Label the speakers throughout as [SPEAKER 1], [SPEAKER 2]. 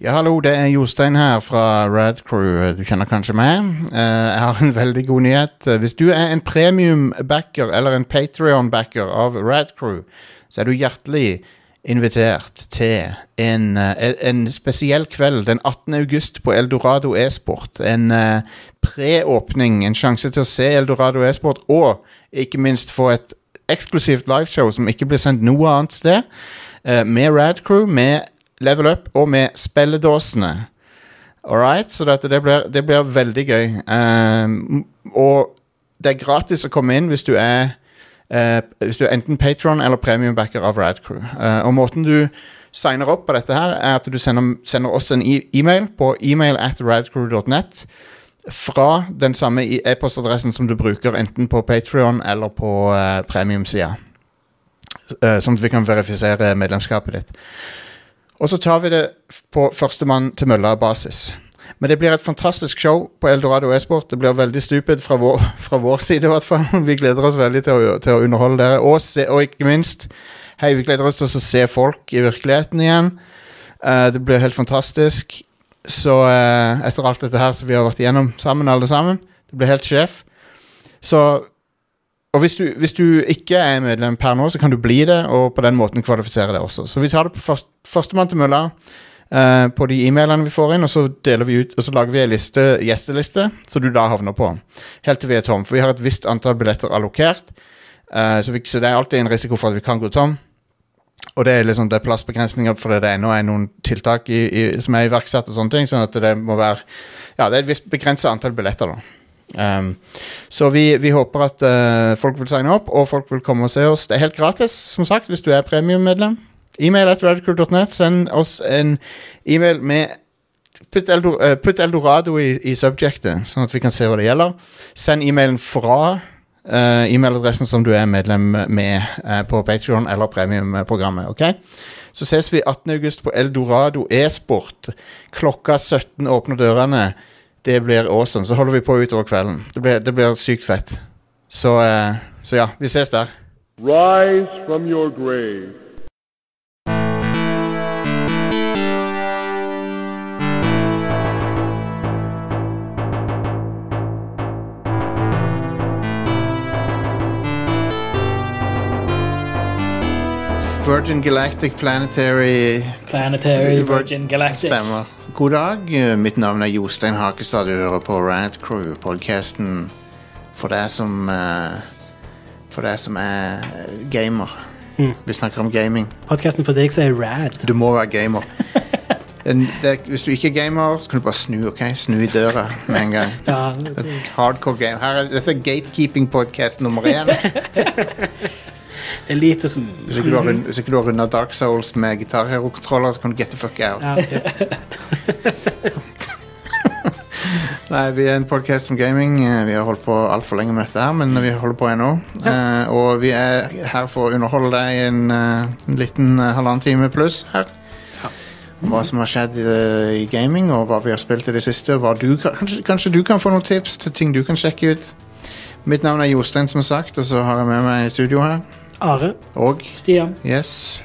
[SPEAKER 1] Ja, hallo, det er Jostein her fra Rad Crew. Du kjenner kanskje meg. Eh, Jeg har en veldig god nyhet. Eh, Hvis du er en premium-backer eller en Patrion-backer av Rad Crew, så er du hjertelig invitert til en, eh, en spesiell kveld den 18. august på Eldorado e-sport. En eh, preåpning, en sjanse til å se Eldorado e-sport, og ikke minst få et eksklusivt liveshow som ikke blir sendt noe annet sted, eh, med Rad Crew, med Level Up og med spilledåsene. Alright, så dette, det, blir, det blir veldig gøy. Ehm, og det er gratis å komme inn hvis du er, eh, hvis du er enten patron eller premiumbacker av Radcrew. Eh, og måten du signer opp på dette her, er at du sender, sender oss en e- e-mail på email at radcrew.net fra den samme i- e-postadressen som du bruker enten på Patrion eller på eh, premiumsida. Eh, sånn at vi kan verifisere medlemskapet ditt. Og så tar vi det f- på førstemann til mølla-basis. Men det blir et fantastisk show på Eldorado e-sport. Det blir veldig stupid fra vår, fra vår side, i hvert fall. Vi gleder oss veldig til å, til å underholde dere. Og, se, og ikke minst, hei, vi gleder oss til å se folk i virkeligheten igjen. Eh, det blir helt fantastisk. Så eh, etter alt dette her som vi har vært igjennom sammen, alle sammen, det blir helt sjef. Så og hvis du, hvis du ikke er medlem per nå, så kan du bli det, og på den måten kvalifisere deg også. Så vi tar det på først, førstemann til mølla eh, på de e-mailene vi får inn, og så deler vi ut, og så lager vi en liste, gjesteliste, så du da havner på. Helt til vi er tom, for vi har et visst antall billetter allokert, eh, så, vi, så det er alltid en risiko for at vi kan gå tom. Og det er liksom det er plassbegrensninger fordi det ennå er noen tiltak i, i, som er iverksatt, og sånne ting, sånn at det må være Ja, det er et visst begrenset antall billetter, da. Ehm, så vi, vi håper at eh, folk vil signe opp, og folk vil komme og se oss. Det er helt gratis, som sagt, hvis du er premiummedlem. E-mail at radicrew.net. Send oss en e-mail med Putt, Eldor, eh, putt Eldorado i, i subjectet, sånn at vi kan se hva det gjelder. Send e-mailen fra eh, e-mailadressen som du er medlem med eh, på Patrion eller premiumprogrammet. ok? Så ses vi 18. august på Eldorado e-sport. Klokka 17 åpner dørene. Det blir awesome. Så holder vi på utover kvelden. Det blir, det blir sykt fett. Så, eh, så ja, vi ses der.
[SPEAKER 2] Rise from your grave.
[SPEAKER 1] Virgin Galactic Planetary
[SPEAKER 3] Planetary Virgin Galactic.
[SPEAKER 1] stemmer. God dag, eh, mitt navn er Jostein Hakestad. Du hører på Rad Crew, podkasten for deg som eh, For deg som er eh, gamer.
[SPEAKER 3] Mm.
[SPEAKER 1] Vi snakker om gaming.
[SPEAKER 3] Podkasten for deg som er rad.
[SPEAKER 1] Du må være gamer. En- det, hvis du ikke er gamer, så kan du bare snu, ok? Snu i døra med en gang.
[SPEAKER 3] Ja, det-
[SPEAKER 1] Hardcore game. Her er, dette er gatekeeping podcast nummer én.
[SPEAKER 3] elitism.
[SPEAKER 1] Hvis ikke du har, rund- hvis ikke du har runda Dark Souls med gitarhero-kontroller, så kan du get the fuck out.
[SPEAKER 3] Ja,
[SPEAKER 1] Nei, vi er en podcast om gaming. Eh, Vi har holdt på altfor lenge med dette her, men vi holder på ennå. Eh, og vi er her for å underholde deg i en, eh, en liten eh, halvannen time pluss her. Om Hva som har skjedd eh, i gaming, og hva vi har spilt i det siste. og Hva du, kan- kanskje, kanskje du kan få noen tips til ting du kan sjekke ut. Mitt navn er Jostein, som sagt, og så har jeg med meg i studio her.
[SPEAKER 3] Are,
[SPEAKER 1] Og
[SPEAKER 3] Stian.
[SPEAKER 1] Yes.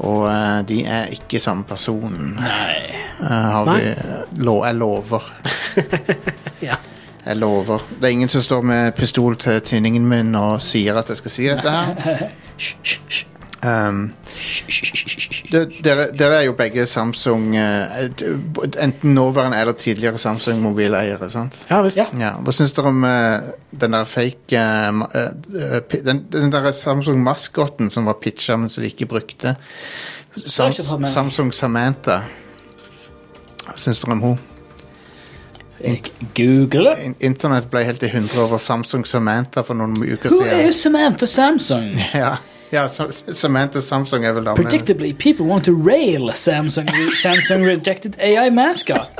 [SPEAKER 1] Og eh, de er ikke samme person.
[SPEAKER 3] Nei.
[SPEAKER 1] Eh, har
[SPEAKER 3] Nei.
[SPEAKER 1] vi, eh, lo, jeg lover.
[SPEAKER 3] Ja.
[SPEAKER 1] Jeg lover. Det er ingen som står med pistol til tinningen min og sier at jeg skal si dette her.
[SPEAKER 3] Hysj, hysj, hysj.
[SPEAKER 1] Um,
[SPEAKER 3] Hysj, hysj, hysj, hysj.
[SPEAKER 1] det- dere, dere er jo begge Samsung eh, et- Enten nåværende eller tidligere Samsung-mobileiere, sant?
[SPEAKER 3] Ja visst. Ja.
[SPEAKER 1] Ja, Hva syns dere om eh, den der fake eh, ma- eh, eh, pi- Den, den der Samsung-maskotten som var pitcha, men som de ikke brukte? Sam,
[SPEAKER 3] ikke fått med meg.
[SPEAKER 1] Samsung Samantha. Hva syns dere om henne?
[SPEAKER 3] Jeg googler.
[SPEAKER 1] Internett ble helt i hundre over Samsung Samantha for noen uker
[SPEAKER 3] Who
[SPEAKER 1] siden.
[SPEAKER 3] is Samantha Samsung?
[SPEAKER 1] Ja, ja Sam- Samantha Samsung er vel damen.
[SPEAKER 3] Predictably, people want to rail Samsung. Samsung rejected AI mascot.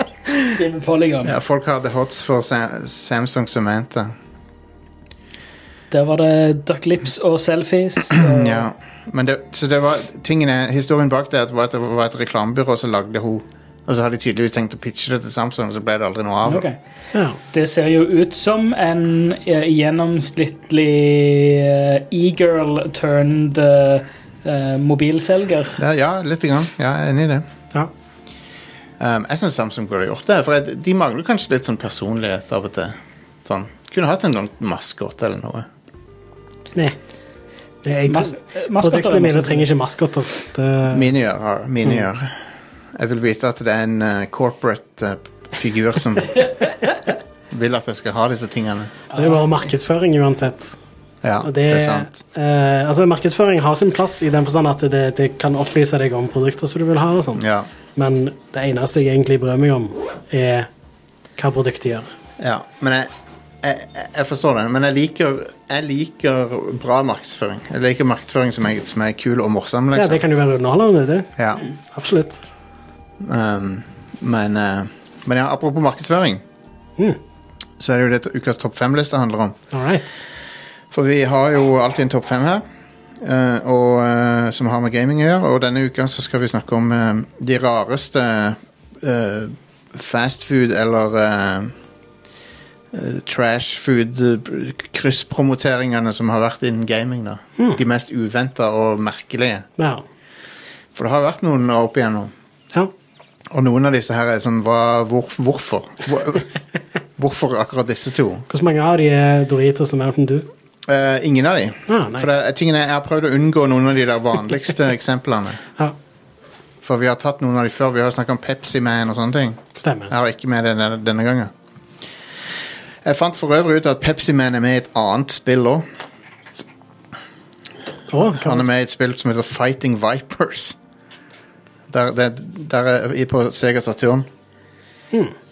[SPEAKER 3] Skriver Polygon.
[SPEAKER 1] Ja, folk hadde hots for Sa Samsung Samantha.
[SPEAKER 3] Der var det duck lips og selfies. og-
[SPEAKER 1] Ja. Men det, så det var tingene, historien bak det at var at det var et reklamebyrå som lagde henne. Og så hadde de tydeligvis tenkt å pitche det til Samsung, så ble det aldri noe av. det.
[SPEAKER 3] Ok. Det ser jo ut som en eh, gjennomsnittlig eh, e-girl turned eh, eh, mobilselger.
[SPEAKER 1] Ja, ja, litt. Grann. Ja, jeg er enig i det.
[SPEAKER 3] Ja.
[SPEAKER 1] Um, jeg syns Samsung burde gjort det, for jeg, de mangler kanskje litt sånn personlighet av og til. Sånn. Kunne hatt en sånn maskotte eller noe.
[SPEAKER 4] Nei. Det er, jeg,
[SPEAKER 3] Mas- eh,
[SPEAKER 4] produktene mine
[SPEAKER 3] Maskotter
[SPEAKER 4] trenger ikke maskotter. Det,
[SPEAKER 1] Minier har minier. Jeg vil vite at det er en eh, corporate eh, figur som vil at jeg skal ha disse tingene.
[SPEAKER 4] det er jo bare markedsføring uansett.
[SPEAKER 1] Ja,
[SPEAKER 4] Og
[SPEAKER 1] det, er sant.
[SPEAKER 4] eh, altså, markedsføring har sin plass i den forstand at det, det kan opplyse deg om produkter som du vil ha. og sånn.
[SPEAKER 1] Ja.
[SPEAKER 4] Men det eneste jeg egentlig bryr meg om, er hva produktet gjør.
[SPEAKER 1] ja. Men jeg, jeg, jeg- jeg forstår den. Men jeg liker, jeg liker bra markedsføring. Jeg liker markedsføring som er, som er kul og morsom,
[SPEAKER 4] Ja, Det
[SPEAKER 1] liksom.
[SPEAKER 4] kan jo være underholdende, det.
[SPEAKER 1] Ja.
[SPEAKER 4] Absolutt.
[SPEAKER 1] Um, men, eh, men ja, apropos markedsføring,
[SPEAKER 4] Mm.
[SPEAKER 1] så er det jo det ukas topp fem-liste handler om.
[SPEAKER 4] All right.
[SPEAKER 1] For vi har jo alltid en topp fem her, eh, og, eh, som har med gaming å gjøre. Og denne uka så skal vi snakke om eh, de rareste eh, fast food eller eh, eh, trash food-krysspromoteringene som har vært innen gaming. da.
[SPEAKER 4] Hmm.
[SPEAKER 1] De mest uventa og merkelige.
[SPEAKER 4] Ja.
[SPEAKER 1] For det har vært noen opp igjennom.
[SPEAKER 4] ja.
[SPEAKER 1] Og noen av disse her er sånn hva, hvor, Hvorfor? Hvor, hvorfor akkurat disse to?
[SPEAKER 4] Hvor mange av de er Doritos og Mountain Dew?
[SPEAKER 1] Eh, ingen av de.
[SPEAKER 4] Ah, nice.
[SPEAKER 1] For det, eh, er tingene, Jeg har prøvd å unngå noen av de der vanligste eksemplene.
[SPEAKER 4] Ja,
[SPEAKER 1] For vi har tatt noen av de før. Vi har snakket om Pepsi Man og sånne ting.
[SPEAKER 4] stemmer.
[SPEAKER 1] Jeg har ikke med det denne, denne gangen. Jeg fant for øvrig ut at Pepsi Man er med i et annet spill òg.
[SPEAKER 4] Å, hva-
[SPEAKER 1] Han er med i et spill som heter Fighting Vipers. Der, der, der er i på Sega Saturn.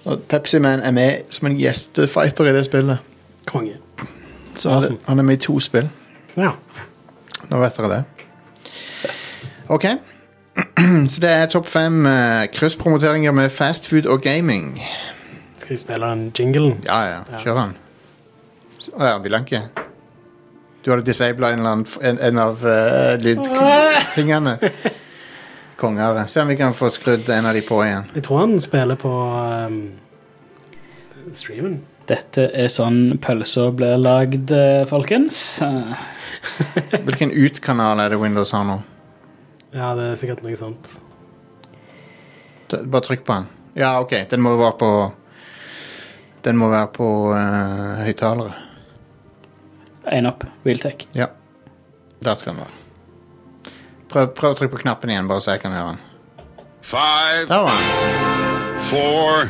[SPEAKER 1] Og Pepsi Man er med som en gjestefighter i det spillet.
[SPEAKER 4] konge.
[SPEAKER 1] Så han er-
[SPEAKER 4] Awesome.
[SPEAKER 1] han er med i to spill.
[SPEAKER 4] Ja.
[SPEAKER 1] Nå vet dere det. Ok. Så det er topp fem eh, krysspromoteringer med fast food og gaming.
[SPEAKER 4] Skal jeg spille den jinglen?
[SPEAKER 1] Ja, ja. Kjør den. Så- Å ja, vil han ikke? Du hadde disabla en, eller annen f- en, en av eh, lydtingene. Konger. Se om vi kan få skrudd en av de på igjen.
[SPEAKER 4] Jeg tror han spiller på ehm, streamen.
[SPEAKER 3] Dette er sånn pølser blir lagd, eh, folkens. Eh,
[SPEAKER 1] Hvilken ut-kanal er det Windows har nå?
[SPEAKER 4] Ja, det er sikkert noe sånt.
[SPEAKER 1] D- Bare trykk på den. Ja, OK. Den må være på Den må være på eh, høyttalere.
[SPEAKER 3] En opp. Wheeltech.
[SPEAKER 1] Ja. Der skal den være. Prøv, prøv å trykke på knappen igjen, bare så jeg kan høre den.
[SPEAKER 2] Five,
[SPEAKER 1] Der var den.
[SPEAKER 2] four,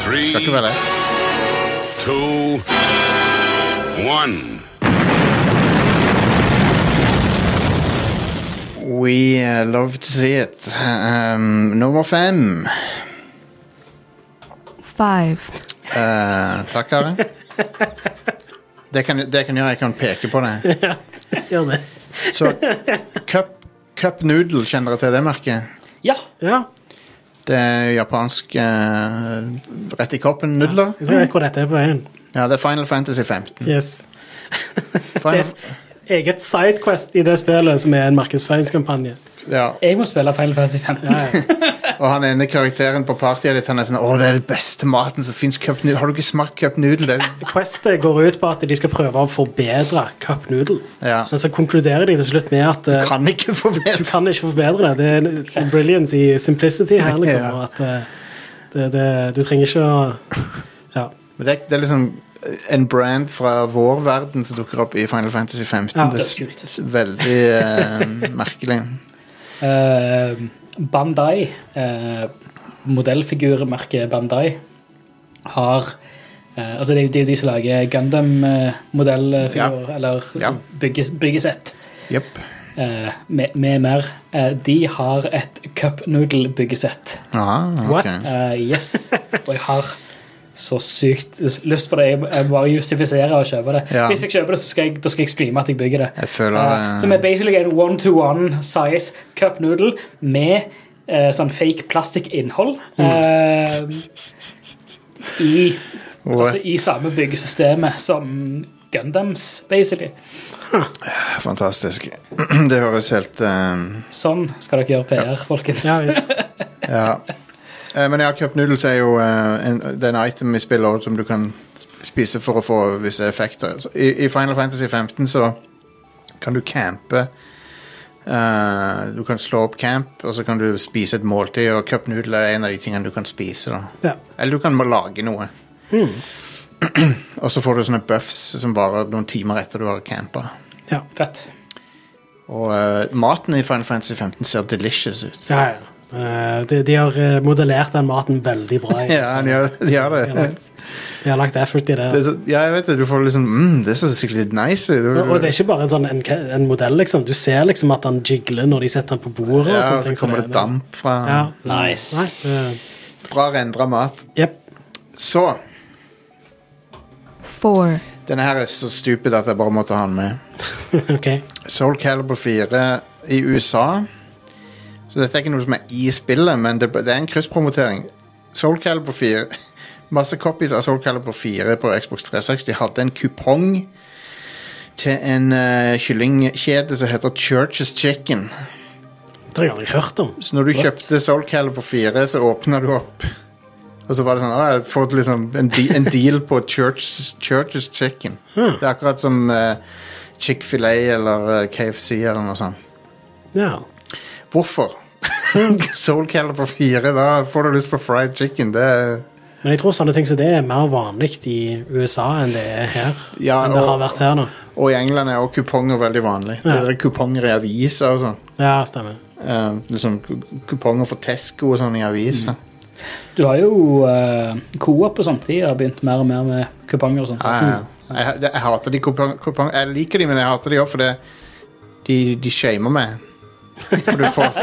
[SPEAKER 1] Skal ikke være det.
[SPEAKER 2] two, one.
[SPEAKER 1] We eh, love to see it. Um, nummer fem.
[SPEAKER 5] Five.
[SPEAKER 1] Eh, takk, Are. Det kan, det kan gjøre jeg kan peke på det.
[SPEAKER 4] Gjør det.
[SPEAKER 1] Så cup, cup noodle, kjenner dere til det merket?
[SPEAKER 3] Ja!
[SPEAKER 4] Ja,
[SPEAKER 1] Det er japansk eh, rett i koppen-nudler.
[SPEAKER 4] jeg tror jeg vet hvor dette er på veien.
[SPEAKER 1] Ja, det er Final Fantasy 15.
[SPEAKER 4] Yes.
[SPEAKER 1] Final,
[SPEAKER 4] Eget sidequest i det spillet som er en markedsføringskampanje.
[SPEAKER 1] ja.
[SPEAKER 3] Jeg må spille Final Fantasy 15.
[SPEAKER 4] Ja, ja.
[SPEAKER 1] Og han ene karakteren på partyet ditt, han er sånn Å, det er den beste maten som fins. Har du ikke smakt cup noodle? Det er
[SPEAKER 4] Questet går ut på at de skal prøve å forbedre cup noodle.
[SPEAKER 1] Ja.
[SPEAKER 4] Men så konkluderer de til slutt med at eh,
[SPEAKER 1] kan ikke
[SPEAKER 4] du
[SPEAKER 1] forbedre
[SPEAKER 4] kan ikke forbedre det. Det er en brilliance i simplicity her, liksom.
[SPEAKER 1] Ja.
[SPEAKER 4] Og at eh, det, det, du trenger ikke å Ja.
[SPEAKER 1] Men det, er- det er liksom en brand fra vår verden som dukker opp i Final Fantasy 15.
[SPEAKER 4] Ja,
[SPEAKER 1] det er
[SPEAKER 3] det er kult.
[SPEAKER 1] s- s- veldig eh, merkelig.
[SPEAKER 3] Eh, Bandai, eh, modellfigurmerket Bandai, har eh, Altså, det er jo- det er jo de som lager Gundam-modellfigurer, eller
[SPEAKER 1] Ja.
[SPEAKER 3] bygges- byggesett.
[SPEAKER 1] Jepp.
[SPEAKER 3] eh, med, med mer. Eh, de har et cup noodle-byggesett.
[SPEAKER 1] Aha,
[SPEAKER 4] What?
[SPEAKER 1] ok.
[SPEAKER 3] Eh, yes. Og jeg har så sykt lyst på det. Jeg må jeg må bare justifisere og kjøpe det.
[SPEAKER 1] Ja.
[SPEAKER 3] Hvis jeg kjøper det, så skal jeg, da skal jeg streame at jeg bygger det.
[SPEAKER 1] Jeg føler
[SPEAKER 3] Eh,
[SPEAKER 1] det-
[SPEAKER 3] som er basically en one-to-one size cup noodle med eh, sånn fake plastikkinnhold.
[SPEAKER 1] Mm.
[SPEAKER 3] eh, i, altså, I samme byggesystemet som Gundams, basically.
[SPEAKER 1] Fantastisk. Det høres helt eh,
[SPEAKER 3] Sånn skal dere gjøre PR, folkens.
[SPEAKER 4] ja visst.
[SPEAKER 1] Ja. Eh, Men ja, cup noodles er jo eh, en, det er en item i spillet også som du kan spise for å få visse effekter. Så I, I Final Fantasy 15 så kan du campe Eh, du kan slå opp camp, og så kan du spise et måltid, og cupnudler er en av de tingene du kan spise. da.
[SPEAKER 4] Ja.
[SPEAKER 1] Eller du kan må lage noe.
[SPEAKER 3] Hmm.
[SPEAKER 1] og så får du sånne buffs som varer noen timer etter du har campa.
[SPEAKER 4] Ja.
[SPEAKER 3] Fett.
[SPEAKER 1] Og eh, maten i Final Fantasy 15 ser delicious ut.
[SPEAKER 4] ja, ja. Eh, De, de har eh, modellert den maten veldig bra. i
[SPEAKER 1] Ja, de gjør, de gjør
[SPEAKER 4] De har
[SPEAKER 1] det.
[SPEAKER 4] lagt, de har lagt effort i det. altså.
[SPEAKER 1] det er så, ja, jeg vet det. Du får liksom mm, Det ser skikkelig nice ut.
[SPEAKER 4] Og og det er ikke bare en, sånn, en, ke- en modell, liksom. Du ser liksom at han jigler når de setter han på bordet.
[SPEAKER 1] ja,
[SPEAKER 4] og
[SPEAKER 1] og
[SPEAKER 4] sånne ting,
[SPEAKER 1] så kommer det damp fra
[SPEAKER 4] Ja.
[SPEAKER 3] Nice.
[SPEAKER 4] Nei, det-
[SPEAKER 1] Bra rendra mat.
[SPEAKER 4] Jep.
[SPEAKER 1] Så
[SPEAKER 5] four,
[SPEAKER 1] Denne her er så stupid at jeg bare måtte ha den med.
[SPEAKER 4] ok.
[SPEAKER 1] Soul Calibur 4 i USA. Så dette er ikke noe som er i spillet, men det, det er en krysspromotering. Soul Calibur 4 Masse copies av Soul Calibur 4 på Xbox 360 hadde en kupong til en eh, kyllingkjede som heter Church's Chicken.
[SPEAKER 4] Det har jeg aldri hørt om.
[SPEAKER 1] Så når du kjøpte Soul Calibur 4, så åpna du opp. Og så var det sånn Å, jeg har fått liksom en, de en deal på Church's, Church's Chicken.
[SPEAKER 4] Hmm.
[SPEAKER 1] Det er akkurat som eh, Chick-fil-A eller eh, KFC eller noe sånt.
[SPEAKER 4] Ja.
[SPEAKER 1] Hvorfor? Soul Calibur 4, da får du lyst på fried chicken. Det er,
[SPEAKER 4] Men jeg tror sånne ting som det er mer vanlig i USA enn det er her.
[SPEAKER 1] ja,
[SPEAKER 4] enn det har
[SPEAKER 1] og,
[SPEAKER 4] vært her nå.
[SPEAKER 1] og i England er også kuponger veldig vanlig. Det
[SPEAKER 4] Ja.
[SPEAKER 1] er kuponger i aviser og sånn.
[SPEAKER 4] Ja, stemmer.
[SPEAKER 1] Eh, liksom ku- kuponger for Tesco og sånn i aviser.
[SPEAKER 4] Mm.
[SPEAKER 3] Du har jo eh, Coop og sånt. De har begynt mer og mer med kuponger og sånt.
[SPEAKER 1] Ja, ja, ja. Jeg, jeg hater de kupong- kuponger. Jeg liker de, men jeg hater de òg, for det, de, de shamer meg. For du får,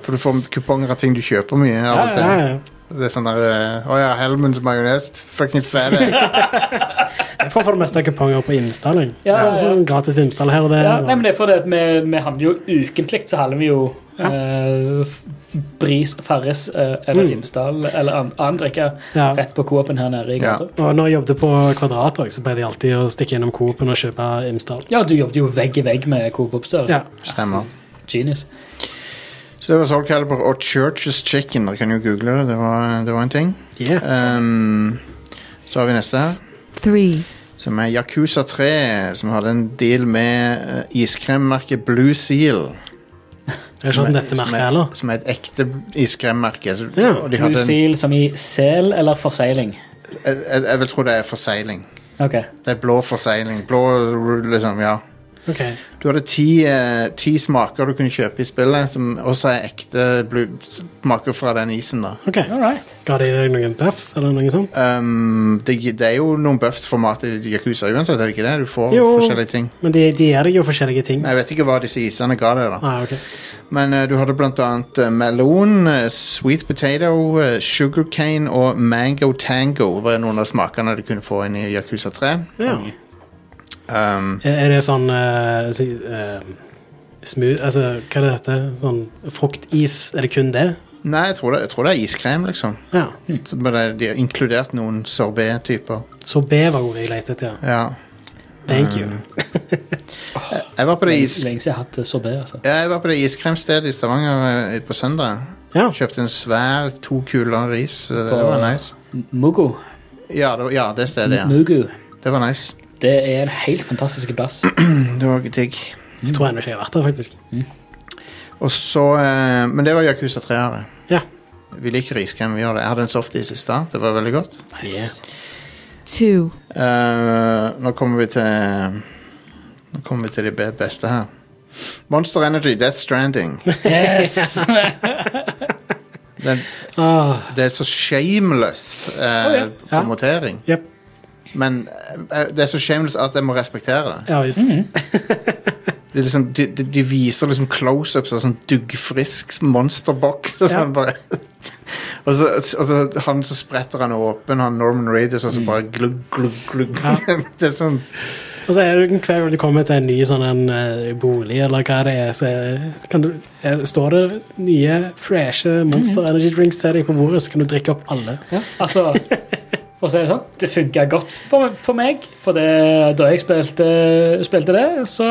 [SPEAKER 1] for du får kuponger av ting du kjøper mye av
[SPEAKER 4] Ja,
[SPEAKER 1] og
[SPEAKER 4] ja,
[SPEAKER 1] til.
[SPEAKER 4] ja.
[SPEAKER 1] Det er sånn der eh, Å ja, Helmunds majones. Fucking fat ass.
[SPEAKER 4] Jeg får for det meste kuponger på innstalling.
[SPEAKER 3] Ja, ja, ja.
[SPEAKER 4] Gratis install her og der.
[SPEAKER 3] Ja,
[SPEAKER 4] og-
[SPEAKER 3] nei, men det er fordi at vi, vi handler jo ukentlig, så handler vi jo eh, f- Bris, Farris eh, eller
[SPEAKER 4] Mm.
[SPEAKER 3] Imsdal eller an- annen drikke
[SPEAKER 4] ja.
[SPEAKER 3] rett på Coop-en her nede i
[SPEAKER 1] Ja.
[SPEAKER 3] gata.
[SPEAKER 4] Og når jeg jobbet på Kvadrat, også, så ble det alltid å stikke innom Coop-en og kjøpe Imsdal.
[SPEAKER 3] Ja, du jobbet jo vegg i vegg med Coop Oppstad.
[SPEAKER 4] Ja.
[SPEAKER 1] Stemmer.
[SPEAKER 3] Genius.
[SPEAKER 1] Så det var Soul Calibur og Church's Chicken. Dere kan jo google det. Det var, det var en ting.
[SPEAKER 4] Yeah.
[SPEAKER 1] Ehm, så har vi neste her,
[SPEAKER 5] three,
[SPEAKER 1] som er Yakuza 3, som hadde en deal med eh, iskremmerket Blue Seal.
[SPEAKER 4] Jeg har ikke hatt
[SPEAKER 1] som,
[SPEAKER 4] dette merket
[SPEAKER 1] er,
[SPEAKER 4] sånn heller.
[SPEAKER 1] som er et ekte iskremmerke. Så-
[SPEAKER 4] Ja,
[SPEAKER 1] og de hadde en,
[SPEAKER 3] Lusil som i sel eller forseiling?
[SPEAKER 1] jeg, jeg jeg vil tro det er forseiling.
[SPEAKER 3] Ok.
[SPEAKER 1] Det er blå forseiling. Blå, liksom, ja.
[SPEAKER 4] Ok.
[SPEAKER 1] Du hadde ti, eh, ti smaker du kunne kjøpe i spillet, som også er ekte blue, smaker fra den isen, da.
[SPEAKER 4] ok.
[SPEAKER 3] All right.
[SPEAKER 4] Ga de deg noen buffs eller noe sånt?
[SPEAKER 1] Um, det, det er jo noen buffs-format i Yakuza uansett, er det ikke det? Du får
[SPEAKER 4] Jo.
[SPEAKER 1] forskjellige ting.
[SPEAKER 4] Men de, de gir deg jo forskjellige ting.
[SPEAKER 1] Nei, Jeg vet ikke hva disse isene ga deg, da.
[SPEAKER 4] Ah, ok.
[SPEAKER 1] Men eh, du hadde blant annet eh, melon, eh, sweet potato, eh, sugarcane og mango tango var noen av smakene du kunne få inn i Yakuza 3.
[SPEAKER 4] Ja.
[SPEAKER 1] Um,
[SPEAKER 4] Er er det sånn eh, si, eh, smooth Altså, hva er det dette? Sånn fruktis? Er det kun det?
[SPEAKER 1] nei, jeg tror, det, jeg tror det er iskrem, liksom.
[SPEAKER 4] Ja.
[SPEAKER 1] Så bare de har inkludert noen sorbet-typer.
[SPEAKER 4] Sorbet var ordet jeg lette etter. ja.
[SPEAKER 1] Ja.
[SPEAKER 4] Thank you.
[SPEAKER 1] Jeg var på det is...
[SPEAKER 3] Lenge lenge siden jeg har hatt sorbet, altså.
[SPEAKER 1] Ja, jeg var på det iskremstedet i Stavanger eh, på søndag.
[SPEAKER 4] Ja.
[SPEAKER 1] Kjøpte en svær to kuler ris. eh, Det var nice.
[SPEAKER 3] M- Mugu.
[SPEAKER 1] Ja, det, ja, det stedet, ja.
[SPEAKER 3] Mugu.
[SPEAKER 1] Det var nice.
[SPEAKER 3] Det er en helt fantastisk bass.
[SPEAKER 1] Det var digg.
[SPEAKER 4] Jeg tror ennå ikke jeg har vært der, faktisk.
[SPEAKER 1] Og så eh, Men det var Yakuza 3-ere.
[SPEAKER 4] Ja.
[SPEAKER 1] Vi liker iskrem. vi gjør det. Jeg hadde en softis i stad. Det var veldig godt.
[SPEAKER 5] two,
[SPEAKER 1] Eh, nå kommer vi til Nå kommer vi til det be- beste her. Monster Energy, Death Stranding.
[SPEAKER 3] Yes!
[SPEAKER 1] Den,
[SPEAKER 4] Ah,
[SPEAKER 1] det er så shameless eh,
[SPEAKER 3] ja.
[SPEAKER 4] Ja.
[SPEAKER 1] promotering.
[SPEAKER 4] Jep.
[SPEAKER 1] Men eh, det er så shameless at jeg må respektere det.
[SPEAKER 4] ja visst.
[SPEAKER 3] Mm.
[SPEAKER 1] det er liksom, de, de, de viser liksom close-ups av sånn duggfrisk monsterboks. Og, sånn bare- og, så, og så han så spretter han åpen, han Norman Reedus,
[SPEAKER 3] Mm.
[SPEAKER 1] og så bare glugg, glugg, glugg. det er sånn
[SPEAKER 4] Og så er det jo hver gang du kommer til en ny sånn en, eh, bolig, eller hva det er, så er- kan du, er, står det nye, freshe Monster
[SPEAKER 3] Mm.
[SPEAKER 4] Energy Drinks til deg på bordet, så kan du drikke opp alle.
[SPEAKER 3] Altså, for å si det sånn, det funka godt for, for meg. For det, da jeg spilte, spilte det, så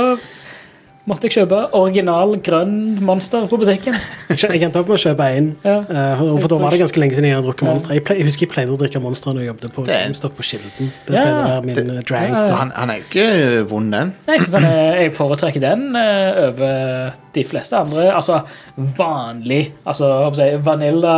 [SPEAKER 3] måtte jeg kjøpe original grønn monster på butikken.
[SPEAKER 4] Jeg jeg endte opp med å kjøpe én,
[SPEAKER 3] Ja.
[SPEAKER 4] eh, og for da var det ganske lenge siden jeg hadde drukket Monster. Jeg, ple- jeg husker jeg pleide å drikke Monster når jeg jobbet på
[SPEAKER 1] Det-
[SPEAKER 4] GameStop på Kilden. Det
[SPEAKER 3] Ja.
[SPEAKER 4] pleide å være min eh, drag.
[SPEAKER 3] Ja.
[SPEAKER 1] Han, han er jo ikke eh, vond, den.
[SPEAKER 3] Nei, Jeg, synes han er, jeg foretrekker den eh, over de fleste andre. Altså vanlig altså, hva skal jeg si, vanilla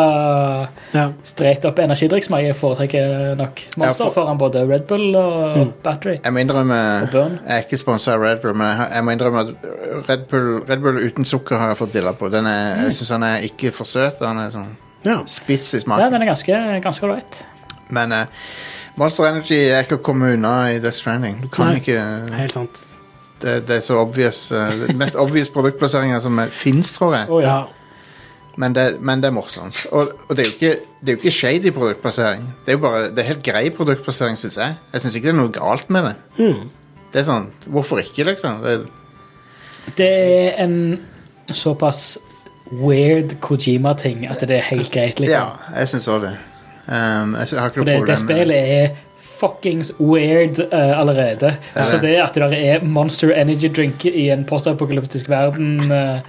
[SPEAKER 4] Ja.
[SPEAKER 3] straight up energidrikksmak. Jeg foretrekker nok
[SPEAKER 1] Ja, for-
[SPEAKER 3] Monster
[SPEAKER 1] Mm.
[SPEAKER 3] foran både Red Bull og Battery.
[SPEAKER 1] Jeg må innrømme
[SPEAKER 3] Og Burn.
[SPEAKER 1] Jeg er ikke sponsa av Red Bull, men jeg, har- jeg må innrømme at Red Bull, Red Bull uten sukker har jeg fått dilla på. Den er, jeg syns han er ikke for søt. Han er sånn
[SPEAKER 4] Ja.
[SPEAKER 1] spiss i
[SPEAKER 3] Mm. Ja,
[SPEAKER 1] smaken.
[SPEAKER 3] den er ganske, ganske right.
[SPEAKER 1] Men eh, Monster Energy er ikke å komme unna i Death Stranding. Du kan
[SPEAKER 4] Nei.
[SPEAKER 1] ikke
[SPEAKER 4] Helt sant.
[SPEAKER 1] det, det er så obvious. eh, det mest obvious produktplasseringa som fins, tror jeg.
[SPEAKER 3] Å ja.
[SPEAKER 4] Ja.
[SPEAKER 1] Men det, men det er morsomt. Og, og det, er jo ikke, det er jo ikke shady produktplassering. Det er jo bare, det er helt grei produktplassering, syns jeg. Jeg syns ikke det er noe galt med det.
[SPEAKER 3] Hmm.
[SPEAKER 1] Det er sånn, Hvorfor ikke, liksom? Det,
[SPEAKER 3] Det er en såpass weird Kojima-ting at det er helt greit. liksom.
[SPEAKER 1] ja, jeg syns òg det. Um, jeg, sy- har ikke noe
[SPEAKER 3] For det, det
[SPEAKER 1] problem med det.
[SPEAKER 3] spillet er fuckings weird eh, allerede.
[SPEAKER 1] Ja.
[SPEAKER 3] Så det at det der er Monster Energy Drink i en postapokalyptisk verden eh,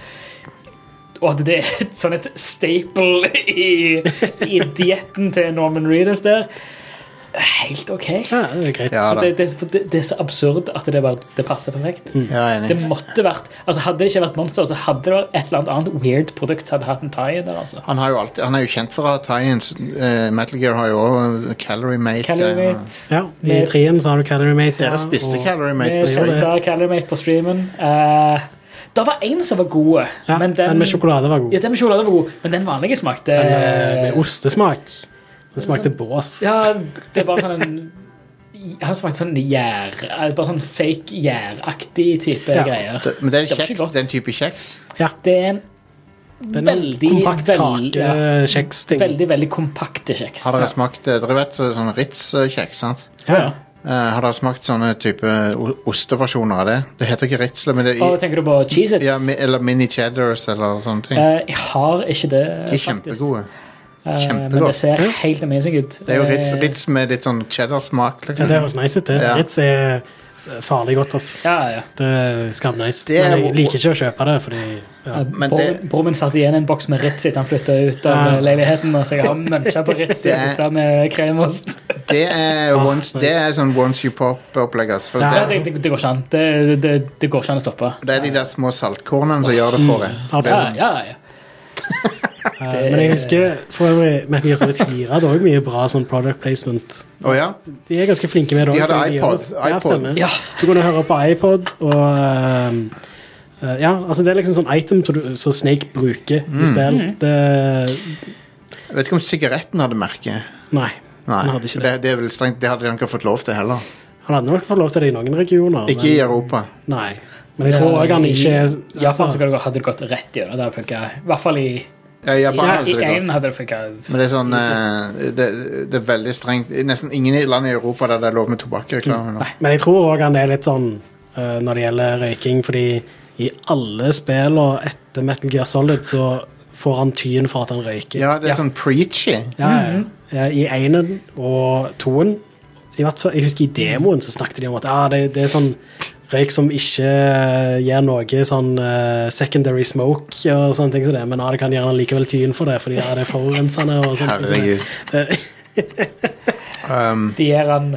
[SPEAKER 3] Og at det er et sånn et staple i, i dietten til Norman Reedus der Helt OK.
[SPEAKER 4] ja, det er greit.
[SPEAKER 1] Ja,
[SPEAKER 3] For
[SPEAKER 1] da.
[SPEAKER 3] det, det, for det, det er så absurd at det, bare, det passer perfekt.
[SPEAKER 1] Ja, jeg er
[SPEAKER 3] Det
[SPEAKER 1] enig.
[SPEAKER 3] måtte vært, altså Hadde det ikke vært Monster, så hadde det vært et eller annet weird produkt som hadde hatt en tie der. altså.
[SPEAKER 1] Han, har jo alltid, han er jo kjent for å ha tie-ins. Eh, Metal Gear har jo òg Calorie Mate.
[SPEAKER 3] Calorimate.
[SPEAKER 4] Ja, I trien så har du Calorie Mate.
[SPEAKER 1] Dere
[SPEAKER 4] Ja,
[SPEAKER 1] spiste Calorie Mate. på
[SPEAKER 3] Vi
[SPEAKER 4] gjorde det.
[SPEAKER 1] stream.
[SPEAKER 3] testa Calimate på streamen. Eh, det var én som var god,
[SPEAKER 4] ja,
[SPEAKER 3] men
[SPEAKER 4] den,
[SPEAKER 3] den,
[SPEAKER 4] med sjokolade var god.
[SPEAKER 3] ja, den med sjokolade var god, men den vanlige smakte
[SPEAKER 4] Den eh, med ostesmak. Den smakte bås.
[SPEAKER 3] Ja, det er bare sånn en Han smakte sånn gjær eh, Bare sånn fake gjæraktig type
[SPEAKER 4] Ja.
[SPEAKER 3] greier.
[SPEAKER 1] Det- Men det er
[SPEAKER 3] var ikke
[SPEAKER 1] kjekt.
[SPEAKER 3] godt.
[SPEAKER 1] Det er en type kjeks.
[SPEAKER 3] Det er en
[SPEAKER 4] Den er en
[SPEAKER 3] veldig,
[SPEAKER 4] kompakt
[SPEAKER 3] veldig-
[SPEAKER 4] kake, kjeksting.
[SPEAKER 3] veldig, veldig kompakte kjeks.
[SPEAKER 1] Har dere smakt eh, Dere vet eh, sånn Ritz-kjeks, sant?
[SPEAKER 4] Ja, ja.
[SPEAKER 1] Eh, har dere smakt sånne type o- osteversjoner av det? Det heter ikke Ritzler, men det er i,
[SPEAKER 3] Og tenker du på Cheez-Its?
[SPEAKER 1] ja, mi, eller Mini Cheddars eller sånne ting.
[SPEAKER 3] Eh, jeg har ikke det,
[SPEAKER 1] De er
[SPEAKER 3] faktisk.
[SPEAKER 1] kjempegode.
[SPEAKER 3] Eh, Men
[SPEAKER 1] kjempegodt.
[SPEAKER 3] det ser helt amazing ut.
[SPEAKER 1] Det er jo Ritz,
[SPEAKER 3] Eh,
[SPEAKER 1] Ritz med litt sånn cheddar-smak,
[SPEAKER 4] Ja,
[SPEAKER 1] liksom.
[SPEAKER 4] det høres nice ut, det.
[SPEAKER 1] Ja.
[SPEAKER 4] Ritz er eh, farlig godt, ass.
[SPEAKER 3] Ja, ja.
[SPEAKER 4] Det er skamnice.
[SPEAKER 1] Det er-
[SPEAKER 4] Men jeg liker ikke å kjøpe det, fordi ja.
[SPEAKER 1] Men
[SPEAKER 3] Eh, Bro-
[SPEAKER 1] det- Ah.
[SPEAKER 3] Broren min satte igjen en boks med Ritz etter han flytta ut av
[SPEAKER 4] Ja.
[SPEAKER 3] eh, leiligheten. og Så jeg har muncha på
[SPEAKER 1] Det
[SPEAKER 3] Ritz i det
[SPEAKER 1] er-
[SPEAKER 3] siste med kremost.
[SPEAKER 1] Det er,
[SPEAKER 4] Ah,
[SPEAKER 1] once,
[SPEAKER 4] nice.
[SPEAKER 1] det er sånn once you pop-opplegg. ass, For
[SPEAKER 3] Ja,
[SPEAKER 4] Ja.
[SPEAKER 1] det,
[SPEAKER 3] det, det, det går ikke an. Det, det, det går ikke an å stoppe.
[SPEAKER 1] det er de der små saltkornene som gjør det for deg.
[SPEAKER 4] Ja,
[SPEAKER 1] Det
[SPEAKER 3] Ja,
[SPEAKER 1] er sånn-
[SPEAKER 3] ja, ja.
[SPEAKER 4] Eh,
[SPEAKER 3] det-
[SPEAKER 4] Men jeg husker for øvrig Metal Gear Solid 4 hadde også mye bra sånn product placement.
[SPEAKER 1] Å ja?
[SPEAKER 4] De er ganske flinke med det.
[SPEAKER 1] De
[SPEAKER 4] også,
[SPEAKER 1] hadde
[SPEAKER 4] fordi
[SPEAKER 1] iPod.
[SPEAKER 4] gjør det- Ja,
[SPEAKER 1] iPod.
[SPEAKER 4] stemmer.
[SPEAKER 3] Ja.
[SPEAKER 4] Du kunne høre på iPod og ehm, eh, Ja, altså det er liksom sånn item som du- som Snake bruker i
[SPEAKER 1] Mm.
[SPEAKER 4] spill.
[SPEAKER 3] Mm.
[SPEAKER 4] Det
[SPEAKER 1] Jeg vet ikke om sigaretten hadde merke.
[SPEAKER 4] Nei.
[SPEAKER 1] Nei,
[SPEAKER 4] Den hadde ikke
[SPEAKER 1] for det, det, er vel strengt, det hadde de ikke fått lov til heller.
[SPEAKER 4] Han hadde nok fått lov til det i noen regioner.
[SPEAKER 1] Ikke i Europa.
[SPEAKER 4] Men, nei. Men jeg tror òg han ikke er
[SPEAKER 3] I Japan så hadde det gått- hadde det gått rett gjennom. Det hadde funket. I hvert fall i
[SPEAKER 1] Ja, I Japan
[SPEAKER 3] ja,
[SPEAKER 1] hadde
[SPEAKER 3] I
[SPEAKER 1] det
[SPEAKER 3] én
[SPEAKER 1] gått.
[SPEAKER 3] hadde det funka.
[SPEAKER 1] Men det er sånn eh, det, det er veldig strengt. I Nesten ingen i land i Europa der det er lov med tobakkreklame. nå.
[SPEAKER 4] Men jeg tror òg han er litt sånn eh, når det gjelder røyking, fordi i alle spillene etter Metal Gear Solid så får han tyen for at han røyker.
[SPEAKER 1] Ja, det er sånn preachy.
[SPEAKER 4] Ja, ja.
[SPEAKER 3] Mhm.
[SPEAKER 4] Eh, I enen og toen i hvert fall, Jeg husker i demoen så snakket de om at ah, det, det er sånn røyk som ikke eh, gir noe sånn eh, secondary smoke og sånne ting som det, men ah, det kan gjerne likevel tyen for det, fordi ah, det er forurensende og sånt.
[SPEAKER 1] Herregud. Um,
[SPEAKER 3] De gir han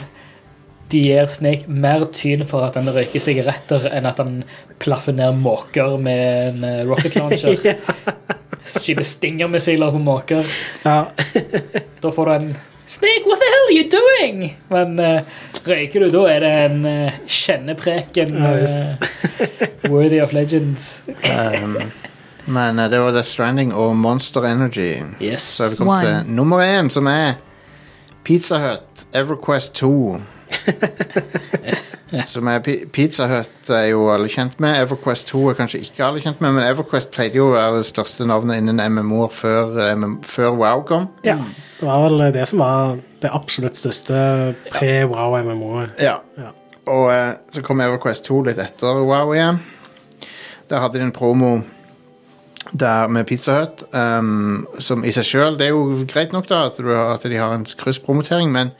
[SPEAKER 3] de gir Snake mer tyn for at han røyker sigaretter, enn at han plaffer ned måker med en eh, rocket launcher. Skyter stingermissiler på måker.
[SPEAKER 4] Ja.
[SPEAKER 3] Da får du en Snake, what the hell are you doing? Men eh, røyker du, da er det en eh, kjennepreken.
[SPEAKER 4] Ja, visst.
[SPEAKER 3] eh, worthy of legends.
[SPEAKER 1] um, men eh, det var Death Stranding og Monster Energy.
[SPEAKER 3] Yes.
[SPEAKER 1] Så er vi kommet
[SPEAKER 5] One.
[SPEAKER 1] til nummer én, som er Pizza Hut Everquest 2. som er pi Pizza Hut er jo alle kjent med. Everquest 2 er kanskje ikke alle kjent med, men Everquest pleide jo å være det største navnet innen MMO-er før, eh, MM før WoW kom.
[SPEAKER 4] ja. Det var vel det som var det absolutt største pre-wow-MMO-et.
[SPEAKER 1] Ja.
[SPEAKER 4] Ja.
[SPEAKER 1] Og eh, så kom EverQuest 2 litt etter WoW igjen. Der hadde de en promo der med Pizza Hut, ehm, um, som i seg sjøl Det er jo greit nok da at, du, har- at de har en krysspromotering, men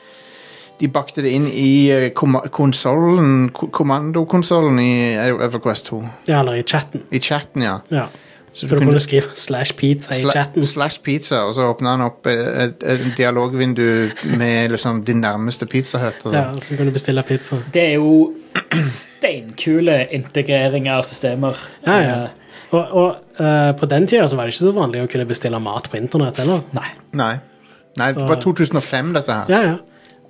[SPEAKER 1] de bakte det inn i eh, konsollen, kommandokonsollen i EverQuest 2.
[SPEAKER 4] Ja, eller i chatten.
[SPEAKER 1] I chatten, ja.
[SPEAKER 4] Ja.
[SPEAKER 1] Så
[SPEAKER 4] Så du kunne skrive 'slash pizza' i
[SPEAKER 1] sla-
[SPEAKER 4] chatten.
[SPEAKER 1] slash pizza, og så åpna han opp et, et, et dialogvindu med liksom din nærmeste pizzahut. og sånn.
[SPEAKER 4] Ja, så du kunne bestille pizza.
[SPEAKER 3] Det er jo steinkule integrering av systemer.
[SPEAKER 4] Ja, ja.
[SPEAKER 3] Eh,
[SPEAKER 4] Og, og eh, på den tida så var det ikke så vanlig å kunne bestille mat på internett heller.
[SPEAKER 3] Nei.
[SPEAKER 1] Nei. Nei, det
[SPEAKER 4] Så-
[SPEAKER 1] var 2005, dette her.
[SPEAKER 4] Ja, ja.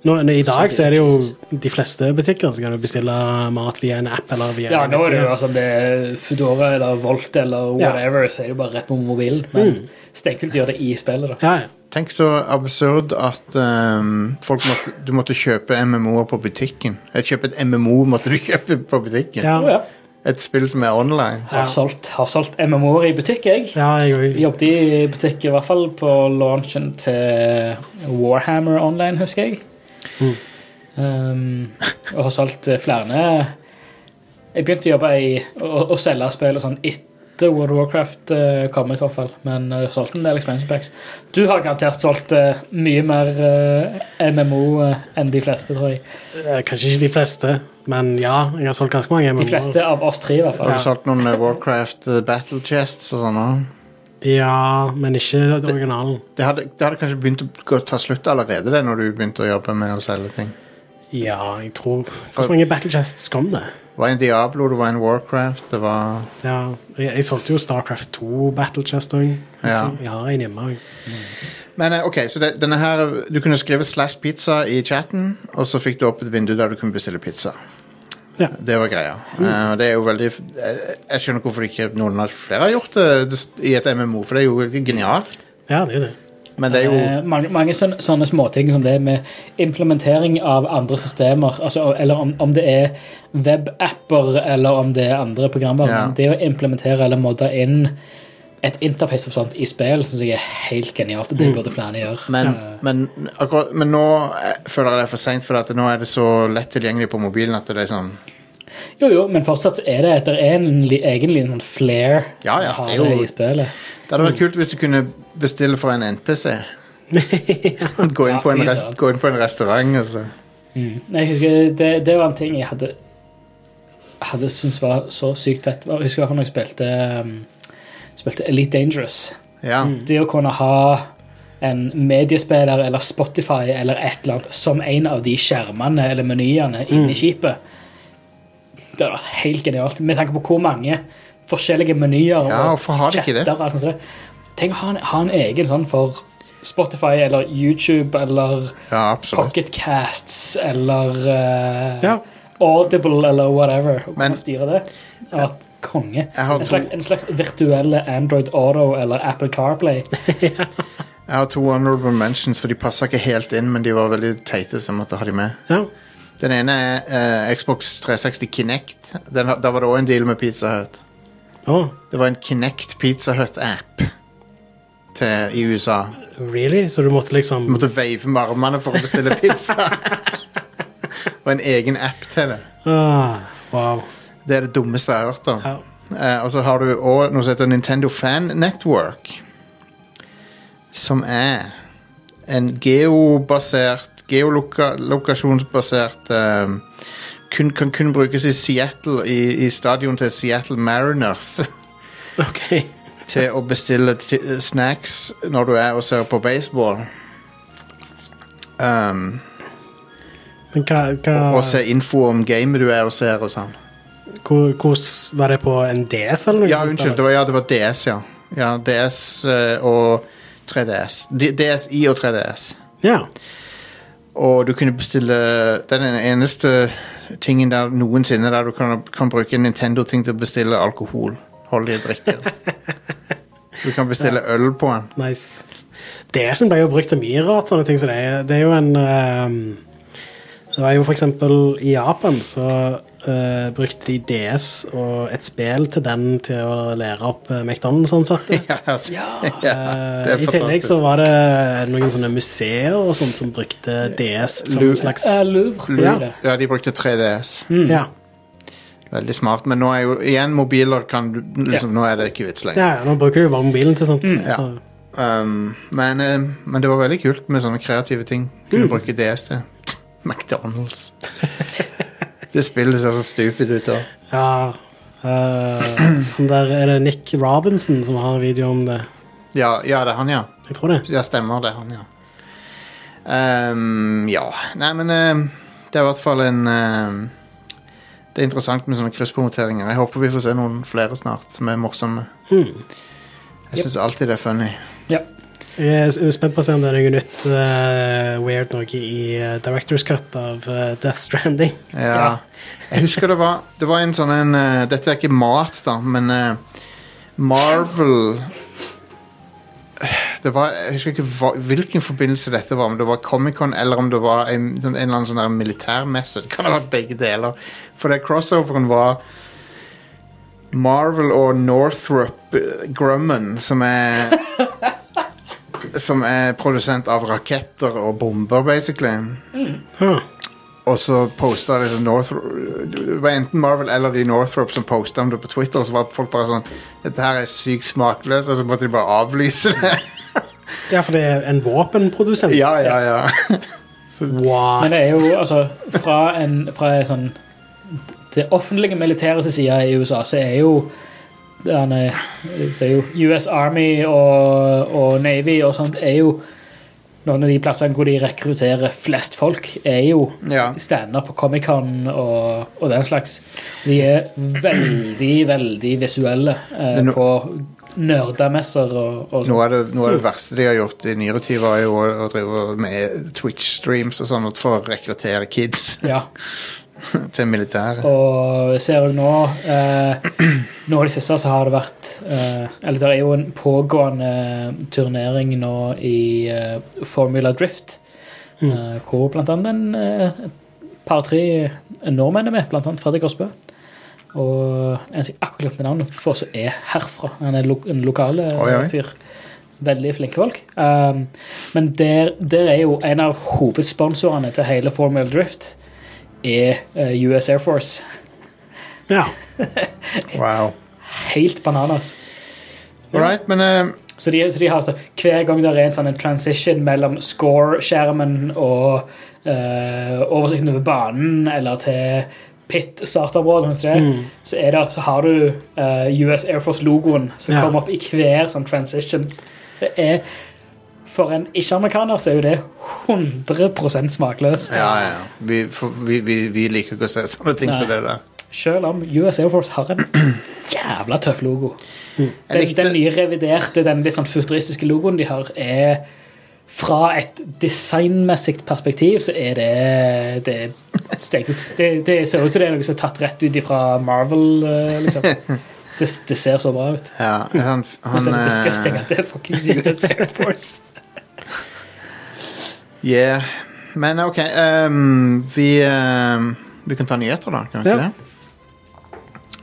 [SPEAKER 4] Nå, nå, I dag så er det jo
[SPEAKER 3] Jesus.
[SPEAKER 4] de fleste butikker som kan du bestille mat via en app eller via
[SPEAKER 3] Ja,
[SPEAKER 4] en
[SPEAKER 3] nå er det jo
[SPEAKER 4] nettside.
[SPEAKER 3] altså om det er Foodora eller Volt eller
[SPEAKER 4] Ja.
[SPEAKER 3] whatever, så er det jo bare rett på mobilen. Men steinkult gjør det i spillet, da.
[SPEAKER 4] Ja, ja.
[SPEAKER 1] Tenk så absurd at ehm, folk måtte, du måtte kjøpe MMO-er på butikken. Eh, Kjøpe et MMO måtte du kjøpe på butikken.
[SPEAKER 4] Ja,
[SPEAKER 3] Å, ja.
[SPEAKER 1] Et spill som er online.
[SPEAKER 3] Har solgt, har solgt MMO-er i butikk, jeg.
[SPEAKER 4] ja jeg òg.
[SPEAKER 3] Jobbet i butikk, i hvert fall på launchen til Warhammer Online, husker jeg. Um, og har solgt eh, flere Jeg begynte å jobbe i å, å selge spill og sånn etter World of Warcraft eh, kom ut, i hvert fall. Men uh, solgte en del expansion packs. Du har garantert solgt eh, mye mer eh, MMO eh, enn de fleste, tror jeg.
[SPEAKER 4] Eh, Kanskje ikke de fleste, men ja, jeg har solgt ganske mange.
[SPEAKER 3] De
[SPEAKER 4] MMO-er.
[SPEAKER 3] fleste av oss tre, i hvert
[SPEAKER 1] Har du
[SPEAKER 3] fall.
[SPEAKER 1] solgt noen eh, Warcraft eh, Battle Chests og sånn også?
[SPEAKER 4] Ja, men ikke originalen.
[SPEAKER 1] Det hadde, det hadde kanskje begynt å gå, ta slutt allerede det, når du begynte å jobbe med å selge ting.
[SPEAKER 4] Ja, jeg tror Hvor mange battle chests kom det?
[SPEAKER 1] Det var en Diablo, det var en Warcraft, det var
[SPEAKER 4] Ja, jeg, jeg solgte jo Starcraft 2 battle chest òg.
[SPEAKER 1] Ja.
[SPEAKER 4] Jeg har en hjemme òg.
[SPEAKER 1] Men eh, ok, så det, denne her Du kunne skrive slash pizza i chatten, og så fikk du opp et vindu der du kunne bestille pizza.
[SPEAKER 4] Ja.
[SPEAKER 1] Det var greia.
[SPEAKER 3] Mm.
[SPEAKER 1] Eh, det er jo veldig jeg, jeg skjønner hvorfor ikke noen av flere har gjort det det- i et MMO, for det er jo genialt.
[SPEAKER 4] Ja, det er det.
[SPEAKER 1] Men det er jo
[SPEAKER 3] Eh, mange mange sånne, sånne småting som det med implementering av andre systemer, altså, eller om, om det er webapper eller om det er andre programmer.
[SPEAKER 1] Ja.
[SPEAKER 3] men Det å implementere eller modde inn et interface og sånt i spill synes jeg er helt genialt. og Det burde flere gjøre.
[SPEAKER 1] Mm. men,
[SPEAKER 3] Eh,
[SPEAKER 1] men, akkurat, men nå eh, føler jeg det er for seint, for at nå er det så lett tilgjengelig på mobilen at det er sånn
[SPEAKER 3] jo, jo, men fortsatt så er det etter en li, egen liten sånn flair
[SPEAKER 1] Ja, ja,
[SPEAKER 3] å ha
[SPEAKER 1] det er jo-
[SPEAKER 3] i spillet.
[SPEAKER 1] Det hadde vært kult hvis du kunne bestille fra en NPC. gå, inn
[SPEAKER 3] Ja,
[SPEAKER 1] på en
[SPEAKER 3] fy
[SPEAKER 1] rest,
[SPEAKER 3] søren.
[SPEAKER 1] gå inn på en restaurant altså. og så
[SPEAKER 3] Jeg husker, det, det var en ting jeg hadde hadde syntes var så sykt fett. Jeg husker i hvert fall når jeg spilte, um, spilte Elite Dangerous.
[SPEAKER 1] Ja.
[SPEAKER 3] det å kunne ha en mediespiller eller Spotify eller et eller annet som en av de skjermene eller menyene
[SPEAKER 1] Mm.
[SPEAKER 3] inni skipet. Det hadde vært helt genialt, med tanke på hvor mange forskjellige menyer
[SPEAKER 1] Ja, hvorfor har de ikke det?
[SPEAKER 3] chatter og alt sånt som det. Tenk å ha en, ha en egen sånn for Spotify eller YouTube eller
[SPEAKER 1] ja, absolutt.
[SPEAKER 3] Pocketcasts eller eh,
[SPEAKER 4] Ja.
[SPEAKER 3] Audible eller whatever. Og
[SPEAKER 1] Men-
[SPEAKER 3] Men, styre det. Det har vært konge.
[SPEAKER 1] Jeg har
[SPEAKER 3] En slags, en slags virtuelle Android Auto eller Apple CarPlay.
[SPEAKER 1] Jeg har to honorable mentions, for de passa ikke helt inn, men de var veldig teite, så jeg måtte ha de med.
[SPEAKER 4] Ja.
[SPEAKER 1] Den ene er eh, Xbox 360 Kinect. Den, har- da var det òg en deal med Pizza Hut.
[SPEAKER 4] Å,
[SPEAKER 1] Det var en Kinect Pizza Hut-app til- i USA.
[SPEAKER 4] really? Så du måtte liksom
[SPEAKER 1] Du måtte veive med armene for å bestille pizza. og en egen app til det.
[SPEAKER 4] ah, Wow.
[SPEAKER 1] Det er det dummeste jeg har hørt om.
[SPEAKER 4] Ja.
[SPEAKER 1] Eh, og så har du også noe som heter Nintendo Fan Network. Som er en geobasert Geolokasjonsbasert eh, kun, Kan kun brukes i Seattle, i, i stadion til Seattle Mariners.
[SPEAKER 4] OK.
[SPEAKER 1] til å bestille ti- snacks når du er og ser på baseball. Um,
[SPEAKER 4] Men hva, hva
[SPEAKER 1] og se info om gamet du er og ser og sånn.
[SPEAKER 4] hvor, hvordan Var det på en DS eller noe?
[SPEAKER 1] Ja,
[SPEAKER 4] sånt,
[SPEAKER 1] unnskyld. Det
[SPEAKER 4] eller?
[SPEAKER 1] var, ja, det var DS, ja. ja DS eh, og 3DS. D DSI og 3DS.
[SPEAKER 4] Ja.
[SPEAKER 1] Og du kunne bestille Det er den eneste tingen der noensinne der du kan, kan bruke en Nintendo-ting til å bestille alkohol. Holdige drikker. Du kan bestille øl på den.
[SPEAKER 4] Nice. DS-en ble jo brukt til mye rart, sånne ting som det er. Det er jo en ehm, Det var jo for eksempel i Japan, så eh, brukte de DS og et spill til den til å lære opp eh, McDonald's-ansatte.
[SPEAKER 1] Ja, altså. ja, det er
[SPEAKER 4] I tillegg
[SPEAKER 1] fantastisk.
[SPEAKER 4] så var det noen sånne museer og sånt som brukte DS som
[SPEAKER 1] Lu-
[SPEAKER 4] en slags Mm.
[SPEAKER 3] Eh, Louvre.
[SPEAKER 1] Lu-
[SPEAKER 3] Ja.
[SPEAKER 1] Ja, de brukte 3DS.
[SPEAKER 4] ja.
[SPEAKER 1] Veldig smart. Men nå er jo igjen mobiler kan du liksom, Nå er det ikke vits lenger.
[SPEAKER 4] ja, ja, nå bruker du jo bare mobilen til sånt.
[SPEAKER 1] Mm. ja.
[SPEAKER 4] Så,
[SPEAKER 1] Um, men, eh, men det var veldig kult med sånne kreative ting. Kunne bruke DS til. McDonald's. det spillet ser så stupid ut. da.
[SPEAKER 4] Ja. eh, han der er det Nick Robinson som har en video om det.
[SPEAKER 1] Ja, ja, det er han, ja.
[SPEAKER 4] Jeg tror det.
[SPEAKER 1] Ja, stemmer, det er han, ja. Ehm, ja. Nei, men ehm, det er i hvert fall en ehm, Det er interessant med sånne krysspromoteringer. Jeg håper vi får se noen flere snart som er morsomme.
[SPEAKER 4] Hmm.
[SPEAKER 1] Jeg syns alltid det er funny.
[SPEAKER 3] Ja.
[SPEAKER 4] Jeg er s- jeg er spent på å se om det er noe nytt eh, weird noe i eh, Directors Cut av eh, Death Stranding.
[SPEAKER 1] Ja. Jeg husker det var Det var en sånn en eh, Dette er ikke mat, da, men eh, Marvel Det var Jeg husker ikke hva, hvilken forbindelse dette var, om det var Comic-Con eller om det var en, sånn- en eller annen sånn der militærmesse. Det kan ha vært begge deler. For det crossoveren var Marvel og Northrop eh, Grumman, som er Som er produsent av raketter og bomber, basically.
[SPEAKER 4] Huh.
[SPEAKER 1] Og så posta liksom Northrop Det var enten Marvel eller de Northrop som posta om det på Twitter, og så var folk bare sånn Dette her er sykt smakløst, og så måtte de bare avlyse det.
[SPEAKER 4] Ja, for det er en våpenprodusent.
[SPEAKER 1] ja, ja, ja.
[SPEAKER 4] Wow.
[SPEAKER 3] Men det er jo altså Fra en fra en sånn Det offentlige militærets side i USA, så er jo den, eh, så er jo US Army og, og Navy og sånt er jo noen av de plassene hvor de rekrutterer flest folk, er jo
[SPEAKER 1] ja.
[SPEAKER 3] stander på Comic-Con og, og den slags. De er veldig, veldig visuelle eh,
[SPEAKER 1] Men nå-
[SPEAKER 3] på nerdemesser og, og sånt.
[SPEAKER 1] Noe av, det, noe av det verste de har gjort i nyere tid, var jo å, å drive med Twitch-streams og sånn for å rekruttere kids
[SPEAKER 3] Ja.
[SPEAKER 1] til militæret.
[SPEAKER 3] Og ser jeg nå eh, Nå i det siste så har det vært eh, Eller det er jo en pågående turnering nå i eh, Formula Drift,
[SPEAKER 1] Mm.
[SPEAKER 3] eh, hvor blant annet en eh, par-tre nordmenn er med, blant annet Fredrik Aasbø. Og en som jeg akkurat glemte navnet på, som er herfra. Han er lo en lokal eh,
[SPEAKER 1] Oi, oi.
[SPEAKER 3] fyr. Veldig flinke folk. Um, men der, der er jo en av hovedsponsorene til hele Formula Drift er eh, US Air Force.
[SPEAKER 4] Ja.
[SPEAKER 1] Wow.
[SPEAKER 3] Helt bananas.
[SPEAKER 1] All right, men eh,
[SPEAKER 3] Så de, så de har altså, Hver gang det er en sånn en transition mellom score-skjermen og eh, oversikten over banen eller til pit-startområdet, så, det, så, er det, så har du eh, US Air Force-logoen som
[SPEAKER 4] Ja.
[SPEAKER 3] kommer opp i hver sånn transition. Det er, For en ikke-amerikaner så er jo det 100 smakløst.
[SPEAKER 1] Ja, ja. Vi, for, vi, vi, vi liker ikke å se sånne ting som det der.
[SPEAKER 3] Selv om US Air Force har en jævla tøff logo. Den,
[SPEAKER 1] Mm. likte-
[SPEAKER 3] den nye reviderte, den litt sånn futuristiske logoen de har, er fra et designmessig perspektiv så er det Det, er stekt- det, det ser ut som det er noe som er tatt rett ut ifra Marvel, eh, liksom. Det, det ser så bra ut.
[SPEAKER 1] Ja, han,
[SPEAKER 3] Men
[SPEAKER 1] han,
[SPEAKER 3] så er det disgusting
[SPEAKER 1] eh,
[SPEAKER 3] at det er fuckings US Air Force.
[SPEAKER 1] Yeah. Men ok, ehm, vi, ehm, vi kan ta nyheter da, kan vi ikke
[SPEAKER 4] Ja.
[SPEAKER 1] det?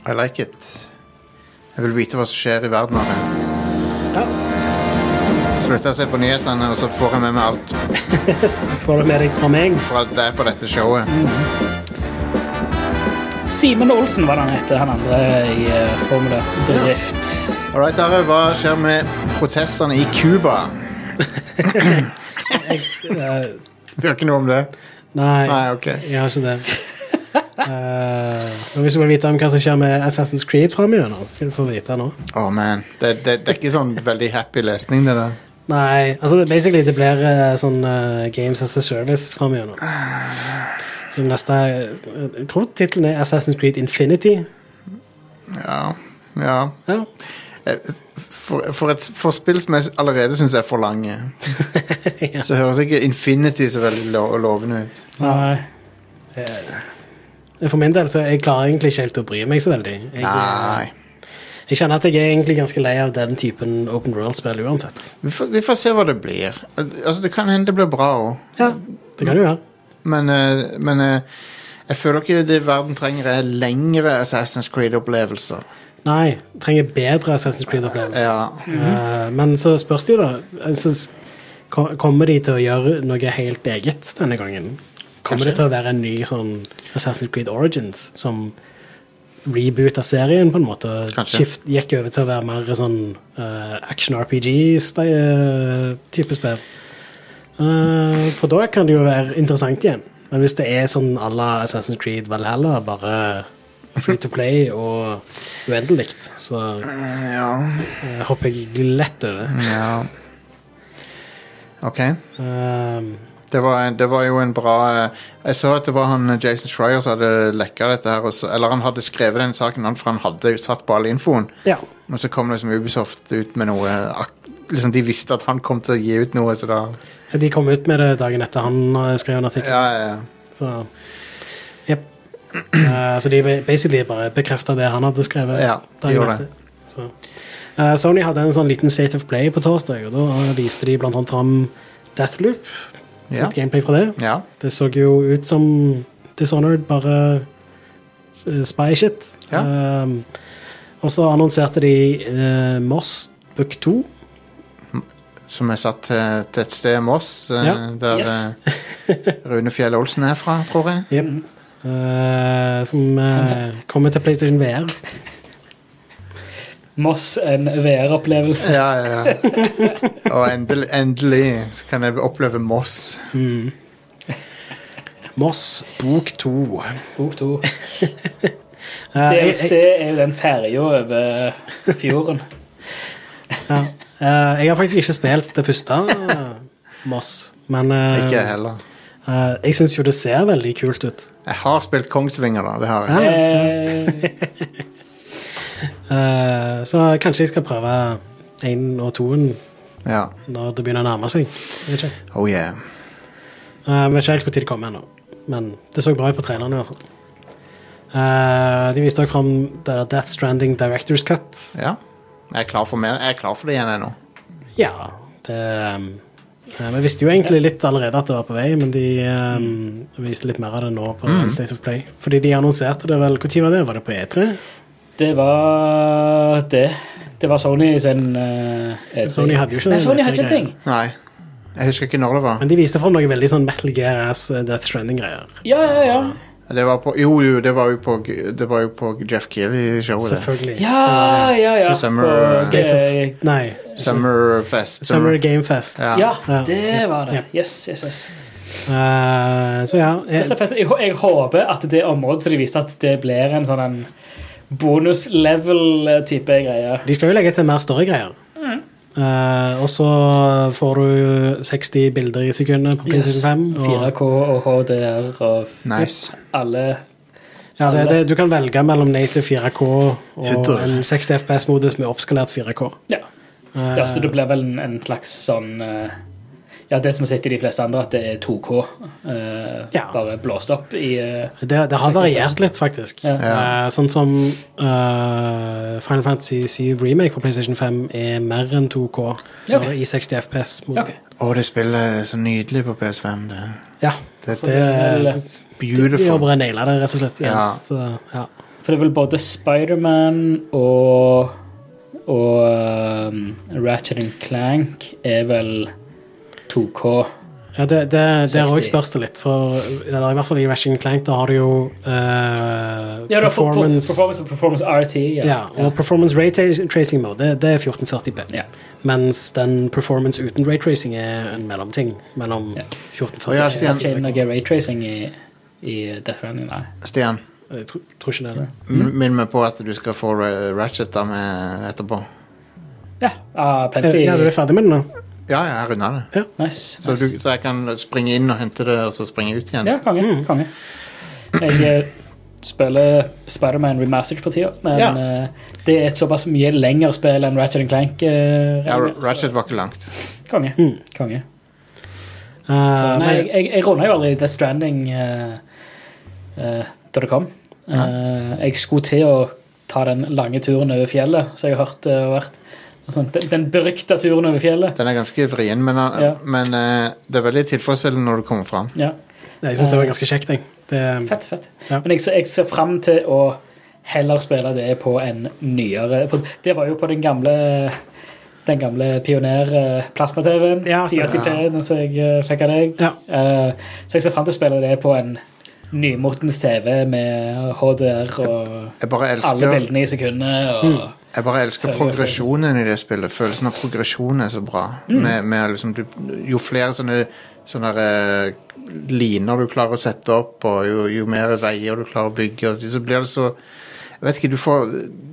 [SPEAKER 1] I like it. Jeg vil vite hva som skjer i verden av det. Slutter jeg å se på nyhetene, og så får jeg med meg alt
[SPEAKER 4] Får du med deg fra meg?
[SPEAKER 1] fra deg på dette showet.
[SPEAKER 3] Simen Olsen var det han het, han andre i eh, Formula Drift.
[SPEAKER 1] Alright, Are, hva skjer med protesterne i Cuba?
[SPEAKER 4] Eh,
[SPEAKER 1] Vi har ikke noe om det.
[SPEAKER 4] nei,
[SPEAKER 1] Nei, ok.
[SPEAKER 4] jeg har ikke det. Eh, men hvis du vil vite om hva som skjer med Assassin's Creed framover, så skal du få vite nå.
[SPEAKER 1] Åh, man. Det, det, det er ikke sånn veldig happy lesning, det der.
[SPEAKER 4] Nei, altså det, basically det blir eh, sånn eh, Games as a Service framover nå.
[SPEAKER 1] Ah.
[SPEAKER 4] Så den neste eh, Jeg tror tittelen er Assassin's Creed Infinity.
[SPEAKER 1] Ja, ja.
[SPEAKER 4] Ja.
[SPEAKER 1] For, for, et, for spill som jeg allerede syns er for lange,
[SPEAKER 4] Ja.
[SPEAKER 1] så høres ikke Infinity så veldig lo lovende ut.
[SPEAKER 3] Nei.
[SPEAKER 4] Eh, For min del så jeg klarer egentlig ikke helt å bry meg så veldig. Jeg, eh,
[SPEAKER 1] Nei.
[SPEAKER 4] jeg kjenner at jeg er egentlig ganske lei av den typen open world-spill uansett.
[SPEAKER 1] Vi får, vi får se hva det blir. Al- Altså, det kan hende det blir bra òg,
[SPEAKER 4] Ja, det kan du gjøre.
[SPEAKER 1] men, eh, men eh, jeg føler ikke det verden trenger, er lengre Assassin's Creed-opplevelser.
[SPEAKER 4] Nei, trenger bedre Assassin's Creed-opplevelse.
[SPEAKER 1] Ja.
[SPEAKER 4] Eh, men så spørs det jo, da. Altså, s- ko- kommer de til å gjøre noe helt eget denne gangen? Kommer det til å være en ny sånn Assassin's Creed Origins som rebooter serien, på en måte? og
[SPEAKER 1] Kanskje.
[SPEAKER 4] Skift, gikk over til å være mer sånn eh, action Eh, RPG-type spill. Eh, for da kan det jo være interessant igjen. Men hvis det er sånn à la Assassin's Creed Valhalla, bare free to play og uendelig, så
[SPEAKER 1] Ja.
[SPEAKER 4] eh, hopper jeg lett over.
[SPEAKER 1] ja. OK.
[SPEAKER 4] Um,
[SPEAKER 1] Det var, det var jo en bra eh, Jeg så at det var han eh, Jason Schreier som hadde lekka dette her. og så- Eller han hadde skrevet den saken, han, for han hadde jo satt på all infoen.
[SPEAKER 4] ja.
[SPEAKER 1] Men så kom liksom Ubisoft ut med noe eh, ak- liksom De visste at han kom til å gi ut noe, så da
[SPEAKER 4] De kom ut med det dagen etter han eh, skrev en artikkel.
[SPEAKER 1] Ja, ja, ja.
[SPEAKER 4] Så, jep. Eh, så de ba- basically bare bekrefta det han hadde skrevet.
[SPEAKER 1] Ja, de
[SPEAKER 4] dagen
[SPEAKER 1] gjorde
[SPEAKER 4] etter. Så. Eh, Sony hadde en sånn liten State of Play på torsdag, og da eh, viste de blant annet fram Deathloop.
[SPEAKER 1] Ja.
[SPEAKER 4] Litt gameplay fra det.
[SPEAKER 1] ja.
[SPEAKER 4] Det så jo ut som Dishonored, bare eh, spy shit.
[SPEAKER 1] Ja.
[SPEAKER 4] Ehm, og så annonserte de eh, Moss Book 2.
[SPEAKER 1] Som er satt til, til et sted i Moss, eh,
[SPEAKER 4] Ja,
[SPEAKER 1] der
[SPEAKER 4] yes.
[SPEAKER 1] eh, Rune Fjell Olsen er fra, tror jeg.
[SPEAKER 4] Jep. Eh, som eh, kommer til PlayStation VR.
[SPEAKER 3] Moss en VR-opplevelse.
[SPEAKER 1] Ja, ja, ja. Og endelig, endelig så kan jeg oppleve Moss.
[SPEAKER 4] Moss Bok 2.
[SPEAKER 3] Bok to.
[SPEAKER 4] Eh, jeg-
[SPEAKER 3] DLC er jo den ferja over fjorden.
[SPEAKER 4] Ja. Eh, jeg har faktisk ikke spilt det første, eh, Moss, men eh,
[SPEAKER 1] Ikke jeg heller.
[SPEAKER 4] eh, jeg syns jo det ser veldig kult ut.
[SPEAKER 1] Jeg har spilt Kongsvinger, da. Det har jeg.
[SPEAKER 3] Eh,
[SPEAKER 4] Eh, så kanskje jeg skal prøve én og toen
[SPEAKER 1] Ja.
[SPEAKER 4] når det begynner å nærme seg. Jeg vet ikke.
[SPEAKER 1] Oh yeah.
[SPEAKER 4] Eh, vi vet ikke helt når det kommer ennå, men det så bra ut på traileren. i hvert fall. Eh, de viste også fram det der Death Stranding Directors Cut.
[SPEAKER 1] Ja. Jeg er klar for, mer. Jeg er klar for det igjen ennå.
[SPEAKER 4] Ja, det eh, Vi visste jo egentlig litt allerede at det var på vei, men de eh, viste litt mer av det nå på State of Play. Fordi de annonserte det vel Når var det? Var det på E3?
[SPEAKER 3] det var det. Det var Sony sin eh, E3.
[SPEAKER 4] Sony hadde jo ikke
[SPEAKER 3] Nei,
[SPEAKER 4] den
[SPEAKER 3] Sony hadde ikke
[SPEAKER 4] E3-greien.
[SPEAKER 3] ting.
[SPEAKER 1] Nei. Jeg husker ikke når det var.
[SPEAKER 4] Men de viste fram noe veldig sånn Metal Gear Ass eh, Death Stranding-greier.
[SPEAKER 3] Ja, ja, ja.
[SPEAKER 1] Det var på, jo, jo, det var jo på, det var jo på Jeff Keeley-showet. det.
[SPEAKER 4] Selvfølgelig.
[SPEAKER 3] Ja, ja, ja.
[SPEAKER 1] Summer,
[SPEAKER 3] På,
[SPEAKER 1] eh,
[SPEAKER 3] eh,
[SPEAKER 4] State of Nei.
[SPEAKER 1] Summerfest.
[SPEAKER 4] Summer Game Fest.
[SPEAKER 1] Ja.
[SPEAKER 3] Ja,
[SPEAKER 4] Ja.
[SPEAKER 3] det var
[SPEAKER 4] Ja.
[SPEAKER 3] det. Yes, yes, yes.
[SPEAKER 4] Eh, så ja.
[SPEAKER 3] Det er så
[SPEAKER 4] Jeg,
[SPEAKER 3] fett. Jeg, hå- jeg håper at det området som de viste, at det blir en sånn en bonus-level-type greie.
[SPEAKER 4] de skal jo legge til mer story-greier.
[SPEAKER 3] Mm.
[SPEAKER 4] Eh, og så får du 60 bilder i sekundet på
[SPEAKER 3] Yes.
[SPEAKER 4] PlayStation 5. Og,
[SPEAKER 3] 4K og HDR og
[SPEAKER 1] Nice.
[SPEAKER 3] alle
[SPEAKER 4] ja, det, det, du kan velge mellom native 4K og
[SPEAKER 1] Hytter.
[SPEAKER 4] en 60 FPS-modus med oppskalert 4K.
[SPEAKER 3] Ja.
[SPEAKER 4] Eh,
[SPEAKER 3] ja så det blir vel en, en slags sånn eh, Ja, det som er sett i de fleste andre, at det er 2K. eh,
[SPEAKER 4] Ja.
[SPEAKER 3] Bare blåst opp i eh,
[SPEAKER 4] Det, det har
[SPEAKER 3] 60
[SPEAKER 4] variert litt, faktisk.
[SPEAKER 3] Ja.
[SPEAKER 1] Ja.
[SPEAKER 4] Eh, sånn som eh, Final Fantasy 7 Remake på PlayStation 5 er mer enn 2K
[SPEAKER 3] Ja, ok.
[SPEAKER 4] bare i 60 FPS.
[SPEAKER 3] ja, OK.
[SPEAKER 1] Å, det spillet er så nydelig på PS5. Det.
[SPEAKER 4] Ja,
[SPEAKER 1] Det,
[SPEAKER 4] det,
[SPEAKER 3] det er
[SPEAKER 4] det de har
[SPEAKER 1] beautiful.
[SPEAKER 4] bare naila det, rett og slett. Ja.
[SPEAKER 1] Ja.
[SPEAKER 4] Så, ja.
[SPEAKER 3] For det er vel både Spiderman og og eh, Ratchet and Clank er vel 2K.
[SPEAKER 4] Ja, det, det, der
[SPEAKER 3] 60.
[SPEAKER 4] òg spørs det litt, for eller, i hvert fall i Ratchet Clank da har du jo eh,
[SPEAKER 3] Ja, da, for, for,
[SPEAKER 4] performance,
[SPEAKER 3] performance og performance RT. Ja.
[SPEAKER 4] ja, og performance ray tra- tracing mode, det, det er 1440p.
[SPEAKER 3] Ja.
[SPEAKER 4] Mens den performance uten ray tracing er en mellomting mellom
[SPEAKER 3] Ja.
[SPEAKER 4] 1440p
[SPEAKER 1] Å, ja,
[SPEAKER 3] Jeg
[SPEAKER 1] Stian,
[SPEAKER 3] har ikke noe raytracing i, i Death Running, nei.
[SPEAKER 1] Stian
[SPEAKER 4] Jeg tror, tror ikke det er det.
[SPEAKER 1] m- minn meg på at du skal få Ra- Ratchet da med etterpå.
[SPEAKER 3] Ja, ah,
[SPEAKER 4] Eh,
[SPEAKER 3] plenty.
[SPEAKER 4] Ja, du er ferdig med den nå?
[SPEAKER 1] Ja, ja, jeg runda det.
[SPEAKER 3] Nice.
[SPEAKER 1] Så,
[SPEAKER 3] nice.
[SPEAKER 1] du, så jeg kan springe inn og hente det, og så springe ut igjen.
[SPEAKER 3] Ja, konge.
[SPEAKER 1] mm.
[SPEAKER 3] konge. Jeg eh, spiller Spiderman Remastered for tida, men
[SPEAKER 1] Ja.
[SPEAKER 3] eh, det er et såpass mye lengre spill enn Ratchet and Clank. eh,
[SPEAKER 1] Ja, Ra-
[SPEAKER 3] regner jeg, så-
[SPEAKER 1] Ratchet var ikke langt.
[SPEAKER 3] Konge.
[SPEAKER 4] Mm.
[SPEAKER 3] konge.
[SPEAKER 4] Eh,
[SPEAKER 3] Så, nei,
[SPEAKER 4] men-
[SPEAKER 3] jeg, jeg, jeg runda jo aldri Death Stranding eh, eh, da det kom. Eh, jeg skulle til å ta den lange turen over fjellet, så jeg har hørt det har vært. Sånn, den, den berykta turen over fjellet.
[SPEAKER 1] Den er ganske vrien, men, han-
[SPEAKER 3] Ja.
[SPEAKER 1] men eh, det er veldig tilfredsstillende når du kommer fram.
[SPEAKER 3] Ja.
[SPEAKER 4] jeg syns det var ganske kjekt, jeg. Det,
[SPEAKER 3] Fett, fett.
[SPEAKER 4] Ja.
[SPEAKER 3] Men jeg, ser- jeg ser fram til å heller spille det på en nyere For det var jo på den gamle den gamle eh, pioner-plasma-TV-en.
[SPEAKER 4] Ja, stemmer.
[SPEAKER 3] 1080p-en som jeg eh, fikk av deg.
[SPEAKER 4] Ja.
[SPEAKER 3] Eh, så jeg ser fram til å spille det på en nymotens TV med HDR og
[SPEAKER 1] Jeg bare
[SPEAKER 3] alle
[SPEAKER 1] elsker
[SPEAKER 4] Mm.
[SPEAKER 3] bildene i sekundet. Og
[SPEAKER 1] Jeg bare elsker progresjonen i det spillet. Følelsen av progresjon er så bra. Med, med liksom, du, jo flere sånne, sånne eh, liner du klarer å sette opp, og jo, jo mer veier du klarer å bygge, og så blir det så jeg vet ikke, du får,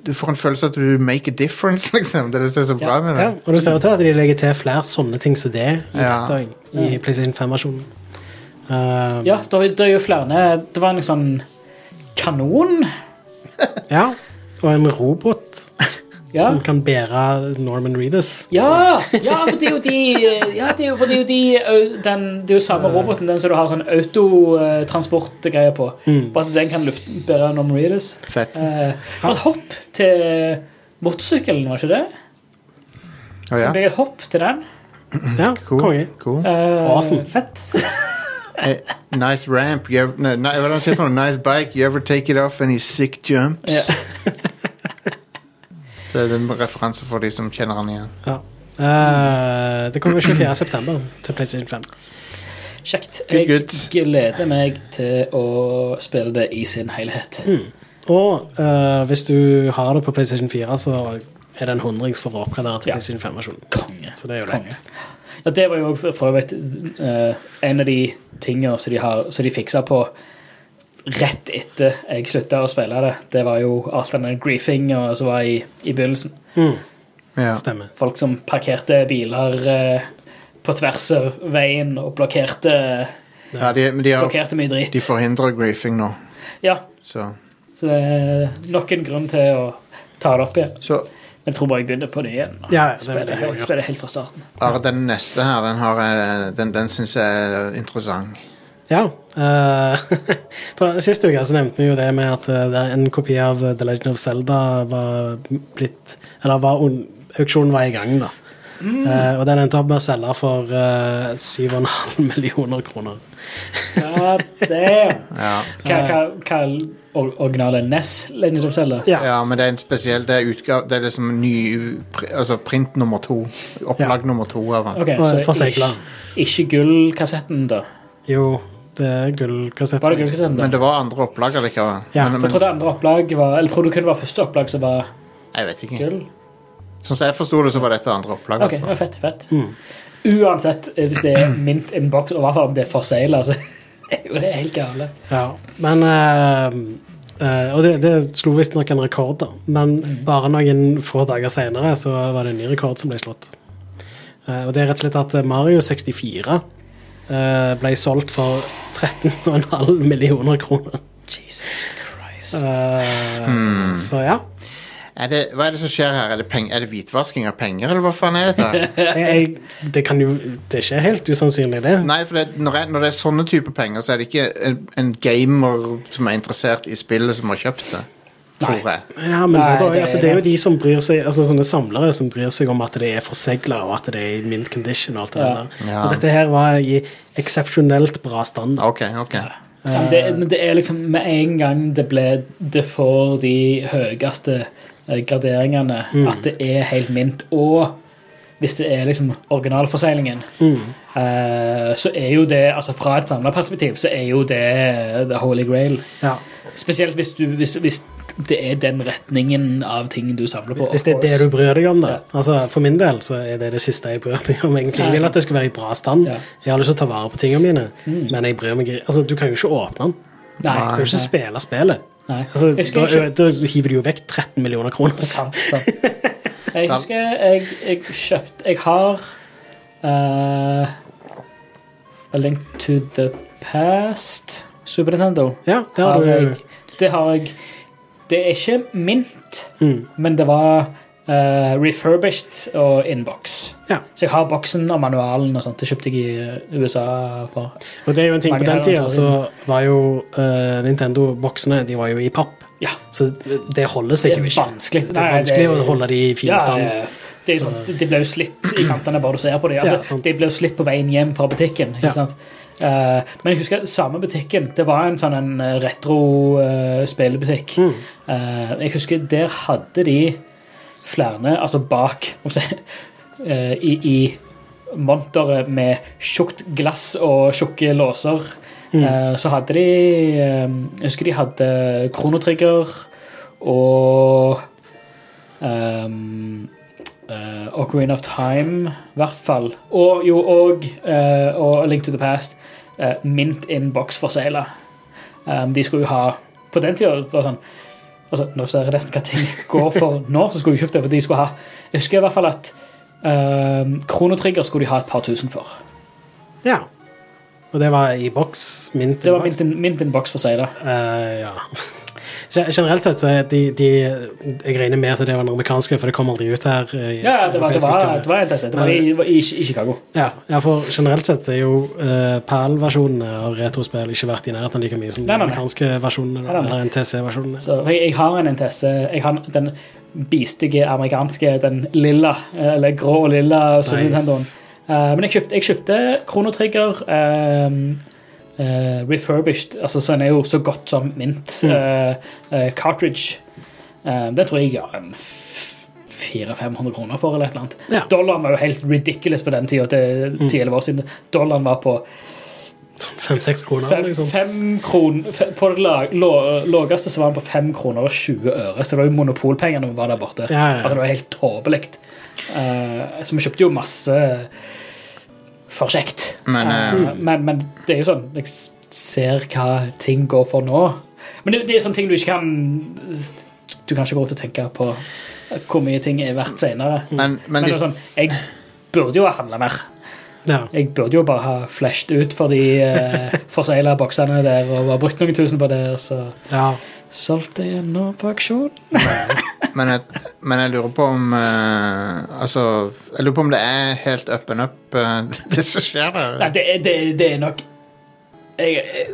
[SPEAKER 1] du får en følelse av at du make a difference, liksom. Det er det som er så bra med det.
[SPEAKER 4] Ja, og det ser ut til at de legger til flere sånne ting som det i,
[SPEAKER 1] Ja.
[SPEAKER 4] dette, i PlayStation 5-versjonen. Uh, ja.
[SPEAKER 3] Ja, det er, det er jo flere Det var en sånn kanon.
[SPEAKER 4] Og en robot
[SPEAKER 3] Ja.
[SPEAKER 4] som kan bære Norman Reedus.
[SPEAKER 3] Ja, ja, for det er jo de, ja, det er jo, for det er jo de ø, den, Det er jo samme roboten, den som du har sånn autotransportgreier på.
[SPEAKER 1] Mm.
[SPEAKER 3] Bare at den kan luften bære Norm Readers.
[SPEAKER 1] Fett.
[SPEAKER 3] Eh, det var et hopp til motorsykkelen, var ikke det?
[SPEAKER 1] Å ja.
[SPEAKER 3] Det ble et hopp til den.
[SPEAKER 4] Ja,
[SPEAKER 1] Mm, Cool.
[SPEAKER 4] konge.
[SPEAKER 1] cool.
[SPEAKER 3] Eh,
[SPEAKER 4] Awesome.
[SPEAKER 3] Fett.
[SPEAKER 1] Eh, nice ramp. You ever, nei, nei, hva er det han sier for noe? Nice bike. You ever take it off any sick jumps?
[SPEAKER 3] Ja.
[SPEAKER 1] Det er en referanse for de som kjenner han igjen.
[SPEAKER 4] Ja. Eh, det kommer 24. september til PlayStation 5.
[SPEAKER 3] Kjekt.
[SPEAKER 1] Good,
[SPEAKER 3] Jeg
[SPEAKER 1] good.
[SPEAKER 3] gleder meg til å spille det i sin helhet.
[SPEAKER 1] Mm.
[SPEAKER 4] Og eh, hvis du har det på PlayStation 4, så er det en hundrings for å oppgradere til
[SPEAKER 3] Ja.
[SPEAKER 4] PlayStation 5-versjonen.
[SPEAKER 3] Konge.
[SPEAKER 4] Så det er jo
[SPEAKER 3] Konge.
[SPEAKER 4] lett.
[SPEAKER 3] Ja, det var jo for for øvrig eh, en av de tingene som de, har- som de fiksa på rett etter jeg slutta å spille det. Det var jo alt denne griefinga som var i, i begynnelsen.
[SPEAKER 1] Ja.
[SPEAKER 4] Mm, Stemmer.
[SPEAKER 3] Folk som parkerte biler eh, på tvers av veien og blokkerte,
[SPEAKER 1] Ja, de, men de, har,
[SPEAKER 3] blokkerte mye
[SPEAKER 1] de
[SPEAKER 3] dritt.
[SPEAKER 1] forhindrer griefing nå,
[SPEAKER 3] Ja,
[SPEAKER 1] så
[SPEAKER 3] så det er nok en grunn til å ta det opp igjen.
[SPEAKER 1] Så
[SPEAKER 3] Jeg tror bare jeg begynner på det igjen. og
[SPEAKER 4] Ja, ja, det
[SPEAKER 3] spiller,
[SPEAKER 4] ville jeg
[SPEAKER 3] helt-
[SPEAKER 4] gjort.
[SPEAKER 3] spiller helt fra starten.
[SPEAKER 1] Are, den neste her, den, har, jeg- den, den syns jeg er interessant.
[SPEAKER 4] Ja. eh, på siste uke så nevnte vi jo det med at eh, det er en kopi av The Legend of Zelda var blitt Eller var un, auksjonen var i gang, da.
[SPEAKER 3] Mm.
[SPEAKER 4] Eh, og den endte opp med å selge for eh, 7,5 millioner kroner.
[SPEAKER 3] God damn!
[SPEAKER 1] Ja.
[SPEAKER 3] Hva, hva, hva er or- originale E NES Legends of Zelda?
[SPEAKER 4] Ja.
[SPEAKER 1] ja, men det er en spesiell Det er, utgav, det er liksom ny pr- Altså print nummer to. Opplag nummer to av den.
[SPEAKER 3] Ok,
[SPEAKER 4] Og
[SPEAKER 3] så
[SPEAKER 4] forsegla.
[SPEAKER 3] ikke, ikke gullkassetten, da?
[SPEAKER 4] Jo, det er gullkassett.
[SPEAKER 3] Var det gullkassetten, da?
[SPEAKER 1] Men det var andre opplag allikevel.
[SPEAKER 4] Ja,
[SPEAKER 1] men,
[SPEAKER 3] jeg
[SPEAKER 1] men,
[SPEAKER 3] tror det andre opplag var Eller tror du kun det var første opplag som var
[SPEAKER 1] jeg vet ikke.
[SPEAKER 3] gull?
[SPEAKER 1] Sånn som jeg forsto det, så var dette andre opplag.
[SPEAKER 3] Ok,
[SPEAKER 1] hvertfall.
[SPEAKER 3] ja, fett, fett. Uansett, eh, hvis det er mint in box, og i hvert fall om det er forsegla, så er jo det helt gale.
[SPEAKER 4] Ja, men eh, eh, Og det, det slo visstnok en rekord, da. Men
[SPEAKER 3] Mm.
[SPEAKER 4] bare noen få dager senere så var det en ny rekord som ble slått. Eh, og det er rett og slett at Mario 64 eh, ble solgt for 13,5 millioner kroner.
[SPEAKER 3] Jesus Christ.
[SPEAKER 4] Eh, Så ja.
[SPEAKER 1] Er det, hva er det som skjer her? Er det, peng, er det hvitvasking av penger, eller hva faen er dette?
[SPEAKER 4] Jeg, jeg, det kan jo Det er ikke helt usannsynlig, det.
[SPEAKER 1] Nei, for det, når, jeg, når det er sånne type penger, så er det ikke en, en gamer som er interessert i spillet, som har kjøpt det. Tror jeg.
[SPEAKER 4] Ja, men
[SPEAKER 3] Nei,
[SPEAKER 4] det, er-
[SPEAKER 3] det er-
[SPEAKER 4] altså, det er jo de som bryr seg Altså sånne samlere som bryr seg om at det er forsegla, og at det er i mint condition og alt det
[SPEAKER 3] Ja.
[SPEAKER 4] der.
[SPEAKER 1] Ja.
[SPEAKER 4] Og dette her var i eksepsjonelt bra standard.
[SPEAKER 1] Ok, ok.
[SPEAKER 3] Ja, men det, men det er liksom med en gang det ble Det får de høyeste eh, graderingene,
[SPEAKER 4] Mm.
[SPEAKER 3] at det er helt mint. Og hvis det er liksom originalforseglingen,
[SPEAKER 4] Mm.
[SPEAKER 3] eh, så er jo det altså Fra et samla perspektiv så er jo det the holy grail.
[SPEAKER 4] Ja.
[SPEAKER 3] Spesielt hvis, du, hvis, hvis det er den retningen av ting du samler på.
[SPEAKER 4] Hvis det er det du bryr deg om, da. Altså, for min del så er det det siste jeg bryr meg om. egentlig.
[SPEAKER 3] Ja,
[SPEAKER 4] Jeg vil
[SPEAKER 3] sant.
[SPEAKER 4] at det skal være i bra stand.
[SPEAKER 3] Ja. Mm.
[SPEAKER 4] Jeg har lyst til å ta vare på tingene mine, men jeg bryr meg ikke- Altså, du kan jo ikke åpne den.
[SPEAKER 3] Nei.
[SPEAKER 4] Du kan jo ikke spille spillet.
[SPEAKER 3] Nei.
[SPEAKER 4] Altså,
[SPEAKER 3] Jeg husker
[SPEAKER 4] da,
[SPEAKER 3] jeg
[SPEAKER 4] da hiver du jo vekk 13 millioner kroner.
[SPEAKER 3] Sant, sant. Jeg husker jeg, jeg kjøpte Jeg har eh, A Link to the Past Super Nintendo.
[SPEAKER 4] Ja, det har du.
[SPEAKER 3] jeg, det har jeg. Det er ikke mint,
[SPEAKER 4] Mm.
[SPEAKER 3] men det var eh, refurbished og inbox.
[SPEAKER 4] Ja.
[SPEAKER 3] Så jeg har boksen og manualen og sånt. Det kjøpte jeg i eh, USA for
[SPEAKER 4] Og det er jo en ting
[SPEAKER 3] Mange
[SPEAKER 4] på den
[SPEAKER 3] her
[SPEAKER 4] tida,
[SPEAKER 3] har
[SPEAKER 4] så var jo eh, Nintendo-boksene de var jo i papp.
[SPEAKER 3] Ja.
[SPEAKER 4] Så det holder
[SPEAKER 3] Det
[SPEAKER 4] seg
[SPEAKER 3] er
[SPEAKER 4] jo ikke.
[SPEAKER 3] vanskelig.
[SPEAKER 4] Det er
[SPEAKER 3] Nei,
[SPEAKER 4] vanskelig å holde de i fin
[SPEAKER 3] Ja,
[SPEAKER 4] stand.
[SPEAKER 3] ja, ja. Det, er jo sånn, det ble jo slitt i kantene bare du ser på dem.
[SPEAKER 4] Ja,
[SPEAKER 3] Altså,
[SPEAKER 4] sant.
[SPEAKER 3] det ble jo slitt på veien hjem fra butikken. Ikke
[SPEAKER 4] Ja.
[SPEAKER 3] sant? Eh, men jeg husker samme butikken. Det var en sånn en eh, retro eh, spillebutikk.
[SPEAKER 4] Mm.
[SPEAKER 3] Eh, jeg husker der hadde de flere Altså bak om se, eh, i, i monteret med tjukt glass og tjukke låser.
[SPEAKER 4] Mm.
[SPEAKER 3] eh, så hadde de eh, Jeg husker de hadde Kronotrigger og ehm, eh, Ocarina of Time, i hvert fall. Og jo, og, eh, og A Link to the Past. eh, mint in box for Sailor. Ehm, de skulle jo ha På den tida var det sånn altså, Nå ser jeg nesten hva ting går for nå, så skulle de kjøpt det. For de skulle ha Jeg husker i hvert fall at ehm, Chrono Trigger skulle de ha et par tusen for.
[SPEAKER 4] Ja. Og det var i boks. Mint
[SPEAKER 3] Det
[SPEAKER 4] i
[SPEAKER 3] var
[SPEAKER 4] boks.
[SPEAKER 3] mint in, mint in box for Sailor.
[SPEAKER 4] Eh, ja. Gen- Generelt sett så er de, de Jeg regner med at det var den amerikanske, for det kom aldri ut her. eh, i
[SPEAKER 3] Ja, ja, det var, det var,
[SPEAKER 4] europeisk
[SPEAKER 3] det var en PC. Det var i, det var i, i Chicago.
[SPEAKER 4] Ja, ja, for generelt sett så er jo uh, PAL-versjonene av retrospill ikke vært i nærheten like mye som de
[SPEAKER 3] Nei, nei, nei.
[SPEAKER 4] amerikanske versjonene.
[SPEAKER 3] nei, nei.
[SPEAKER 4] Eller NTC-versjonene.
[SPEAKER 3] Så jeg, jeg har en NTS. Jeg har den bistige amerikanske, den lilla, eh, eller grå og lilla Super Nintendoen. Eh, men jeg kjøpte, jeg kjøpte Chrono Trigger eh, eh, refurbished, altså så den er jo så godt som mint eh, eh, cartridge. Eh, det tror jeg jeg har en f- 400-500 kroner for, eller et eller annet.
[SPEAKER 4] Ja.
[SPEAKER 3] Dollaren var jo helt ridiculous på den tida, til 10-11 år siden. Dollaren var på
[SPEAKER 4] Fem-seks kroner,
[SPEAKER 3] Fem,
[SPEAKER 4] liksom.
[SPEAKER 3] fem kroner fe- På det la- lå- laveste så var han på 5 kroner og 20 øre, så det var jo monopolpenger når vi var der borte.
[SPEAKER 4] Ja, ja, ja.
[SPEAKER 3] Altså, det var helt tåpelig. Eh, så vi kjøpte jo masse for kjekt.
[SPEAKER 1] Men,
[SPEAKER 3] Eh, men, men det er jo sånn Jeg s- ser hva ting går for nå. Men det, det er sånne ting du ikke kan Du kan ikke gå ut og tenke på hvor mye ting er verdt senere.
[SPEAKER 1] Men, men,
[SPEAKER 3] Men det
[SPEAKER 1] de,
[SPEAKER 3] er sånn, jeg burde jo ha handla mer.
[SPEAKER 4] Ja.
[SPEAKER 3] Jeg burde jo bare ha flashet ut for de eh, forsegla boksene der og bare brukt noen tusen på det, og så
[SPEAKER 4] ja.
[SPEAKER 3] solgte jeg nå på aksjon.
[SPEAKER 1] men, jeg, men jeg lurer på om eh, Altså, jeg lurer på om det er helt up and up, eh, det som skjer der.
[SPEAKER 3] Nei, det er, det, er- det er nok jeg, jeg-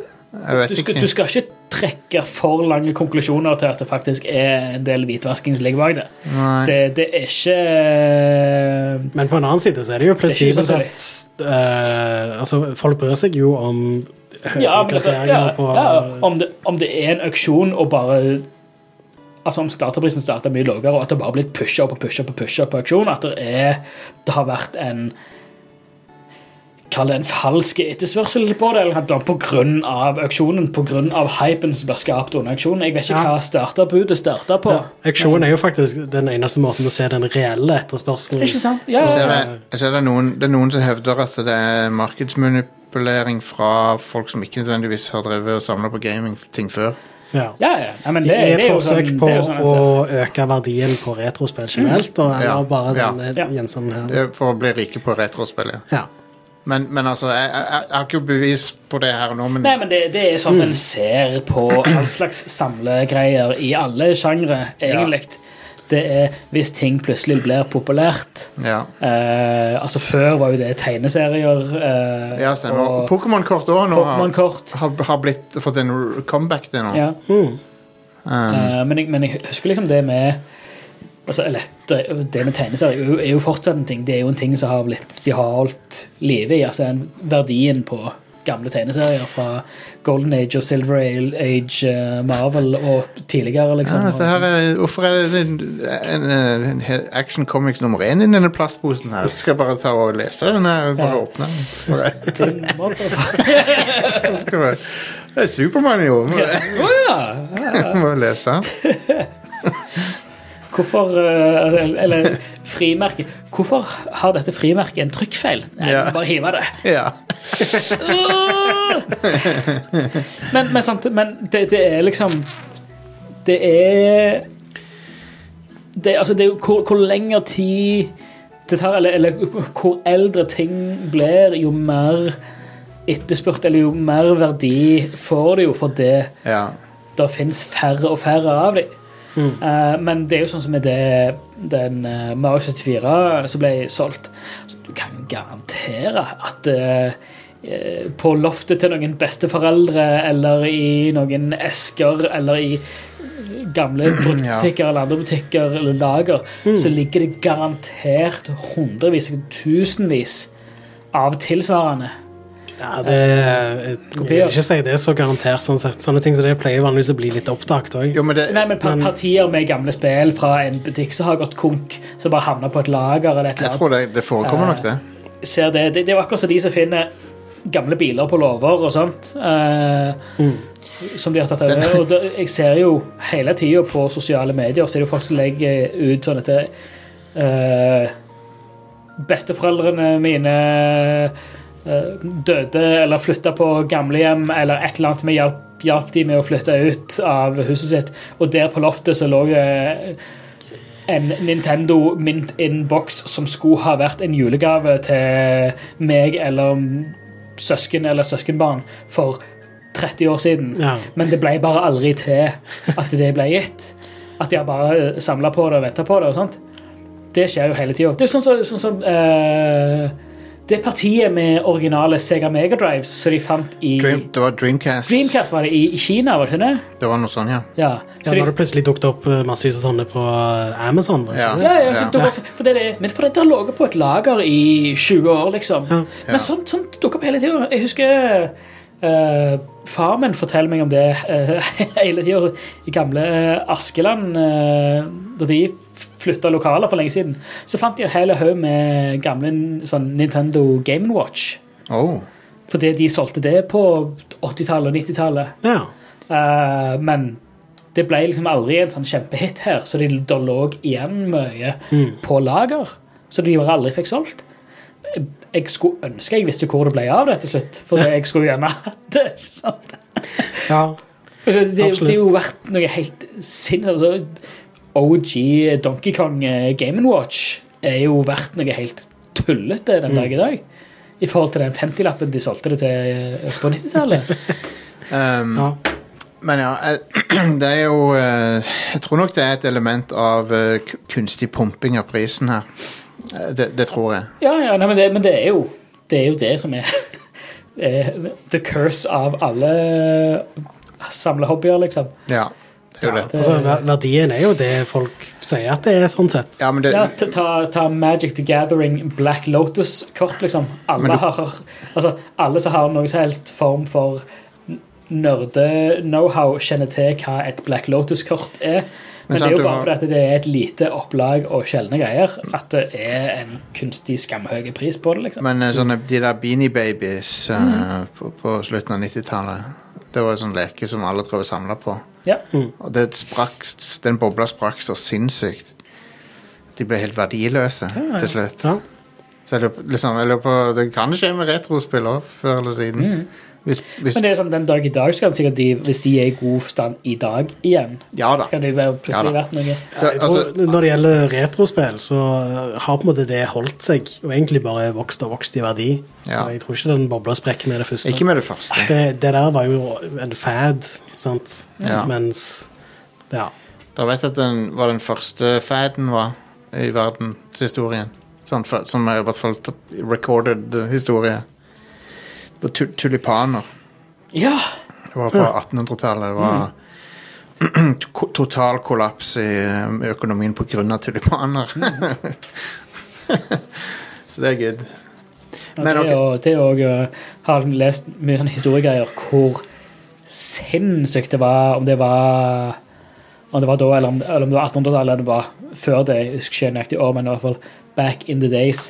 [SPEAKER 1] Jeg vet
[SPEAKER 3] du, skal,
[SPEAKER 1] ikke.
[SPEAKER 3] du skal ikke trekke for lange konklusjoner til at det faktisk er en del hvitvasking som ligger bak det.
[SPEAKER 1] Nei.
[SPEAKER 3] Det, det er ikke eh,
[SPEAKER 4] Men på en annen side så er det jo
[SPEAKER 3] ikke
[SPEAKER 4] plausibelt at eh, altså, folk bryr seg jo om høye
[SPEAKER 3] ja, men, altså,
[SPEAKER 4] plasseringer
[SPEAKER 3] ja,
[SPEAKER 4] på
[SPEAKER 3] ja, om, det, om det er en auksjon og bare Altså Om starterprisen starta mye lavere, og at det bare har blitt pusha opp og pusha opp og pusha opp på auksjon, at det, er, det har vært en Kall det en falsk etterspørsel på det, eller noe på grunn av auksjonen, på grunn av hypen som ble skapt under auksjonen. Jeg vet ikke
[SPEAKER 4] Ja.
[SPEAKER 3] hva starterbudet starta på.
[SPEAKER 4] ja, Auksjon er jo faktisk den eneste måten å se den reelle etterspørselen
[SPEAKER 3] Ikke sant? Ja,
[SPEAKER 1] Så ser
[SPEAKER 3] ja, ja.
[SPEAKER 1] det, jeg ser det, er noen, det er noen som hevder at det er markedsmanipulering fra folk som ikke nødvendigvis har drevet og samla på gaming-ting før.
[SPEAKER 4] Ja.
[SPEAKER 3] ja, ja. Nei, men
[SPEAKER 4] Det
[SPEAKER 3] det,
[SPEAKER 4] er et
[SPEAKER 3] det er jo
[SPEAKER 4] forsøk
[SPEAKER 3] sånn,
[SPEAKER 4] på
[SPEAKER 3] det er jo sånn en
[SPEAKER 4] å
[SPEAKER 3] ser. Mm.
[SPEAKER 4] øke verdien på retrospill generelt, og eller
[SPEAKER 1] Ja,
[SPEAKER 4] bare
[SPEAKER 1] ja.
[SPEAKER 4] denne
[SPEAKER 3] Ja.
[SPEAKER 4] gjenstanden her. liksom?
[SPEAKER 1] Det er For å bli rike på retrospill. ja.
[SPEAKER 4] Ja.
[SPEAKER 1] Men, men altså, jeg, jeg, jeg har ikke bevis på det her og nå, men
[SPEAKER 3] Nei, men det, det er sånn
[SPEAKER 1] Mm.
[SPEAKER 3] en ser på all slags samlegreier i alle sjangre, egentlig. Det er hvis ting plutselig blir populært.
[SPEAKER 1] ja.
[SPEAKER 3] Eh, altså Før var jo det tegneserier eh,
[SPEAKER 1] ja stemmer. Og
[SPEAKER 3] og
[SPEAKER 1] Pokémon-kort òg nå har,
[SPEAKER 3] Pokémon-kort.
[SPEAKER 1] har, har blitt, fått en r- comeback til nå.
[SPEAKER 3] Ja.
[SPEAKER 4] Mm.
[SPEAKER 1] Um,
[SPEAKER 3] Eh, men, jeg, men jeg husker liksom det med altså, eller, det, det med tegneserier er jo, er jo fortsatt en ting. Det er jo en ting som har blitt de har holdt live i. altså den Verdien på gamle tegneserier fra Golden Age og Silver Age, eh, Marvel og tidligere. liksom.
[SPEAKER 1] ja, se her, er- hvorfor er det en, en, en he- Action Comics nummer én i denne plastposen her? Skal jeg bare ta og lese den her? Bare
[SPEAKER 3] Ja.
[SPEAKER 1] åpne den? Bare-
[SPEAKER 3] Ting må på-
[SPEAKER 1] Skal jeg- Det er Supermann, jo! Må,
[SPEAKER 3] Å ja.
[SPEAKER 1] må lese den.
[SPEAKER 3] Hvorfor eh, Eller, eller frimerke Hvorfor har dette frimerket en trykkfeil? Nei,
[SPEAKER 1] Ja.
[SPEAKER 3] vi må Bare hive det.
[SPEAKER 1] Ja.
[SPEAKER 3] Men, men, sant, men det, det er liksom Det er det, altså, det er jo hvor, hvor lengre tid det tar, eller, eller hvor eldre ting blir, jo mer etterspurt, eller jo mer verdi får det jo for det
[SPEAKER 1] ja.
[SPEAKER 3] det fins færre og færre av dem. men det er jo sånn som med det, den eh, Mario 74 som ble solgt. Så du kan garantere at eh, eh, på loftet til noen besteforeldre eller i noen esker eller i gamle bruktbutikker eller andre butikker eller lager, så ligger det garantert hundrevis, tusenvis av tilsvarende.
[SPEAKER 4] Ja, det jeg vil ikke si det er så garantert. sånn sett. Sånne ting som det pleier vanligvis å bli litt oppdaget òg.
[SPEAKER 1] Jo, men det
[SPEAKER 3] Nei, men par partier med gamle spill fra en butikk som har gått konk, som bare havna på et lager eller et
[SPEAKER 1] Jeg
[SPEAKER 3] eller
[SPEAKER 1] tror
[SPEAKER 3] annet.
[SPEAKER 1] det, det forekommer nok, det.
[SPEAKER 3] Ser det. Det, det er jo akkurat som de som finner gamle biler på låver og sånt. Eh, som de har tatt over. Og da, jeg ser jo hele tida på sosiale medier så er det jo folk som legger ut sånn etter eh, Besteforeldrene mine eh, døde eller flytta på gamlehjem eller et eller annet vi hjalp, hjalp de med å flytte ut av huset sitt. Og der på loftet så lå det en Nintendo Mint In-boks som skulle ha vært en julegave til meg eller søsken eller søskenbarn for 30 år siden.
[SPEAKER 4] Ja.
[SPEAKER 3] Men det ble bare aldri til at det ble gitt. At de har bare samla på det og venta på det. og sånt. Det skjer jo hele tida. Det er sånn som sånn, som, eh, Det partiet med originale Sega Megadrives som de fant i
[SPEAKER 1] Dream, det var Dreamcast.
[SPEAKER 3] Dreamcast var det i, i Kina, var det ikke det?
[SPEAKER 1] Det var noe sånn, ja.
[SPEAKER 3] Ja.
[SPEAKER 4] Ja,
[SPEAKER 3] Så de-
[SPEAKER 4] da har det plutselig dukket opp eh, massevis av sånne på eh, Amazon. var det ikke
[SPEAKER 1] Ja.
[SPEAKER 4] det?
[SPEAKER 3] Ja, ja, så
[SPEAKER 1] Ja.
[SPEAKER 3] dukker opp- for det det, men for det har ligget på et lager i 20 år, liksom.
[SPEAKER 4] Ja.
[SPEAKER 1] Ja.
[SPEAKER 3] Men sånt, sånt dukker opp hele tida. Jeg husker eh, far min forteller meg om det eh, hele tida i gamle eh, Askeland. eh, da de flytta lokaler for lenge siden, så fant de en hel haug med gamle sånn Nintendo Game Watch.
[SPEAKER 1] Oh.
[SPEAKER 3] Fordi de solgte det på 80-tallet og 90-tallet.
[SPEAKER 4] Ja.
[SPEAKER 3] Eh, men det ble liksom aldri en sånn kjempehit her, så det da lå igjen mye på lager. Så de bare aldri fikk solgt. Jeg skulle ønske jeg visste hvor det ble av det til slutt, for jeg skulle gjerne hatt det. ikke sant?
[SPEAKER 4] ja.
[SPEAKER 3] Altså, Det, det
[SPEAKER 4] Absolutt.
[SPEAKER 3] er jo vært noe helt sinnssykt. Altså, OG Donkey Kong eh, Game Watch er jo verdt noe helt tullete den dag i dag. I forhold til den 50-lappen de solgte det til eh, på 90-tallet. Mm.
[SPEAKER 1] Um,
[SPEAKER 4] ja.
[SPEAKER 1] Men ja, eh, det er jo eh, Jeg tror nok det er et element av eh, ku- kunstig pumping av prisen her. Eh, Det, det tror jeg.
[SPEAKER 3] Ja, ja, nei, men, det, men det, er jo, det er jo det som er, er the curse av alle samlehobbyer, liksom.
[SPEAKER 1] Ja, det er jo det.
[SPEAKER 4] Altså, ver- verdien er jo det folk sier at det er, sånn sett.
[SPEAKER 1] Ja, men det,
[SPEAKER 3] Ja, ta, ta, ta Magic the Gathering Black Lotus-kort, liksom. Alle,
[SPEAKER 1] Men du-
[SPEAKER 3] har, altså, alle som har noen som helst form for n- nerde-knowhow, kjenner til hva et Black Lotus-kort er. Men,
[SPEAKER 1] Men sant,
[SPEAKER 3] det er jo
[SPEAKER 1] du
[SPEAKER 3] bare
[SPEAKER 1] har-
[SPEAKER 3] fordi at det er et lite opplag og sjeldne greier at det er en kunstig skamhøy pris på det. liksom.
[SPEAKER 1] men eh, sånne, de der Beanie Babies eh,
[SPEAKER 4] Mm.
[SPEAKER 1] på, på slutten av 90-tallet Det var en sånn leke som alle drev og samla på.
[SPEAKER 3] Ja.
[SPEAKER 1] Og det sprakk, s- den bobla sprakk så sinnssykt. De ble helt verdiløse til slutt.
[SPEAKER 4] Ja.
[SPEAKER 1] Så jeg lurer, liksom, jeg lurer på Det kan skje med retrospill òg, før eller siden.
[SPEAKER 4] Mm.
[SPEAKER 1] Hvis, hvis,
[SPEAKER 3] Men det er sånn, den dag i dag så kan sikkert de, hvis de er i god stand i dag igjen,
[SPEAKER 1] ja da.
[SPEAKER 3] så kan det jo være
[SPEAKER 1] Ja da.
[SPEAKER 3] plutselig vært noe.
[SPEAKER 1] Så,
[SPEAKER 4] Jeg tror,
[SPEAKER 1] altså,
[SPEAKER 4] når det gjelder retrospill, så eh, har på en måte det holdt seg, og egentlig bare vokst og vokst i verdi. Så
[SPEAKER 1] Ja.
[SPEAKER 4] jeg tror ikke den bobla sprekker med det første.
[SPEAKER 1] ikke med det første.
[SPEAKER 4] det, det der var jo en fad, sant?
[SPEAKER 1] Ja.
[SPEAKER 4] Mens Ja.
[SPEAKER 1] Dere vet at den var den første faden var i verdenshistorien. Sånn, for- som er i hvert fall t- recorded eh, historie. Det var tu tulipaner.
[SPEAKER 3] Ja!
[SPEAKER 1] Det var på 1800-tallet. Det var to- total kollaps i eh, økonomien pga. tulipaner. Mm. Så det er good.
[SPEAKER 3] Og
[SPEAKER 1] Men
[SPEAKER 3] det, og, det og, uh, har lest mye sånne historiegreier hvor sinnssykt det var Om det var om det var da, eller om, eller om det var 1800-tallet, eller om det var før det, jeg husker ikke nøyaktig år, men i hvert fall back in the days,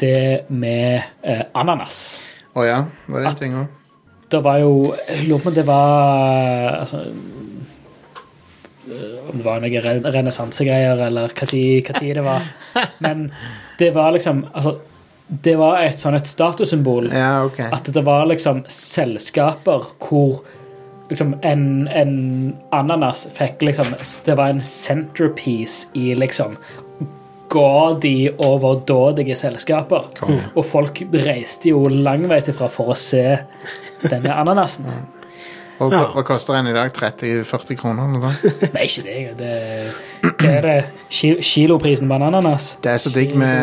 [SPEAKER 3] det med eh, ananas.
[SPEAKER 1] Å ja, var det en
[SPEAKER 3] At-
[SPEAKER 1] ting òg?
[SPEAKER 3] Det var jo Jeg lurer på om det var altså, øh, Om det var noe re- renessansegreier, eller når det var. Men det var liksom altså, Det var et sånn et statussymbol.
[SPEAKER 1] Ja, ok.
[SPEAKER 3] At det var liksom selskaper hvor liksom en, en ananas fikk liksom Det var en centerpiece i liksom gaudy, overdådige selskaper. Og folk reiste jo langveis ifra for å se denne ananasen.
[SPEAKER 1] Og hva,
[SPEAKER 4] Ja.
[SPEAKER 1] hva koster en i dag? 30-40 kroner? Eller noe sånt?
[SPEAKER 3] Nei, ikke det. Det, det er det ki- kiloprisen på en ananas.
[SPEAKER 1] Det er så digg med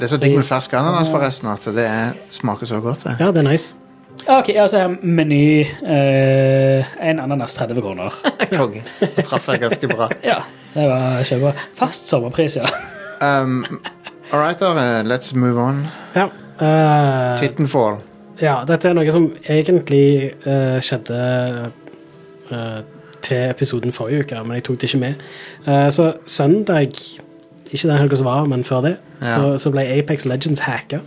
[SPEAKER 1] det er så digg med
[SPEAKER 3] Pris.
[SPEAKER 1] fersk ananas, forresten, at det er, smaker så godt. det.
[SPEAKER 4] ja, det er nice.
[SPEAKER 3] Ja, OK, altså meny eh, En ananas 30 kroner.
[SPEAKER 1] Konge. Da traff jeg ganske bra.
[SPEAKER 3] Ja, det var kjempebra. Fast sommerpris, ja.
[SPEAKER 1] Um, All right, dere. Let's move on.
[SPEAKER 4] Ja. eh,
[SPEAKER 1] Tittenfall.
[SPEAKER 4] ja, dette er noe som egentlig eh, skjedde eh, til episoden forrige uke, men jeg tok det ikke med. Eh, så søndag, ikke den helga som var, men før det, så,
[SPEAKER 1] Ja.
[SPEAKER 4] så ble Apex Legends hacka.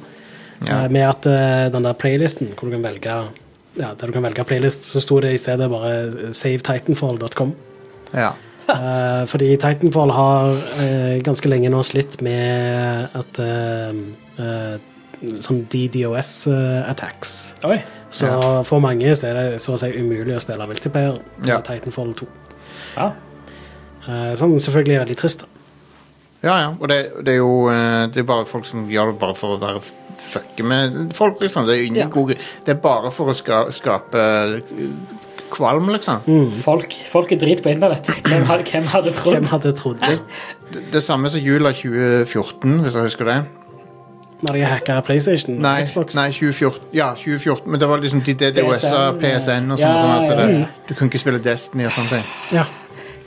[SPEAKER 1] Ja.
[SPEAKER 4] Eh, Med at eh, den der playlisten hvor du kan velge ja, der du kan velge playlist, så sto det i stedet bare eh, savetitanfall.com.
[SPEAKER 1] Ja.
[SPEAKER 4] Eh, fordi Titanfall har eh, ganske lenge nå slitt med at eh, eh, Sånn eh, DDoS-attacks.
[SPEAKER 3] Oi.
[SPEAKER 4] så
[SPEAKER 1] Ja.
[SPEAKER 4] for mange så er det så å si umulig å spille multiplayer med
[SPEAKER 1] Ja.
[SPEAKER 4] Titanfall 2.
[SPEAKER 3] Ja.
[SPEAKER 4] Eh, som selvfølgelig er veldig trist. da.
[SPEAKER 1] Ja, ja. Og det, det er jo eh, Det er bare folk som gjør det bare for å være f- fucke med folk, liksom. Det er jo ingen
[SPEAKER 4] Ja.
[SPEAKER 1] gode Det er bare for å ska, skape eh, kvalm, liksom.
[SPEAKER 3] Folk, folk er drit på internett. Hvem, hadde- hvem hadde
[SPEAKER 4] Hvem
[SPEAKER 3] trodd?
[SPEAKER 4] hadde trodd det?
[SPEAKER 1] Det, det, det samme som jula 2014, hvis jeg husker det.
[SPEAKER 4] Når de hacka PlayStation og
[SPEAKER 1] Nei,
[SPEAKER 4] Xbox?
[SPEAKER 1] nei 2014, ja, 2014. Men det var liksom de DDoS-a,
[SPEAKER 3] PSN,
[SPEAKER 1] PSN og sånn.
[SPEAKER 3] ja,
[SPEAKER 1] sånn at
[SPEAKER 3] ja,
[SPEAKER 1] det,
[SPEAKER 3] ja.
[SPEAKER 1] Du kunne ikke spille Destiny og sånne ting.
[SPEAKER 4] Ja.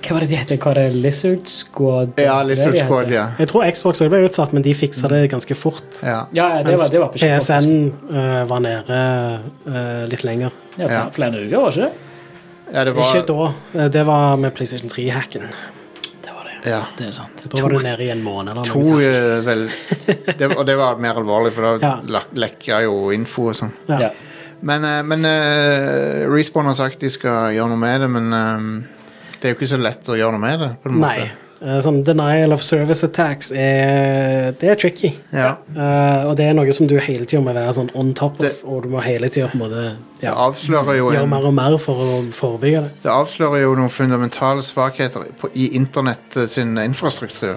[SPEAKER 3] Hva var det de het? Hva var det Lizard Squad?
[SPEAKER 1] Ja,
[SPEAKER 3] Det
[SPEAKER 1] Lizard
[SPEAKER 3] de het.
[SPEAKER 1] Squad, ja.
[SPEAKER 4] Jeg tror Xbox også ble utsatt, men de fiksa det ganske fort.
[SPEAKER 1] ja.
[SPEAKER 3] Ja, ja, det
[SPEAKER 4] Mens
[SPEAKER 3] var, det var på
[SPEAKER 4] PSN eh, var nede eh, litt lenger.
[SPEAKER 3] Ja,
[SPEAKER 1] Ja.
[SPEAKER 3] flere, flere uker, var det ikke det?
[SPEAKER 1] Ja, det var
[SPEAKER 4] Ikke da. eh, Det var med PlayStation 3-hacken.
[SPEAKER 3] Det var det.
[SPEAKER 1] ja.
[SPEAKER 3] Det er sant.
[SPEAKER 4] Da var du nede i en måned. Eller noe
[SPEAKER 1] To
[SPEAKER 4] sånt.
[SPEAKER 1] eh, vel det, Og det var mer alvorlig, for da
[SPEAKER 4] Ja.
[SPEAKER 1] lak- lekka jo info og sånn.
[SPEAKER 4] Ja.
[SPEAKER 3] Ja.
[SPEAKER 1] Men, eh, men eh, Respawn har sagt de skal gjøre noe med det, men eh, det er jo ikke så lett å gjøre noe med det. På en
[SPEAKER 4] Nei. eh, Sånn denial of service attacks er Det er tricky.
[SPEAKER 1] Måte. Ja.
[SPEAKER 4] Eh, og det er noe som du hele tida må være sånn on top of,
[SPEAKER 1] Det-
[SPEAKER 4] og du må hele tida på en måte
[SPEAKER 1] Det
[SPEAKER 4] ja,
[SPEAKER 1] avslører jo
[SPEAKER 4] gjøre
[SPEAKER 1] en,
[SPEAKER 4] mer og mer for å forebygge det.
[SPEAKER 1] det avslører jo noen fundamentale svakheter på, i internett eh, sin infrastruktur.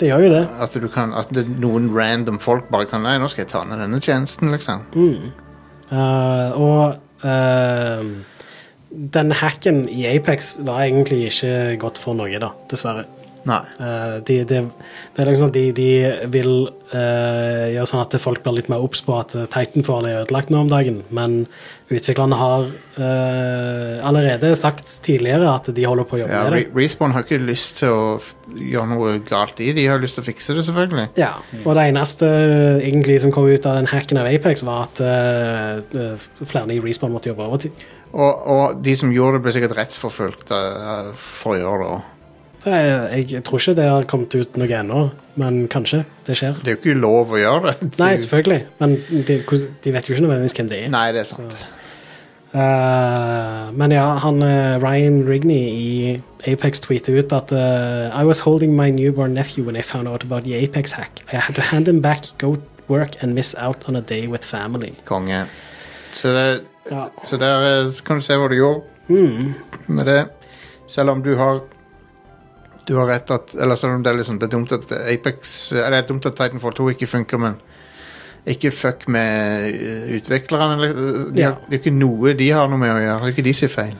[SPEAKER 4] Det gjør jo det.
[SPEAKER 1] At, du kan, at det, noen random folk bare kan Nei, nå skal jeg ta ned denne tjenesten, liksom.
[SPEAKER 4] Eh, og eh, den hacken i Apex var egentlig ikke godt for Norge, da, dessverre.
[SPEAKER 1] Nei.
[SPEAKER 4] Eh, de, de, det er liksom sånn at de, de vil eh, gjøre sånn at folk blir litt mer obs på at eh, Titanfall er ødelagt nå om dagen, men utviklerne har eh, allerede sagt tidligere at de holder på å jobbe
[SPEAKER 1] Ja, Re
[SPEAKER 4] med det.
[SPEAKER 1] Respawn har ikke lyst til å f gjøre noe galt i. De har lyst til å fikse det, selvfølgelig.
[SPEAKER 4] Ja, og det eneste eh, egentlig som kom ut av den hacken av Apex, var at eh, eh, flere i Respawn måtte jobbe overtid.
[SPEAKER 1] Og, og de som gjorde det, ble sikkert rettsforfulgt eh, for å gjøre det. også.
[SPEAKER 4] Jeg, jeg tror ikke det har kommet ut noe ennå, men kanskje det skjer.
[SPEAKER 1] Det er jo ikke lov å gjøre det.
[SPEAKER 4] Nei, selvfølgelig, men de, hvordan- de vet jo ikke nødvendigvis hvem det er.
[SPEAKER 1] Mm. Nei, det er sant.
[SPEAKER 4] Eh, men ja, han eh, Ryan Rigney i Apex tweeter ut at eh, I was holding my newborn nephew when I found out about the Apex hack. I had to hand him back, go work and miss out on a day with family.
[SPEAKER 1] Konge. Så, det,
[SPEAKER 4] Ja.
[SPEAKER 1] så der eh, så kan du se hva du gjorde
[SPEAKER 4] Hmm.
[SPEAKER 1] med det. Selv om du har du har rett at Eller selv om det er, liksom, det er dumt at Apex Eller det er dumt at Titanfall 2 ikke funker, men ikke fuck med eh, utviklerne. eller- eh, De har,
[SPEAKER 4] Ja.
[SPEAKER 1] Det er jo ikke noe de har noe med å gjøre. Det er ikke de sier feil.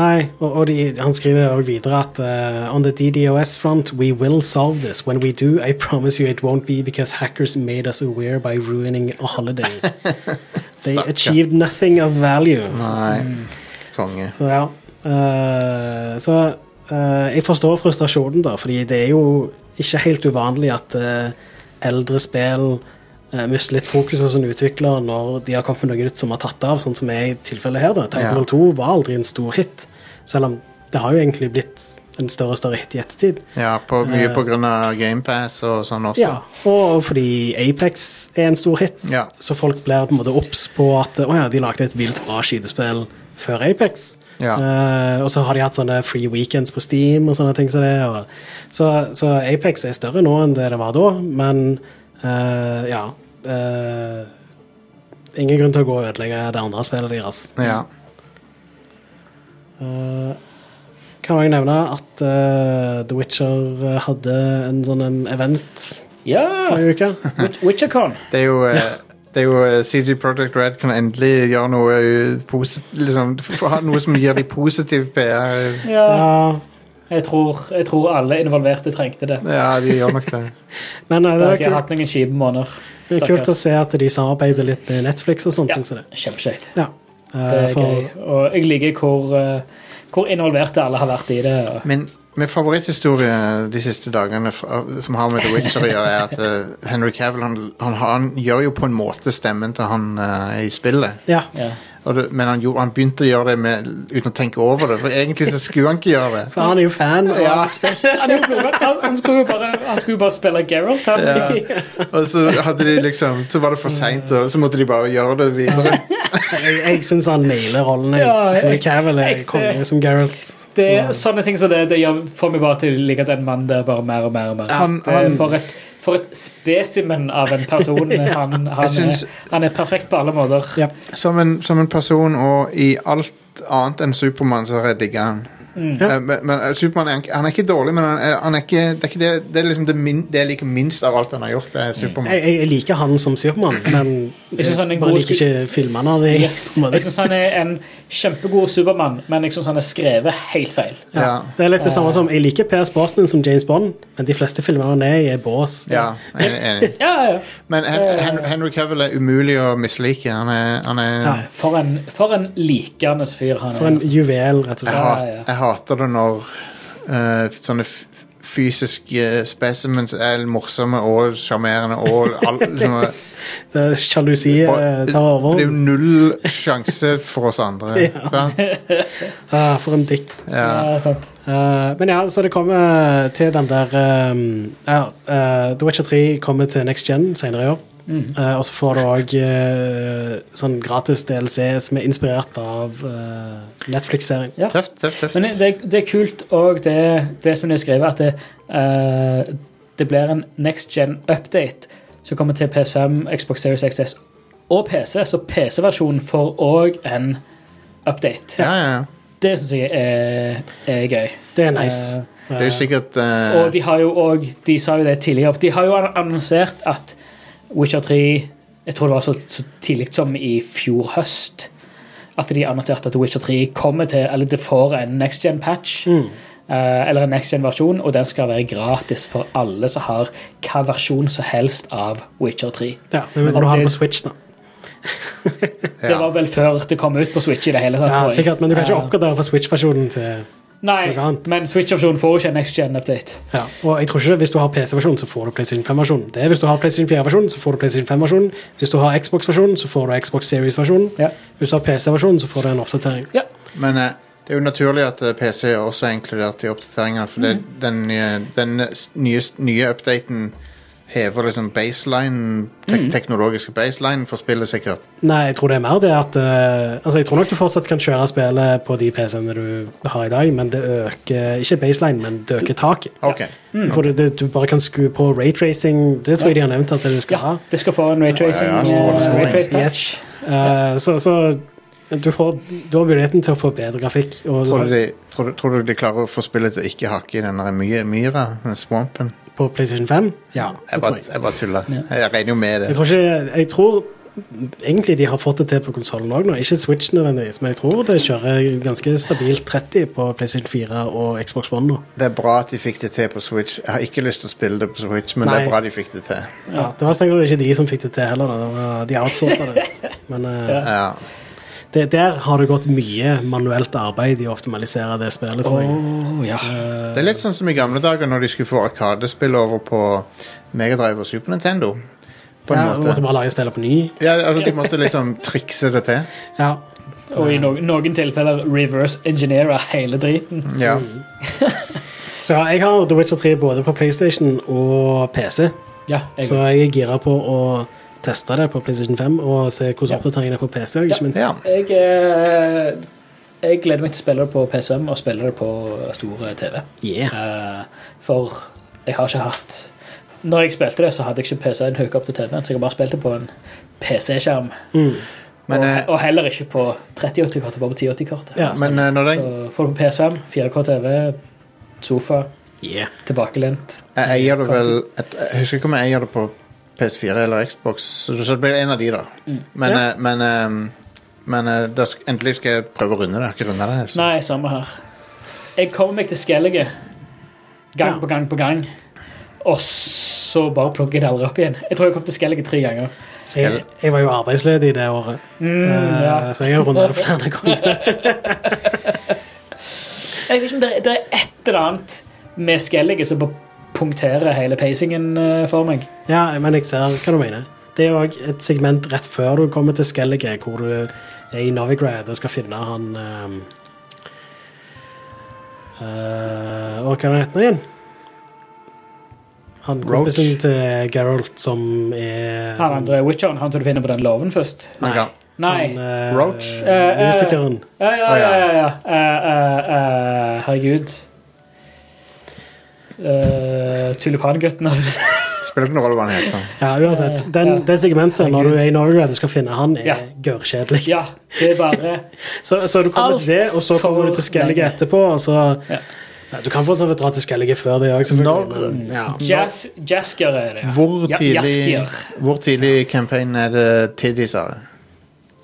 [SPEAKER 4] Nei, og, og de, han skriver også videre at eh, On the DDoS front, we will solve this. When we do, I promise you it won't be because hackers made us aware by ruining a holiday. They
[SPEAKER 1] Stakkar.
[SPEAKER 4] achieved nothing of value.
[SPEAKER 1] Nei.
[SPEAKER 4] Mm.
[SPEAKER 1] Konge.
[SPEAKER 4] Så ja. eh, så eh, jeg forstår frustrasjonen, da, fordi det er jo ikke helt uvanlig at eh, eldre spill eh, mister litt fokus hos en utvikler når de har kommet med noe nytt som har tatt av, sånn som er i tilfellet her. da. Titanfall
[SPEAKER 1] Ja.
[SPEAKER 4] 2 var aldri en stor hit, selv om det har jo egentlig blitt en større og større hit i ettertid.
[SPEAKER 1] Ja, på, mye
[SPEAKER 4] Eh.
[SPEAKER 1] på grunn av GamePass og sånn også.
[SPEAKER 4] Ja, og fordi Apex er en stor hit,
[SPEAKER 1] Ja.
[SPEAKER 4] så folk blir på en måte obs på at å ja, de lagde et vilt bra skytespill før Apex.
[SPEAKER 1] Ja.
[SPEAKER 4] Eh, og så har de hatt sånne free weekends på Steam og sånne ting som det. Og, så, så Apex er større nå enn det det var da, men eh, ja eh, Ingen grunn til å gå og ødelegge det andre spillet deres.
[SPEAKER 1] Ja.
[SPEAKER 4] Eh, kan jeg nevne at eh, The Witcher eh, hadde en sånn en event
[SPEAKER 3] Ja!
[SPEAKER 4] forrige uke?
[SPEAKER 3] Wit- Witchercon.
[SPEAKER 1] Det er jo, eh, det er jo eh, CG Project Red kan endelig gjøre noe eh, posi- liksom, få ha Noe som gir dem positiv PR.
[SPEAKER 3] Ja.
[SPEAKER 4] Ja,
[SPEAKER 3] Jeg tror, jeg tror alle involverte trengte det.
[SPEAKER 1] Ja, de gjør nok det.
[SPEAKER 4] men
[SPEAKER 3] Da
[SPEAKER 4] eh, det
[SPEAKER 3] har
[SPEAKER 4] er
[SPEAKER 3] de
[SPEAKER 4] kult,
[SPEAKER 3] hatt noen kjipe måneder.
[SPEAKER 4] det er kult å se at de samarbeider litt med Netflix og sånne
[SPEAKER 3] Ja.
[SPEAKER 4] ting som det.
[SPEAKER 3] Kjempekjekt.
[SPEAKER 4] Ja. Eh,
[SPEAKER 3] Det er
[SPEAKER 4] for-
[SPEAKER 3] gøy. Og jeg liker hvor, eh, hvor involverte alle har vært i det. og-
[SPEAKER 1] Min, min favoritthistorie de siste dagene fra, som har med The Witcher å gjøre, er at eh, Henry Cavill han, han, han gjør jo på en måte stemmen til han eh, i spillet.
[SPEAKER 4] Ja.
[SPEAKER 3] Ja.
[SPEAKER 1] Og det, men han, gjorde- han begynte å gjøre det med, uten å tenke over det, for egentlig så skulle han ikke gjøre det.
[SPEAKER 4] For han er jo fan. Og,
[SPEAKER 1] Ja.
[SPEAKER 3] Han, er jo blodvenn. Han- han skulle jo bare, han skulle jo bare spille Geralt. Han.
[SPEAKER 1] Ja. Og så hadde de liksom Så var det for seint, og så måtte de bare gjøre det videre.
[SPEAKER 4] Jeg, jeg syns han nailer rollen.
[SPEAKER 3] Ja,
[SPEAKER 4] Ja, Henry
[SPEAKER 3] jeg-
[SPEAKER 4] Cavill er
[SPEAKER 3] jeg-
[SPEAKER 4] konge eh, som Geralt.
[SPEAKER 3] Det er sånne ting som det, det gjør, får meg bare til å like at en mann der bare mer og mer og mer.
[SPEAKER 1] Han-
[SPEAKER 3] Det er
[SPEAKER 1] han-
[SPEAKER 3] for, et, for et spesimen av en person. han, han,
[SPEAKER 1] syns-
[SPEAKER 3] er, han er perfekt på alle måter.
[SPEAKER 4] Ja.
[SPEAKER 1] Som en, som en person og i alt annet enn Supermann, så har jeg digga han. Eh, Men, men eh, Superman er, han er ikke dårlig, men han er, han er ikke, det, er ikke det, det er liksom det, min, det jeg liker minst av alt han har gjort, det er Supermann.
[SPEAKER 4] Jeg, jeg, jeg liker han som Supermann, men
[SPEAKER 3] Jeg synes han er en
[SPEAKER 4] bare
[SPEAKER 3] god
[SPEAKER 4] liker ikke filmene. av det.
[SPEAKER 3] Yes. Jeg syns han er en kjempegod Supermann, men jeg syns han er skrevet helt feil.
[SPEAKER 1] Ja.
[SPEAKER 4] Det er litt det samme som Jeg liker Per Brosnan som James Bond, men de fleste filmer han er i, er bås.
[SPEAKER 1] ja, jeg er enig.
[SPEAKER 3] Ja, ja, ja.
[SPEAKER 1] Men Hen- Hen- Henry Cavill er umulig å mislike. Han er, han er
[SPEAKER 4] Ja.
[SPEAKER 3] For en, for en likende fyr han
[SPEAKER 4] For
[SPEAKER 3] er.
[SPEAKER 4] en
[SPEAKER 3] altså.
[SPEAKER 4] juvel, rett
[SPEAKER 1] jeg,
[SPEAKER 4] og slett.
[SPEAKER 3] Ja,
[SPEAKER 1] hat,
[SPEAKER 3] ja.
[SPEAKER 1] jeg hater det når eh, sånne f- fysiske specimens er morsomme og sjarmerende og all, liksom,
[SPEAKER 4] Det er Sjalusi eh,
[SPEAKER 1] og-
[SPEAKER 4] tar
[SPEAKER 1] Det er jo
[SPEAKER 4] over.
[SPEAKER 1] null sjanse for oss andre.
[SPEAKER 4] Ja.
[SPEAKER 1] Sant?
[SPEAKER 4] Ah, for en dikt.
[SPEAKER 1] Ja.
[SPEAKER 3] Ja, sant.
[SPEAKER 4] Eh, men ja, så det kommer til den der ehm, ja, eh, The Witcher 3 kommer til Next Gen senere i år. Eh, og så får du òg sånn gratis DLC som er inspirert av eh, Netflix-serien.
[SPEAKER 3] Ja.
[SPEAKER 1] Tøft, tøft, tøft.
[SPEAKER 3] Men det, det er kult og det, det som de har skrevet, at det, eh, det blir en next gen update som kommer til PS5, Xbox Series XS og PC. Så PC-versjonen får òg en update.
[SPEAKER 1] ja, ja, ja.
[SPEAKER 3] Det syns jeg er, er gøy.
[SPEAKER 4] Det er nice.
[SPEAKER 1] Det er jo sikkert eh,
[SPEAKER 3] Og de har jo òg De sa jo det tidligere, for de har jo annonsert at Witcher 3 Jeg tror det var så, så tidlig som i fjor høst at de annonserte at Witcher 3 kommer til Eller det får en next gen-patch.
[SPEAKER 4] Mm.
[SPEAKER 3] eller en next gen-versjon, og den skal være gratis for alle som har hva versjon som helst av Witcher 3.
[SPEAKER 4] Ja, men
[SPEAKER 3] Men
[SPEAKER 4] du har
[SPEAKER 3] det-
[SPEAKER 4] det på Switch, da.
[SPEAKER 3] Det var vel før det kom ut på Switch i det hele tatt.
[SPEAKER 4] Ja,
[SPEAKER 3] tror jeg.
[SPEAKER 4] sikkert, men du kan ikke
[SPEAKER 3] Ja.
[SPEAKER 4] oppgradere fra Switch-versjonen til noe
[SPEAKER 3] Nei,
[SPEAKER 4] annet.
[SPEAKER 3] men Switch-versjonen får jo ikke en next gen-update.
[SPEAKER 4] ja. Og jeg tror ikke Hvis du har PC-versjonen, så får du PlayStation 5-versjonen. Det er Hvis du har PlayStation 4-versjonen, så får du PlayStation 5-versjonen. Hvis du har Xbox-versjonen, så får du Xbox Series-versjonen.
[SPEAKER 3] Ja.
[SPEAKER 4] Hvis du har PC-versjonen, så får du en oppdatering.
[SPEAKER 3] Ja.
[SPEAKER 1] Men eh, det er jo naturlig at eh, PC er også inkludert i oppdateringene, for det,
[SPEAKER 4] Mm.
[SPEAKER 1] den, nye, den s- nye, nye updaten hever liksom baseline,
[SPEAKER 4] Mm.
[SPEAKER 1] tek teknologiske baselinen for spillet, sikkert.
[SPEAKER 4] Nei, jeg tror det er mer det at eh, Altså, jeg tror nok du fortsatt kan kjøre spillet på de PC-ene du har i dag, men det øker Ikke baseline, men det øker taket. Mm.
[SPEAKER 1] Ok.
[SPEAKER 4] For du, du, du bare kan skru på raytracing. Det tror jeg de har nevnt at du skal ha. Eh,
[SPEAKER 3] ja, det skal få en raytracing.
[SPEAKER 1] Ja, ja, ja,
[SPEAKER 3] og
[SPEAKER 1] strålende, strålende.
[SPEAKER 3] raytrace-patch.
[SPEAKER 4] Yes. Eh, så så du, får, du har muligheten til å få bedre grafikk. Og
[SPEAKER 1] Tror du, de, tror, du, tror du de klarer å få spillet til å ikke hakke i den der my myra, den swampen?
[SPEAKER 4] på PlayStation 5? Ja, det
[SPEAKER 1] Jeg
[SPEAKER 4] tror
[SPEAKER 1] bare,
[SPEAKER 4] jeg.
[SPEAKER 1] jeg bare tuller. Jeg regner jo med
[SPEAKER 4] Jeg
[SPEAKER 1] det.
[SPEAKER 4] tror, ikke, jeg tror egentlig de har fått det til på konsollen òg nå. Ikke Switch nødvendigvis, men jeg tror det kjører ganske stabilt 30 på PlayStation 4 og Xbox One nå.
[SPEAKER 1] Det er bra at de fikk det til på Switch. Jeg har ikke lyst til å spille det på Switch, men det
[SPEAKER 4] Nei.
[SPEAKER 1] er bra de fikk det til.
[SPEAKER 4] Ja, det var strengt tatt ikke de som fikk det til heller. Da. Det var- De outsourca det. Men eh,
[SPEAKER 1] Ja.
[SPEAKER 4] det, der har det gått mye manuelt arbeid i å optimalisere det spillet, tror jeg.
[SPEAKER 3] Åh, ja.
[SPEAKER 1] Det er litt sånn som i gamle dager når de skulle få Arkadespill over på Megadrive og Super Nintendo. På en
[SPEAKER 4] Ja, måtte
[SPEAKER 1] måte.
[SPEAKER 4] bare lage spillet på ny.
[SPEAKER 1] Ja, altså De måtte liksom trikse det til.
[SPEAKER 4] Ja.
[SPEAKER 3] Og i noen, noen tilfeller reverse engineere hele driten.
[SPEAKER 1] Ja.
[SPEAKER 4] Så ja, jeg har The Witcher 3 både på PlayStation og PC,
[SPEAKER 3] Ja, jeg,
[SPEAKER 4] så jeg er gira på å teste det på PlayStation 5 og se hvordan
[SPEAKER 3] Ja.
[SPEAKER 4] oppdateringen er på PC. og
[SPEAKER 3] Ja.
[SPEAKER 4] Ikke minst.
[SPEAKER 1] ja.
[SPEAKER 3] jeg, eh, jeg gleder meg til å spille det på PCM og spille det på stor TV.
[SPEAKER 4] Yeah.
[SPEAKER 3] Eh, For jeg har ikke hatt Når jeg spilte det, så hadde jeg ikke PC-en hooka opp til TV-en, så jeg har bare spilt det på en PC-skjerm.
[SPEAKER 1] Men,
[SPEAKER 3] og,
[SPEAKER 1] eh,
[SPEAKER 3] og heller ikke på 3080-kartet, bare på 1080-kartet.
[SPEAKER 4] Ja,
[SPEAKER 1] Men eh, når
[SPEAKER 3] så
[SPEAKER 1] den,
[SPEAKER 3] får du på PS5, 4K-TV, sofa,
[SPEAKER 4] Yeah.
[SPEAKER 3] tilbakelent.
[SPEAKER 1] jeg eier det vel et, Jeg husker ikke om jeg eier det på PS4 eller Xbox, så det blir en av de, da. Men,
[SPEAKER 4] Mm. Ja.
[SPEAKER 1] eh, men, eh, men eh, da sk- endelig skal jeg prøve å runde det. Jeg har ikke runda det. Så.
[SPEAKER 3] Nei, samme her. Jeg kommer meg til Skellige gang
[SPEAKER 4] Ja.
[SPEAKER 3] på gang på gang, og så bare plukker jeg det aldri opp igjen. Jeg tror jeg kom til Skellige tre ganger.
[SPEAKER 4] Så jeg, jeg var jo arbeidsledig det året, eh,
[SPEAKER 3] Mm, ja.
[SPEAKER 4] så jeg har runda det flere ganger.
[SPEAKER 3] Jeg vet ikke om det, er- det er et eller annet med Skellige som bare punkterer hele pacingen eh, for meg.
[SPEAKER 4] ja, men jeg ser hva du mener. Det er òg et segment rett før du kommer til Skellige, hvor du er i Novigrad og skal finne han um, uh, Og hva er det heter han igjen? Han
[SPEAKER 1] Roach.
[SPEAKER 4] kompisen til Geralt som er
[SPEAKER 3] Han andre witcheren, han som du finner på den låven først.
[SPEAKER 1] Han,
[SPEAKER 4] Nei.
[SPEAKER 1] gam,
[SPEAKER 3] Nei.
[SPEAKER 4] Han, eh,
[SPEAKER 1] Roach?
[SPEAKER 4] eh, Musikeren.
[SPEAKER 3] Ja, ja, ja. ja, ja. Eh, eh, eh, herregud. Eh, Tulipangutten, hadde jeg sagt.
[SPEAKER 1] Spiller ikke noen rolle hva han heter.
[SPEAKER 4] Ja, uansett. Den,
[SPEAKER 3] eh, Ja.
[SPEAKER 4] Det segmentet når du
[SPEAKER 3] Herregud.
[SPEAKER 4] er i Norway og skal finne han, er
[SPEAKER 3] Ja.
[SPEAKER 4] gørrkjedelig.
[SPEAKER 3] Ja, det er bare
[SPEAKER 4] Så, så du kommer til det,
[SPEAKER 3] Alt
[SPEAKER 4] og så kommer du
[SPEAKER 3] for
[SPEAKER 4] til Skellige
[SPEAKER 3] lenge.
[SPEAKER 4] etterpå, og så
[SPEAKER 3] Ja.
[SPEAKER 4] Nei, Du kan for så vidt dra til Skellige før det òg, selvfølgelig.
[SPEAKER 1] Når-
[SPEAKER 4] men- Ja.
[SPEAKER 3] jazz, Jasker er det. ja.
[SPEAKER 1] Hvor
[SPEAKER 3] Ja,
[SPEAKER 1] tidlig,
[SPEAKER 3] Jaskier.
[SPEAKER 1] hvor tidlig i campaignen er det tiddies er?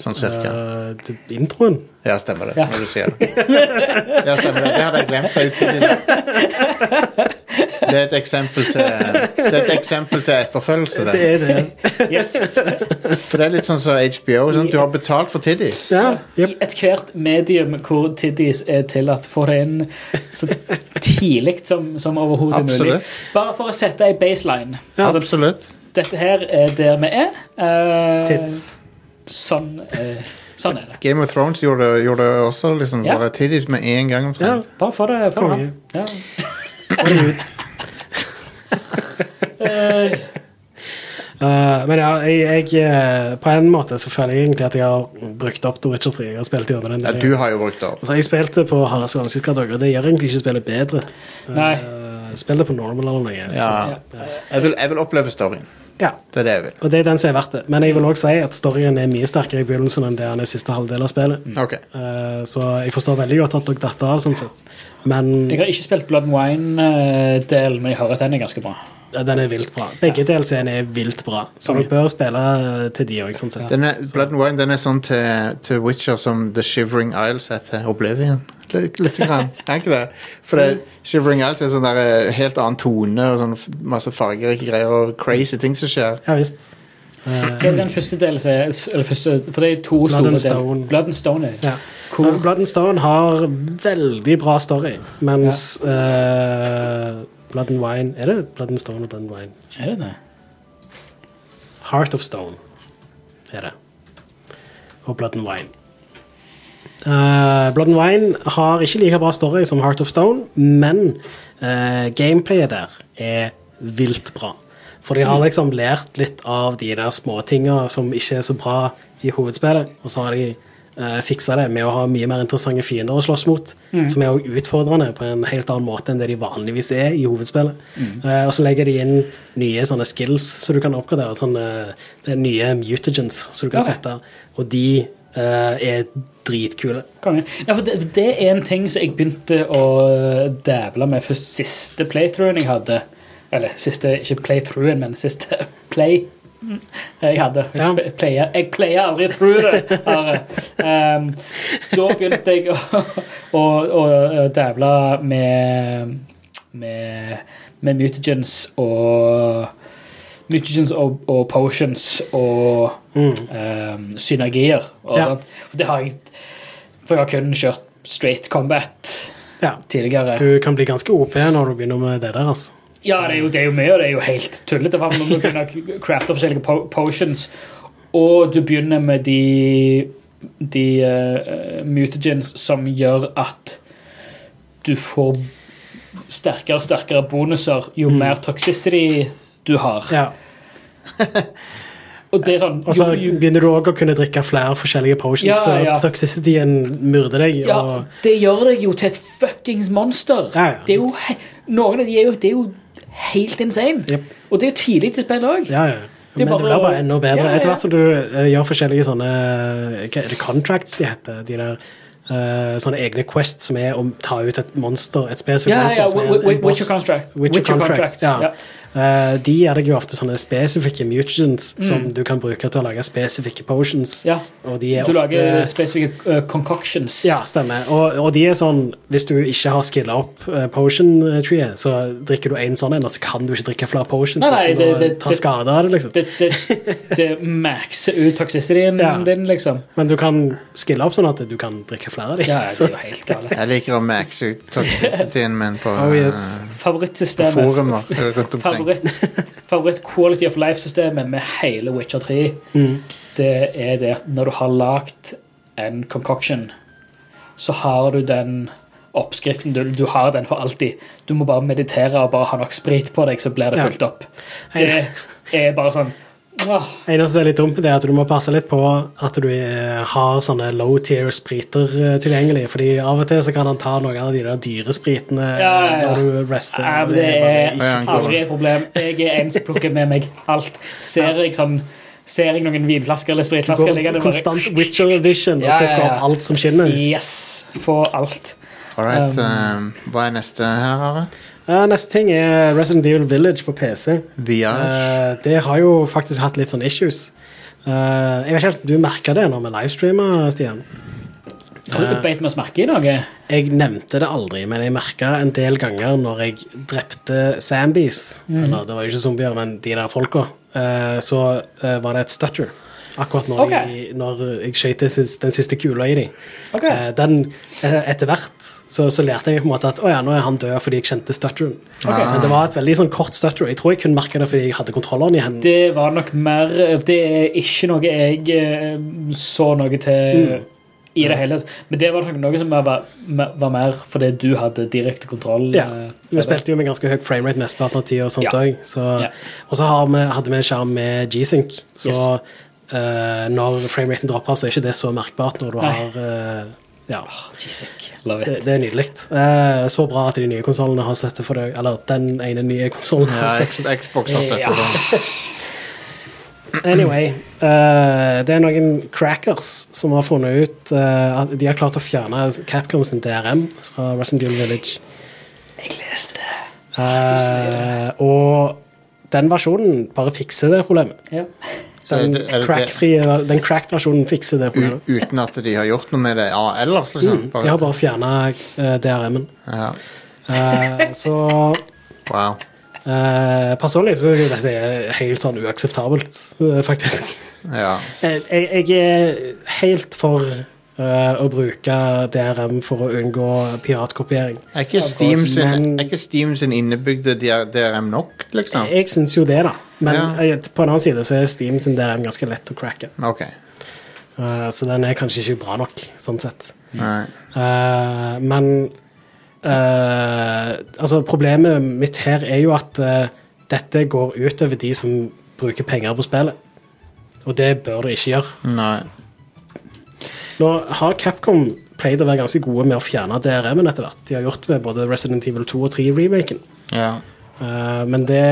[SPEAKER 1] Sånn cirka.
[SPEAKER 4] Eh, til introen.
[SPEAKER 1] Ja, stemmer det.
[SPEAKER 3] Ja.
[SPEAKER 1] Når du sier det. Ja, stemmer det. Det hadde jeg glemt. Det er, jo tidlig. det er et eksempel til Det er et eksempel til etterfølgelse.
[SPEAKER 4] Det
[SPEAKER 1] Det.
[SPEAKER 4] er det.
[SPEAKER 3] Yes.
[SPEAKER 1] For det er litt sånn som HBO. Sant? Du har betalt for tiddies.
[SPEAKER 4] Ja,
[SPEAKER 3] I ethvert medium hvor tiddies er tillatt, få det inn så tidlig som, som overhodet mulig.
[SPEAKER 1] Absolutt.
[SPEAKER 3] Bare for å sette ei baseline. Altså,
[SPEAKER 1] Absolutt.
[SPEAKER 3] dette her er der vi er. Eh,
[SPEAKER 4] Tits.
[SPEAKER 3] Sånn, eh, sånn er det.
[SPEAKER 1] Game of Thrones gjorde, gjorde det også. Liksom,
[SPEAKER 3] Ja.
[SPEAKER 1] Bare tiddies med én gang omtrent.
[SPEAKER 3] Bare få det få det
[SPEAKER 4] Konge.
[SPEAKER 3] fram. Ja.
[SPEAKER 4] Eh, men ja, jeg, jeg eh, På en måte så føler jeg egentlig at jeg har brukt opp The Witcher 3. Jeg har spilt gjennom den.
[SPEAKER 1] Ja,
[SPEAKER 4] der.
[SPEAKER 1] du har jo brukt det opp.
[SPEAKER 4] Altså, jeg spilte på Haralds Granskedag, og det gjør egentlig ikke spillet bedre.
[SPEAKER 3] Nei.
[SPEAKER 4] Eh, spillet på normal eller noe. så-
[SPEAKER 1] Ja. Jeg vil, jeg vil oppleve storyen.
[SPEAKER 4] ja.
[SPEAKER 1] Det er det jeg vil.
[SPEAKER 4] Og det er den som er verdt det. Men jeg vil også si at storyen er mye sterkere i begynnelsen enn det han er i siste halvdel av spillet.
[SPEAKER 1] Ok.
[SPEAKER 4] Eh, så jeg forstår veldig godt at dere datt av, sånn sett. Men
[SPEAKER 3] Jeg har ikke spilt Blood and Wine-delen, men jeg hører at den er ganske bra.
[SPEAKER 4] den er vilt bra. Begge delscenene er vilt bra, så
[SPEAKER 3] Konge.
[SPEAKER 4] dere bør spille eh, til de òg, sånn sett.
[SPEAKER 1] Den er, Blood and Wine den er sånn til, til Witcher som The Shivering Isles er til Oblivion. Litt, litt grann, er ikke det? For det, Shivering Isles er sånn der eh, helt annen tone og sånn f- masse fargerike greier og crazy ting som skjer.
[SPEAKER 4] Ja visst. Eh,
[SPEAKER 3] Det er den første delen som er eller første, For det er to
[SPEAKER 4] Blood
[SPEAKER 3] store deler.
[SPEAKER 4] and Stone.
[SPEAKER 3] Blood and Stone. er det.
[SPEAKER 4] ja.
[SPEAKER 3] Hvor,
[SPEAKER 4] Men Blood and Stone har veldig bra story, mens eh, Blood and Wine Er det Blood and Stone og Blood and Wine?
[SPEAKER 3] er det det?
[SPEAKER 4] Heart of Stone er det. Og Blood and Wine. Eh, Blood and Wine har ikke like bra story som Heart of Stone, men eh, gameplayet der er vilt bra. For de har liksom lært litt av de der småtinga som ikke er så bra i hovedspillet, og så har de uh, fiksa det med å ha mye mer interessante fiender å slåss mot, som er også utfordrende på en helt annen måte enn det de vanligvis er i hovedspillet. Eh, og så legger de inn nye sånne skills som du kan oppgradere, sånne det er nye mutagens som du kan
[SPEAKER 3] Ok.
[SPEAKER 4] sette, og de eh, er dritkule.
[SPEAKER 3] Konge. Ja, for det, det er en ting som jeg begynte å eh, dævle med for siste playthroughen jeg hadde. Eller siste, ikke playthroughen, men siste play eh, jeg hadde. Jeg,
[SPEAKER 4] Ja.
[SPEAKER 3] sp- player, jeg player aldri through det. Are. Um, da begynte jeg å, å, å eh, dævle med, med, med mutagens og Mutagens og, og potions og
[SPEAKER 4] Mm.
[SPEAKER 3] ehm, synergier. Og
[SPEAKER 4] Ja.
[SPEAKER 3] sånt. For Det har jeg For jeg har kun kjørt straight combat
[SPEAKER 4] Ja.
[SPEAKER 3] tidligere.
[SPEAKER 4] Du kan bli ganske OP når du begynner med det der, altså.
[SPEAKER 3] Ja, det er jo, det er jo mye, og det er jo helt tullete. Hva med å begynne å crafte forskjellige po potions? Og du begynner med de, de eh, mutagens som gjør at du får sterkere og sterkere bonuser jo mer toxicity du har.
[SPEAKER 4] Mm. Ja.
[SPEAKER 3] Og det er sånn
[SPEAKER 4] Og så
[SPEAKER 3] jo, jo,
[SPEAKER 4] begynner du òg å kunne drikke flere forskjellige potions
[SPEAKER 3] Ja,
[SPEAKER 4] før
[SPEAKER 3] ja.
[SPEAKER 4] toxicityen myrder deg.
[SPEAKER 3] ja,
[SPEAKER 4] Og,
[SPEAKER 3] Det gjør deg jo til et fuckings monster.
[SPEAKER 4] Ja, ja.
[SPEAKER 3] Det er jo, he- noen av de er jo, det er jo helt insane.
[SPEAKER 4] Jep.
[SPEAKER 3] Og det er jo tidlig til spill òg.
[SPEAKER 4] ja, ja.
[SPEAKER 3] Det er
[SPEAKER 4] Men det
[SPEAKER 3] bare
[SPEAKER 4] blir
[SPEAKER 3] å-
[SPEAKER 4] bare enda bedre.
[SPEAKER 3] Ja, ja, ja.
[SPEAKER 4] Etter hvert som du eh, gjør forskjellige sånne eh, hva er det contracts de heter? De der eh, sånne egne quests som er å ta ut et monster, et spesifikt
[SPEAKER 3] Ja,
[SPEAKER 4] monster.
[SPEAKER 3] ja,
[SPEAKER 4] som er en- en boss.
[SPEAKER 3] Witcher Contract.
[SPEAKER 4] Witcher Contracts, ja.
[SPEAKER 3] ja. Mm.
[SPEAKER 4] Eh, de er det jo ofte sånne spesifikke mutagens som du kan bruke til å lage spesifikke potions.
[SPEAKER 3] Ja.
[SPEAKER 4] Og de er
[SPEAKER 3] Du
[SPEAKER 4] ofte
[SPEAKER 3] lager spesifikke eh, concoctions.
[SPEAKER 4] Ja, stemmer. Og, og de er sånn Hvis du ikke har skilla opp eh, potion treet, så drikker du én sånn en, og så kan du ikke drikke flere potions
[SPEAKER 3] Nei, nei,
[SPEAKER 4] uten
[SPEAKER 3] det- det-
[SPEAKER 4] å ta
[SPEAKER 3] det-
[SPEAKER 4] skade av det, liksom.
[SPEAKER 3] Det, det, det maxer ut toxicityen
[SPEAKER 4] Ja.
[SPEAKER 3] din, liksom.
[SPEAKER 4] Men du kan skille opp sånn at du kan drikke flere av dem.
[SPEAKER 3] Ja, det er jo helt galt.
[SPEAKER 1] Jeg liker å maxe ut toxicityen min på
[SPEAKER 4] Oh, yes.
[SPEAKER 1] eh, på
[SPEAKER 3] Favorittsystemet.
[SPEAKER 1] forumer rundt omkring.
[SPEAKER 3] Favoritt, favoritt quality of life-systemet med hele Witcher 3,
[SPEAKER 4] Mm.
[SPEAKER 3] det er det at når du har lagd en concoction, så har du den oppskriften. Du, du har den for alltid. Du må bare meditere og bare ha nok sprit på deg, så blir det
[SPEAKER 4] Ja.
[SPEAKER 3] fulgt opp. Det er bare sånn Åh,
[SPEAKER 4] eneste som er litt dumt, det er at du må passe litt på at du eh, har sånne low tier spriter eh, tilgjengelig, fordi av og til så kan han ta noen av de der dyre spritene eh,
[SPEAKER 3] Ja, ja, ja.
[SPEAKER 4] når du rester.
[SPEAKER 3] nei,
[SPEAKER 4] og
[SPEAKER 3] men det
[SPEAKER 4] bare
[SPEAKER 3] er
[SPEAKER 4] ikke-
[SPEAKER 1] ikke
[SPEAKER 3] aldri et problem. Jeg er en som plukker med meg alt. Ser jeg sånn Ser jeg noen vinflasker eller spritflasker, ligger det
[SPEAKER 4] Går konstant
[SPEAKER 3] bare
[SPEAKER 4] Witcher Edition og
[SPEAKER 3] Ja, ja, ja.
[SPEAKER 4] plukker opp alt som skinner.
[SPEAKER 3] Yes, få alt.
[SPEAKER 1] All right,
[SPEAKER 4] um,
[SPEAKER 1] eh, hva er neste her, Are?
[SPEAKER 4] Eh, neste ting er Resident Evil Village på PC.
[SPEAKER 1] Viage.
[SPEAKER 4] Eh, det har jo faktisk hatt litt sånn issues. Eh, jeg vet ikke helt, Du merka det når vi livestreama, Stian.
[SPEAKER 3] Tror du beit meg merke i eh? noe?
[SPEAKER 4] Jeg nevnte det aldri, men jeg merka en del ganger når jeg drepte zombies
[SPEAKER 3] Mm.
[SPEAKER 4] Eller det var jo ikke zombier, men de der folka. eh, så eh, var det et stutter. Akkurat når
[SPEAKER 3] Ok.
[SPEAKER 4] jeg, når jeg skjøt det sis- den siste kula i dem.
[SPEAKER 3] Ok.
[SPEAKER 4] den, eh, etter hvert så, så lærte jeg på en måte at å ja, nå er han død fordi jeg kjente stutteren.
[SPEAKER 3] Ok.
[SPEAKER 4] Men det var et veldig sånn kort stutter. Jeg tror jeg kunne merke det fordi jeg hadde kontrolleren i hendene.
[SPEAKER 3] Det var nok mer eh, Det er ikke noe jeg eh, så noe til i det hele tatt. Men det var nok noe som var, var- var mer fordi du hadde direkte kontroll.
[SPEAKER 4] Ja.
[SPEAKER 3] eh,
[SPEAKER 4] Vi
[SPEAKER 3] over.
[SPEAKER 4] spilte jo med ganske høy framerate mesteparten av tida. Og sånt
[SPEAKER 3] Ja.
[SPEAKER 4] også, så,
[SPEAKER 3] Ja.
[SPEAKER 4] og så har vi, hadde vi en skjerm med G-Sync, så
[SPEAKER 3] Yes.
[SPEAKER 4] eh, når frameraten dropper, så er ikke det så merkbart når du
[SPEAKER 3] Nei.
[SPEAKER 4] har eh, Ja,
[SPEAKER 3] Åh, Jesus, jeg love
[SPEAKER 4] det,
[SPEAKER 3] it.
[SPEAKER 4] det er nydelig. Eh, så bra at de nye konsollene har støtte for det. Eller den ene nye konsollen
[SPEAKER 1] Ja,
[SPEAKER 4] har støtte.
[SPEAKER 1] X- Xbox har
[SPEAKER 3] Ja.
[SPEAKER 1] støtte sånn.
[SPEAKER 4] Anyway, eh, det er noen crackers som har funnet ut eh, at de har klart å fjerne Capcom sin DRM fra Resident Evil Village.
[SPEAKER 3] Jeg leste det.
[SPEAKER 4] Eh, og den versjonen bare fikser det problemet.
[SPEAKER 3] Ja.
[SPEAKER 1] Så er
[SPEAKER 4] Den
[SPEAKER 1] det- er det-
[SPEAKER 4] crackfrie, den cracked versjonen fikser det
[SPEAKER 1] U
[SPEAKER 4] problemet.
[SPEAKER 1] uten at de har gjort noe med det ja, ellers, liksom.
[SPEAKER 4] Mm, De har bare eh, fjerna DRM-en.
[SPEAKER 1] Ja.
[SPEAKER 4] Eh, så
[SPEAKER 1] Wow.
[SPEAKER 4] eh, personlig så er dette helt sånn uakseptabelt, eh, faktisk.
[SPEAKER 1] Ja.
[SPEAKER 4] Jeg, jeg jeg er helt for eh, å bruke DRM for å unngå piratkopiering.
[SPEAKER 1] Er ikke Steam sin, er ikke Steam sin innebygde DR- DRM nok, liksom?
[SPEAKER 4] Jeg syns jo det, da. Men
[SPEAKER 1] Ja.
[SPEAKER 4] eh, på den annen side så er Steam sin DRM ganske lett å cracke.
[SPEAKER 1] Ok.
[SPEAKER 4] Eh, så den er kanskje ikke bra nok, sånn sett.
[SPEAKER 1] Nei.
[SPEAKER 4] Eh, men eh, altså problemet mitt her er jo at eh, dette går ut over de som bruker penger på spillet. Og det bør det ikke gjøre.
[SPEAKER 1] Nei.
[SPEAKER 4] Nå har Capcom pleid å være ganske gode med å fjerne DRM-en etter hvert. De har gjort det med både Resident Evil 2 og 3-remaken.
[SPEAKER 1] Ja.
[SPEAKER 4] men det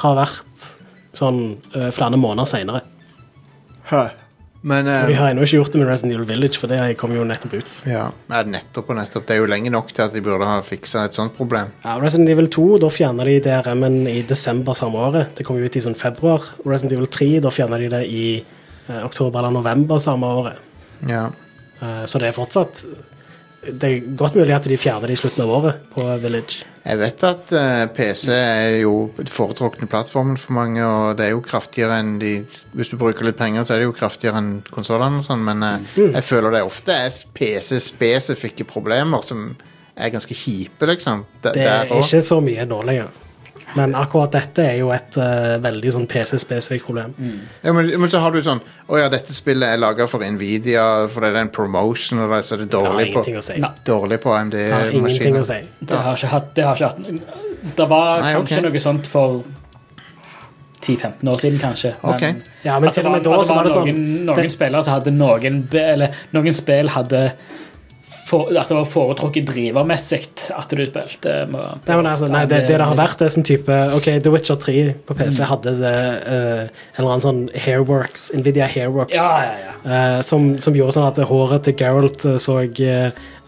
[SPEAKER 4] har vært sånn eh, flere måneder seinere.
[SPEAKER 1] Hæ. Men eh,
[SPEAKER 4] De har ennå ikke gjort det med Resident Evil Village, for det kom jo nettopp ut.
[SPEAKER 1] ja. Nei, nettopp og nettopp. Det er jo lenge nok til at de burde ha fiksa et sånt problem.
[SPEAKER 4] Ja, Resident Evil 2, da fjerna de DRM-en i desember samme året. Det kom jo ut i sånn februar. Resident Evil 3, da fjerna de det i eh, oktober eller november samme året.
[SPEAKER 1] Ja.
[SPEAKER 4] Eh, så det er fortsatt Det er godt mulig at de fjerner det i slutten av året på Village.
[SPEAKER 1] Jeg vet at eh, PC er jo foretrukne plattformen for mange, og det er jo kraftigere enn de Hvis du bruker litt penger, så er det jo kraftigere enn konsollene og sånn, men eh,
[SPEAKER 4] Mm.
[SPEAKER 1] jeg føler det ofte er PC-spesifikke problemer som er ganske kjipe, liksom. D
[SPEAKER 4] Det er
[SPEAKER 1] der også.
[SPEAKER 4] ikke så mye nå lenger. Men akkurat dette er jo et eh, veldig sånn PC-spesifikt problem.
[SPEAKER 1] Ja, men, men så har du sånn Å ja, dette spillet er laga for Nvidia, for det er en promotion, og det, så er det
[SPEAKER 4] Det har
[SPEAKER 1] dårlig på,
[SPEAKER 4] ingenting å si.
[SPEAKER 3] Nei.
[SPEAKER 1] dårlig på
[SPEAKER 4] Det har ingenting å
[SPEAKER 1] AMD-maskiner.
[SPEAKER 4] si.
[SPEAKER 3] Det har ikke hatt Det, har ikke hatt, det var
[SPEAKER 1] Nei,
[SPEAKER 3] kanskje
[SPEAKER 1] ok.
[SPEAKER 3] noe sånt for 10-15 år siden, kanskje. Men
[SPEAKER 1] Ok.
[SPEAKER 4] Ja, men
[SPEAKER 3] at det
[SPEAKER 4] til og
[SPEAKER 3] var,
[SPEAKER 4] med da
[SPEAKER 3] at det
[SPEAKER 4] så var
[SPEAKER 3] var
[SPEAKER 4] det sånn
[SPEAKER 3] noen, noen spillere som hadde noen be- Eller noen spill hadde for, At det var foretrukket drivermessig at du spilte med-
[SPEAKER 4] Nei, men altså, nei det, det det har vært, det er sånn type Ok, The Witcher 3 på PC
[SPEAKER 3] Mm.
[SPEAKER 4] hadde det eh, en eller annen sånn Hairworks, Nvidia Hairworks,
[SPEAKER 3] Ja, ja, ja.
[SPEAKER 4] eh, som, som gjorde sånn at håret til Geralt eh, så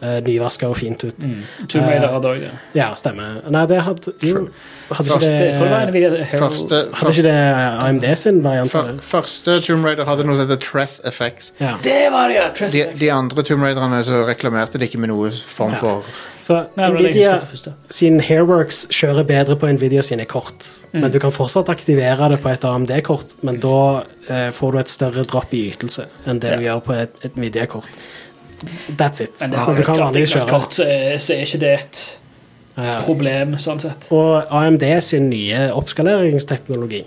[SPEAKER 4] uh, nyvaska og fint ut. Eh,
[SPEAKER 3] Tomb Raider hadde også det.
[SPEAKER 4] Ja, stemmer. Nei, det hadde jo Hadde ikke
[SPEAKER 1] Første-
[SPEAKER 4] det,
[SPEAKER 3] Jeg tror det var en video
[SPEAKER 4] eh,
[SPEAKER 3] Hero-
[SPEAKER 1] Første,
[SPEAKER 4] hadde ikke
[SPEAKER 1] første,
[SPEAKER 4] det AMD sin variant? av
[SPEAKER 1] fir-
[SPEAKER 4] det?
[SPEAKER 1] første Tomb Raider hadde noe som heter Tress Effects.
[SPEAKER 4] Ja.
[SPEAKER 3] Det var det, ja! Trust
[SPEAKER 1] De, de andre Tomb Raiderne så reklamerte de ikke med noe form
[SPEAKER 4] Ja.
[SPEAKER 1] for
[SPEAKER 4] Så
[SPEAKER 3] Nei, det var det jeg
[SPEAKER 4] Nvidia
[SPEAKER 3] husker først, ja.
[SPEAKER 4] sin Hairworks kjører bedre på Nvidia sine kort,
[SPEAKER 3] Mm.
[SPEAKER 4] men du kan fortsatt aktivere det på et AMD-kort, men da eh, får du et større dropp i ytelse enn det du
[SPEAKER 3] Ja.
[SPEAKER 4] gjør på et, et Nvidia-kort. That's it.
[SPEAKER 3] Men det
[SPEAKER 4] Men
[SPEAKER 3] har
[SPEAKER 4] du
[SPEAKER 3] jo
[SPEAKER 4] kan
[SPEAKER 3] klart
[SPEAKER 4] vanligvis
[SPEAKER 3] ikke et
[SPEAKER 4] kjøre.
[SPEAKER 3] kort, så er, så er ikke det et
[SPEAKER 4] Ja.
[SPEAKER 3] problem, sånn sett.
[SPEAKER 4] Og AMD sin nye oppskaleringsteknologi,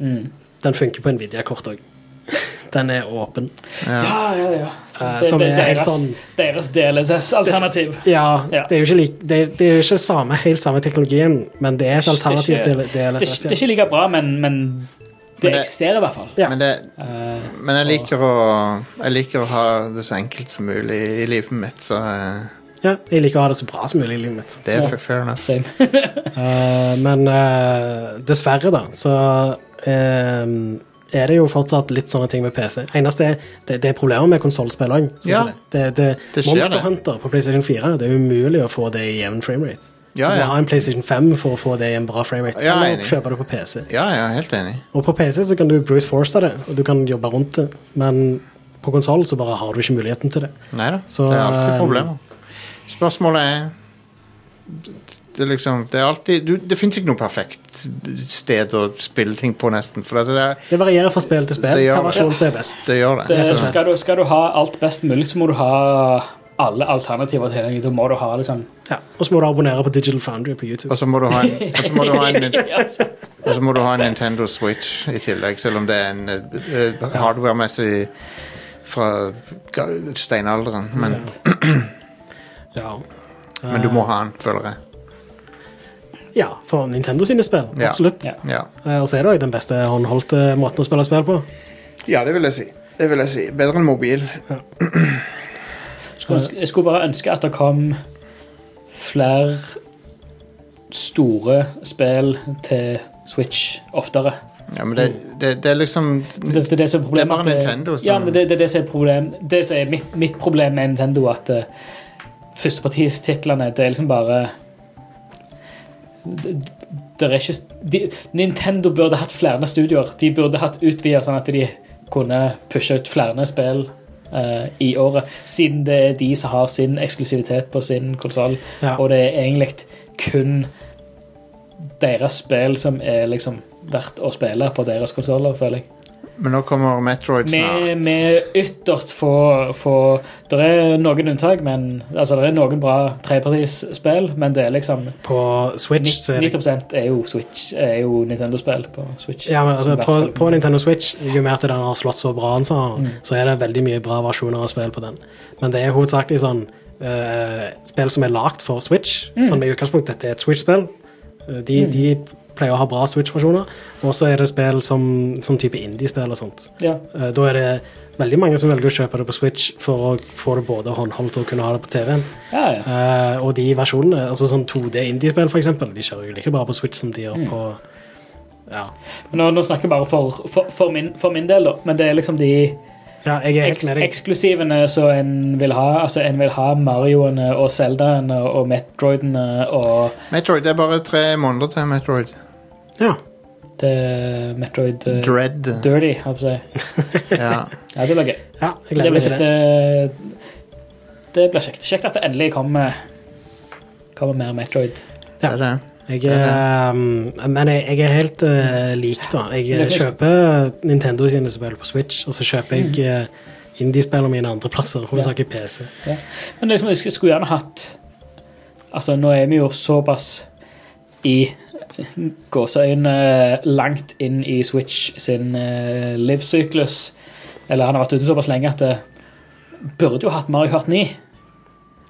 [SPEAKER 3] Mm.
[SPEAKER 4] den funker på Nvidia-kort òg. Den er åpen.
[SPEAKER 1] ja.
[SPEAKER 3] Ja, ja, ja.
[SPEAKER 4] Eh,
[SPEAKER 3] Det,
[SPEAKER 4] som
[SPEAKER 3] det,
[SPEAKER 4] er helt
[SPEAKER 3] deres,
[SPEAKER 4] sånn
[SPEAKER 3] deres DLSS-alternativ.
[SPEAKER 4] Ja,
[SPEAKER 3] Ja.
[SPEAKER 4] det er jo ikke, lik, det, det er jo ikke samme, helt samme teknologien, men det er et
[SPEAKER 3] Det er ikke-
[SPEAKER 4] alternativ til
[SPEAKER 3] Det, er
[SPEAKER 4] DLSS.
[SPEAKER 3] ikke- det er ikke like bra, men, men Det
[SPEAKER 1] det-
[SPEAKER 3] eksisterer i hvert fall.
[SPEAKER 4] Ja.
[SPEAKER 1] Men, det,
[SPEAKER 3] Eh,
[SPEAKER 1] men jeg liker å Jeg liker å ha det så enkelt som mulig i livet mitt, så eh,
[SPEAKER 4] Ja, jeg liker å ha det så bra som mulig i livet mitt.
[SPEAKER 1] det er
[SPEAKER 3] Ja.
[SPEAKER 1] fair enough.
[SPEAKER 3] same.
[SPEAKER 4] Eh, men eh, dessverre, da, så eh, er det jo fortsatt litt sånne ting med PC. Eneste er det, det er problemer med konsollspill òg.
[SPEAKER 1] Ja.
[SPEAKER 4] Det, det,
[SPEAKER 1] Det skjer,
[SPEAKER 4] Monster
[SPEAKER 1] det.
[SPEAKER 4] Hunter på PlayStation 4 det er umulig å få det i jevn framerate.
[SPEAKER 1] Ja,
[SPEAKER 4] Du må ha
[SPEAKER 1] ja.
[SPEAKER 4] en PlayStation 5 for å få det i en bra framerate.
[SPEAKER 1] Ja, jeg er
[SPEAKER 4] eller
[SPEAKER 1] enig.
[SPEAKER 4] kjøpe det på PC.
[SPEAKER 1] ja, ja, helt enig.
[SPEAKER 4] Og på PC så kan du brute force det, og du kan jobbe rundt det. Men på konsoll så bare har du ikke muligheten til det.
[SPEAKER 1] Nei da.
[SPEAKER 4] Så,
[SPEAKER 1] det er alltid
[SPEAKER 4] eh,
[SPEAKER 1] problemer. Spørsmålet er det er liksom, det er alltid du, Det fins ikke noe perfekt sted å spille ting på, nesten. For at det, er,
[SPEAKER 4] Det varierer fra spill til spill.
[SPEAKER 1] Det gjør
[SPEAKER 4] Hva
[SPEAKER 1] det.
[SPEAKER 4] versjon som er best.
[SPEAKER 1] det gjør det.
[SPEAKER 3] Det,
[SPEAKER 1] rett og slett.
[SPEAKER 3] Eh, skal, du, skal du ha alt best mulig, så må du ha alle alternativer tilgjengelig. Da må du ha liksom
[SPEAKER 4] Ja. Og så må du abonnere på Digital Foundry på YouTube.
[SPEAKER 1] Og så må du ha en, og så må du ha en
[SPEAKER 3] Ja, sant.
[SPEAKER 1] Og så må du ha en Nintendo Switch i tillegg, selv om det er en eh, eh, hardware-messig fra ga- steinalderen. Men,
[SPEAKER 4] Ja.
[SPEAKER 1] men du må ha den, føler jeg.
[SPEAKER 4] Ja, for Nintendo sine spill.
[SPEAKER 1] Ja.
[SPEAKER 4] Absolutt.
[SPEAKER 3] Ja.
[SPEAKER 1] Ja,
[SPEAKER 4] Eh, Og så er det òg den beste håndholdte måten å spille spill på.
[SPEAKER 1] ja det vil jeg si. Det vil jeg si. Bedre enn mobil.
[SPEAKER 3] Skulle ønske- Jeg skulle bare ønske at det kom flere store spill til Switch oftere.
[SPEAKER 1] Ja, men det, det, det er liksom
[SPEAKER 3] Det, det, er det, som er
[SPEAKER 1] Det
[SPEAKER 3] problemet,
[SPEAKER 1] er bare
[SPEAKER 3] at eh,
[SPEAKER 1] Nintendo som-
[SPEAKER 3] Ja, men det, det, er det som er problem, det som er mitt, mitt problem med Nintendo, at eh, førstepartistitlene Det er liksom bare det, det er ikke de, Nintendo burde hatt flere studioer. De burde hatt utvidet sånn at de kunne pushe ut flere spill eh, i året. Siden det er de som har sin eksklusivitet på sin konsoll,
[SPEAKER 4] Ja.
[SPEAKER 3] og det er egentlig kun deres spill som er liksom verdt å spille på deres konsoller, føler jeg.
[SPEAKER 1] Men nå kommer Metroid
[SPEAKER 3] Med,
[SPEAKER 1] snart.
[SPEAKER 3] med ytterst få, få Det er noen unntak, men altså, det er noen bra trepartisspill, men det er liksom
[SPEAKER 4] På Switch så er det
[SPEAKER 3] 90 er jo Switch, er jo Nintendo-spill på Switch.
[SPEAKER 4] ja, men altså,
[SPEAKER 3] Som
[SPEAKER 4] på,
[SPEAKER 3] vertsspill.
[SPEAKER 4] på Nintendo Switch, jo mer til den har slått så bra an, så, har-
[SPEAKER 3] Mm.
[SPEAKER 4] så er det veldig mye bra versjoner av spill på den. Men det er hovedsakelig sånn eh, spill som er lagd for Switch.
[SPEAKER 3] Mm.
[SPEAKER 4] Sånn med utgangspunkt dette er et Switch-spill. Eh, De, de pleier å ha bra Switch-versjoner. Og så er det spill som, som type indie-spill og sånt.
[SPEAKER 3] ja.
[SPEAKER 4] Eh, Da er det veldig mange som velger å kjøpe det på Switch for å få det både håndholdt og kunne ha det på TV-en.
[SPEAKER 3] ja, ja.
[SPEAKER 4] Eh, og de versjonene, altså sånn 2D indie-spill for eksempel, de kjører jo like bra på Switch som de gjør
[SPEAKER 3] Mm.
[SPEAKER 4] på ja.
[SPEAKER 3] Nå, nå snakker jeg bare for, for, for, min, for min del, da, men det er liksom de
[SPEAKER 4] ja, jeg er helt
[SPEAKER 3] eks
[SPEAKER 4] med deg.
[SPEAKER 3] eksklusivene som en vil ha. Altså, en vil ha Marioene og Zeldaene og Metroidene og
[SPEAKER 1] Metroid, Det er bare tre måneder til Metroid.
[SPEAKER 4] Ja.
[SPEAKER 3] det, Metroid eh,
[SPEAKER 1] Dread.
[SPEAKER 3] Dirty, holdt jeg på å si.
[SPEAKER 1] Ja.
[SPEAKER 3] Ja, det blir gøy.
[SPEAKER 4] ja,
[SPEAKER 3] Det
[SPEAKER 4] jeg gleder
[SPEAKER 3] blir
[SPEAKER 4] meg til
[SPEAKER 3] kjekt.
[SPEAKER 4] det.
[SPEAKER 3] Det, det blir kjekt. Kjekt at det endelig kommer, kommer mer Metroid.
[SPEAKER 1] Det er det.
[SPEAKER 4] Jeg, er, ehm, men jeg, jeg er helt eh, lik, da. Jeg eh, kjøper Nintendo sine spill på Switch, og så kjøper jeg
[SPEAKER 3] Mm.
[SPEAKER 4] eh, indie-spillene mine andre plasser, hovedsakelig PC.
[SPEAKER 3] Men liksom, jeg skulle gjerne hatt Altså, nå er vi jo såpass i gåseøynene eh, langt inn i Switch sin eh, livssyklus. Eller han har vært ute såpass lenge at det burde jo hatt Mario Kart 9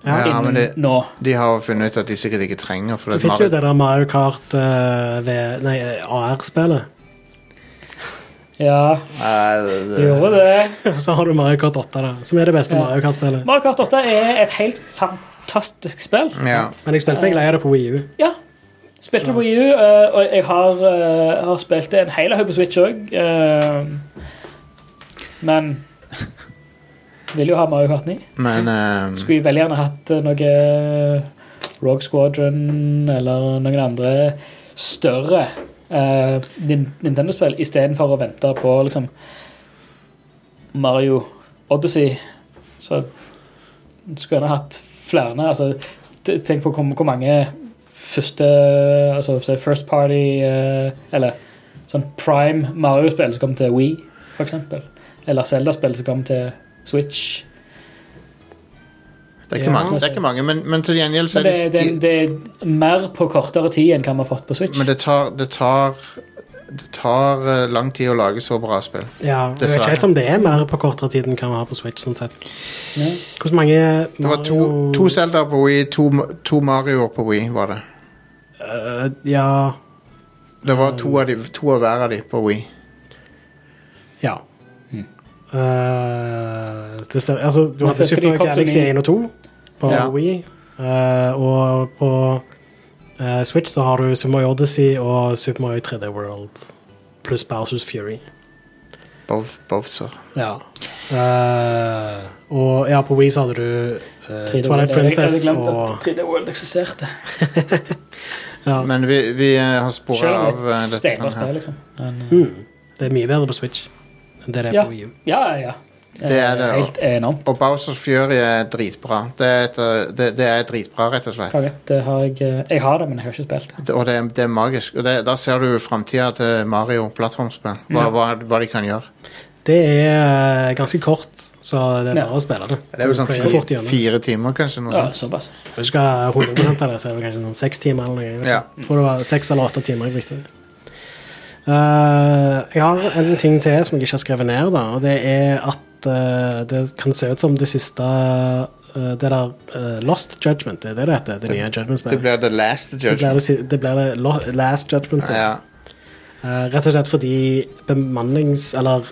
[SPEAKER 1] Ja, men
[SPEAKER 3] innen
[SPEAKER 1] det-
[SPEAKER 3] nå.
[SPEAKER 1] De har jo funnet ut at de sikkert ikke trenger for
[SPEAKER 4] Du
[SPEAKER 1] det
[SPEAKER 4] fikk
[SPEAKER 1] Mario,
[SPEAKER 4] jo det der Mario Kart eh, ved- nei, eh, AR-spillet.
[SPEAKER 3] Ja,
[SPEAKER 1] Nei, det- det-
[SPEAKER 3] gjorde det.
[SPEAKER 4] Og så har du Mario Kart 8, da, som er det beste
[SPEAKER 3] Ja.
[SPEAKER 4] Mario Kart-spillet.
[SPEAKER 3] Mario Kart 8 er et helt fantastisk spill.
[SPEAKER 1] Ja.
[SPEAKER 4] Men jeg spilte meg lei av det på Wii U.
[SPEAKER 3] Ja. Spilte det på Wii U, eh, og jeg har, eh, har spilt det en hel haug på Switch òg. men Vil jo ha Mario Kart 9.
[SPEAKER 1] Men eh,
[SPEAKER 3] Skulle veldig gjerne hatt eh, noe Rogue Squadron eller noen andre større eh, Nin- Nintendo-spill istedenfor å vente på liksom Mario Odyssey. Så skulle gjerne hatt flere. Altså, t- tenk på hvor, hvor mange første altså, si First Party eh, eller sånn prime Mario-spill som kom til Wii, for eksempel. Eller Zelda-spill som kom til Switch.
[SPEAKER 1] Det er ikke
[SPEAKER 4] Ja.
[SPEAKER 1] mange, det er ikke mange men, men til gjengjeld så
[SPEAKER 3] Men
[SPEAKER 1] er det,
[SPEAKER 3] det, det, det er mer på kortere tid enn hva vi har fått på Switch.
[SPEAKER 1] Men det tar Det tar, det tar eh, lang tid å lage så bra spill.
[SPEAKER 4] Ja, jeg vet
[SPEAKER 1] Dessverre.
[SPEAKER 4] ikke helt om det er mer på kortere tid enn hva vi har på Switch. sånn sett.
[SPEAKER 3] Ja.
[SPEAKER 4] Hvordan mange
[SPEAKER 1] Det var to,
[SPEAKER 4] Mario-
[SPEAKER 1] to Zelda på Wii, to, to Marioer på Wii, var det.
[SPEAKER 4] Øh, ja,
[SPEAKER 1] Det var to av, de, to av hver av de på Wii.
[SPEAKER 4] Ja.
[SPEAKER 1] Mm.
[SPEAKER 4] Eh, det stemmer. Altså, du
[SPEAKER 3] Men
[SPEAKER 4] hadde
[SPEAKER 3] første de
[SPEAKER 4] Super
[SPEAKER 3] kom til
[SPEAKER 4] Galaxy
[SPEAKER 3] min-
[SPEAKER 4] 1 og 2 på
[SPEAKER 1] Ja.
[SPEAKER 4] Wii, eh, og på eh, Switch så har du Super Mario Odyssey og Super Mario 3D World pluss Bowsers Fury.
[SPEAKER 1] Bov, Bowser.
[SPEAKER 4] Ja. Eh, og ja, på Wii så hadde du eh,
[SPEAKER 3] 3D World.
[SPEAKER 4] Twilight
[SPEAKER 3] Jeg hadde
[SPEAKER 4] Princess
[SPEAKER 3] glemt
[SPEAKER 4] og
[SPEAKER 3] at 3D World eksisterte.
[SPEAKER 4] ja.
[SPEAKER 1] Men vi, vi eh, har sporet
[SPEAKER 3] Selv
[SPEAKER 1] av
[SPEAKER 3] om
[SPEAKER 1] eh,
[SPEAKER 3] det er et
[SPEAKER 1] dette
[SPEAKER 3] steinbra
[SPEAKER 1] her.
[SPEAKER 3] spill, liksom. Men, eh,
[SPEAKER 4] mm, Det er mye bedre på Switch enn det det er
[SPEAKER 3] Ja.
[SPEAKER 4] på Wii U.
[SPEAKER 3] ja, ja, ja.
[SPEAKER 1] Det er det,
[SPEAKER 3] Eh, Helt enormt.
[SPEAKER 1] Og Bowsers Fury er dritbra. Det er, et, eh, det, det er dritbra, rett og slett.
[SPEAKER 3] Konge. Det har jeg, eh, jeg har det, men jeg har ikke spilt det.
[SPEAKER 1] Det- Og det, er- det er magisk. Og det, da ser du framtida til Mario plattformspill. Hva,
[SPEAKER 3] Ja.
[SPEAKER 1] hva, hva de kan gjøre.
[SPEAKER 4] Det er eh, ganske kort, så det er
[SPEAKER 3] Ja.
[SPEAKER 4] bare å spille det.
[SPEAKER 1] Det er jo sånn
[SPEAKER 4] Du pleier fort
[SPEAKER 1] fire,
[SPEAKER 4] gjennom.
[SPEAKER 1] fire timer, kanskje. noe
[SPEAKER 3] Ja,
[SPEAKER 1] sånt.
[SPEAKER 3] såpass.
[SPEAKER 4] Hvis du skal ha 100 av det, så er det kanskje sånn seks timer eller noe. Jeg vet
[SPEAKER 1] Ja.
[SPEAKER 4] ikke. Jeg tror det var seks eller åtte timer. Jeg brukte. Eh, jeg har en ting til som jeg ikke har skrevet ned, da, og det er at eh, det kan se ut som det siste eh, Det der eh, Lost Judgment, det er det det heter? Det, nye
[SPEAKER 1] Det
[SPEAKER 4] Judgment-spillet.
[SPEAKER 1] blir The Last
[SPEAKER 4] Det blir
[SPEAKER 1] Judgment.
[SPEAKER 4] det, si- det, blir det lo, Last Judgment. da.
[SPEAKER 1] Ja.
[SPEAKER 4] Eh, rett og slett fordi bemannings... Eller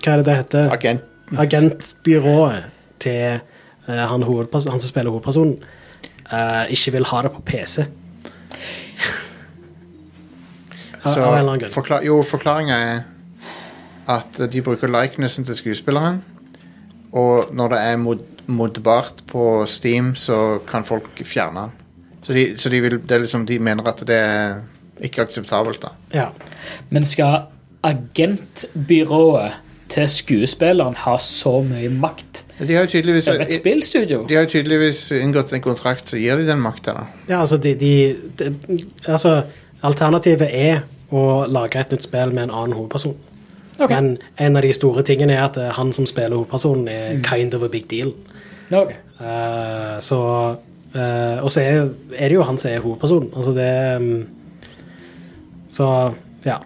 [SPEAKER 4] hva er det det heter?
[SPEAKER 1] Agent.
[SPEAKER 4] agentbyrået til eh, han, hovedperson, han som spiller hovedpersonen, eh, ikke vil ha det på PC. Av-
[SPEAKER 1] Så
[SPEAKER 4] av en eller annen grunn.
[SPEAKER 1] forkla jo, forklaringa er at de bruker likenessen til skuespilleren. Og når det er mod modbart på Steam, så kan folk fjerne den. Så de, så de, vil, det er liksom, de mener at det er ikke akseptabelt, da.
[SPEAKER 4] Ja.
[SPEAKER 3] Men skal agentbyrået til skuespilleren ha så mye makt
[SPEAKER 1] De har jo tydeligvis,
[SPEAKER 3] over et
[SPEAKER 1] de
[SPEAKER 3] spillstudio?
[SPEAKER 1] har jo tydeligvis inngått en kontrakt som gir de den makta, da.
[SPEAKER 4] ja, altså de, de, de Altså, alternativet er å lage et nytt spill med en annen hovedperson.
[SPEAKER 3] Ok.
[SPEAKER 4] Men en av de store tingene er at eh, han som spiller hovedpersonen, er kind of a big deal.
[SPEAKER 3] Ok.
[SPEAKER 4] Eh, så eh, Og så er, er det jo han som er hovedpersonen. Altså det mm, Så ja.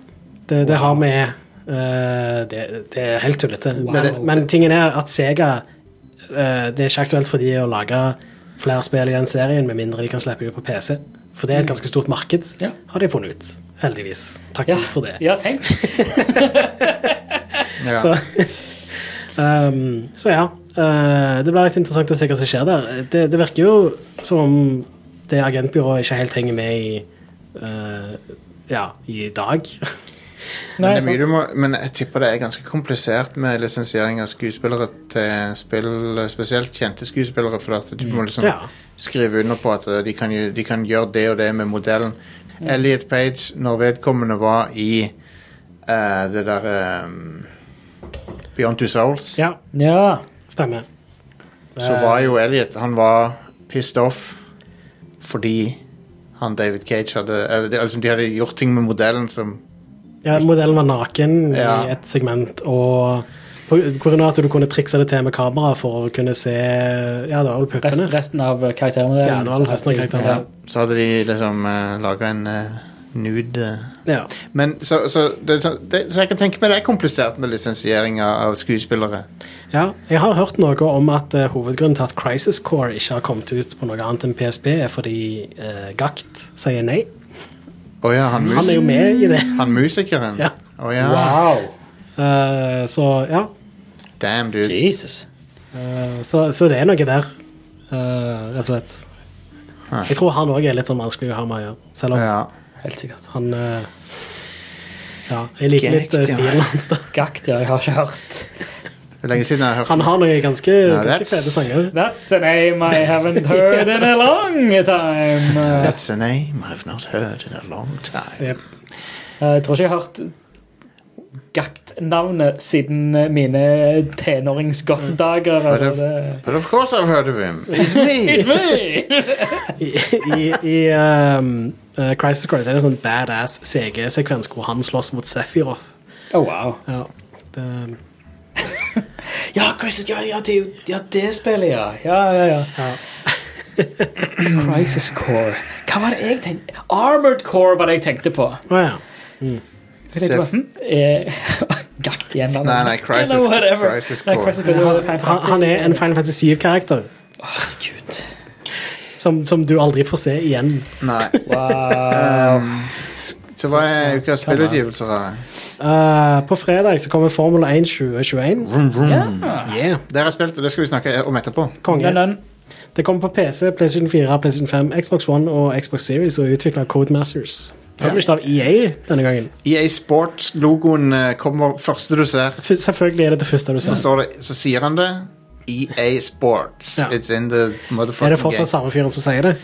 [SPEAKER 4] Det, det har vi eh, det, det er helt tullete. Men,
[SPEAKER 3] det-
[SPEAKER 4] men tingen er at Sega eh, Det er ikke aktuelt for de å lage flere spill i den serien med mindre de kan slippe det ut på PC. For det er et ganske stort marked,
[SPEAKER 3] Mm. Ja.
[SPEAKER 4] har de funnet ut. Heldigvis. Takk
[SPEAKER 3] Ja,
[SPEAKER 4] for det.
[SPEAKER 3] ja tenk.
[SPEAKER 1] Ja.
[SPEAKER 4] Så, um, så ja. eh, det blir litt interessant å se hva som skjer der. Det, det virker jo som om det agentbyrået ikke helt henger med i eh, Ja, i dag.
[SPEAKER 1] Men, det er
[SPEAKER 3] Nei,
[SPEAKER 1] mye du må, men jeg tipper det er ganske komplisert med lisensiering av skuespillere til spill, spesielt kjente skuespillere, for at du må liksom
[SPEAKER 4] Mm. Ja.
[SPEAKER 1] skrive under på at eh, de kan, gjø- de kan gjøre det og det med modellen.
[SPEAKER 4] Mm.
[SPEAKER 1] Elliot Page, når vedkommende var i eh, det der eh, Beyond Two Souls,
[SPEAKER 4] Ja,
[SPEAKER 3] Ja.
[SPEAKER 4] stemmer.
[SPEAKER 1] så var jo Elliot Han var pissed off fordi han David Cage hadde Eller det- altså, de hadde gjort ting med modellen som
[SPEAKER 4] Ja, modellen var naken
[SPEAKER 1] Ja.
[SPEAKER 4] i et segment, og på på grunn av at du kunne trikse det til med kamera for å kunne se Ja, det var vel
[SPEAKER 3] Rest,
[SPEAKER 4] puppene.
[SPEAKER 3] resten av karaktermodellen. liksom.
[SPEAKER 4] Ja, det var vel resten av karakteren.
[SPEAKER 1] ja, Så hadde de liksom uh, laga en eh, nude eh,
[SPEAKER 4] Ja.
[SPEAKER 1] Men så, så, det, så, det, så jeg kan tenke meg det er komplisert med lisensiering av av skuespillere.
[SPEAKER 4] ja. Jeg har hørt noe om at eh, hovedgrunnen til at Crisis Core ikke har kommet ut på noe annet enn PSP, er fordi eh, Gakt sier nei.
[SPEAKER 1] Å ja, han, mus
[SPEAKER 4] Mm. Han er jo med i det.
[SPEAKER 1] han musikeren?
[SPEAKER 4] Ja.
[SPEAKER 1] Å ja.
[SPEAKER 3] Wow.
[SPEAKER 4] Eh, så ja.
[SPEAKER 1] Damn, dude.
[SPEAKER 3] Jesus.
[SPEAKER 4] Eh, så, så det er noe der, eh, rett og slett.
[SPEAKER 1] Hæ.
[SPEAKER 4] Jeg tror han òg er litt sånn vanskelig å ha med å gjøre, selv om
[SPEAKER 1] Ah. Ja.
[SPEAKER 3] Helt sikkert.
[SPEAKER 4] han eh, Ja, jeg liker
[SPEAKER 1] Gekt,
[SPEAKER 4] litt eh,
[SPEAKER 1] ja.
[SPEAKER 4] stilen hans, da.
[SPEAKER 3] Gakt, ja. Jeg har ikke hørt.
[SPEAKER 1] Det er lenge siden jeg har hørt
[SPEAKER 4] Han har noen ganske, ganske
[SPEAKER 1] that's-
[SPEAKER 4] fete sanger.
[SPEAKER 3] That's a name I haven't heard in a long time. Eh,
[SPEAKER 1] That's a name I've not heard in a long time.
[SPEAKER 4] Ja.
[SPEAKER 3] Eh, Jeg tror ikke jeg har hørt Gakt-navnet siden mine tenårings-goth-dager. Altså, det...
[SPEAKER 1] But of course I've heard of him. It's me!
[SPEAKER 4] I, i, i ehm, eh, Crisis Core så er det en sånn badass CG-sekvens hvor han slåss mot Sephiroth.
[SPEAKER 3] Oh, wow.
[SPEAKER 4] Ja, det,
[SPEAKER 3] Ja, Crisis, ja, ja, det, er jo- ja, det spillet, ja. Ja, ja, ja.
[SPEAKER 4] Ja.
[SPEAKER 3] Crisis Core. Hva var det jeg tenkte? Armored Core var det jeg tenkte på.
[SPEAKER 4] Å, ja.
[SPEAKER 3] Jeg tenkte på
[SPEAKER 1] Sef-
[SPEAKER 3] hm, eh, Gakt igjen. da.
[SPEAKER 1] Nei, nei, Crisis-
[SPEAKER 3] Eller whatever.
[SPEAKER 1] Crisis
[SPEAKER 3] Nei,
[SPEAKER 1] Core.
[SPEAKER 3] Crisis Core. det var Final
[SPEAKER 4] han, han er en Final Fantasy 7-karakter
[SPEAKER 3] Fantasy. Gud.
[SPEAKER 4] som, som du aldri får se igjen.
[SPEAKER 1] Nei.
[SPEAKER 3] Wow.
[SPEAKER 1] Um, s- Så hva er ukas spillutgivelser? da?
[SPEAKER 4] Eh, på fredag så kommer Formula 1 2021.
[SPEAKER 1] Vroom, vroom.
[SPEAKER 4] Yeah.
[SPEAKER 1] Det har jeg spilt, og det skal vi snakke om etterpå.
[SPEAKER 4] Konge.
[SPEAKER 3] Dun, dun.
[SPEAKER 4] Det kommer på PC, PlayStation 4, PlayStation 5, Xbox One og Xbox Series og er utviklet av Codemasters. Published av EA denne gangen.
[SPEAKER 1] EA Sports-logoen eh, kommer første du ser.
[SPEAKER 4] F selvfølgelig er det det første du
[SPEAKER 1] Så,
[SPEAKER 4] ser.
[SPEAKER 1] står det, så sier han det. EA Sports.
[SPEAKER 4] Ja.
[SPEAKER 1] It's in the
[SPEAKER 4] Er det
[SPEAKER 1] motherfucking
[SPEAKER 4] fortsatt
[SPEAKER 1] game.
[SPEAKER 4] samme fyren som sier det?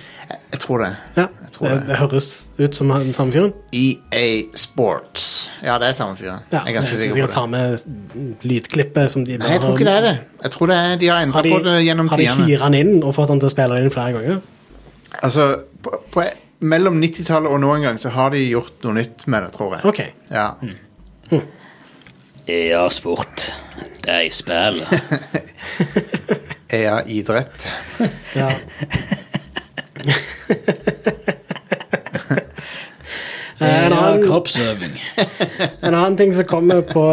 [SPEAKER 1] Jeg tror det.
[SPEAKER 4] Ja,
[SPEAKER 1] tror
[SPEAKER 4] det,
[SPEAKER 1] det.
[SPEAKER 4] det høres ut som den samme fyren.
[SPEAKER 1] EA Sports. Ja, det er samme fyr. jeg
[SPEAKER 4] Ja,
[SPEAKER 1] er ganske sikker
[SPEAKER 4] sikkert
[SPEAKER 1] på det.
[SPEAKER 4] samme lydklippet som de
[SPEAKER 1] Nei, jeg tror ikke det er det. Jeg tror det er, De har endra
[SPEAKER 4] Har
[SPEAKER 1] på det
[SPEAKER 4] de,
[SPEAKER 1] gjennom
[SPEAKER 4] har de
[SPEAKER 1] tidene.
[SPEAKER 4] hyret han inn og fått han til å spille det inn flere ganger?
[SPEAKER 1] Altså, på, på, mellom 90-tallet og nå en gang så har de gjort noe nytt med det, tror jeg.
[SPEAKER 4] Ok. Mm.
[SPEAKER 1] Ja.
[SPEAKER 6] Ja, E sport. Det er spill.
[SPEAKER 1] EA E Idrett.
[SPEAKER 4] Ja. en,
[SPEAKER 6] Ja,
[SPEAKER 4] annen,
[SPEAKER 6] kroppsøving.
[SPEAKER 4] en annen ting som kommer på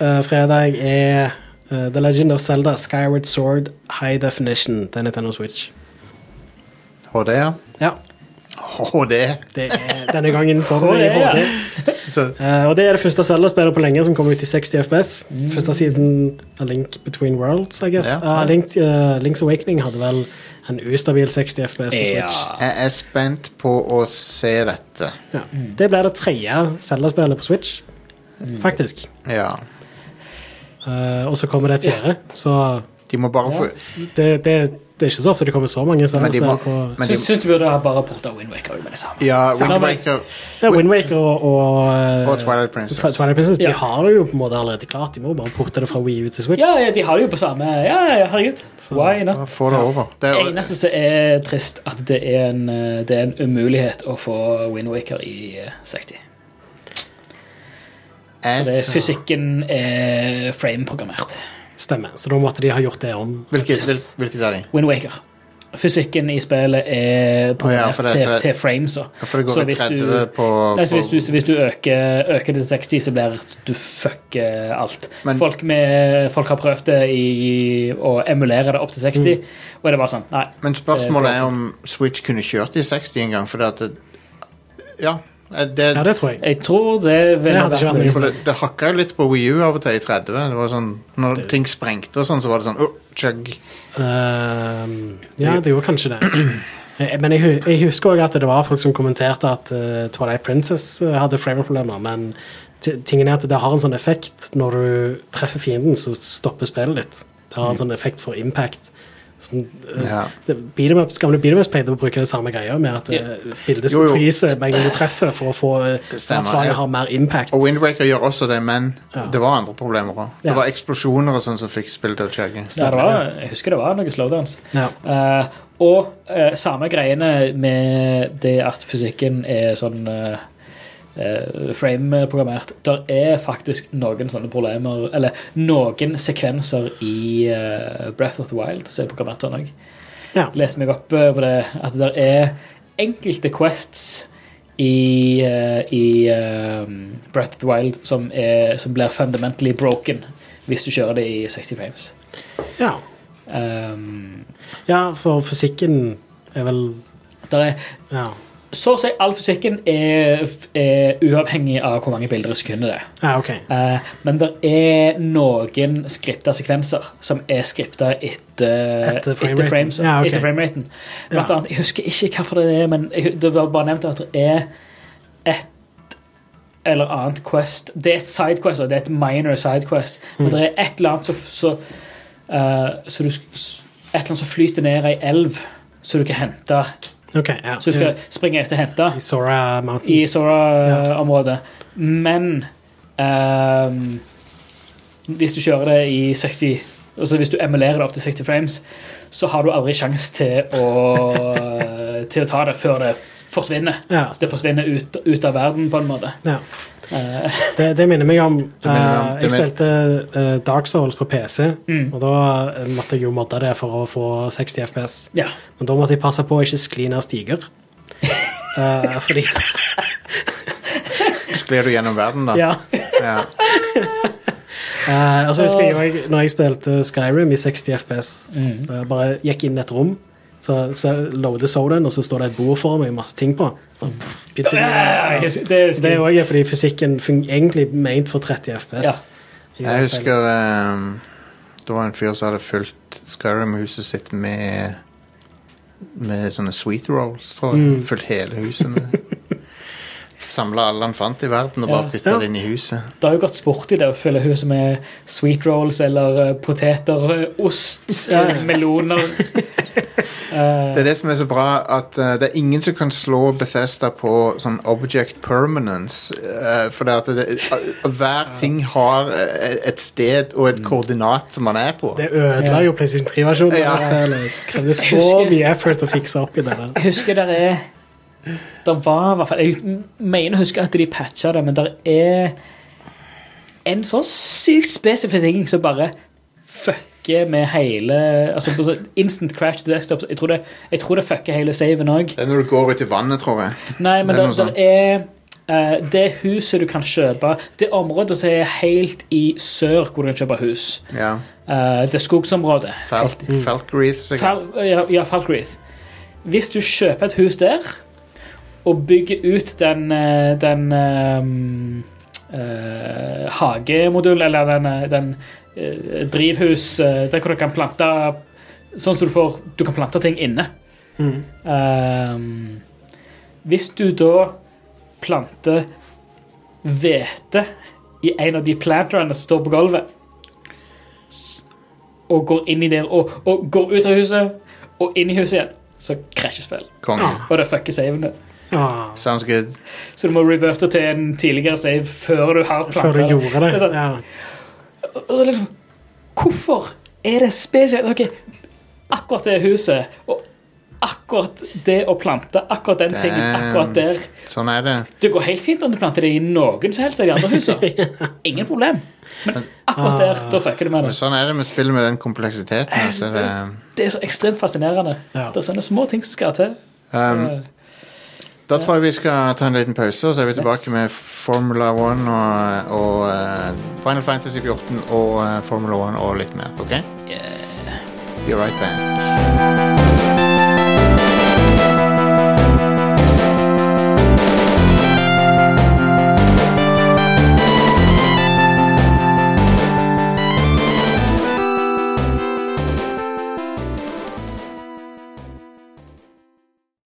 [SPEAKER 4] eh, fredag, er eh, The Legend of Zelda Skyward Sword High Definition til Nintendo Switch.
[SPEAKER 1] HD, ja.
[SPEAKER 4] Ja,
[SPEAKER 1] HD.
[SPEAKER 4] det er denne gangen for meg i
[SPEAKER 3] Å, ja.
[SPEAKER 4] HD.
[SPEAKER 1] Så,
[SPEAKER 4] Eh, og det er det første Zelda-spillet på lenge som kom ut i 60 FPS. Første siden A Link Between Worlds, I guess.
[SPEAKER 1] Ja.
[SPEAKER 4] Ah, Link, eh, Link's Awakening hadde vel en ustabil 60 FPS på
[SPEAKER 6] Ja.
[SPEAKER 4] Switch.
[SPEAKER 1] jeg er spent på å se dette.
[SPEAKER 4] Ja.
[SPEAKER 3] Mm.
[SPEAKER 4] Det ble det tredje Zelda-spillet på Switch, faktisk.
[SPEAKER 1] Ja.
[SPEAKER 4] Eh, og så kommer det et fjerde, så
[SPEAKER 1] De må bare få
[SPEAKER 4] det, det, det er ikke så ofte det kommer så mange
[SPEAKER 1] Men de må,
[SPEAKER 4] Zelda-spill på
[SPEAKER 1] men de,
[SPEAKER 3] Syns syns du burde ha bare porta Windwaker med det samme.
[SPEAKER 1] Ja,
[SPEAKER 3] Ja, men-
[SPEAKER 1] Windwaker
[SPEAKER 4] ja, Windwaker og, og, eh,
[SPEAKER 1] og Twilight
[SPEAKER 4] Twi-
[SPEAKER 1] Princess.
[SPEAKER 4] Twilight Princess. De
[SPEAKER 3] Ja.
[SPEAKER 4] har det jo på en måte allerede klart. De må bare porte det fra Wii U til Switch.
[SPEAKER 3] Ja, ja, de har det jo på samme Ja, ja, ja, herregud. Why not?
[SPEAKER 1] Få det over. Det
[SPEAKER 3] Det
[SPEAKER 1] er,
[SPEAKER 3] eneste som er trist, at det er en, eh, det er en umulighet å få Windwaker i eh, 60.
[SPEAKER 1] jeg,
[SPEAKER 3] Det er fysikken er frame-programmert.
[SPEAKER 4] Stemmer. Så da måtte de ha gjort det om.
[SPEAKER 1] hvilket, hvil- hvilket er de?
[SPEAKER 3] Windwaker. Fysikken i spillet
[SPEAKER 1] Å
[SPEAKER 3] er
[SPEAKER 1] ja,
[SPEAKER 3] programmert
[SPEAKER 1] for det-
[SPEAKER 3] til, til frames. så.
[SPEAKER 1] For det
[SPEAKER 3] Så
[SPEAKER 1] går i
[SPEAKER 3] hvis du-
[SPEAKER 1] 30 på,
[SPEAKER 3] Nei, så hvis du,
[SPEAKER 1] på
[SPEAKER 3] så hvis du øker, øker til 60, så blir du fuck eh, alt.
[SPEAKER 1] Men-
[SPEAKER 3] folk, med, folk har prøvd det i å emulere det opp til 60,
[SPEAKER 4] Mm.
[SPEAKER 3] og det er bare sånn Nei.
[SPEAKER 1] Men spørsmålet
[SPEAKER 3] Eh,
[SPEAKER 1] er om Switch kunne kjørt i 60 en gang, fordi at det, Ja. eh, Det,
[SPEAKER 4] Ja, det tror jeg.
[SPEAKER 3] Jeg tror det
[SPEAKER 4] Det
[SPEAKER 3] ville
[SPEAKER 4] hadde ikke vært
[SPEAKER 3] vært
[SPEAKER 4] mulig.
[SPEAKER 1] for det, det hakka jo litt på Wii U av og til i 30. Det var sånn, når ting sprengte og sånn, så var det sånn oh, chug.
[SPEAKER 4] Ehm, ja, det gjorde kanskje det. Eh, Men jeg, hu- jeg husker også at det var folk som kommenterte at eh, Twilight Princess eh, hadde framerproblemer, men ti- tingen er at det har en sånn effekt når du treffer fienden, så stopper spillet litt. Det har en sånn effekt for impact. Sånn, eh,
[SPEAKER 1] Mm. Ja.
[SPEAKER 4] det, beat 'em ups- gamle beat'em-ups pleide å bruke det samme greia, med at eh, bildet
[SPEAKER 1] Jo, jo.
[SPEAKER 4] fryser med en gang du treffer, for å få eh, at
[SPEAKER 1] Stemmer, ja. Oh.
[SPEAKER 4] slaget har mer impact.
[SPEAKER 1] Og Windwaker gjør også det, men
[SPEAKER 4] Ja.
[SPEAKER 1] det var andre problemer òg. Det
[SPEAKER 4] Ja.
[SPEAKER 1] var eksplosjoner og sånn som fikk spillet til å chugge.
[SPEAKER 3] ja, det var, Jeg husker det var noen slowdowns.
[SPEAKER 4] Ja.
[SPEAKER 3] Eh, og eh, samme greiene med det at fysikken er sånn eh, eh, frame-programmert. Der er faktisk noen sånne problemer Eller noen sekvenser i eh, Breath of the Wild som er programmert sånn òg.
[SPEAKER 4] Ja.
[SPEAKER 3] Leste meg opp eh, på det at det er enkelte quests i, eh, i eh, Breath of the Wild som, er, som blir fundamentally broken hvis du kjører det i 60 frames.
[SPEAKER 4] Ja.
[SPEAKER 3] Um,
[SPEAKER 4] ja, for fysikken er vel
[SPEAKER 3] der er
[SPEAKER 4] Ja.
[SPEAKER 3] Så å si all fysikken er, er uavhengig av hvor mange bilder i sekundet det er.
[SPEAKER 4] ja OK.
[SPEAKER 3] Eh, men det er noen skripta sekvenser som er skripta etter,
[SPEAKER 4] Etter
[SPEAKER 3] etter,
[SPEAKER 4] frameraten.
[SPEAKER 3] frames-
[SPEAKER 4] Ja, ok.
[SPEAKER 3] etter frameraten. Blant
[SPEAKER 4] Ja.
[SPEAKER 3] annet, jeg husker ikke hvorfor det er, men jeg, det var bare nevnt at det er et eller annet quest Det er et sidequest, og det er et minor sidequest, men
[SPEAKER 4] Mm.
[SPEAKER 3] det er et eller annet som så, eh, så du, s- Et eller annet som flyter ned ei elv, så du kan hente
[SPEAKER 4] ok, ja.
[SPEAKER 3] Så du skal springe etter og hente
[SPEAKER 4] I Sora Mountain.
[SPEAKER 3] i Sora-området. Men ehm, hvis du kjører det i 60 Altså Hvis du emulerer det opp til 60 frames, så har du aldri sjanse til å Til å ta det før det forsvinner.
[SPEAKER 4] Ja.
[SPEAKER 3] Det forsvinner ut, ut av verden, på en måte.
[SPEAKER 4] Ja.
[SPEAKER 3] Eh,
[SPEAKER 4] Det, det minner meg om
[SPEAKER 1] minner meg om-
[SPEAKER 4] eh,
[SPEAKER 1] det min-
[SPEAKER 4] Jeg spilte eh, Dark Souls på PC,
[SPEAKER 3] Mm.
[SPEAKER 4] og da eh, måtte jeg jo modde det for å få 60 FPS.
[SPEAKER 3] ja.
[SPEAKER 4] Men da måtte jeg passe på å ikke skli ned stiger. Eh, fordi
[SPEAKER 1] Sklir du gjennom verden, da?
[SPEAKER 4] Ja.
[SPEAKER 1] Ja.
[SPEAKER 4] Eh, og så husker jeg jo jeg- når jeg spilte Skyrim i 60 FPS,
[SPEAKER 3] Mm.
[SPEAKER 4] eh, bare gikk inn et rom, Så, så loader sodaen, og så står det et bord foran meg med masse ting på. Så, pff, begynte
[SPEAKER 3] Ja, jeg
[SPEAKER 4] de-
[SPEAKER 3] husker- Det
[SPEAKER 4] Det
[SPEAKER 3] husker
[SPEAKER 4] er
[SPEAKER 3] jeg.
[SPEAKER 4] også fordi fysikken fun- egentlig er ment for 30 FPS. i
[SPEAKER 1] Jeg
[SPEAKER 4] spillet.
[SPEAKER 1] husker ehm, det var en fyr som hadde fylt Skyrim-huset sitt med med sånne sweet rolls, tror jeg.
[SPEAKER 4] Mm.
[SPEAKER 1] Fylt hele huset med Samla alle han fant i verden, og
[SPEAKER 3] Ja.
[SPEAKER 1] bare bytta
[SPEAKER 4] Ja.
[SPEAKER 1] det inn i huset.
[SPEAKER 3] Det har jo gått sport i det å fylle huset med sweet rolls eller eh, poteter, eh, ost,
[SPEAKER 4] Ja.
[SPEAKER 3] eh, meloner. Eh,
[SPEAKER 1] Det er det som er så bra, at eh, det er ingen som kan slå Bethesda på sånn object permanence. eh, for det at det, eh, hver ting har eh, et sted og et koordinat som man er på.
[SPEAKER 4] Det ødela jo PlayStation 3-versjonen.
[SPEAKER 1] Ja.
[SPEAKER 4] Det er så mye effort å fikse opp i det. der.
[SPEAKER 3] Jeg husker der er Der var i hvert fall Jeg mener jeg husker at de patcha det, men der er en sånn sykt spesifikk ting som bare fucker med hele altså på sånn Instant crash til desktop. Jeg tror det, jeg tror det fucker hele saven òg.
[SPEAKER 1] Det er når du går ut i vannet, tror jeg.
[SPEAKER 3] Nei, men
[SPEAKER 1] Det er
[SPEAKER 3] der,
[SPEAKER 1] noe sånn. sånt.
[SPEAKER 3] der er eh, det huset du kan kjøpe Det området som er helt i sør hvor du kan kjøpe hus.
[SPEAKER 1] Ja.
[SPEAKER 3] Eh, det er skogsområdet.
[SPEAKER 1] Fal
[SPEAKER 3] Helt-
[SPEAKER 1] Falkreath, sikkert.
[SPEAKER 3] Fal ja, ja, Falkreath. Hvis du kjøper et hus der og bygger ut den, eh, den ehm, eh, hagemodulen, eller den, eh, den eh, drivhus eh, Der hvor du kan plante Sånn som du får Du kan plante ting inne.
[SPEAKER 4] Mm.
[SPEAKER 3] Ehm, hvis du da planter hvete i en av de planterne som står på gulvet, s- og går inn i der og, og går ut av huset og inn i huset igjen, så krasjer spillet.
[SPEAKER 1] Konge.
[SPEAKER 3] Og det fucker saven din.
[SPEAKER 4] Ah,
[SPEAKER 1] Sounds good.
[SPEAKER 3] Så du må reverte til en tidligere save før du har
[SPEAKER 4] før du
[SPEAKER 3] planta.
[SPEAKER 4] gjorde det. sånn-
[SPEAKER 3] Altså,
[SPEAKER 4] Ja.
[SPEAKER 3] Og så liksom Hvorfor er det spesielt Ok, akkurat det huset og akkurat det å plante, akkurat den tingen,
[SPEAKER 1] Damn.
[SPEAKER 3] akkurat der
[SPEAKER 1] Sånn er det.
[SPEAKER 3] Det går helt fint om du planter det i noen som helst av de andre husene. Ingen problem. Men akkurat
[SPEAKER 4] Ah.
[SPEAKER 3] der, da fucker du med
[SPEAKER 1] Men
[SPEAKER 3] det.
[SPEAKER 1] sånn er det med spillet med den kompleksiteten.
[SPEAKER 3] Jeg
[SPEAKER 1] Altså, det,
[SPEAKER 3] Det er så ekstremt fascinerende.
[SPEAKER 4] Ja.
[SPEAKER 3] Det er sånne små ting som skal til. Eh,
[SPEAKER 1] um, da tror jeg vi skal ta en liten pause, og så er vi tilbake med Formula 1 og, og eh, Final Fantasy 14 og eh, Formula 1 og litt mer. OK? Be right back.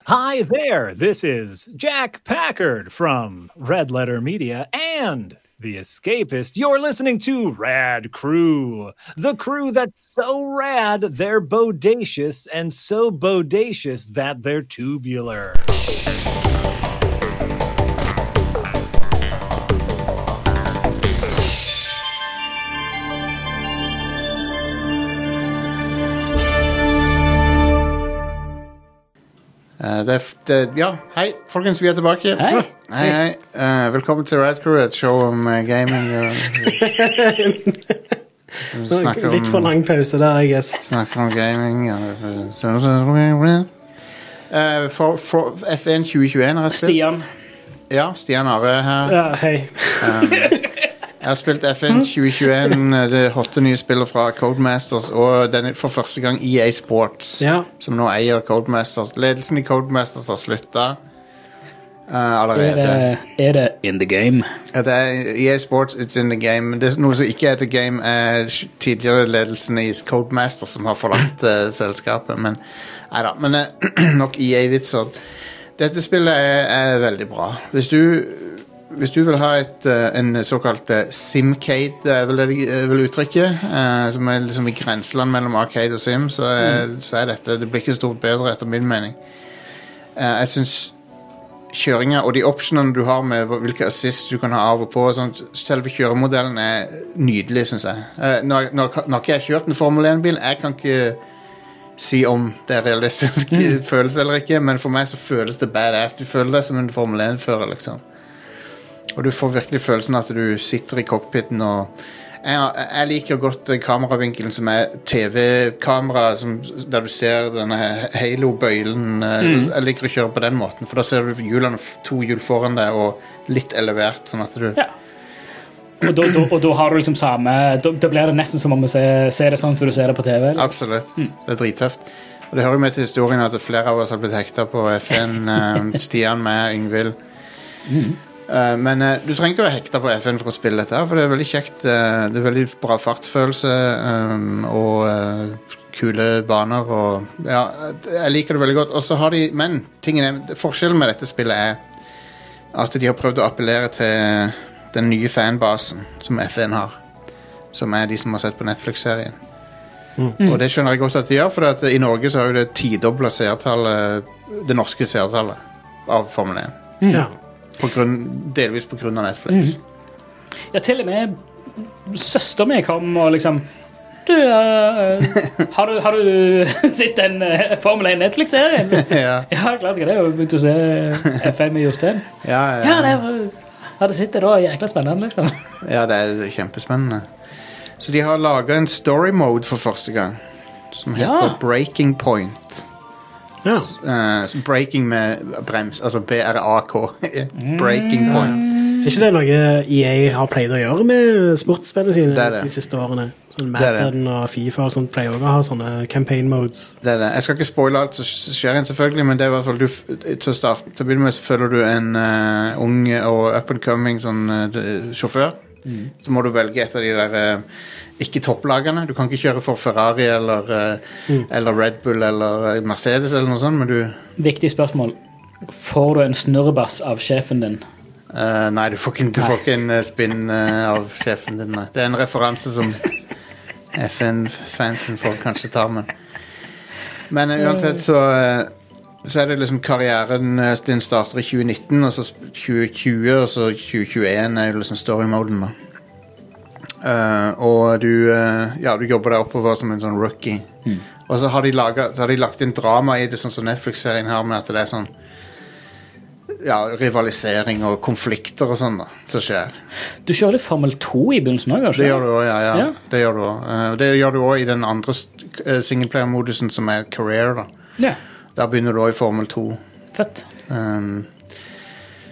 [SPEAKER 7] Hi there. This is Jack Packard from Red Letter Media and The Escapist. You're listening to Rad Crew, the crew that's so rad they're bodacious and so bodacious that they're tubular.
[SPEAKER 1] Eh, det, er f- det, ja, hei, folkens. Vi er tilbake.
[SPEAKER 3] Hei.
[SPEAKER 1] Hei, hei. Eh, velkommen til Rad Crew, et show om eh, gaming. og- Vi snakker
[SPEAKER 4] Litt for
[SPEAKER 1] om-
[SPEAKER 4] lang pause der, I guess.
[SPEAKER 1] Snakker om gaming ja. Eh, for, for F1 2021 har jeg spilt.
[SPEAKER 3] Stian.
[SPEAKER 1] Ja, Stian Are er her.
[SPEAKER 4] Ja, hei.
[SPEAKER 1] Jeg har spilt F1 2021, eh, det hotte nye spillet fra Codemasters, og denne, for første gang EA Sports,
[SPEAKER 4] Ja.
[SPEAKER 1] som nå eier Codemasters. Ledelsen i Codemasters har slutta
[SPEAKER 3] Er eh,
[SPEAKER 1] allerede.
[SPEAKER 3] det, er det in the game?
[SPEAKER 1] Ja, det er EA Sports, it's in the game. Men Det er noe som ikke er the game, er sj- tidligere ledelsen i Codemaster som har forlatt eh, selskapet. Men nei da. Men eh, nok EA-vitser. Dette spillet er, er veldig bra. Hvis du, hvis du vil ha et, eh, en såkalt eh, Simcade, det er vel det de eh, vil uttrykke, eh, som er liksom i grenseland mellom Arcade og Sim, så er, så er dette Det blir ikke stort bedre, etter min mening. Eh, jeg syns kjøringa og de optionene du har med hva- hvilke assist du kan ha av og på. og Sånt, selve kjøremodellen er nydelig, syns jeg. Eh, Når, når, når ikke jeg har kjørt en Formel 1-bil, jeg kan ikke si om det er realistisk følelse eller ikke, men for meg så føles det badass. Du føler deg som en Formel 1-fører, liksom. Og du får virkelig følelsen at du sitter i cockpiten og jeg, jeg liker godt eh, kameravinkelen som er TV-kamera, som- der du ser denne he- halo-bøylen. eh, Jeg liker å kjøre på den måten, for da ser du hjulene f- to hjul foran deg og litt elevert. sånn at du...
[SPEAKER 3] Ja. Og da, da, og da har du liksom samme Da, da blir det nesten som om vi ser, ser det sånn som du ser det på TV. eller?
[SPEAKER 1] Absolutt. Det er drittøft. Og det hører jo med til historien at flere av oss har blitt hekta på FN. eh, Stian med Yngvild. Eh, men eh, du trenger ikke å være hekta på FN for å spille dette, her, for det er veldig kjekt. eh, det er veldig bra fartsfølelse eh, og eh, kule baner og Ja, jeg liker det veldig godt. Og så har de Men tingen er, forskjellen med dette spillet er at de har prøvd å appellere til den nye fanbasen som FN har. Som er de som har sett på Netflix-serien. Og det skjønner jeg godt at de gjør, for at i Norge så har jo det tidobla seertallet, det norske seertallet av Formel 1.
[SPEAKER 4] Ja.
[SPEAKER 1] På grunn, delvis på grunn av Netflix.
[SPEAKER 3] Ja, til og med søster mi kom og liksom du, eh, har du, har du sett den eh, Formel 1 Netflix-serien?
[SPEAKER 1] ja.
[SPEAKER 3] Ja, klart ikke det. Jeg begynte å se FM i Jostein.
[SPEAKER 1] Ja, ja,
[SPEAKER 3] Ja, det var, hadde sett det da. Jækla spennende, liksom.
[SPEAKER 1] ja, det er kjempespennende. Så de har laga en story mode for første gang, som heter Breaking Point.
[SPEAKER 4] Ja.
[SPEAKER 1] Eh, så breaking med brems, altså BRAK. E. breaking Point.
[SPEAKER 4] Er ikke det noe EA har pleid å gjøre med sportsspillene sine
[SPEAKER 1] Det er det.
[SPEAKER 4] de siste årene? Sånn
[SPEAKER 1] Det er det.
[SPEAKER 4] Madden og Fifa og sånt pleier også å ha sånne campaign modes.
[SPEAKER 1] Det er det. Jeg skal ikke spoile alt som sk- skjer igjen, selvfølgelig, men det er i hvert fall du, f- til å starte Til å begynne med så følger du en eh, ung og up and coming sånn, eh, d- sjåfør. Så må du velge et av de der eh, ikke topplagene. Du kan ikke kjøre for Ferrari eller, eh, eller Red Bull eller eh, Mercedes eller noe sånt, men du
[SPEAKER 3] Viktig spørsmål. Får du en snurrebass av sjefen din?
[SPEAKER 1] eh, Nei, du får ikke, du får ikke en eh, spinn eh, av sjefen din, nei. Det er en referanse som FN-fansen får kanskje ta, men Men eh, uansett så eh, Så er det liksom karrieren eh, din starter i 2019, og så sp- 2020, og så 2021 er jo liksom story-moden, da. Eh, og du eh, Ja, du jobber deg oppover som en sånn rookie. Og så har, de laget, så har de lagt inn drama i det, sånn som Netflix-serien her, med at det er sånn Ja, rivalisering og konflikter og sånn, da, som skjer.
[SPEAKER 3] Du kjører litt Formel 2 i begynnelsen òg,
[SPEAKER 1] Det gjør du òg, ja, ja.
[SPEAKER 3] Ja.
[SPEAKER 1] Det gjør du også. Eh, Det gjør du òg i den andre st- eh, singleplayer-modusen som er career. da.
[SPEAKER 3] Ja,
[SPEAKER 1] Der begynner du òg i Formel 2.
[SPEAKER 3] fett.
[SPEAKER 1] ehm,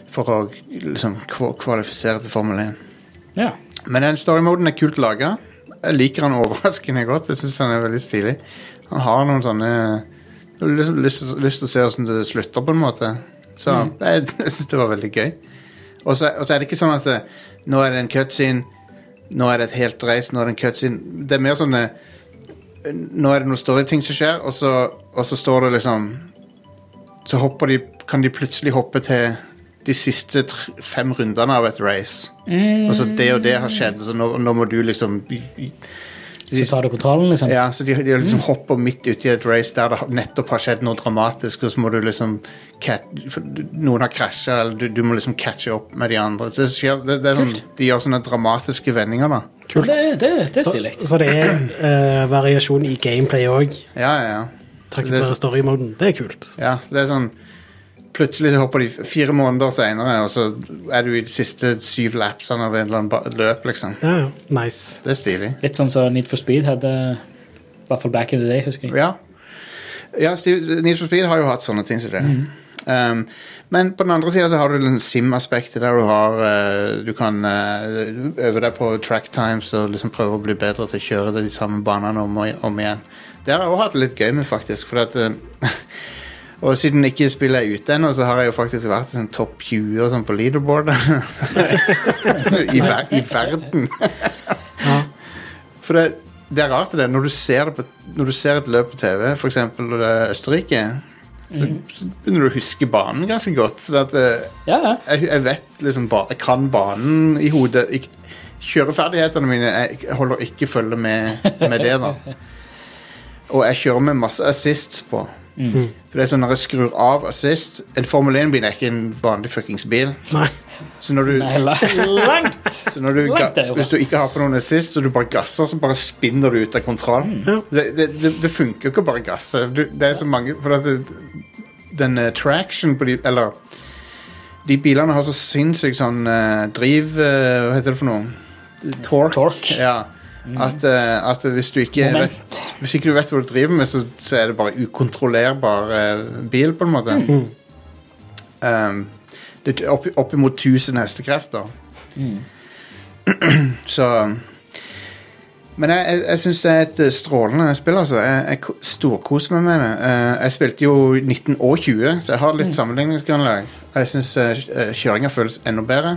[SPEAKER 1] for å liksom kva- kvalifisere til Formel 1.
[SPEAKER 3] Ja.
[SPEAKER 1] Men den story-moden er kult laga. Jeg liker han overraskende godt. Jeg synes han er veldig stilig. Han har noen sånne jeg har lyst, lyst, lyst til å se hvordan det slutter, på en måte. Så jeg, jeg syns det var veldig gøy. Og så og så er det ikke sånn at det, nå er det en cutscene, nå er det et helt race, nå er det en cutscene. Det er mer sånn eh, Nå er det noen storyting som skjer, og så, og så står det liksom Så hopper de, kan de plutselig hoppe til de siste tr- fem rundene av et race. Og så det og det har skjedd, så nå, nå må du liksom
[SPEAKER 3] Så tar du kontrollen, liksom.
[SPEAKER 1] ja, så de, de liksom hopper midt uti et race der det har- nettopp har skjedd noe dramatisk, og så må du liksom cat, for du- Noen har krasja, eller du, du må liksom catche opp med de andre. Så det skjer, det, det er sånn, de gjør sånne dramatiske vendinger, da.
[SPEAKER 3] Det, det, det er
[SPEAKER 4] Så,
[SPEAKER 3] stilig.
[SPEAKER 4] så det er eh, variasjon i gameplay òg,
[SPEAKER 1] Ja, ja, ja. Så
[SPEAKER 4] takket
[SPEAKER 1] det-
[SPEAKER 4] være story-moden. Det er kult.
[SPEAKER 1] ja. Så det er sånn Plutselig så hopper de f- fire måneder seinere, og så er du i de siste syv lapsene av en eller annen ba- løp, liksom.
[SPEAKER 4] Ja, ja. Nice.
[SPEAKER 1] Det er stilig.
[SPEAKER 3] Litt sånn som Need for Speed hadde I hvert fall back in the day, husker jeg.
[SPEAKER 1] Ja, ja Steve, Need for Speed har jo hatt sånne ting som det. Um, men på den andre sida så har du den SIM-aspektet der du har eh, Du kan eh, øve deg på track times og liksom prøve å bli bedre til å kjøre de samme banene om, og- om igjen. Det har jeg også hatt det litt gøy med, faktisk. Fordi at, eh, og siden ikke spillet er ute ennå, så har jeg jo faktisk vært i sånn topp 20 og sånn på leaderboardet. I, ver I verden. For det, det er rart det, der, når du ser, det på, når du ser et løp på TV, f.eks. Østerrike, så,
[SPEAKER 3] Mm.
[SPEAKER 1] så begynner du å huske banen ganske godt. Så det at, eh,
[SPEAKER 3] Ja, ja.
[SPEAKER 1] jeg, jeg vet liksom ba, Jeg kan banen i hodet. Ik- kjøreferdighetene mine jeg, jeg holder ikke følge med, med det, da. Og jeg kjører med masse assists på.
[SPEAKER 3] Mm.
[SPEAKER 1] For det er sånn Når jeg skrur av assist En Formel 1-bil er ikke en vanlig fuckings bil.
[SPEAKER 4] Nei.
[SPEAKER 1] Så når du,
[SPEAKER 3] Nei, la- Langt!
[SPEAKER 1] så når du,
[SPEAKER 3] Langt
[SPEAKER 1] ga-
[SPEAKER 3] derfra.
[SPEAKER 1] hvis du ikke har på noen assist, og du bare gasser, så bare spinner du ut av kontroll. Det, det, det, det funker jo ikke å bare gasse. Du, det er så mange For at det, den eh, traction på de Eller de bilene har så sinnssykt sånn eh, driv eh, Hva heter det for noe? Torque.
[SPEAKER 3] Torque.
[SPEAKER 1] Ja. At, eh, at hvis du ikke
[SPEAKER 3] Moment.
[SPEAKER 1] vet, Hvis ikke du vet hva du driver med, så, så er det bare ukontrollerbar eh, bil, på en måte. Um, det er opp, oppimot 1000 hestekrefter. Så Men jeg, jeg, jeg syns det er et eh, strålende spill, altså. Jeg, jeg ko- storkoser meg med det. Eh, Jeg spilte jo 19 og 20, så jeg har litt sammenligningsgrunnlag. Jeg eh, syns kjøringa føles enda bedre.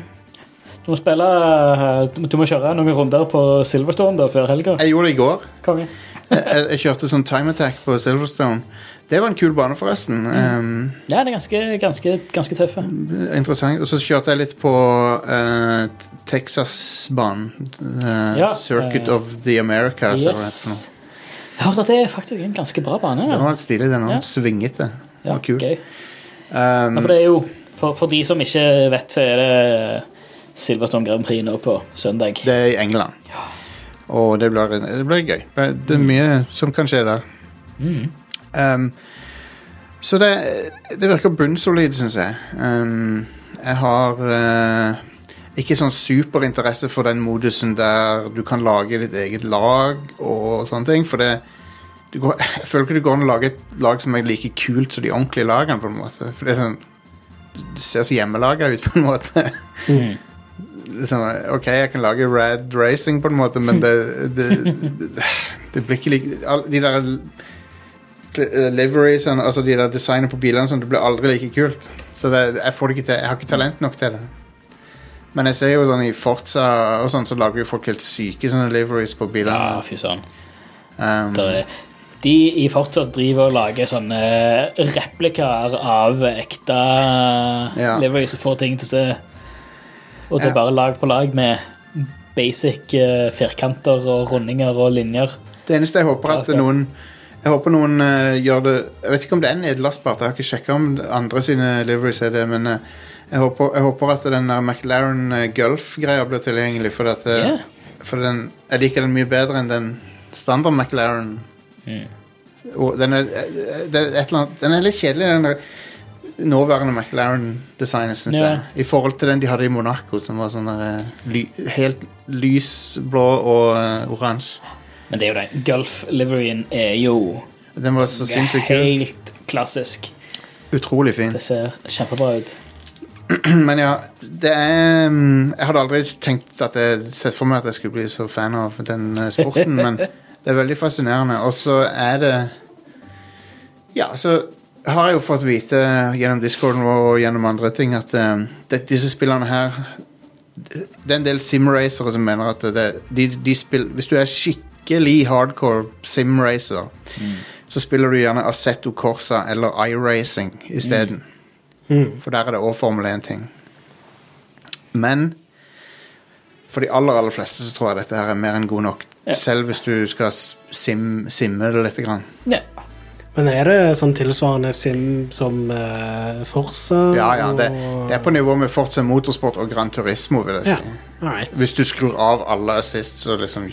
[SPEAKER 3] Du må spille eh, Du du må kjøre noen runder på Silverstone da, før helga.
[SPEAKER 1] Jeg gjorde det i går.
[SPEAKER 3] Konge.
[SPEAKER 1] Jeg, jeg- jeg kjørte sånn time attack på Silverstone. Det var en kul bane, forresten. Um,
[SPEAKER 3] Ja, det er ganske, ganske, ganske tøffe.
[SPEAKER 1] interessant. Og så kjørte jeg litt på eh, T- Texas-banen. Eh,
[SPEAKER 3] Ja,
[SPEAKER 1] Circuit
[SPEAKER 3] eh,
[SPEAKER 1] of the Americas. eller hva det heter nå.
[SPEAKER 3] Yes. Jeg hørte at det er faktisk en ganske bra bane.
[SPEAKER 1] Den
[SPEAKER 3] Ja.
[SPEAKER 1] var litt stilig, den.
[SPEAKER 3] Ja.
[SPEAKER 1] Ja. Svingete. Den var kul.
[SPEAKER 3] gøy.
[SPEAKER 1] Um,
[SPEAKER 3] Ja, for det er jo, for, for de som ikke vet, så er det Silverstone Grand Prix nå på søndag.
[SPEAKER 1] Det er i England. Og det blir, det blir gøy. Det er mye som kan skje der. Um, så det, det virker bunnsolid, syns jeg. Um, jeg har eh, ikke sånn superinteresse for den modusen der du kan lage ditt eget lag og sånne ting, for det du går, jeg føler ikke det går an å lage et lag som er like kult som de ordentlige lagene, på en måte. For det er sånn Det ser så hjemmelaga ut, på en måte liksom, Ok, jeg kan lage Rad Racing på en måte, men det Det, det, det blir ikke like all- De der eh, liveries og- altså de der designet på bilene og sånn, det blir aldri like kult. Så det, jeg får det ikke til. Jeg har ikke talent nok til det. Men jeg ser jo sånn i Forza og sånn, så lager jo folk helt syke sånne liveries på
[SPEAKER 3] Ja,
[SPEAKER 1] bilene.
[SPEAKER 3] fy søren.
[SPEAKER 1] Um,
[SPEAKER 3] Der er- De i fortsatt driver og lager sånne replikaer av ekte
[SPEAKER 1] Ja.
[SPEAKER 3] liveries og får ting til å se. Og det
[SPEAKER 1] Ja.
[SPEAKER 3] er bare lag på lag med basic eh, firkanter og rundinger og linjer.
[SPEAKER 1] Det eneste jeg håper er at
[SPEAKER 3] Ja, ja.
[SPEAKER 1] noen Jeg håper noen eh, gjør det Jeg vet ikke om det er nedlastbart, jeg har ikke sjekka om andre sine liveries er det, men eh, jeg, håper, jeg håper at den der McLaren eh, Gulf-greia blir tilgjengelig, for, at, eh,
[SPEAKER 3] Ja.
[SPEAKER 1] for den, jeg liker den mye bedre enn den standard McLaren.
[SPEAKER 3] Mm.
[SPEAKER 1] Og den, er, eh, det er et eller annet, den er litt kjedelig, den der nåværende McLaren-designet, syns
[SPEAKER 3] Ja.
[SPEAKER 1] jeg. I forhold til den de hadde i Monaco, som var sånn der, eh, ly, helt lysblå og eh, oransje.
[SPEAKER 3] Men det er jo det. Gulf-liveryen er jo
[SPEAKER 1] Den var så sinnssykt kul.
[SPEAKER 3] helt klassisk.
[SPEAKER 1] Utrolig fin.
[SPEAKER 3] Det ser kjempebra ut.
[SPEAKER 1] Men ja, det er mm, Jeg hadde aldri tenkt at jeg sett for meg at jeg skulle bli så fan av den eh, sporten, men det er veldig fascinerende. Og så er det Ja, så har jeg jo fått vite gjennom discorden vår og gjennom andre ting at eh, det, disse spillene her Det er en del simracere som mener at det, de, de spill, hvis du er skikkelig hardcore simracer, så spiller du gjerne Assetto Corsa eller iRacing isteden. For der er det òg Formel 1-ting. Men for de aller aller fleste så tror jeg dette her er mer enn god nok.
[SPEAKER 3] Ja.
[SPEAKER 1] Selv hvis du skal s- sim, simme det litt. Grann.
[SPEAKER 3] Ja.
[SPEAKER 4] Men er det sånn tilsvarende sim som eh, Forza?
[SPEAKER 1] Ja, ja, det,
[SPEAKER 4] og-
[SPEAKER 1] det er på nivå med Forza Motorsport og Gran Turismo, vil jeg si.
[SPEAKER 4] Ja, all right.
[SPEAKER 1] Hvis du skrur av alle assist, så liksom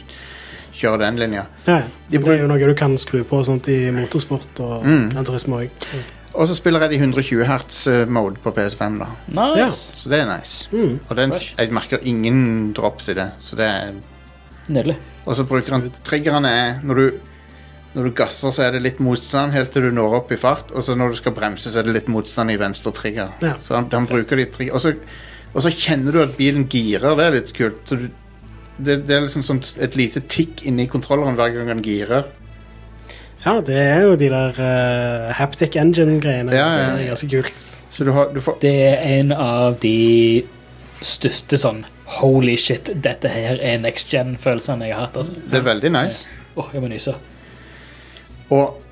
[SPEAKER 1] kjører den linja.
[SPEAKER 4] Ja, ja.
[SPEAKER 1] De
[SPEAKER 4] det er jo noe du kan skru på og sånt i motorsport og mm. turisme òg.
[SPEAKER 1] Og så spiller jeg det i 120 hertz-mode på PS5, da.
[SPEAKER 3] Nice.
[SPEAKER 1] Så det er nice.
[SPEAKER 4] Mm.
[SPEAKER 1] Og den,
[SPEAKER 3] Fresh.
[SPEAKER 1] jeg merker ingen drops i det, så det er
[SPEAKER 3] Nydelig.
[SPEAKER 1] Og så bruker han triggerne er når du, når du gasser, så er det litt motstand helt til du når opp i fart. Og så når du skal bremse, så er det litt motstand i venstre trigger.
[SPEAKER 4] Ja.
[SPEAKER 1] Så han, han bruker de tri- og, så, og så kjenner du at bilen girer. Det er litt kult. Så du, det, det er liksom som et lite tikk inni kontrolleren hver gang han girer.
[SPEAKER 4] Ja, det er jo de der eh, haptic engine-greiene.
[SPEAKER 1] Ja, ja,
[SPEAKER 4] som er
[SPEAKER 1] ja.
[SPEAKER 4] Ganske kult.
[SPEAKER 1] Så du, har, du får
[SPEAKER 3] Det er en av de største sånn Holy shit, dette her er next gen-følelsene jeg har hatt. altså.
[SPEAKER 1] Det er veldig nice.
[SPEAKER 3] Åh, jeg må nyse.
[SPEAKER 1] Og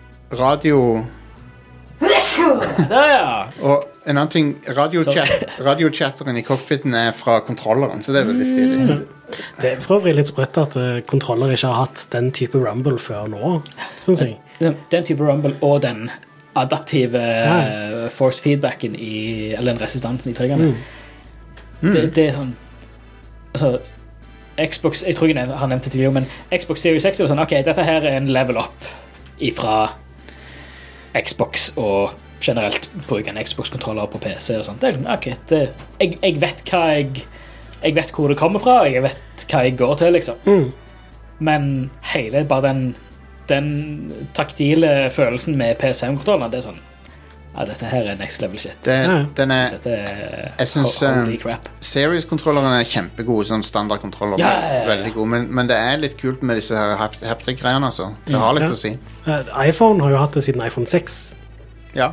[SPEAKER 1] radio
[SPEAKER 3] Der, ja!
[SPEAKER 1] Og en annen ting Radiochat- Radiochatteren i cockpiten er fra kontrolleren, så det er veldig stilig.
[SPEAKER 3] Mm.
[SPEAKER 4] Det er for øvrig litt sprøtt at eh, kontroller ikke har hatt den type rumble før nå. Synes jeg.
[SPEAKER 3] Den- Den type rumble og den adaptive eh, force feedbacken i Eller den resistansen i triggerne. Det, det er sånn Altså Xbox Jeg tror jeg nev- har nevnt det tidligere, men Xbox Series X er jo sånn OK, dette her er en level up ifra Xbox og generelt bruken Xbox-kontroller på PC og sånt. Det er liksom, OK, det jeg, jeg vet hva jeg Jeg vet hvor det kommer fra, og jeg vet hva jeg går til, liksom.
[SPEAKER 1] Mm.
[SPEAKER 3] Men hele bare den den taktile følelsen med PCM-kontrollene, det er sånn Ja, dette her er next level shit.
[SPEAKER 1] Det,
[SPEAKER 4] Ja, ja.
[SPEAKER 1] den er,
[SPEAKER 3] dette er
[SPEAKER 1] jeg syns
[SPEAKER 3] ho- holy
[SPEAKER 1] eh,
[SPEAKER 3] crap.
[SPEAKER 1] Series-kontrolleren er kjempegod, sånn standardkontroller.
[SPEAKER 3] Ja, ja, ja, ja.
[SPEAKER 1] Veldig god, men, men det er litt kult med disse her hap- haptic-greiene, altså. Det har litt
[SPEAKER 4] Ja.
[SPEAKER 1] å si.
[SPEAKER 4] Eh, iPhone har jo hatt det siden iPhone 6,
[SPEAKER 1] Ja.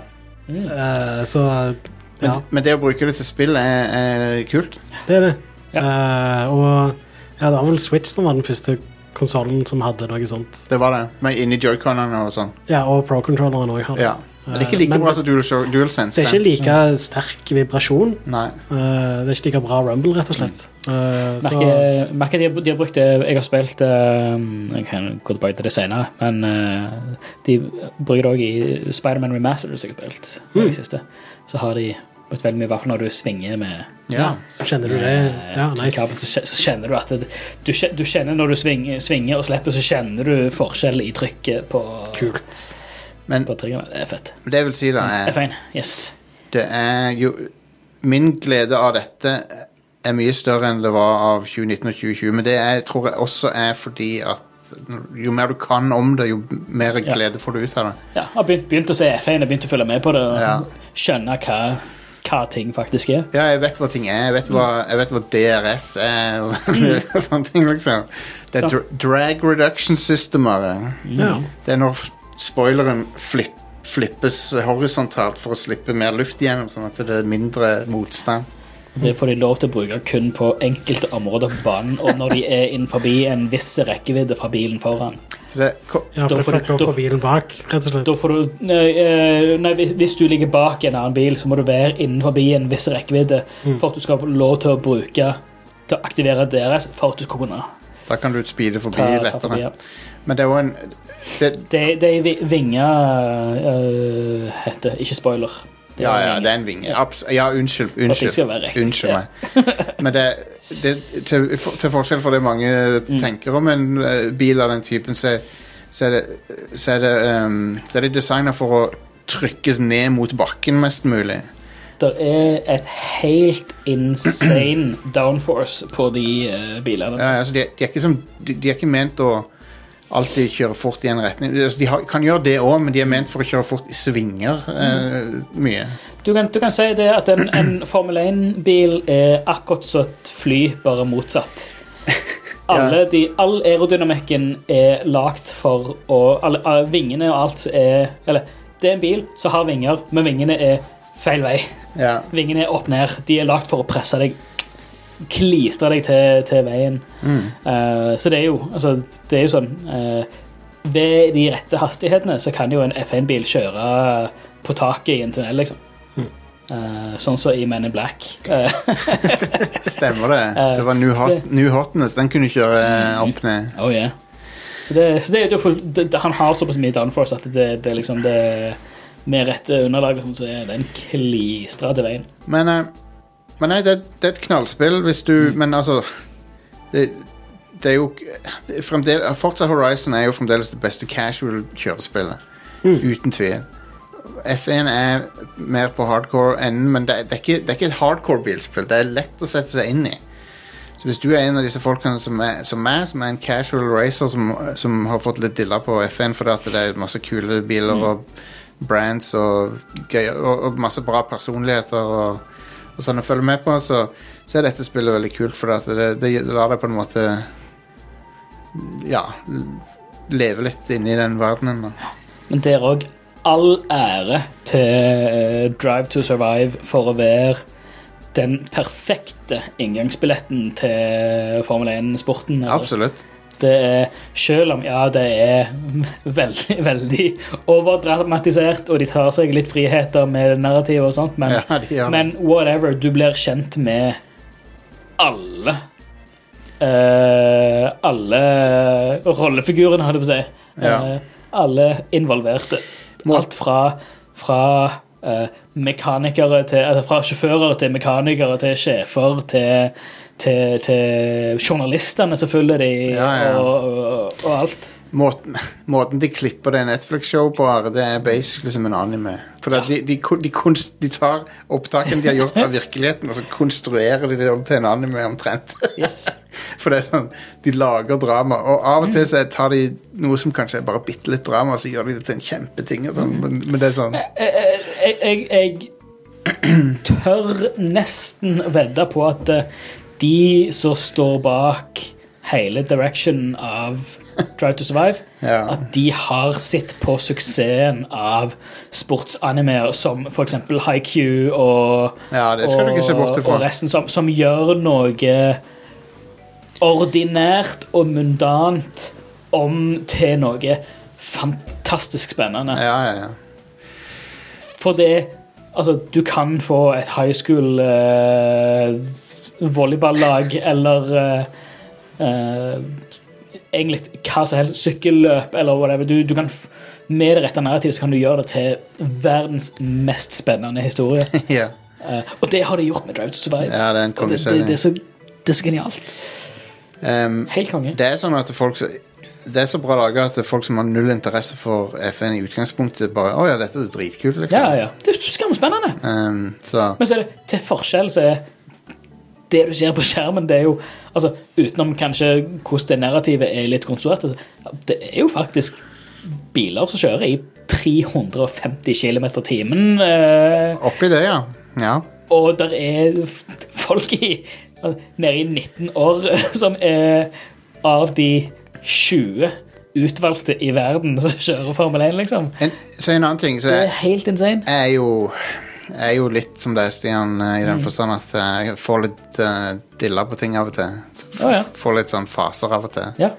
[SPEAKER 4] eh, så eh,
[SPEAKER 1] Men,
[SPEAKER 4] ja,
[SPEAKER 1] men det å bruke det til spill er, er kult.
[SPEAKER 4] det er det. Eh, og ja, det var vel Switch som var den første konsollen som hadde noe sånt.
[SPEAKER 1] Det var det. Med inni joyconene og sånn.
[SPEAKER 4] Ja, og Pro-controlleren òg hadde
[SPEAKER 1] Ja. Men det er ikke like
[SPEAKER 4] Eh, men
[SPEAKER 1] bra som Dual, Dual Sense.
[SPEAKER 4] det. er ikke like sterk vibrasjon.
[SPEAKER 1] Nei.
[SPEAKER 4] eh, det er ikke like bra rumble, rett og slett. Eh, så
[SPEAKER 3] Merker, merker de, har- de har brukt det Jeg har spilt eh, Jeg kan gå tilbake til det senere, men eh, de bruker det òg i Spiderman Remastered, som jeg har spilt.
[SPEAKER 4] Mm.
[SPEAKER 3] i det siste. Så har de brukt veldig mye, i hvert fall når du svinger med
[SPEAKER 1] Ja.
[SPEAKER 4] så kjenner du det. Ja,
[SPEAKER 3] eh,
[SPEAKER 4] nice.
[SPEAKER 3] kabel, så, kje- så kjenner du at det, du, kje- du kjenner Når du svinger, svinger og slipper, så kjenner du forskjell i trykket på,
[SPEAKER 4] Kult.
[SPEAKER 1] Men
[SPEAKER 3] på triggeren. Det er fett.
[SPEAKER 1] det vil si det
[SPEAKER 3] Det er
[SPEAKER 1] er,
[SPEAKER 3] fine. Yes.
[SPEAKER 1] det er jo Min glede av dette er mye større enn det var av 2019 og 2020, men det er, tror jeg også er fordi at jo mer du kan om det, jo mer glede får du ut av det.
[SPEAKER 3] Ja, har begynt, begynt å se F1 og begynt å følge med på det og
[SPEAKER 1] Ja.
[SPEAKER 3] skjønne hva, hva ting faktisk er.
[SPEAKER 1] Ja, jeg vet hva ting er. Jeg vet hva, jeg vet hva DRS er, og sånne,
[SPEAKER 3] Mm.
[SPEAKER 1] sånne ting, liksom. Det er
[SPEAKER 3] Sant.
[SPEAKER 1] dra- drag reduction systemer.
[SPEAKER 3] Mm.
[SPEAKER 4] Ja.
[SPEAKER 1] Det er når spoileren flipp, flippes horisontalt for å slippe mer luft igjennom, sånn at det er mindre motstand.
[SPEAKER 3] Det får de lov til å bruke kun på enkelte områder på banen og når de er innenfor en viss rekkevidde fra bilen foran.
[SPEAKER 1] For det, ko-
[SPEAKER 4] ja,
[SPEAKER 3] Da
[SPEAKER 4] for det
[SPEAKER 3] får du-
[SPEAKER 4] fucker opp
[SPEAKER 3] da-
[SPEAKER 4] på bilen bak, rett og slett.
[SPEAKER 3] Da får du nei, eh, nei, hvis- Hvis du ligger bak en annen bil, så må du være innenfor en viss rekkevidde
[SPEAKER 1] Mm.
[SPEAKER 3] for at du skal få lov til å bruke til å aktivere deres for at du skal kunne
[SPEAKER 1] da kan du speede forbi
[SPEAKER 3] ta, ta forbi.
[SPEAKER 1] lettere. Men det er jo en det,
[SPEAKER 3] Det det er vi- vinge eh, heter, ikke spoiler. Det er
[SPEAKER 1] ja, ja,
[SPEAKER 3] vinge.
[SPEAKER 1] det er en vinge. Abs ja, unnskyld.
[SPEAKER 3] For at ting skal
[SPEAKER 1] Unnskyld,
[SPEAKER 3] være riktig.
[SPEAKER 1] unnskyld
[SPEAKER 3] Ja.
[SPEAKER 1] meg. Men det, det til, for- til forskjell fra det mange
[SPEAKER 3] Mm.
[SPEAKER 1] tenker om en eh, bil av den typen, så, så er det, så er det, ehm, så er det designet for å trykkes ned mot bakken mest mulig.
[SPEAKER 3] Det er et helt insane downforce på de eh, bilene.
[SPEAKER 1] Ja, altså de, de, er ikke som, de, de er ikke ment å alltid kjøre fort i en retning. Altså de har, kan gjøre det òg, men de er ment for å kjøre fort i svinger
[SPEAKER 3] Mm.
[SPEAKER 1] eh, mye.
[SPEAKER 3] Du, kan, du kan si det at en, en Formel 1-bil er akkurat som et fly, bare motsatt. Alle de, all aerodynamikken er lagd for å alle, alle Vingene og alt er Eller, det er en bil som har vinger, men vingene er feil vei.
[SPEAKER 1] Ja.
[SPEAKER 3] Vingene er opp ned. De er lagd for å presse deg Klistre deg til, til veien. Eh, så det er jo altså, Det er jo sånn eh, Ved de rette hastighetene så kan jo en F1-bil kjøre på taket i en tunnel, liksom. Eh, sånn som i Men in Black. Eh,
[SPEAKER 1] Stemmer det. Det var New, Hot,
[SPEAKER 3] det-
[SPEAKER 1] New Hotness. Den kunne kjøre eh, opp ned.
[SPEAKER 3] oh yeah. Så det, så det, er jo full- det, det, han har såpass mye downforce at det, det er liksom det Med rette underlag og sånn, så er den klistra til veien.
[SPEAKER 1] Men, eh, men nei, det, det er et knallspill hvis du Men altså det, det er jo det er fremdel, Forza Horizon er jo fremdeles det beste casual kjørespillet. Uten tvil. F1 er mer på hardcore enden, men det, er- det, er ikke, det er ikke et hardcore bilspill. Det er lett å sette seg inn i. Så hvis du er en av disse folkene som er, som er, som er en casual racer som, som har fått litt dilla på FN fordi at det er masse kule biler og brands og, gøy, og, og masse bra personligheter og, og sånn å følge med på, så, så er dette spillet veldig kult fordi at det, det lar deg på en måte ja leve litt inni den verdenen. Da.
[SPEAKER 3] Men der òg all ære til eh, Drive to Survive for å være den perfekte inngangsbilletten til Formel 1-sporten.
[SPEAKER 1] Absolutt.
[SPEAKER 3] Det er, selv om ja, det er veldig, veldig overdramatisert, og de tar seg litt friheter med narrativet og sånt, men,
[SPEAKER 1] Ja, de gjør det.
[SPEAKER 3] men whatever, du blir kjent med alle. eh, alle rollefigurene, hadde jeg på å si. Eh,
[SPEAKER 1] Ja.
[SPEAKER 3] alle involverte. Alt fra, fra eh, mekanikere til, altså fra sjåfører til mekanikere til sjefer til, til, til journalistene som følger de,
[SPEAKER 1] Ja, ja.
[SPEAKER 3] Og, og, og alt.
[SPEAKER 1] Måten, måten de klipper det Netflix-showet på, her, det er basically som en anime. For det- de, de, kun- de, kunst, de tar opptakene de har gjort av virkeligheten, og så konstruerer de det om til en anime omtrent.
[SPEAKER 3] Yes.
[SPEAKER 1] For det er sånn, de lager drama, og av og til
[SPEAKER 3] Mm.
[SPEAKER 1] så tar de noe som kanskje er bare bitte litt drama, og så gjør de det til en kjempeting. Og sånn. men, men det er sånn
[SPEAKER 3] jeg, jeg, jeg tør nesten vedde på at eh, de som står bak hele directionen av Try to Survive,
[SPEAKER 1] Ja.
[SPEAKER 3] at de har sett på suksessen av sportsanimeer som f.eks. Haiku og,
[SPEAKER 1] Ja, det skal du ikke se bort ifra.
[SPEAKER 3] og resten, som, som gjør noe ordinært og mundant om til noe fantastisk spennende.
[SPEAKER 1] Ja, ja, ja.
[SPEAKER 3] For det Altså, du kan få et high school eh, volleyballag eller eh, eh, egentlig hva som helst, sykkelløp eller whatever. Du, du kan, f- med det rette narrativet så kan du gjøre det til verdens mest spennende historie.
[SPEAKER 1] ja.
[SPEAKER 3] Eh, og det har de gjort med Drive to Survive.
[SPEAKER 1] Ja, det er en
[SPEAKER 3] og det,
[SPEAKER 1] kongeserie.
[SPEAKER 3] det, det, er så, det er så genialt.
[SPEAKER 1] Ehm,
[SPEAKER 3] Helt konge.
[SPEAKER 1] Det er sånn at folk som- Det er så bra laga at folk som har null interesse for FN i utgangspunktet, bare Å ja, dette er jo dritkult, liksom.
[SPEAKER 3] Ja, ja. Det er skamspennende.
[SPEAKER 1] Ehm, så
[SPEAKER 3] Men så er det til forskjell så er det du ser på skjermen, det er jo altså, Utenom kanskje hvordan det narrativet er litt konstruert, altså, det er jo faktisk biler som kjører i 350 km i timen. eh,
[SPEAKER 1] oppi det, ja. Ja.
[SPEAKER 3] Og der er f- folk i, nede i 19 år som er av de 20 utvalgte i verden som kjører Formel 1, liksom.
[SPEAKER 1] En, så en annen ting så
[SPEAKER 3] Det
[SPEAKER 1] jeg,
[SPEAKER 3] er helt insane.
[SPEAKER 1] jeg er jo jeg er jo litt som deg, Stian, eh, i
[SPEAKER 3] Mm.
[SPEAKER 1] den forstand at eh, jeg får litt eh, dilla på ting av og til. Så f-
[SPEAKER 3] Å, ja.
[SPEAKER 1] Får litt sånn faser av og til.
[SPEAKER 3] Ja.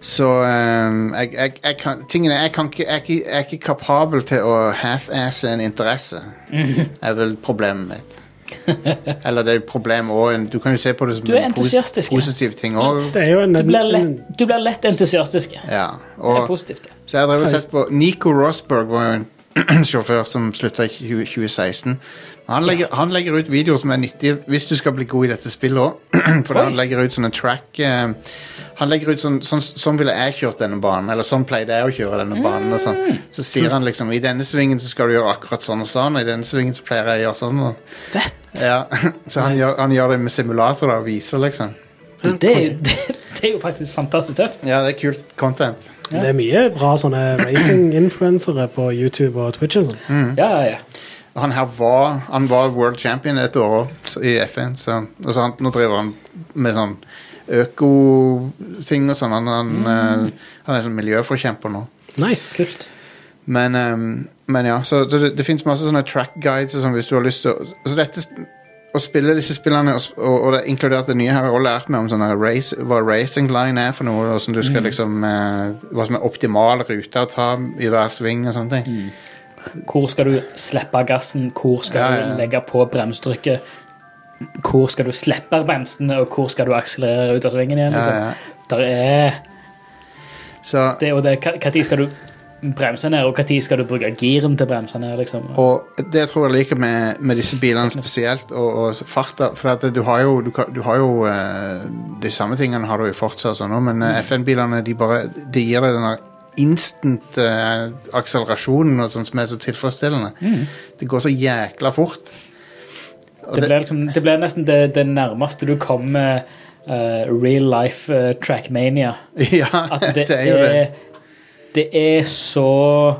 [SPEAKER 1] Så ehm, jeg, jeg, jeg kan, tingene, jeg, kan ikke, jeg, er ikke- jeg er ikke kapabel til å half-asse en interesse. er vel problemet mitt. Eller det er et problem òg. Du kan jo se på det som
[SPEAKER 3] Du er
[SPEAKER 1] en pos-
[SPEAKER 3] entusiastisk, ja.
[SPEAKER 1] positiv ting òg.
[SPEAKER 4] Det er jo en,
[SPEAKER 3] Du blir lett,
[SPEAKER 4] en-
[SPEAKER 3] du blir lett entusiastisk. Det
[SPEAKER 1] Ja.
[SPEAKER 3] er
[SPEAKER 1] Og,
[SPEAKER 3] positivt. det.
[SPEAKER 1] så jeg har drevet og sett på Nico Rosberg var jo en sjåfør som slutta i 20- 2016. Han legger, han legger ut videoer som er nyttige hvis du skal bli god i dette spillet òg. For han legger ut sånne track eh, Han legger ut sånn Sånn, sånn ville jeg kjørt denne banen, eller sånn pleide jeg å kjøre denne banen. Og sånn. Så sier han liksom I denne svingen så skal du gjøre akkurat sånn og sånn, og i denne svingen så pleier jeg å gjøre sånn. Og,
[SPEAKER 3] Fett.
[SPEAKER 1] ja. Så han, gjør, han gjør det med simulator da, og viser, liksom.
[SPEAKER 3] Du, det, er, jo- det, det er jo faktisk fantastisk tøft.
[SPEAKER 1] Ja, det er kult content.
[SPEAKER 4] det er mye bra sånne racing-influensere på YouTube og Twitch. og sånn.
[SPEAKER 1] Mm.
[SPEAKER 3] Ja, ja, ja.
[SPEAKER 1] Og Han her var, han var world champion et år også i FN. Så, og så han, nå driver han med sånn øko-ting og sånn. Han, han, eh, han er sånn miljøforkjemper nå.
[SPEAKER 4] Nice.
[SPEAKER 3] Kult.
[SPEAKER 1] Men, ehm, men ja, så, så det, det finnes masse sånne track guides og sånn hvis du har lyst til å Så dette sp- å spille disse spillene, og, s- og, og det, inkludert det nye, har jeg også lært meg om sånne race, hva racing line er for noe, og hvordan du skal liksom eh, Hva som er optimal rute å ta i hver sving og sånne ting.
[SPEAKER 3] Hvor skal du slippe gassen? Hvor skal
[SPEAKER 1] Ja, ja, ja.
[SPEAKER 3] du legge på bremstrykket? Hvor skal du slippe bremsen, og hvor skal du akselerere ut av svingen igjen?
[SPEAKER 1] Ja,
[SPEAKER 3] Liksom?
[SPEAKER 1] ja.
[SPEAKER 3] Der er
[SPEAKER 1] Så,
[SPEAKER 3] det og det. Når skal du bremse ned, og når skal du bruke giren til å bremse ned? Liksom?
[SPEAKER 1] Og det jeg tror jeg liker med, med disse bilene spesielt, og, og farta. For at du har jo, du kan, du har jo eh, de samme tingene har du jo fortsatt sånn, men
[SPEAKER 3] Mm.
[SPEAKER 1] eh, FN-bilene de bare de gir deg den der instant eh, akselerasjonen og sånn som er så tilfredsstillende. Det går så jækla fort. Og
[SPEAKER 3] Mm. Det
[SPEAKER 1] det-
[SPEAKER 3] blir liksom, det blir nesten det, det nærmeste du kommer eh, real life eh, trackmania.
[SPEAKER 1] ja,
[SPEAKER 3] At det,
[SPEAKER 1] er jo det.
[SPEAKER 3] er, det er så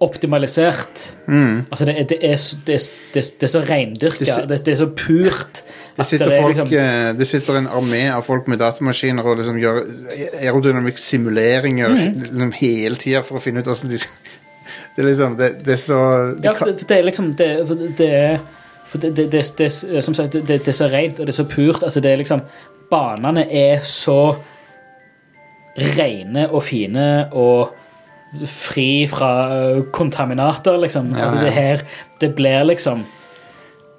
[SPEAKER 3] optimalisert. Altså, det er, det er, så- det er, det er, det er så
[SPEAKER 1] Mm. Det
[SPEAKER 3] reindyrka.
[SPEAKER 1] si-
[SPEAKER 3] Det, det er så purt.
[SPEAKER 1] Det sitter, folk,
[SPEAKER 3] liksom.
[SPEAKER 1] eh, det sitter en armé av folk med datamaskiner og liksom gjør aerodynamikksimuleringer liksom hele tida for å finne ut åssen de skal Det er liksom Det, det er så det
[SPEAKER 3] Ja,
[SPEAKER 1] kan-
[SPEAKER 3] for det, for det er liksom Det, for det- det er for det, det, det, det, er- som sagt, det, det er så rent og det er så purt. Altså, det er liksom Banene er så rene og fine og fri fra ø, kontaminater, liksom.
[SPEAKER 1] Ja,
[SPEAKER 3] At
[SPEAKER 1] ja.
[SPEAKER 3] det her Det blir liksom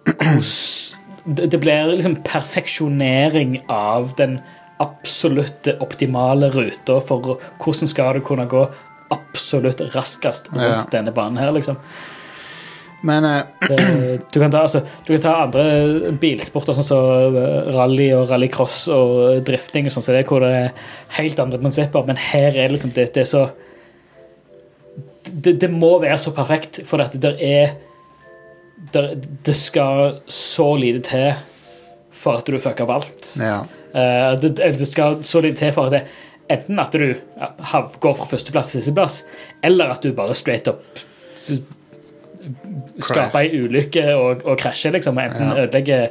[SPEAKER 3] kos- Det det blir liksom perfeksjonering av den absolutte optimale ruta for hvordan skal du kunne gå absolutt raskest rundt
[SPEAKER 1] Ja.
[SPEAKER 3] denne banen her, liksom.
[SPEAKER 1] Men eh,
[SPEAKER 3] Det- Du kan ta, altså, du kan ta andre bilsporter, sånn som eh, rally og rallycross og drifting, og sånn, så det, er hvor det er helt andre prinsipper, men her er liksom det, det er så det, det må være så perfekt, for at det er der, Det skal så lite til for at du fucker opp alt.
[SPEAKER 1] ja.
[SPEAKER 3] Eh, det, eller det skal så lite til for at det, enten at du ja, hav- går fra førsteplass til sisteplass, eller at du bare straight up s- skaper ei ulykke og, og krasjer, liksom. og Enten
[SPEAKER 1] Ja.
[SPEAKER 3] ødelegger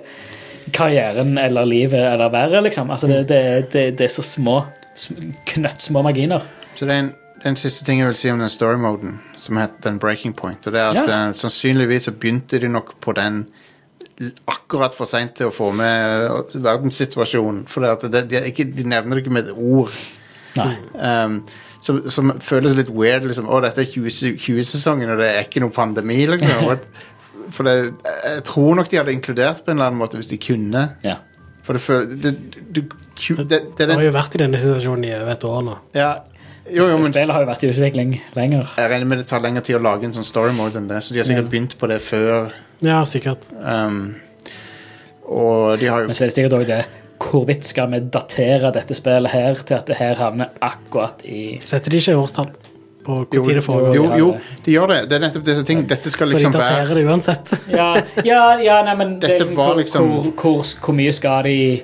[SPEAKER 3] karrieren eller livet eller verre, liksom. Altså, det, det, det, det er så små, sm- knøttsmå marginer.
[SPEAKER 1] Så det er en, en siste ting jeg vil si om den story-moden, som het den breaking point. Og det er at
[SPEAKER 3] Ja.
[SPEAKER 1] eh, sannsynligvis så begynte de nok på den l- akkurat for seint til å få med eh, verdenssituasjonen. For det at det, de, er ikke, de nevner det ikke med et ord.
[SPEAKER 3] Nei.
[SPEAKER 1] Um, som, som føles litt weird. Liksom. Å, dette er 20 20-sesongen, og det er ikke noe pandemi, liksom. What? For det, jeg tror nok de hadde inkludert på en eller annen måte, hvis de kunne.
[SPEAKER 3] Ja.
[SPEAKER 1] For det føles det, du, tju- det, det er
[SPEAKER 4] Jeg har
[SPEAKER 1] den
[SPEAKER 4] jo vært i denne situasjonen i over et år nå.
[SPEAKER 1] ja, Jo, jo, men
[SPEAKER 3] Spillet har jo vært i utvikling lenger.
[SPEAKER 1] jeg regner med det tar lengre tid å lage en sånn story mode enn det, så de har sikkert begynt på det før.
[SPEAKER 4] Ja, sikkert.
[SPEAKER 1] Um, og de har jo
[SPEAKER 3] Men så er det sikkert òg det Hvorvidt skal vi datere dette spillet her til at det her havner akkurat i
[SPEAKER 4] Setter de ikke årstall på
[SPEAKER 1] jo,
[SPEAKER 4] hvor tid det foregår?
[SPEAKER 1] jo,
[SPEAKER 3] Ja,
[SPEAKER 1] jo,
[SPEAKER 3] det- eh,
[SPEAKER 1] de gjør det. Det er nettopp disse ting. Dette skal liksom
[SPEAKER 4] så de
[SPEAKER 1] være
[SPEAKER 4] daterer det uansett.
[SPEAKER 3] Ja, ja, ja nei, men
[SPEAKER 1] Dette
[SPEAKER 3] det-
[SPEAKER 1] var
[SPEAKER 3] hvor,
[SPEAKER 1] liksom-
[SPEAKER 3] hvor, hvor, hvor mye skal de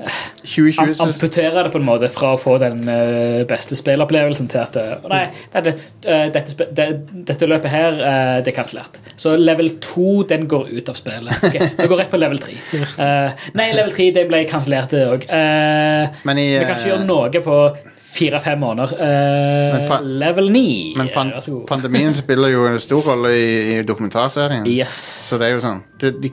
[SPEAKER 3] am
[SPEAKER 1] 2020 ses-
[SPEAKER 3] amputere det på en måte fra å få den eh, beste spillopplevelsen til at eh, Nei,
[SPEAKER 1] Mm.
[SPEAKER 3] dette, eh, dette, spe- det, dette løpet her, eh, det er kansellert. Så level 2, den går ut av spillet. Ok, det går rett på level 3. Eh, nei, level 3, det ble kansellert, det òg.
[SPEAKER 1] Men i
[SPEAKER 3] vi kan ikke
[SPEAKER 1] eh,
[SPEAKER 3] gjøre noe på fire-fem måneder. Eh,
[SPEAKER 1] Men pa-
[SPEAKER 3] level 9,
[SPEAKER 1] Men pan
[SPEAKER 3] vær så god.
[SPEAKER 1] pandemien spiller jo en stor rolle i, i dokumentarserien.
[SPEAKER 3] yes.
[SPEAKER 1] Så det er jo sånn Det, de,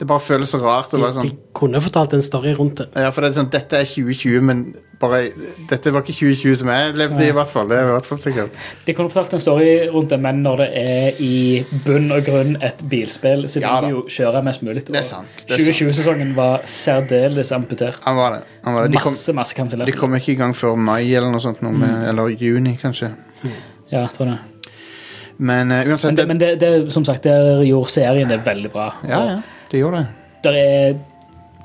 [SPEAKER 1] det bare føles så rart å
[SPEAKER 4] De,
[SPEAKER 1] være sånn
[SPEAKER 4] de kunne fortalt en story rundt det.
[SPEAKER 1] Ja, for det er sånn Dette er 2020, men bare Dette var ikke 2020 som jeg levde i, i hvert fall. Det er i hvert fall sikkert.
[SPEAKER 3] De kunne fortalt en story rundt det, men når det er i bunn og grunn et bilspill, så vil
[SPEAKER 1] Ja da.
[SPEAKER 3] de jo kjøre mest mulig.
[SPEAKER 1] er sant, det er sant.
[SPEAKER 3] 2020-sesongen var særdeles amputert.
[SPEAKER 1] Han var det. Han var det. De, kom,
[SPEAKER 3] Masse, Mm. masse
[SPEAKER 1] de
[SPEAKER 3] kansellerte.
[SPEAKER 1] kom ikke i gang før mai eller noe sånt, noe med, eller juni, kanskje.
[SPEAKER 3] Ja, tror det.
[SPEAKER 1] Men eh, uansett
[SPEAKER 3] Men, det, men det, det, som sagt, der gjorde serien det veldig bra.
[SPEAKER 1] Ja, ja. De gjorde det.
[SPEAKER 3] Der er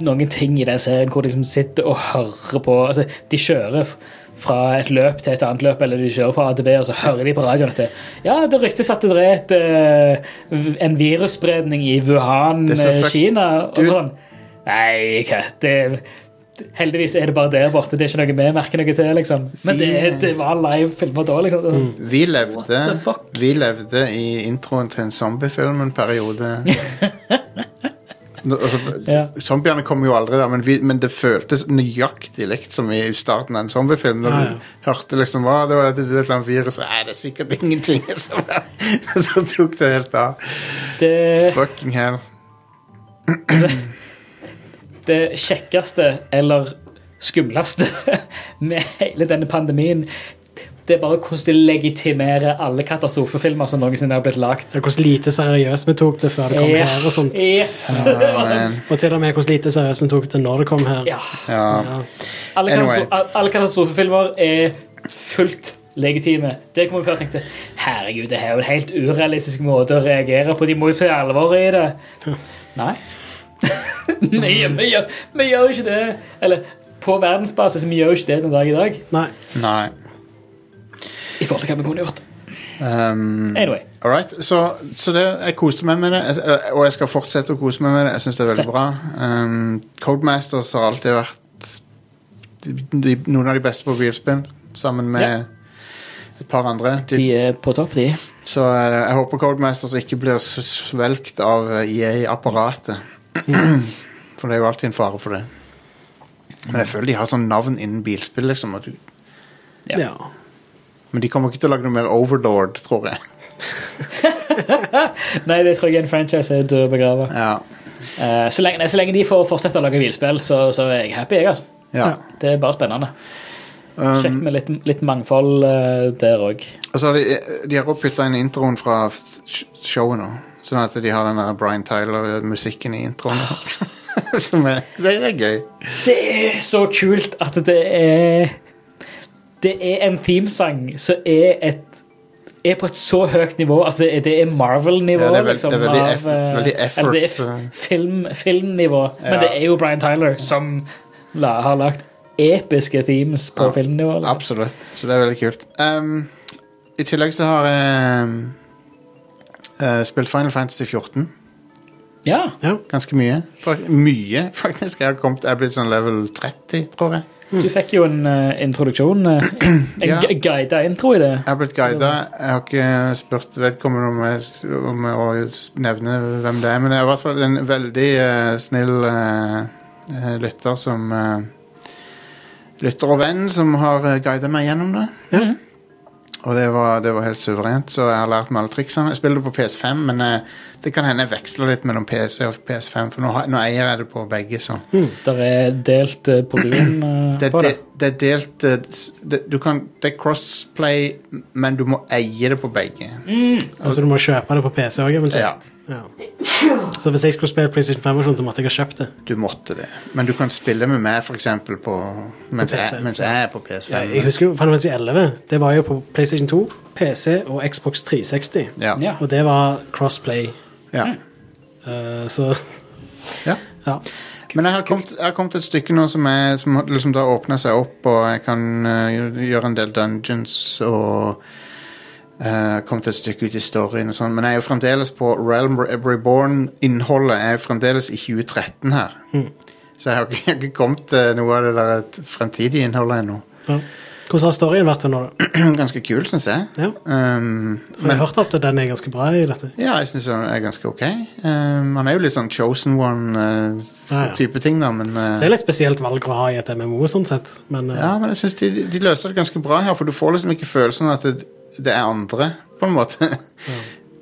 [SPEAKER 3] noen ting i den serien hvor de liksom sitter og hører på altså, De kjører f- fra et løp til et annet løp, eller de kjører fra ADB, og så hører de på radioen at det, ja, det ryktes at det er et, eh, en virusspredning i Wuhan,
[SPEAKER 1] Det er så
[SPEAKER 3] eh,
[SPEAKER 1] fuck-
[SPEAKER 3] Kina. Og
[SPEAKER 1] Du-
[SPEAKER 3] sånn. Nei, hva det, det, Heldigvis er det bare der borte. Det er ikke noe vi merker noe til. liksom. Men det, det var live filmer da. liksom.
[SPEAKER 1] Vi levde,
[SPEAKER 3] What the fuck?
[SPEAKER 1] vi levde i introen til en zombiefilm en periode. Nå, altså,
[SPEAKER 3] Ja.
[SPEAKER 1] Zombiene kom jo aldri der, men, vi, men det føltes nøyaktig likt som i starten av en zombiefilm. Når
[SPEAKER 4] Ja, ja.
[SPEAKER 1] du hørte liksom hva, det var et, et eller annet virus, Nei, det er sikkert ingenting. Så, så tok det helt av.
[SPEAKER 3] Det,
[SPEAKER 1] Fucking hell.
[SPEAKER 3] det kjekkeste eller skumleste med hele denne pandemien, det er bare hvordan det legitimerer alle katastrofefilmer som noensinne har blitt lagt.
[SPEAKER 4] Og Hvordan lite seriøst vi tok det før det kom
[SPEAKER 3] Ja,
[SPEAKER 4] her og sånt.
[SPEAKER 3] Yes!
[SPEAKER 1] Men,
[SPEAKER 4] Og til og med hvordan lite seriøst vi tok det når det kom her.
[SPEAKER 3] Ja.
[SPEAKER 1] ja.
[SPEAKER 4] Ja.
[SPEAKER 3] Alle,
[SPEAKER 1] Anyway.
[SPEAKER 3] katastro alle katastrofefilmer er fullt legitime. Det kom jeg før og tenkte herregud, det her er jo en helt urealistisk måte å reagere på. De må jo se alvoret i det. Nei. Nei, vi gjør, vi gjør ikke det. Eller på verdensbasis, vi gjør jo ikke det den dag i dag.
[SPEAKER 4] Nei.
[SPEAKER 1] Nei.
[SPEAKER 3] I forhold til hva vi kunne gjort.
[SPEAKER 1] Um,
[SPEAKER 3] Mm. Anyway.
[SPEAKER 1] All right, så, så det, jeg koste meg med det, jeg- eh, og jeg skal fortsette å kose meg med det. Jeg synes det er veldig
[SPEAKER 3] Fett.
[SPEAKER 1] bra. Um, Codemasters har alltid vært de, de, noen av de beste på bilspill, sammen med
[SPEAKER 3] Ja.
[SPEAKER 1] et par andre. De,
[SPEAKER 3] De er på topp, de.
[SPEAKER 1] så eh, jeg håper Codemasters ikke blir s- svelgt av eh, EA-apparatet. for det er jo alltid en fare for det. Men jeg føler de har sånn navn innen bilspill, liksom. At du,
[SPEAKER 3] Ja.
[SPEAKER 4] Ja.
[SPEAKER 1] men de kommer ikke til å lage noe mer Overlord, tror jeg.
[SPEAKER 3] Nei, det tror jeg er en franchise er død og begravet.
[SPEAKER 1] Ja,
[SPEAKER 3] Eh, så, lenge, nei, så lenge de får fortsette å lage bilspill, så, så er jeg happy. jeg, altså.
[SPEAKER 1] ja.
[SPEAKER 3] Det er bare spennende.
[SPEAKER 1] Um,
[SPEAKER 3] Kjekt med litt, litt mangfold eh, der òg.
[SPEAKER 1] Og så har Altså, de, de har også putta inn introen fra sh- showet nå. Sånn at de har den der Brian Tyler-musikken i introen. Som er, det er gøy.
[SPEAKER 3] Det er så kult at det er Det er en themesang som er et er på et så høyt nivå. Altså, det er, det er Marvel-nivå.
[SPEAKER 1] Ja, det er vel-
[SPEAKER 3] liksom,
[SPEAKER 1] det er veldig
[SPEAKER 3] av,
[SPEAKER 1] eff- veldig
[SPEAKER 3] eh,
[SPEAKER 1] effort,
[SPEAKER 3] Eller det er f- film, filmnivå. Men
[SPEAKER 1] Ja.
[SPEAKER 3] det er jo Brian Tyler som la, har lagt episke themes på
[SPEAKER 1] Ja.
[SPEAKER 3] filmnivå. eller?
[SPEAKER 1] Absolutt. Så det er veldig kult. Ehm, I tillegg så har jeg ehm, eh, spilt Final Fantasy 14
[SPEAKER 3] Ja.
[SPEAKER 1] ganske mye. Fra- Mye, faktisk. Jeg har kommet, jeg er blitt sånn level 30, tror jeg.
[SPEAKER 3] Du fikk jo en eh, introduksjon. eh, en
[SPEAKER 1] Ja.
[SPEAKER 3] ja. guida intro i det.
[SPEAKER 1] Jeg har blitt guida. Jeg har ikke spurt vedkommende om, jeg, om å nevne hvem det er, men det er i hvert fall en veldig eh, snill eh, eh, lytter som eh, Lytter og venn som har uh, guida meg gjennom det. Og det var, det var helt suverent, så jeg har lært meg alle triksene. Jeg spiller det på PS5, men eh, det kan hende jeg veksler litt mellom PC og PS5, for nå, har- nå eier jeg det på begge. sånn.
[SPEAKER 3] Der er delt eh, podium eh,
[SPEAKER 1] Det,
[SPEAKER 3] på
[SPEAKER 1] det,
[SPEAKER 3] det.
[SPEAKER 1] det er delt eh, s- det, du kan, det er crossplay, men du må eie det på begge.
[SPEAKER 4] Altså, du må kjøpe det på PC òg, eventuelt. Ja. Så hvis jeg skulle spille PlayStation 5-versjonen, så måtte jeg ha kjøpt det.
[SPEAKER 1] Du måtte det. Men du kan spille med meg, for eksempel, på, mens,
[SPEAKER 4] På PC,
[SPEAKER 1] jeg, mens jeg er på PS5.
[SPEAKER 4] Ja, jeg husker jo Final Fantasy 11. Det var jo på PlayStation 2, PC og Xbox 360.
[SPEAKER 1] Ja.
[SPEAKER 3] Ja.
[SPEAKER 4] Og det var crossplay.
[SPEAKER 1] Ja.
[SPEAKER 4] Eh, så
[SPEAKER 1] Ja.
[SPEAKER 4] ja.
[SPEAKER 1] Men jeg har, kommet, jeg har kommet et stykke nå som, er, som har- liksom da åpner seg opp, og jeg kan eh, gjøre en del dungeons og eh, kommet et stykke ut i storyen og sånn, men jeg er jo fremdeles på Realm Re- Reborn-innholdet. Jeg er jo fremdeles i 2013 her.
[SPEAKER 4] Hmm.
[SPEAKER 1] Så jeg har, ikke, jeg har ikke kommet til noe av det der eh, fremtidige innholdet ennå.
[SPEAKER 4] ja. Hvordan har storyen vært til nå, da?
[SPEAKER 1] Ganske kul, syns jeg.
[SPEAKER 4] Ja.
[SPEAKER 1] Um,
[SPEAKER 4] For jeg har hørt at den er ganske bra i dette.
[SPEAKER 1] Ja, jeg syns han er ganske ok. Um, han er jo litt sånn chosen one-type
[SPEAKER 4] Ja, ja.
[SPEAKER 1] ting, da, men uh,
[SPEAKER 4] Så det er litt spesielt valg å ha i et MMO, sånn sett. Men eh,
[SPEAKER 1] Ja, men jeg syns de, de løser det ganske bra her, for du får liksom ikke følelsen av at det, det er andre, på en måte.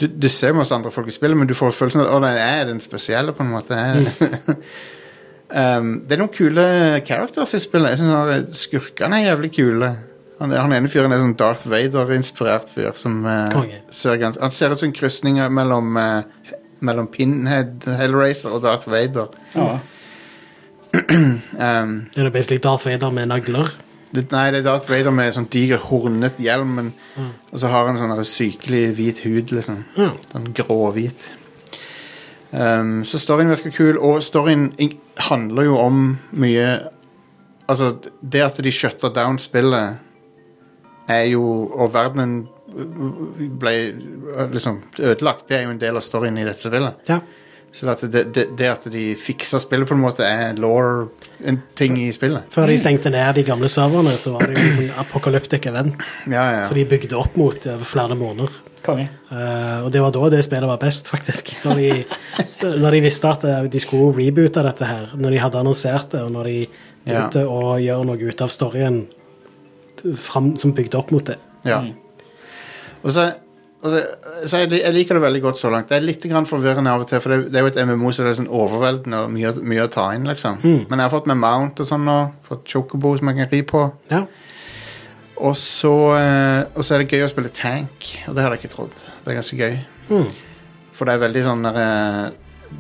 [SPEAKER 1] Du, du ser masse andre folk i spillet, men du får følelsen av at å, den er den spesielle, på en måte. um, det er noen kule characters i spillet. Jeg syns skurkene er jævlig kule. Han, han ene fyren er sånn Darth Vader-inspirert fyr som eh,
[SPEAKER 4] Konge.
[SPEAKER 1] ser gans Han ser ut som en krysning mellom, eh, mellom Pinhead, Hellraiser og Darth Vader.
[SPEAKER 3] Ja.
[SPEAKER 1] Um,
[SPEAKER 4] er det basically Darth Vader med nagler.
[SPEAKER 1] Det, nei, det er Darth Vader med sånn diger, hornet hjelm, men,
[SPEAKER 4] Mm.
[SPEAKER 1] og så har han sånn der sykelig hvit hud, liksom.
[SPEAKER 4] Ja.
[SPEAKER 1] Sånn gråhvit. Um, så storyen virker kul, og storyen in- handler jo om mye Altså, det at de shutter down spillet, er jo Og verdenen ble øh, liksom ødelagt. Det er jo en del av storyen i dette spillet.
[SPEAKER 4] Ja.
[SPEAKER 1] Så det, at det, det, det at de fikser spillet, på en måte, er law, en ting i spillet.
[SPEAKER 4] Før de stengte ned de gamle serverne, så var det jo en sånn apokalyptic event.
[SPEAKER 1] Ja, ja, ja.
[SPEAKER 4] Så de bygde opp mot over flere måneder.
[SPEAKER 3] Konge.
[SPEAKER 4] Eh, og det var da det spillet var best, faktisk. Når de, når de visste at eh, de skulle reboote dette her. Når de hadde annonsert det, og når de
[SPEAKER 1] Ja.
[SPEAKER 4] begynte å gjøre noe ut av storyen fram, som bygde opp mot det.
[SPEAKER 1] Ja. Og så, og så, så jeg, jeg liker det veldig godt så langt. Det er litt grann forvirrende av og til, for det, det er jo et MMO så det er sånn overveldende og mye, mye å ta inn, liksom. Men jeg har fått med Mount og sånn nå. Fått Chocobo som jeg kan ri på.
[SPEAKER 4] Ja.
[SPEAKER 1] Og så, eh, og så er det gøy å spille tank, og det hadde jeg ikke trodd. Det er ganske gøy. For det er veldig sånn der, eh,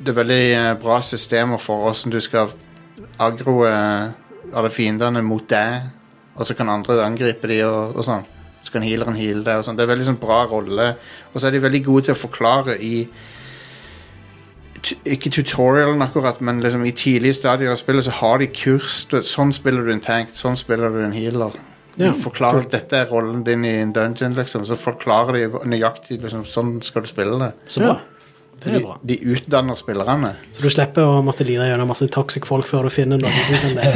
[SPEAKER 1] Det er veldig eh, bra systemer for åssen du skal agroe alle fiendene mot deg, og så kan andre angripe de og, og sånn. Så kan healeren heale deg og sånn. Det er veldig sånn bra rolle. Og så er de veldig gode til å forklare i tu- ikke tutorialen akkurat, men liksom i tidlige stadier av spillet så har de kurs. Du, vet, sånn spiller du en tank, sånn spiller du en healer. De
[SPEAKER 4] Ja,
[SPEAKER 1] forklarer at dette er rollen din i en dungeon, liksom. Så forklarer de hva- nøyaktig liksom, sånn skal du spille det.
[SPEAKER 4] Så bra. Det er
[SPEAKER 1] de,
[SPEAKER 4] bra.
[SPEAKER 1] de utdanner spillerne.
[SPEAKER 4] Så du slipper å måtte lide gjennom masse toxic folk før du finner noen som kan det.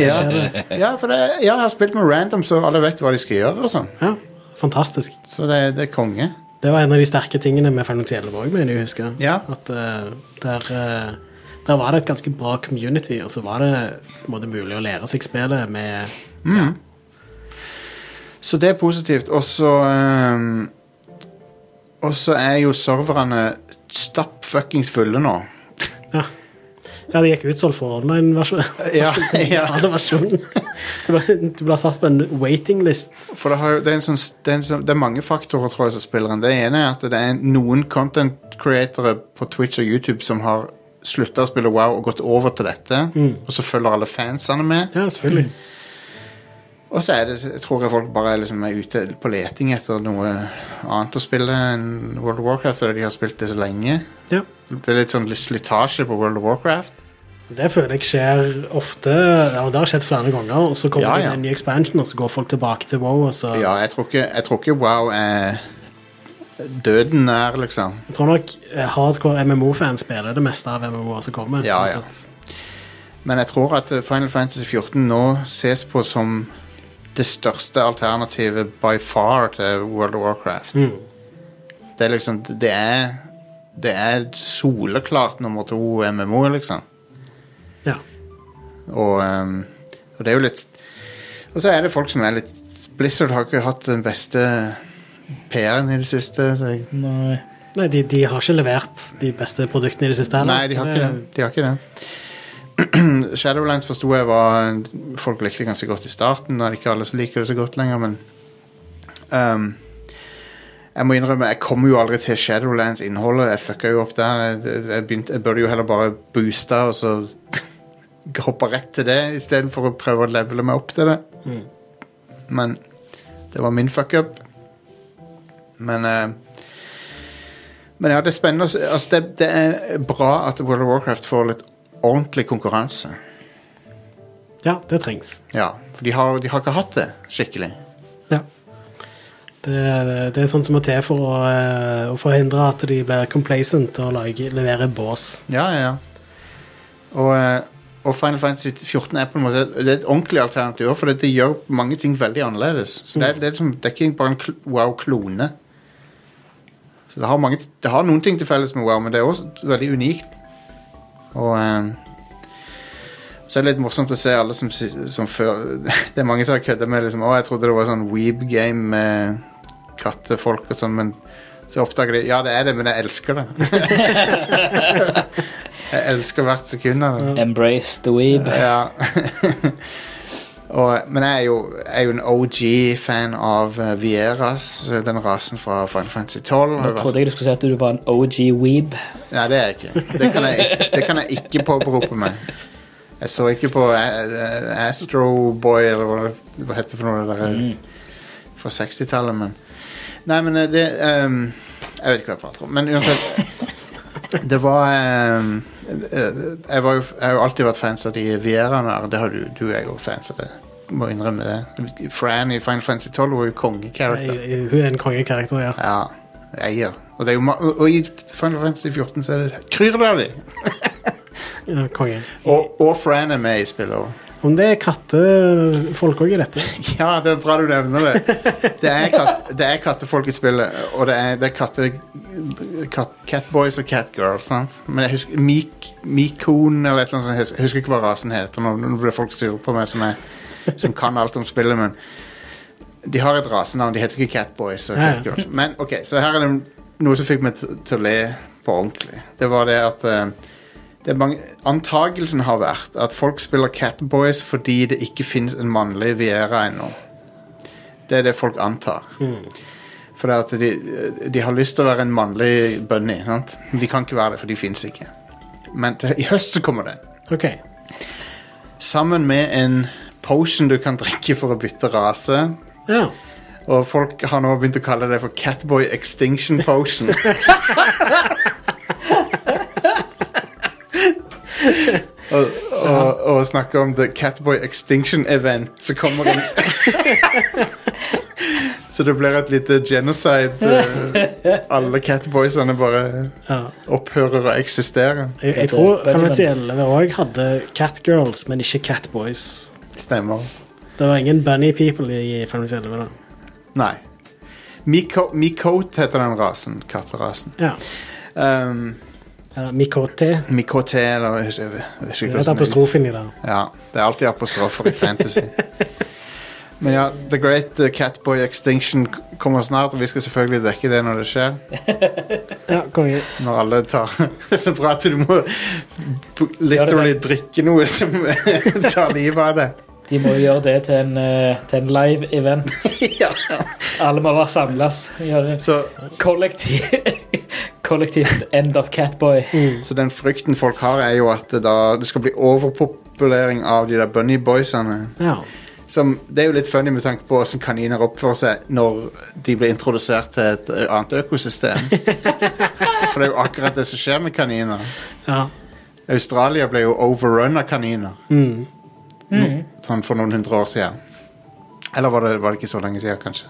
[SPEAKER 1] Ja, ja for det, ja, jeg har spilt med random, så alle vet hva de skal gjøre og sånn.
[SPEAKER 4] Ja, fantastisk.
[SPEAKER 1] Så det, det er konge.
[SPEAKER 4] Det var en av de sterke tingene med Final Fantasy 11 òg, mener jeg å huske.
[SPEAKER 1] Ja.
[SPEAKER 4] At eh, der, eh, der var det et ganske bra community, og så var det på en måte mulig å lære seg spillet med
[SPEAKER 1] Så det er positivt. Og så ehm, Og så er jo serverne stappfuckings fulle nå.
[SPEAKER 4] Ja. ja, det gikk utsolgt for online-versjonen.
[SPEAKER 1] Ja, ja.
[SPEAKER 4] Du ble- du ble satt på en waiting list.
[SPEAKER 1] For det, har, jo- det, er en sånn, det, er en sånn, det er mange faktorer tror jeg, som spiller inn. Det ene er at det er noen content createre på Twitch og YouTube som har slutta å spille Mm. WoW og gått over til dette. Og så følger alle fansene med.
[SPEAKER 4] Ja, selvfølgelig.
[SPEAKER 1] Og så er det, jeg tror jeg folk bare liksom er ute på leting etter noe annet å spille enn World of Warcraft, fordi de har spilt det så lenge.
[SPEAKER 4] Ja.
[SPEAKER 1] Det er litt sånn slitasje på World of Warcraft.
[SPEAKER 4] Det føler jeg skjer ofte. Ja, det har skjedd flere ganger. Og så kommer
[SPEAKER 1] Ja,
[SPEAKER 4] det
[SPEAKER 1] ja.
[SPEAKER 4] en ny expansion, og så går folk tilbake til WoW. Og så.
[SPEAKER 1] Ja, jeg tror ikke, jeg tror ikke wow er døden nær, liksom.
[SPEAKER 4] Jeg tror nok eh, hardcore MMO-fans spiller det meste av MMO-er som kommer.
[SPEAKER 1] Ja,
[SPEAKER 4] sånn
[SPEAKER 1] ja.
[SPEAKER 4] sett.
[SPEAKER 1] Men jeg tror at eh, Final Fantasy 14 nå ses på som det største alternativet by far til World of Warcraft.
[SPEAKER 4] Mm.
[SPEAKER 1] Det er liksom Det er, det er soleklart nummer to MMO, liksom.
[SPEAKER 4] Ja.
[SPEAKER 1] Og, ehm, og det er jo litt Og så er det folk som er litt Blizzard har ikke hatt den beste PR-en i det siste. Så jeg,
[SPEAKER 3] Nei.
[SPEAKER 4] Nei, de, de har ikke levert de beste produktene i det siste. heller,
[SPEAKER 1] nei, de
[SPEAKER 4] så
[SPEAKER 1] har ikke det. De har ikke det. Shadowlands forsto jeg var folk likte ganske godt i starten. Når ikke alle liker det så godt lenger, men ehm, Jeg må innrømme, jeg kommer jo aldri til Shadowlands-innholdet. Jeg fucka jo opp der. Jeg, jeg, begynte, jeg burde jo heller bare booste og så hoppe rett til det istedenfor å prøve å levele meg opp til det. Men det var min fuckup. Men eh, men ja, det er spennende. å se- Altså, det, det er bra at World of Warcraft får litt ordentlig konkurranse.
[SPEAKER 4] Ja, det trengs.
[SPEAKER 1] Ja, For de har, de har ikke hatt det skikkelig.
[SPEAKER 4] Ja. Det, det er sånn som må til for å, eh, å forhindre at de blir complacent og lage, leverer bås.
[SPEAKER 1] Ja, ja, ja. Og, eh, og Final Fantasy 14 er på en måte Det er et ordentlig alternativ, også, for det det gjør mange ting veldig annerledes. Så Det er, det er, liksom, det er ikke bare en kl- wow-klone. Så det har, mange, det har noen ting til felles med wow, men det er også veldig unikt. Og eh, så er det litt morsomt å se alle som, si- som før Det er mange som har kødda med liksom, Å, jeg trodde det var sånn weeb game med kattefolk og sånn, men så oppdager de Ja, det er det, men jeg elsker det. Jeg elsker hvert sekund av det.
[SPEAKER 6] Embrace the weeb.
[SPEAKER 1] Ja. Og, men jeg er jo, jeg er jo en OG-fan av eh, Vieras, eh, den rasen fra Final Fantasy 12.
[SPEAKER 3] Nå trodde jeg du skulle si at du var en OG weeb.
[SPEAKER 1] Nei, det er jeg ikke. Det kan jeg, ikke- det kan jeg ikke påberope meg. Jeg så ikke på eh, eh, Astro Boy, eller hva det hva heter det for noe det der eh, fra 60-tallet, men Nei, men eh, det ehm, Jeg vet ikke hva jeg prater om, men uansett Det var ehm, eh, jeg, var jo, jeg har jo alltid vært fans av de Vieraene. Det har du, du er jo fans av det. Må innrømme det. Fran i Final Fantasy 12 var jo kongekarakter.
[SPEAKER 4] Jeg- jeg- Hun er en kongekarakter, ja.
[SPEAKER 1] Ja, eier. Og, det er jo, ma- og og i Final Fantasy 14 så er det kryr det av de.
[SPEAKER 4] ja konge.
[SPEAKER 1] Og, og Fran er med i spillet også.
[SPEAKER 4] Om det er kattefolk òg i dette?
[SPEAKER 1] Ja, det er bra du nevner det. Det er, katt, det er kattefolk i spillet, og det er, det er katte, kat, catboys og catgirls. Sant? Men jeg husker Mik, Mikon eller et eller annet sånt. Jeg husker ikke hva rasen heter. Nå, nå blir folk sure på meg som, er, som kan alt om spillet, men de har et rasenavn. De heter ikke catboys og
[SPEAKER 4] Ja, ja.
[SPEAKER 1] catgirls. Men ok, så her er det noe som fikk meg til, til å le på ordentlig. Det var det at eh, det er mange, antagelsen har vært at folk spiller Catboys fordi det ikke finnes en mannlig Viera ennå. Det er det folk antar. For det at de, de har lyst til å være en mannlig bunny, sant? men de kan ikke være det, for de finnes ikke. Men til, i høst så kommer det.
[SPEAKER 4] OK.
[SPEAKER 1] Sammen med en potion du kan drikke for å bytte rase.
[SPEAKER 4] Ja.
[SPEAKER 1] Og folk har nå begynt å kalle det for Catboy Extinction Potion. og, og, og snakke om The Catboy Extinction Event, så kommer en Så det blir et lite genocide. eh, Alle catboysene bare
[SPEAKER 4] ja.
[SPEAKER 1] opphører å eksistere.
[SPEAKER 4] Jeg, jeg
[SPEAKER 3] Dette
[SPEAKER 4] tror
[SPEAKER 3] er veldig
[SPEAKER 4] Fantasy 11 òg hadde catgirls, men ikke catboys.
[SPEAKER 1] Stemmer.
[SPEAKER 4] Det var ingen bunny people i Fantasy 11 da.
[SPEAKER 1] Nei. Miko, Mikote heter den rasen. Katterasen.
[SPEAKER 4] Ja.
[SPEAKER 1] Um,
[SPEAKER 4] Eller Mikote.
[SPEAKER 1] Mikote, eller jeg husker jeg husker
[SPEAKER 4] Det
[SPEAKER 1] ikke
[SPEAKER 4] er
[SPEAKER 1] hvordan det-
[SPEAKER 4] apostrofen i det.
[SPEAKER 1] Ja, det er alltid apostrofer i fantasy. Men ja, The Great uh, Catboy Extinction k- kommer snart, og vi skal selvfølgelig dekke det når det skjer.
[SPEAKER 4] Ja, konge.
[SPEAKER 1] Når alle tar Det er så bra at du må b- literally drikke noe som tar livet av deg.
[SPEAKER 3] De må jo gjøre det til en, eh, til en live event.
[SPEAKER 1] Ja.
[SPEAKER 3] Alle må bare samles. Gjøre
[SPEAKER 1] Så,
[SPEAKER 3] kollektiv, kollektivt end of Catboy.
[SPEAKER 6] Mm,
[SPEAKER 1] så den frykten folk har, er jo at det, da, det skal bli overpopulering av de der bunny boysene.
[SPEAKER 4] Ja.
[SPEAKER 1] Som, det er jo litt funny med tanke på hvordan kaniner oppfører seg når de blir introdusert til et eh, annet økosystem. For det er jo akkurat det som skjer med kaniner.
[SPEAKER 4] Ja.
[SPEAKER 1] Australia ble jo overrun av kaniner.
[SPEAKER 3] Mm.
[SPEAKER 1] No- Sånn for noen hundre år siden. Eller var det, var det ikke så lenge siden, kanskje?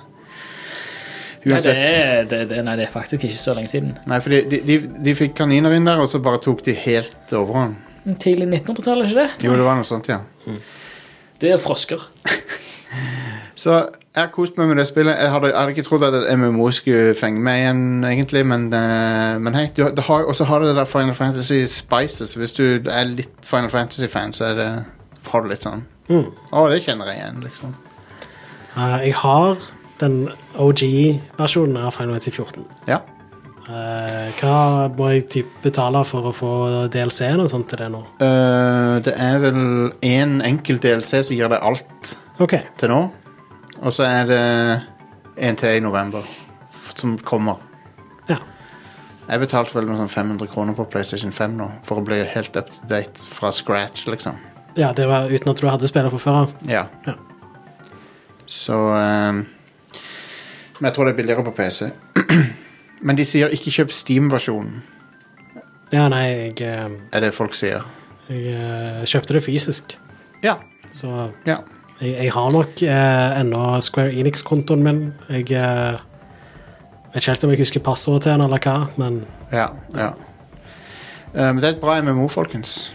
[SPEAKER 3] Nei det,
[SPEAKER 1] Uansett.
[SPEAKER 3] er, det, det, nei, det er faktisk ikke så lenge siden.
[SPEAKER 1] Nei, for de, de, de, de fikk kaniner inn der, og så bare tok de helt overhånd.
[SPEAKER 3] Tidlig 1900-tallet, ikke det?
[SPEAKER 1] Jo, det var noe sånt, ja.
[SPEAKER 3] Det er frosker.
[SPEAKER 1] Så jeg har kost meg med det spillet. Jeg hadde, jeg hadde ikke trodd at et MMO skulle fenge meg igjen, egentlig, men, eh, men hei. du har- det har- Og så har du det der Final Fantasy Spices. Hvis du er litt Final Fantasy-fan, så er det, har du litt sånn
[SPEAKER 4] Mm.
[SPEAKER 1] Å, det kjenner jeg igjen, liksom.
[SPEAKER 4] Eh, jeg har den OG-versjonen av Final Fantasy 14.
[SPEAKER 1] Ja.
[SPEAKER 4] Eh, hva må jeg typ betale for å få DLC-en og sånt til det nå?
[SPEAKER 1] Eh, det er vel én enkelt DLC som gir deg alt
[SPEAKER 4] OK.
[SPEAKER 1] til nå. Og så er det en til i november som kommer.
[SPEAKER 4] Ja.
[SPEAKER 1] Jeg betalte vel noe sånn 500 kroner på PlayStation 5 nå for å bli helt up to date fra scratch, liksom.
[SPEAKER 4] ja, det var uten at du hadde spillet fra før av.
[SPEAKER 1] Ja.
[SPEAKER 4] Ja.
[SPEAKER 1] Så ehm, Men jeg tror det er billigere på PC. men de sier ikke kjøp Steam-versjonen,
[SPEAKER 4] Ja, nei, jeg, eh,
[SPEAKER 1] er det folk sier.
[SPEAKER 4] jeg eh, kjøpte det fysisk,
[SPEAKER 1] Ja.
[SPEAKER 4] så
[SPEAKER 1] ja.
[SPEAKER 4] Jeg, jeg har nok eh, ennå Square Enix-kontoen min. Jeg eh, vet ikke helt om jeg husker passordet til den, eller hva, men
[SPEAKER 1] ja, ja. Eh, Men det er et bra MMO, folkens.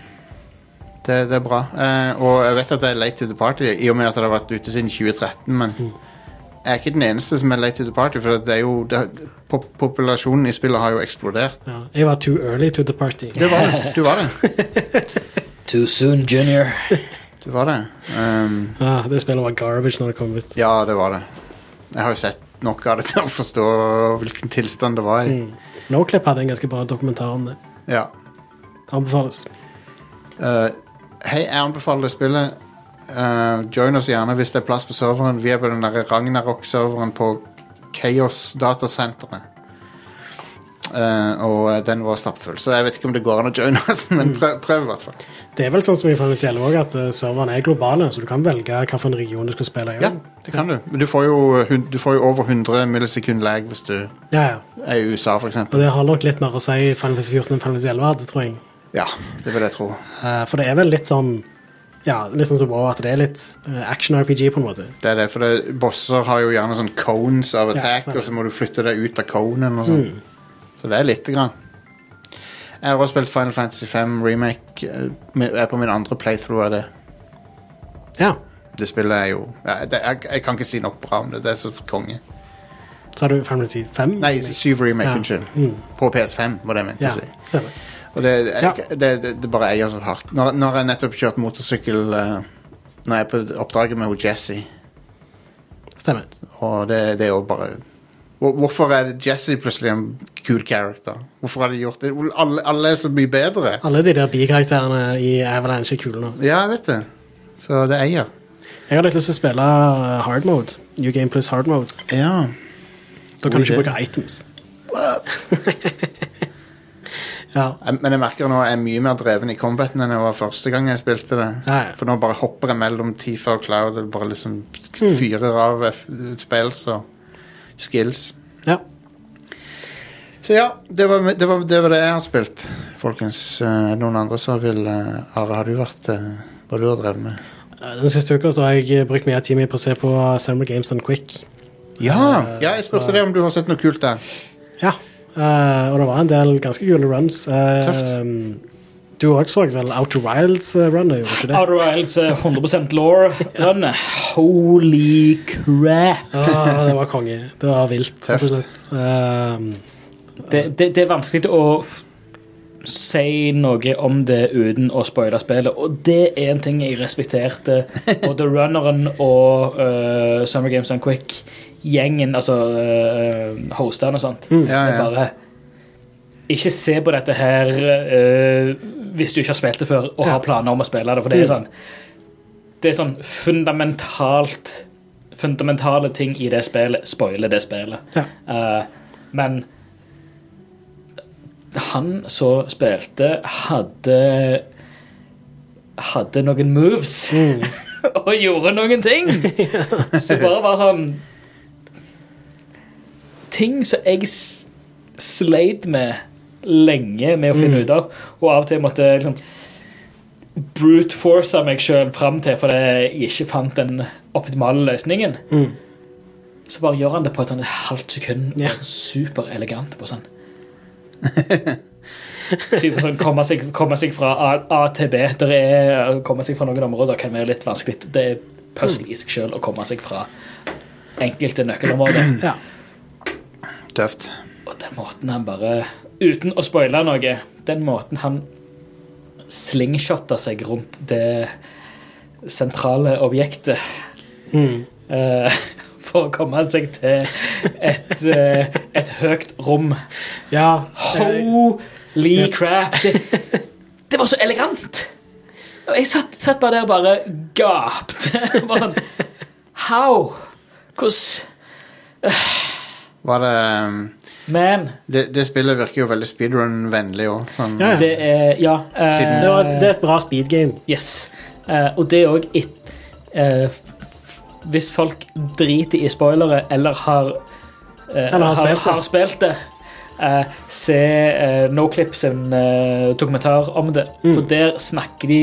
[SPEAKER 1] Det, det er bra. Eh, og jeg vet at det er late to the party, i og med at det har vært ute siden 2013, men jeg er ikke den eneste som er late to the party, for det er jo det, pop populasjonen i spillet har jo eksplodert.
[SPEAKER 4] ja, jeg var too early to the party.
[SPEAKER 1] Du var det. Du var det.
[SPEAKER 6] Too soon, junior.
[SPEAKER 1] Du var det. Ehm,
[SPEAKER 4] Ah, det spillet var garbage når det kom ut.
[SPEAKER 1] Ja, det var det. Jeg har jo sett nok av det til å forstå hvilken tilstand det var i.
[SPEAKER 4] Mm. Noclip hadde en ganske bra dokumentar om det.
[SPEAKER 1] Ja.
[SPEAKER 4] Anbefales.
[SPEAKER 1] Eh, hei, jeg anbefaler det spillet. Eh, join oss gjerne hvis det er plass på serveren. Vi er på den der Ragnarok-serveren på Chaos Datasenteret. Eh, og den var stappfull, så jeg vet ikke om det går an å joine oss,
[SPEAKER 4] Mm.
[SPEAKER 1] men prøv, prøv i hvert fall.
[SPEAKER 4] Det er vel sånn som i Final Fantasy 11 også, at eh, serverne er globale, så du kan velge hvilken region du skal spille i.
[SPEAKER 1] Ja, det kan du. Men du får jo, hun- du får jo over 100 millisekund lag hvis du
[SPEAKER 4] ja, ja.
[SPEAKER 1] er i USA, for eksempel.
[SPEAKER 4] Og det har nok litt mer å si i Final Fantasy 14 enn Final Fantasy 11 hadde, tror jeg.
[SPEAKER 1] Ja, det vil jeg tro.
[SPEAKER 4] Eh, for det er vel litt sånn ja, litt sånn som WoW, at det er litt eh, action-RPG på en måte.
[SPEAKER 1] Det er det, for det, bosser har jo gjerne sånn cones av attack,
[SPEAKER 4] stemmer.
[SPEAKER 1] og så må du flytte deg ut av conen og sånn.
[SPEAKER 4] Mm.
[SPEAKER 1] Så det er lite grann. Jeg har også spilt Final Fantasy 5 Remake. eh, med- Jeg er på min andre playthrough av det.
[SPEAKER 4] Ja.
[SPEAKER 1] Det spillet er jo ja, det, jeg, jeg kan ikke si nok bra om det. Det er så konge.
[SPEAKER 4] Så har du Final Fantasy 5.
[SPEAKER 1] Nei, 7 Remake,
[SPEAKER 4] Ja.
[SPEAKER 1] unnskyld.
[SPEAKER 4] Mm.
[SPEAKER 1] På PS5, var det jeg mente
[SPEAKER 4] Ja,
[SPEAKER 1] å si.
[SPEAKER 4] stemmer.
[SPEAKER 1] Og det, jeg,
[SPEAKER 4] Ja.
[SPEAKER 1] det, det, det bare eier så hardt. Når, når jeg nettopp kjørte motorsykkel eh, Når jeg er på oppdraget med hun Jessie
[SPEAKER 4] stemmer.
[SPEAKER 1] Og det, det er jo bare Hvor- Hvorfor er det Jesse plutselig en kul character? Hvorfor har de gjort det? Hvor Alle, alle er så mye bedre.
[SPEAKER 4] Alle de der bikarakterene i Avalanche er kule nå.
[SPEAKER 1] Ja, jeg vet det. Så det eier.
[SPEAKER 4] Jeg har litt lyst til å spille eh, hard mode. New Game Plus hard mode.
[SPEAKER 1] Ja.
[SPEAKER 4] Da kan du
[SPEAKER 1] idé.
[SPEAKER 4] ikke bruke items. ja.
[SPEAKER 1] Jeg- Men jeg merker nå jeg er mye mer dreven i combaten enn jeg var første gang jeg spilte det.
[SPEAKER 4] Ja, ja.
[SPEAKER 1] For nå bare hopper jeg mellom Tifa og Cloud og bare liksom
[SPEAKER 4] Mm.
[SPEAKER 1] fyrer av F- spells og skills.
[SPEAKER 4] ja.
[SPEAKER 1] Så ja, det var det, var, det, var det jeg har spilt, folkens. Eh, Er det noen andre som vil eh, Are, har du vært eh, Hva du har drevet med?
[SPEAKER 4] Den siste uka så har jeg eh, brukt mye av tiden min på å se på uh, Summer Games Done Quick.
[SPEAKER 1] Ja,
[SPEAKER 3] Eh,
[SPEAKER 1] ja jeg spurte deg om du har sett noe kult der.
[SPEAKER 4] Ja. eh, og det var en del ganske kule runs. Eh, Du òg så vel Outer Wilds-runnet, uh, gjorde du ikke det?
[SPEAKER 3] Outer Wilds eh, 100 law-runnet. Holy crap!
[SPEAKER 4] Ah, det var konge. Det var vilt.
[SPEAKER 1] Tøft.
[SPEAKER 4] rett og slett. Ehm,
[SPEAKER 3] Det, det, det er vanskelig å f- si noe om det uten å spoile spillet, og det er en ting jeg respekterte. Både runneren og eh, Summer Games Done Quick-gjengen, altså uh, hostene og sånt.
[SPEAKER 1] Ja,
[SPEAKER 3] Det er
[SPEAKER 1] ja.
[SPEAKER 3] bare Ikke se på dette her eh, hvis du ikke har spilt det før og har planer om å spille det, for det er
[SPEAKER 1] Mm.
[SPEAKER 3] sånn Det er sånn fundamentalt Fundamentale ting i det spillet spoiler det spillet.
[SPEAKER 4] Ja.
[SPEAKER 3] Eh, men han som
[SPEAKER 4] mm.
[SPEAKER 3] spilte, hadde hadde noen moves. og og gjorde noen ting. Så bare var sånn Ting som jeg s- sleit med lenge med å finne ut av, og av og til måtte liksom brute force meg sjøl fram til fordi jeg ikke fant den optimale løsningen. Så bare gjør han det på et sånn halvt sekund.
[SPEAKER 4] Ja.
[SPEAKER 3] Ja. Superelegant. på sånn. Typ sånn komme seg, komme seg fra A, A til B. Der er, å komme seg fra noen områder kan være litt vanskelig. Det er puzzle i seg sjøl å komme seg fra enkelte nøkkelområder.
[SPEAKER 4] Ja.
[SPEAKER 1] Tøft.
[SPEAKER 3] Og den måten han bare Uten å spoile noe, den måten han slingshotta seg rundt det sentrale objektet eh, For å komme seg til et, eh, et høyt rom.
[SPEAKER 4] ja eh,
[SPEAKER 3] Holy crap! Det, det var så elegant! Og jeg satt, satt bare der og bare gapte. Bare sånn How? Hvordan?
[SPEAKER 1] Var det um,
[SPEAKER 3] Man.
[SPEAKER 1] det, det spillet virker jo veldig speedrun-vennlig òg. Sånn,
[SPEAKER 4] Ja, ja.
[SPEAKER 3] Det er Ja. eh,
[SPEAKER 1] Siden-
[SPEAKER 4] det, var, det er et bra speedgame.
[SPEAKER 3] Yes. Eh, og det òg eh, Hvis folk driter i spoilere eller har, eh,
[SPEAKER 4] Eller har spilt det.
[SPEAKER 3] har spilt det eh, se eh, Noclip sin eh, dokumentar om det,
[SPEAKER 4] Mm.
[SPEAKER 3] for der snakker de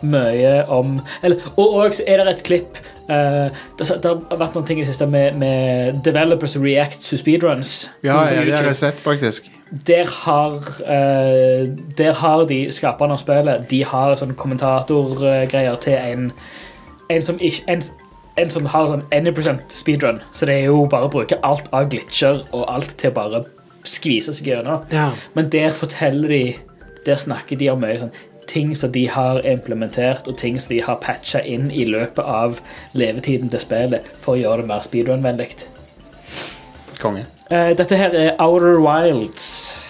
[SPEAKER 3] mye om eller, Og òg er det et klipp eh, det, det har vært noen ting i det siste med, med developers react to speedruns.
[SPEAKER 1] Ja,
[SPEAKER 3] på
[SPEAKER 1] ja, det har
[SPEAKER 3] YouTube.
[SPEAKER 1] jeg sett, faktisk.
[SPEAKER 3] Der har, eh, der har de skaperne av spillet De har sånn kommentatorgreier til en en som, ikke, en, en som har sånn 1% speedrun. Så det er jo bare å bruke alt av glitcher og alt til å bare skvise seg gjennom.
[SPEAKER 4] Ja.
[SPEAKER 3] Men der forteller de Der snakker de om mye sånn ting som de har implementert, og ting som de har patcha inn i løpet av levetiden til spillet for å gjøre det mer speedrun-vennlig.
[SPEAKER 1] Konge.
[SPEAKER 3] Eh, dette her er Outer Wilds.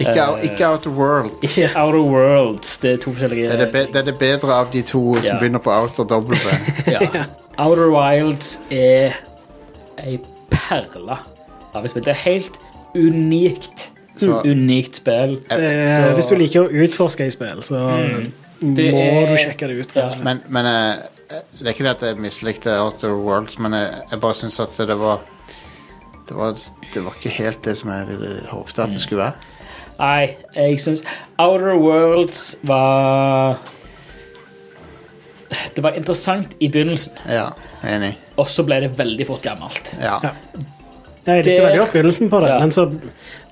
[SPEAKER 1] Ikke,
[SPEAKER 3] Eh,
[SPEAKER 1] ikke Outer Worlds.
[SPEAKER 3] Ikke Outer Worlds. Det er to forskjellige
[SPEAKER 1] Det er det, be, det er det bedre av de to som
[SPEAKER 3] Ja.
[SPEAKER 1] begynner på Outer W.
[SPEAKER 3] ja. Outer Wilds er ei perle av et spill. Det er helt unikt.
[SPEAKER 1] Så-
[SPEAKER 3] unikt spill.
[SPEAKER 4] Eh,
[SPEAKER 3] Så- Mm.
[SPEAKER 4] Hvis du liker å utforske i spill, så
[SPEAKER 3] Det
[SPEAKER 4] må
[SPEAKER 3] er-
[SPEAKER 4] du sjekke det ut. rett og slett.
[SPEAKER 1] Men, men eh, det er ikke det at jeg mislikte Outer Worlds, men jeg, jeg bare syns at det var det var, det var ikke helt det som jeg ville håpte at det skulle være.
[SPEAKER 3] Nei, jeg syns Outer Worlds var Det var interessant i begynnelsen,
[SPEAKER 1] Ja, jeg er enig.
[SPEAKER 3] og så ble det veldig fort gammelt.
[SPEAKER 1] Ja.
[SPEAKER 4] Ja. Jeg likte
[SPEAKER 3] Det-
[SPEAKER 4] veldig godt begynnelsen på det,
[SPEAKER 3] Ja.
[SPEAKER 4] men så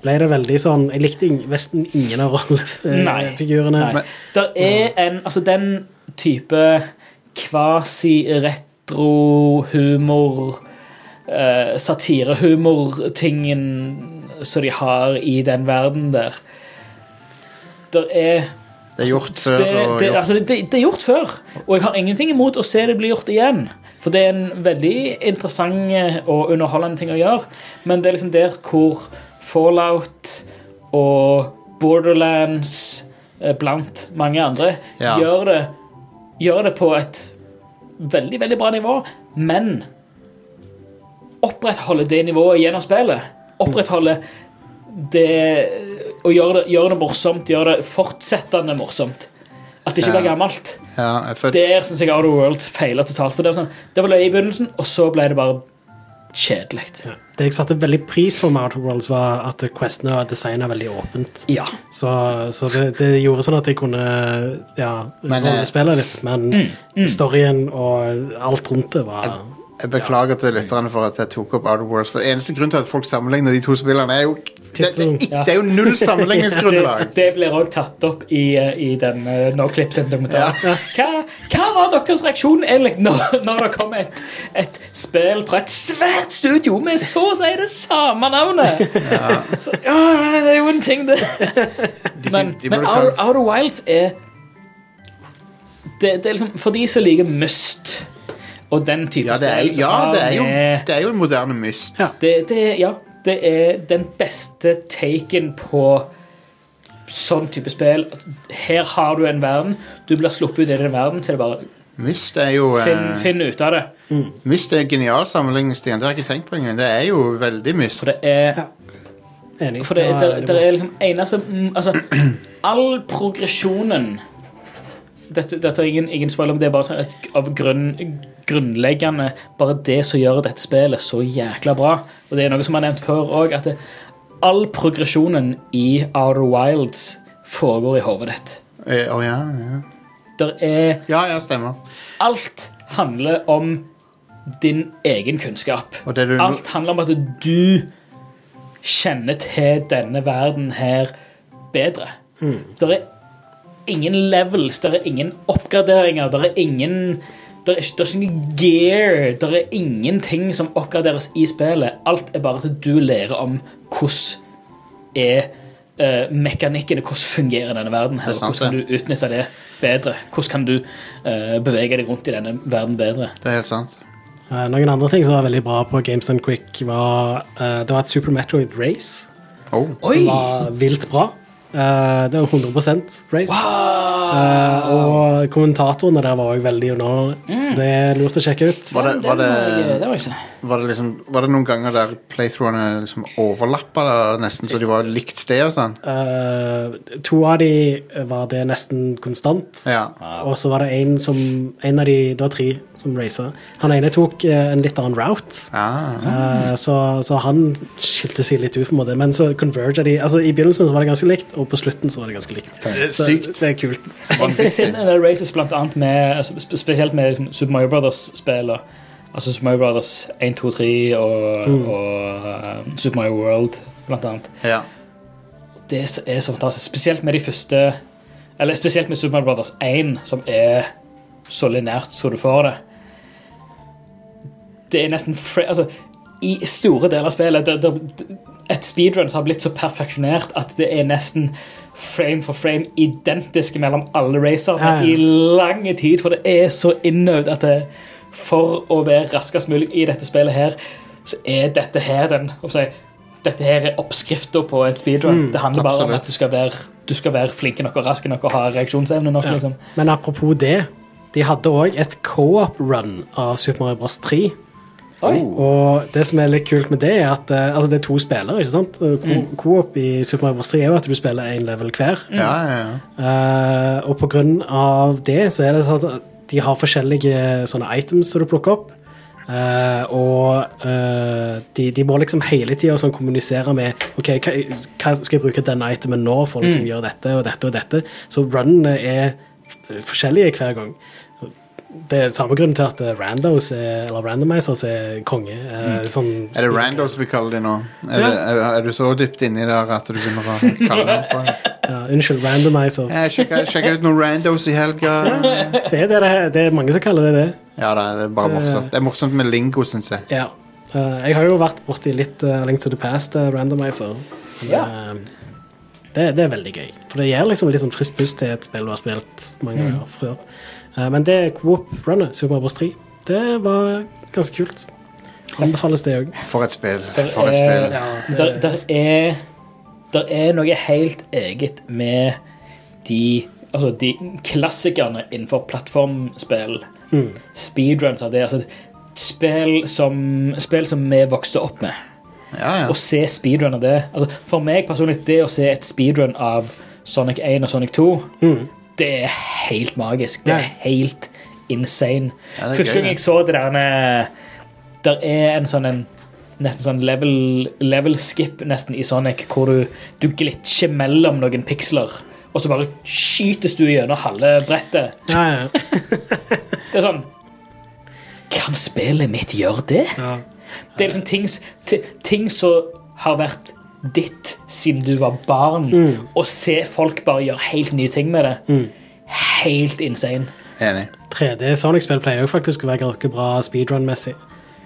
[SPEAKER 4] ble det veldig sånn Jeg likte ing- nesten ingen av
[SPEAKER 3] Nei.
[SPEAKER 4] rollefigurene.
[SPEAKER 3] Nei. Der er en Altså, den type kvasi-retro-humor eh, Satirehumor-tingen som de har i den verden der. Der er
[SPEAKER 1] Det er gjort
[SPEAKER 3] spe-
[SPEAKER 1] før og
[SPEAKER 3] det,
[SPEAKER 1] gjort.
[SPEAKER 3] altså, det, det er gjort før, og jeg har ingenting imot å se det bli gjort igjen. For det er en veldig interessant eh, og underholdende ting å gjøre. Men det er liksom der hvor Fallout og Borderlands eh, blant mange andre
[SPEAKER 1] Ja.
[SPEAKER 3] gjør, det, gjør det på et veldig, veldig bra nivå, men opprettholder det nivået gjennom spillet. Opprettholder det Og gjør det, gjør det morsomt. Gjør det fortsettende morsomt. At det ikke blir
[SPEAKER 1] Ja.
[SPEAKER 3] gammelt.
[SPEAKER 1] Ja, jeg følte,
[SPEAKER 3] Der syns jeg Outer Worlds feiler totalt. For det var, sånn, det var løye i begynnelsen, og så ble det bare kjedelig.
[SPEAKER 4] Ja. Det jeg satte veldig pris på med Outer Worlds, var at questene var designa veldig åpent.
[SPEAKER 3] Ja.
[SPEAKER 4] Så, så det, det gjorde sånn at jeg kunne ja,
[SPEAKER 1] Men, eh,
[SPEAKER 4] rollespille litt, men
[SPEAKER 3] mm,
[SPEAKER 4] storyen og alt rundt det var
[SPEAKER 3] Eh,
[SPEAKER 1] jeg beklager til lytterne for at jeg tok opp Outer Worlds. For eneste grunn til at folk sammenligner de to spillene, er jo Det, det,
[SPEAKER 4] Tittelen.
[SPEAKER 1] det er jo null
[SPEAKER 3] Det,
[SPEAKER 1] sammenligningsgrunnlag!
[SPEAKER 3] det blir òg tatt opp i, eh, i den eh, Noclip sin dokumentar. Hva, hva var deres reaksjon egentlig når, når det kom et, et spill fra et svært studio med så å si det samme navnet? Så, ja, det er jo en ting, det. Men,
[SPEAKER 1] de
[SPEAKER 3] men
[SPEAKER 1] burde
[SPEAKER 3] Outer,
[SPEAKER 1] ta-
[SPEAKER 3] Outer Wilds er det, det er liksom, For de som liker Myst og den type
[SPEAKER 1] Ja, det er,
[SPEAKER 3] spill som
[SPEAKER 1] ja,
[SPEAKER 3] har
[SPEAKER 1] det er jo
[SPEAKER 3] med-
[SPEAKER 1] Det er jo en moderne myst.
[SPEAKER 3] det, det, ja, det er den beste taken på sånn type spill. Her har du en verden, du blir sluppet ut i den verden, så det er bare
[SPEAKER 1] Myst er jo eh,
[SPEAKER 3] finn, finn ut av det.
[SPEAKER 1] Myst er en genial sammenligning, Stian. Det har jeg ikke tenkt på engang. Det er jo veldig myst.
[SPEAKER 3] For det er,
[SPEAKER 4] enig.
[SPEAKER 3] for det, liksom
[SPEAKER 4] var
[SPEAKER 3] der,
[SPEAKER 4] veldig
[SPEAKER 3] der
[SPEAKER 4] bra.
[SPEAKER 3] er liksom eneste mm, Altså, all progresjonen Dette, dette er ingen, ingen spoiler, men det er bare sånn at av grunn, grunnleggende bare det som gjør dette spillet så jækla bra. Og det er noe som er nevnt før òg, at det, all progresjonen i Outer Wilds foregår i hodet ditt.
[SPEAKER 1] Eh, Å ja, ja.
[SPEAKER 3] Der er
[SPEAKER 1] Ja, ja, stemmer.
[SPEAKER 3] Alt handler om din egen kunnskap.
[SPEAKER 1] Og det du-
[SPEAKER 3] Alt handler om at du kjenner til denne verden her bedre.
[SPEAKER 1] Hmm.
[SPEAKER 3] Det er ingen levels, det er ingen oppgraderinger, det er ingen det er, ikke, det er ikke noe gear, det er ingenting som oppgraderes i spillet. Alt er bare at du lærer om hvordan er eh, mekanikkene, hvordan fungerer denne verden her,
[SPEAKER 1] Det er sant,
[SPEAKER 3] og hvordan kan
[SPEAKER 1] det.
[SPEAKER 3] du utnytte det bedre, hvordan kan du eh, bevege deg rundt i denne verden bedre.
[SPEAKER 1] Det er helt sant.
[SPEAKER 4] Eh, noen andre ting som var veldig bra på Games Done Quick, var eh, det var et Super Metroid Race
[SPEAKER 1] Oh.
[SPEAKER 3] Oi!
[SPEAKER 4] som var vilt bra. Eh, det var 100 race. Eh, og kommentatorene der var òg veldig underholdende, så det er lurt å sjekke ut.
[SPEAKER 1] Mm. Var, det, var, det,
[SPEAKER 3] det må jeg se.
[SPEAKER 1] var, det liksom, var det noen ganger der playthroughene liksom overlappa da, nesten, så de var likt sted og sånn?
[SPEAKER 4] Eh, to av de var det nesten konstant.
[SPEAKER 1] Ja.
[SPEAKER 4] Og så var det en som En av de, det var tre som racer. Han ene tok eh, en litt annen route,
[SPEAKER 1] Ah,
[SPEAKER 4] eh, så, så han skilte seg litt ut, på en måte. Men så converga de. Altså, I begynnelsen så var det ganske likt, og på slutten så var det ganske likt.
[SPEAKER 1] det er
[SPEAKER 4] Så
[SPEAKER 1] sykt.
[SPEAKER 4] det er kult.
[SPEAKER 3] Jeg ser- jeg ser en del races blant annet med, altså, sp- spesielt med liksom, Super Mario Brothers-spillene. Altså Super Mario Brothers 1, 2, 3 og, og eh, Super Mario World, blant annet.
[SPEAKER 1] Ja.
[SPEAKER 3] Det s- er så fantastisk. Spesielt med de første Eller spesielt med Super Mario Brothers 1, som er så linært så du får det. Det er nesten fre altså, I store deler av spillet det, det, Et speedrun som har blitt så perfeksjonert at det er nesten frame for frame identisk mellom alle racerne
[SPEAKER 4] Ja, ja.
[SPEAKER 3] i lang tid, for det er så innøvd at det, for å være raskest mulig i dette spillet her, så er dette her den hva skal jeg si, Dette her er oppskrifta på et speedrun.
[SPEAKER 4] Mm,
[SPEAKER 3] det handler bare om
[SPEAKER 1] absolutt.
[SPEAKER 3] at du skal være, du skal være flink nok og rask nok og ha reaksjonsevne nok. liksom.
[SPEAKER 4] Men apropos det, de hadde òg et co-op-run av Super Mario Bros. 3. Og det som er litt kult med det, er at eh, altså det er to spillere. ikke sant? Eh, Co- Co-op i Super Mario Bros. 3 er jo at du spiller én level hver.
[SPEAKER 1] Ja, ja,
[SPEAKER 3] Mm.
[SPEAKER 1] ja.
[SPEAKER 4] Eh, og på grunn av det så er det sånn at de har forskjellige sånne items som du plukker opp. Eh, og eh, de, de må liksom hele tida sånn kommunisere med OK, hva, hva skal jeg bruke denne itemen nå for å liksom
[SPEAKER 1] Mm.
[SPEAKER 4] gjøre dette og dette og dette? Så runnene er f- forskjellige hver gang. Det er samme grunn til at eh, randos er, eller randomizers er konge. eh, sånn,
[SPEAKER 1] Mm. Er det randos vi kaller de nå? Er, det, er, er du så dypt inni der at du begynner å kalle dem på det?
[SPEAKER 4] Ja, unnskyld, randomizers.
[SPEAKER 1] Eh, Sjekk sjekk ut noen randos i helga.
[SPEAKER 4] Det er, det, det, er- det er mange som kaller det det.
[SPEAKER 1] Ja, da, det er bare morsomt. Det er morsomt med lingo, syns jeg.
[SPEAKER 4] Ja. Eh, jeg har jo vært borti litt eh, Link to the Past eh, randomizer. Men,
[SPEAKER 3] Ja.
[SPEAKER 4] eh, det, det er veldig gøy. For det gir liksom litt sånn friskt pust til et spill du har spilt mange
[SPEAKER 3] Mm.
[SPEAKER 4] ganger før. Eh, men det Coop-runnet, Super Mario Bros. 3, det var ganske kult. Anbefales det òg.
[SPEAKER 1] For et spill.
[SPEAKER 3] Der
[SPEAKER 1] For et
[SPEAKER 3] er-
[SPEAKER 1] spill.
[SPEAKER 3] Der, der er Der er noe helt eget med de Altså de klassikerne innenfor plattformspill. Speedruns av det. Altså spill som, spill som vi vokste opp med.
[SPEAKER 1] Ja, ja.
[SPEAKER 3] Å se speedrun av det altså, For meg personlig, det å se et speedrun av Sonic 1 og Sonic 2,
[SPEAKER 1] Mm.
[SPEAKER 3] det er helt magisk. Det er
[SPEAKER 4] Ja.
[SPEAKER 3] helt insane.
[SPEAKER 1] Ja, det er
[SPEAKER 3] Første
[SPEAKER 1] gøy,
[SPEAKER 3] gang
[SPEAKER 1] det.
[SPEAKER 3] jeg så det der eh, Der er en sånn en Nesten sånn level, level skip nesten i Sonic, hvor du, du glitcher mellom noen piksler, og så bare skytes du gjennom halve brettet.
[SPEAKER 4] Ja, ja.
[SPEAKER 3] Det er sånn Kan spillet mitt gjøre det?
[SPEAKER 4] ja.
[SPEAKER 3] Det er liksom ting, s- ti- ting som har vært ditt siden du var barn. Å se folk bare gjøre helt nye ting med det. Helt insane.
[SPEAKER 1] Enig.
[SPEAKER 4] 3D Sonic-spill pleier jo faktisk å være ganske bra speedrun-messig.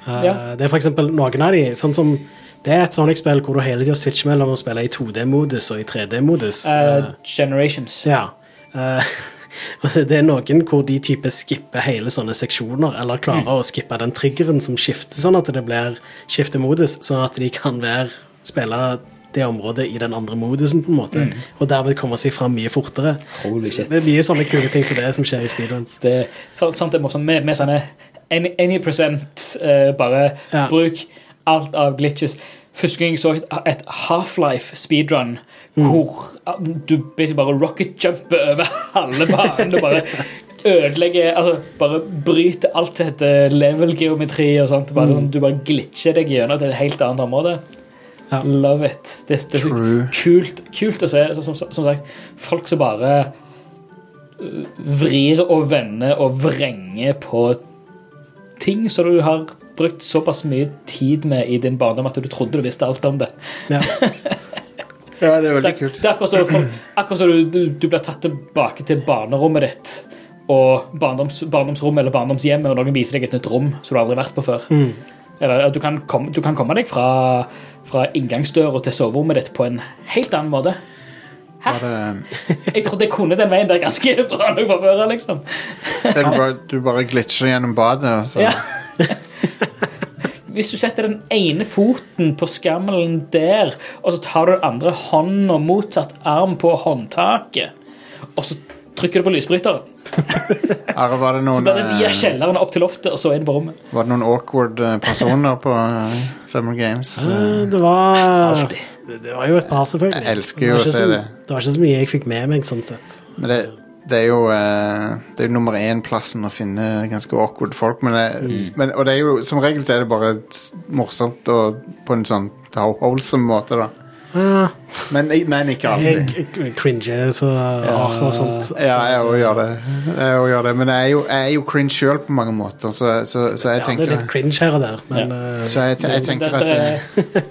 [SPEAKER 4] Eh,
[SPEAKER 3] Ja.
[SPEAKER 4] Det er for eksempel noen av de, sånn som det er et Sonic-spill hvor du hele tida switcher mellom å spille i 2D-modus og i 3D-modus.
[SPEAKER 3] Eh, generations.
[SPEAKER 4] Ja. Eh, og det er noen hvor de type skipper hele sånne seksjoner, eller klarer
[SPEAKER 1] Mm.
[SPEAKER 4] å skippe den triggeren som skifter, sånn at det blir skifter modus, sånn at de kan være spille det området i den andre modusen, på en måte,
[SPEAKER 1] Mm.
[SPEAKER 4] og dermed komme seg fram mye fortere.
[SPEAKER 3] Holy shit.
[SPEAKER 4] Det er mye sånne kule ting som det er som skjer i speedruns.
[SPEAKER 3] Det, så, sånt er morsomt. Med, med sånne any, any percent eh, bare
[SPEAKER 4] Ja.
[SPEAKER 3] bruk alt av glitches. Første gang jeg så et, et Half-Life speedrun,
[SPEAKER 4] Mm.
[SPEAKER 3] hvor uh, du basically bare rocket-jumper over halve banen og bare ødelegger altså Bare bryter alt som heter level-geometri og sånt.
[SPEAKER 4] Mm.
[SPEAKER 3] Bare, sånn, Du bare glitcher deg gjennom til et helt annet område.
[SPEAKER 4] Ja.
[SPEAKER 3] Love it. Det, det er så
[SPEAKER 1] True.
[SPEAKER 3] kult, kult å se. Så, som, som sagt, folk som bare uh, vrir og vender og vrenger på ting som du har brukt såpass mye tid med i din barndom at du trodde du visste alt om det.
[SPEAKER 1] Ja, det er
[SPEAKER 3] Det, det er akkurat som folk- akkurat som du, du, du blir tatt tilbake til barnerommet ditt og barndoms, barndomsrommet eller barndomshjemmet, og noen viser deg et nytt rom som du aldri har vært på før. Eller at du kan komme, du kan komme deg fra, fra inngangsdøra til soverommet ditt på en helt annen måte.
[SPEAKER 1] Var det,
[SPEAKER 3] Jeg trodde jeg kunne den veien der ganske bra nok fra før. liksom.
[SPEAKER 1] er det bare, du bare glitcher gjennom badet, og så
[SPEAKER 3] Ja. Hvis du setter den ene foten på skammelen der, og så tar du den andre hånden og motsatt arm på håndtaket, og så trykker du på lysbryteren,
[SPEAKER 1] Her var det
[SPEAKER 3] så
[SPEAKER 1] noen,
[SPEAKER 3] blir det via
[SPEAKER 1] eh,
[SPEAKER 3] kjelleren opp til loftet og så inn på rommet.
[SPEAKER 1] var det noen awkward eh, personer på eh, Summer Games.
[SPEAKER 3] Ah.
[SPEAKER 1] Eh,
[SPEAKER 4] Eh, Det var, det var jo et par, selvfølgelig.
[SPEAKER 1] Jeg elsker
[SPEAKER 4] Det
[SPEAKER 1] jo
[SPEAKER 4] var
[SPEAKER 1] å
[SPEAKER 4] ikke
[SPEAKER 1] se
[SPEAKER 4] så-
[SPEAKER 1] det.
[SPEAKER 4] Det var ikke så mye jeg fikk med meg, sånn sett.
[SPEAKER 1] Men det, det er jo eh, Det er jo nummer én-plassen å finne ganske awkward folk. Men, det, men, og det er jo, som regel så er det bare s- morsomt og på en sånn wholesome måte, da.
[SPEAKER 4] Ja,
[SPEAKER 1] Men, men ikke
[SPEAKER 4] jeg
[SPEAKER 1] alltid.
[SPEAKER 4] jeg cringer så ja. og sånt.
[SPEAKER 1] Ja, jeg òg gjør det. Jeg også gjør det. Men jeg er jo, jeg er jo cringe sjøl på mange måter, så, så, så jeg
[SPEAKER 4] Ja, det er
[SPEAKER 1] tenker
[SPEAKER 4] litt cringe her og der, men eh,
[SPEAKER 1] Så jeg, jeg
[SPEAKER 3] Det,
[SPEAKER 1] tenker at
[SPEAKER 3] det,
[SPEAKER 1] eh,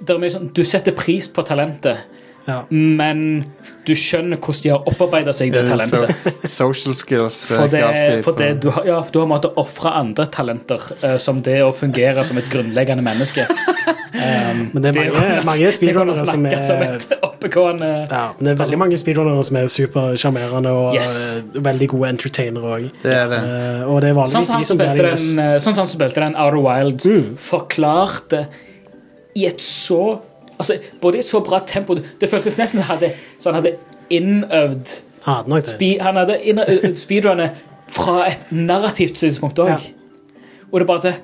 [SPEAKER 3] det er mye sånn, Du setter pris på talentet,
[SPEAKER 4] ja.
[SPEAKER 3] men du skjønner hvordan de har opparbeida seg det
[SPEAKER 1] så,
[SPEAKER 3] talentet.
[SPEAKER 1] Social skills eh,
[SPEAKER 3] For det,
[SPEAKER 1] ikke alltid
[SPEAKER 3] for det,
[SPEAKER 1] på,
[SPEAKER 3] du har, ja, for du har måttet ofre andre talenter, eh, som det å fungere som et grunnleggende menneske. Um,
[SPEAKER 4] Men det er
[SPEAKER 3] å
[SPEAKER 4] mange-
[SPEAKER 3] kunne-
[SPEAKER 4] mange speedrunnere
[SPEAKER 3] det å
[SPEAKER 4] som er-
[SPEAKER 3] snakke som et oppegående
[SPEAKER 4] Ja, men det er veldig mange speedrunnere som er supersjarmerende og
[SPEAKER 3] Yes.
[SPEAKER 4] eh, veldig gode entertainere òg.
[SPEAKER 1] Det er det.
[SPEAKER 4] og det
[SPEAKER 3] Sånn
[SPEAKER 4] er vanligvis
[SPEAKER 3] som han
[SPEAKER 4] de som blir
[SPEAKER 3] spilte
[SPEAKER 4] de
[SPEAKER 3] den,
[SPEAKER 4] mest
[SPEAKER 3] eh, sånn som han spilte den Outer Wilds,
[SPEAKER 4] Mm.
[SPEAKER 3] forklarte i et så altså, Både i et så bra tempo Det det føltes nesten som han hadde, så han hadde innøvd
[SPEAKER 4] Ja, nok det.
[SPEAKER 3] spe- Han hadde innøvd speedrunner fra et narrativt synspunkt òg. Og det er bare det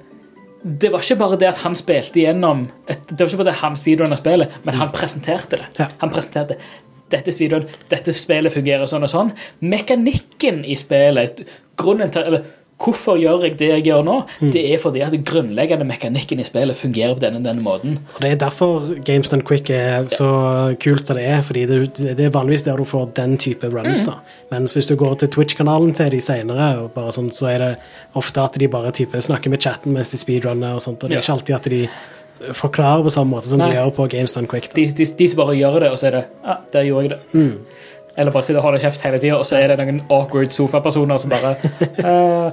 [SPEAKER 3] det var ikke bare det at han spilte igjennom et, Det var ikke bare det han speedrunner spillet, men han presenterte det.
[SPEAKER 4] Ja.
[SPEAKER 3] Han presenterte dette er speedrun, dette spillet fungerer sånn og sånn. Mekanikken i spillet grunnen til, eller Hvorfor gjør jeg det jeg gjør nå? Det er fordi at den grunnleggende mekanikken i spillet fungerer på denne, denne måten.
[SPEAKER 4] Og det er derfor Games Done Quick er så kult som det er, fordi det, det er vanligvis der du får den type runs.
[SPEAKER 3] Mm.
[SPEAKER 4] da. Mens hvis du går til Twitch-kanalen til de senere, og bare sånn, så er det ofte at de bare type snakker med chatten mens de speedrunner, og sånt, og det
[SPEAKER 3] Ja.
[SPEAKER 4] er ikke alltid at de forklarer på samme måte som
[SPEAKER 3] Nei.
[SPEAKER 4] de gjør på Games Done Quick. da.
[SPEAKER 3] De, de, de som bare gjør det, og så er det Ja, der gjorde jeg det. Eller bare sitter og holder kjeft hele tida, og så er det noen awkward sofapersoner som bare «Eh,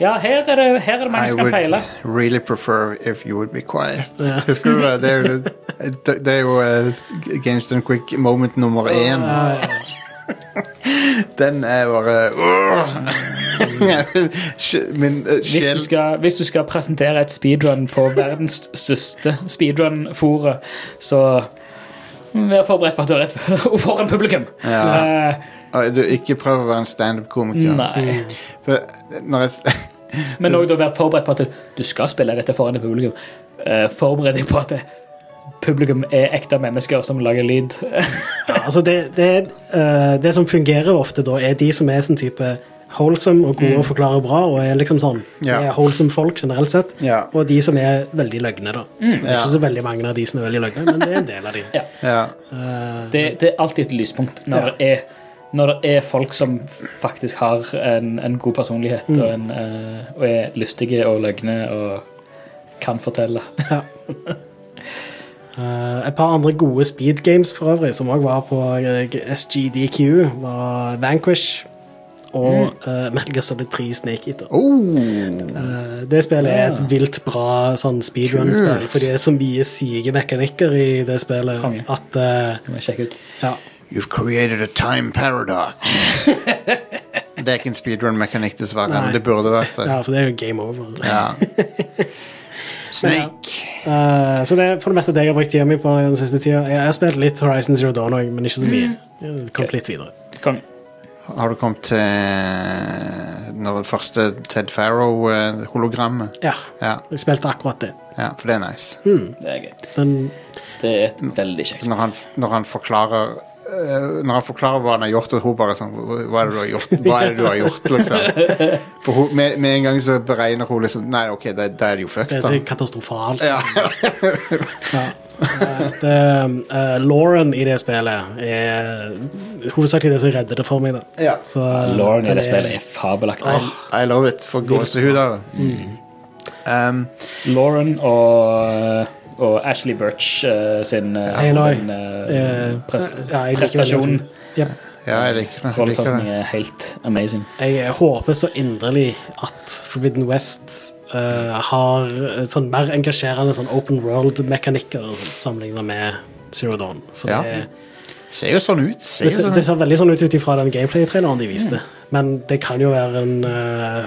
[SPEAKER 3] Ja, her er det, her er det mange
[SPEAKER 1] I
[SPEAKER 3] som kan
[SPEAKER 1] would
[SPEAKER 3] feile.
[SPEAKER 1] really prefer if you would be quiet. Husker du det? Det er jo, det er jo eh, Games Done Quick moment nummer én. Den er bare Sj- Min eh,
[SPEAKER 3] Hvis du,
[SPEAKER 1] sjel
[SPEAKER 3] skal, hvis du skal presentere et speedrun på verdens største speedrun-fore, så vær forberedt på at du er rett foran publikum.
[SPEAKER 1] Ja.
[SPEAKER 3] Eh,
[SPEAKER 1] Å, du, Ikke prøv å være en standup-komiker.
[SPEAKER 3] nei.
[SPEAKER 1] For eh, Når jeg s-
[SPEAKER 3] Men òg vær forberedt på at du skal spille dette foran et publikum. Eh, Forbered deg på at det- publikum er ekte mennesker som lager lyd.
[SPEAKER 4] Ja, altså det, det, eh, det som fungerer ofte da, er de som er sånn type wholesome og gode og forklarer bra, og er liksom sånn
[SPEAKER 1] Mm. Ja.
[SPEAKER 4] er wholesome folk generelt sett,
[SPEAKER 1] Ja. Mm.
[SPEAKER 4] og de som er veldig løgne, da. Det er
[SPEAKER 1] Ja.
[SPEAKER 4] ikke så veldig mange av de som er veldig løgne, men det er en del av de.
[SPEAKER 3] Ja.
[SPEAKER 1] Ja.
[SPEAKER 3] Det, det er alltid et lyspunkt når, det, er, når det er folk som faktisk har en, en god personlighet
[SPEAKER 4] Mm.
[SPEAKER 3] og, en, eh, og er lystige og løgne og kan fortelle.
[SPEAKER 4] Ja. Eh, et par andre gode speed games for øvrig, som òg var på eh, SGDQ, var Vanquish og eh, Metal Gear Solid 3 Snake Eater.
[SPEAKER 1] Oh,
[SPEAKER 4] Eh, Det spillet er et vilt bra sånn speedrun-spill,
[SPEAKER 1] Kult.
[SPEAKER 4] fordi det er så mye syke mekanikker i det spillet
[SPEAKER 3] Konge.
[SPEAKER 4] at eh,
[SPEAKER 3] Det må jeg sjekke ut.
[SPEAKER 4] ja.
[SPEAKER 1] you've created a time paradox. Det er ikke en speedrun-mekanikk, dessverre,
[SPEAKER 4] Nei.
[SPEAKER 1] men det burde vært det.
[SPEAKER 4] ja, for det er jo game over.
[SPEAKER 1] Ja. Snake.
[SPEAKER 4] Eh, så det er for det meste det jeg har brukt tida mi på den siste tida. Jeg har spilt litt Horizon Zero Dawn òg, men ikke så mye. Jeg kom litt videre.
[SPEAKER 3] Kong.
[SPEAKER 1] Har du kommet til når det første Ted Farrow-hologrammet?
[SPEAKER 4] Ja,
[SPEAKER 1] Ja,
[SPEAKER 4] jeg spilte akkurat det.
[SPEAKER 1] ja, for det er nice.
[SPEAKER 3] Det er gøy.
[SPEAKER 4] Den,
[SPEAKER 3] Det er et veldig kjekt.
[SPEAKER 1] Når han, når han forklarer eh, når han forklarer hva han har gjort, og hun bare sånn Hva er det du har gjort? Hva er det du har gjort liksom? For hun, med, med en gang så beregner hun liksom Nei, OK, da da er det jo
[SPEAKER 4] det,
[SPEAKER 1] fucked,
[SPEAKER 4] det
[SPEAKER 1] da.
[SPEAKER 4] er katastrofalt.
[SPEAKER 1] Ja.
[SPEAKER 4] Det, eh, Lauren i det spillet er hovedsakelig det som redder det for meg. Da.
[SPEAKER 1] ja.
[SPEAKER 4] Så,
[SPEAKER 3] Lauren i
[SPEAKER 4] den
[SPEAKER 3] det spillet
[SPEAKER 4] er-
[SPEAKER 3] er fabelaktig.
[SPEAKER 1] I love it. For gåsehud av det.
[SPEAKER 4] Mm.
[SPEAKER 1] Um,
[SPEAKER 3] Lauren og, og Ashley Birch eh, sin, eh,
[SPEAKER 4] Hei, Lauren.
[SPEAKER 3] sin eh,
[SPEAKER 4] eh,
[SPEAKER 3] pres
[SPEAKER 4] ja, jeg liker det.
[SPEAKER 3] prestasjon.
[SPEAKER 4] Jep.
[SPEAKER 1] ja, jeg liker det. Jeg liker
[SPEAKER 3] Rolletolkning
[SPEAKER 1] det.
[SPEAKER 3] er helt amazing.
[SPEAKER 4] Jeg håper så inderlig at Forbidden West eh, har eh, sånn mer engasjerende sånn open world-mekanikker sammenlignet med Zero Dawn. For
[SPEAKER 1] Ja.
[SPEAKER 4] det,
[SPEAKER 1] Ser jo sånn ut.
[SPEAKER 4] det,
[SPEAKER 1] Ser jo
[SPEAKER 4] ser-
[SPEAKER 1] sånn
[SPEAKER 4] det
[SPEAKER 1] ut.
[SPEAKER 4] ser veldig sånn ut ut ifra den gameplay-traileren de viste,
[SPEAKER 3] Mm.
[SPEAKER 4] men det kan jo være en eh,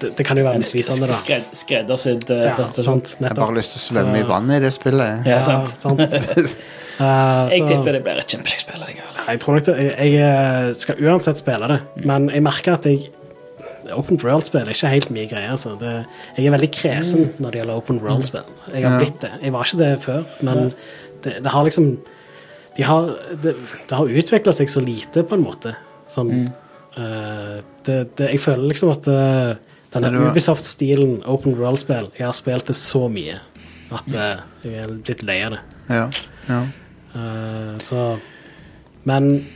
[SPEAKER 4] det, sånn det kan jo være
[SPEAKER 3] En sk-
[SPEAKER 4] misvisende, da.
[SPEAKER 3] skred, skreddersydd eh,
[SPEAKER 4] Ja,
[SPEAKER 3] prestasjon.
[SPEAKER 4] sant,
[SPEAKER 1] Jeg har bare
[SPEAKER 4] nettopp.
[SPEAKER 1] lyst til å svømme i vannet i det spillet.
[SPEAKER 3] Ja,
[SPEAKER 4] Ja, sånn
[SPEAKER 3] sant.
[SPEAKER 4] sant. Eh,
[SPEAKER 3] Jeg
[SPEAKER 4] så-
[SPEAKER 3] tipper det blir et kjempekjekt spill. allikevel.
[SPEAKER 4] Jeg tror nok det, jeg, jeg skal uansett spille det,
[SPEAKER 3] Mm.
[SPEAKER 4] men jeg merker at jeg Open World-spill er ikke helt min greie. Altså. Det, jeg er veldig kresen
[SPEAKER 3] Mm.
[SPEAKER 4] når det gjelder Open World-spill. Jeg har blitt det. Jeg var ikke det før, men det, det har liksom de har, Det, det har utvikla seg så lite, på en måte. Som,
[SPEAKER 3] Mm.
[SPEAKER 4] eh, det, det, jeg føler liksom at
[SPEAKER 1] Nei,
[SPEAKER 4] eh, denne
[SPEAKER 1] du-
[SPEAKER 4] Ubisoft-stilen Open World-spill Jeg har spilt det så mye at eh, jeg er blitt lei av det.
[SPEAKER 1] Ja. ja.
[SPEAKER 4] Eh, så Men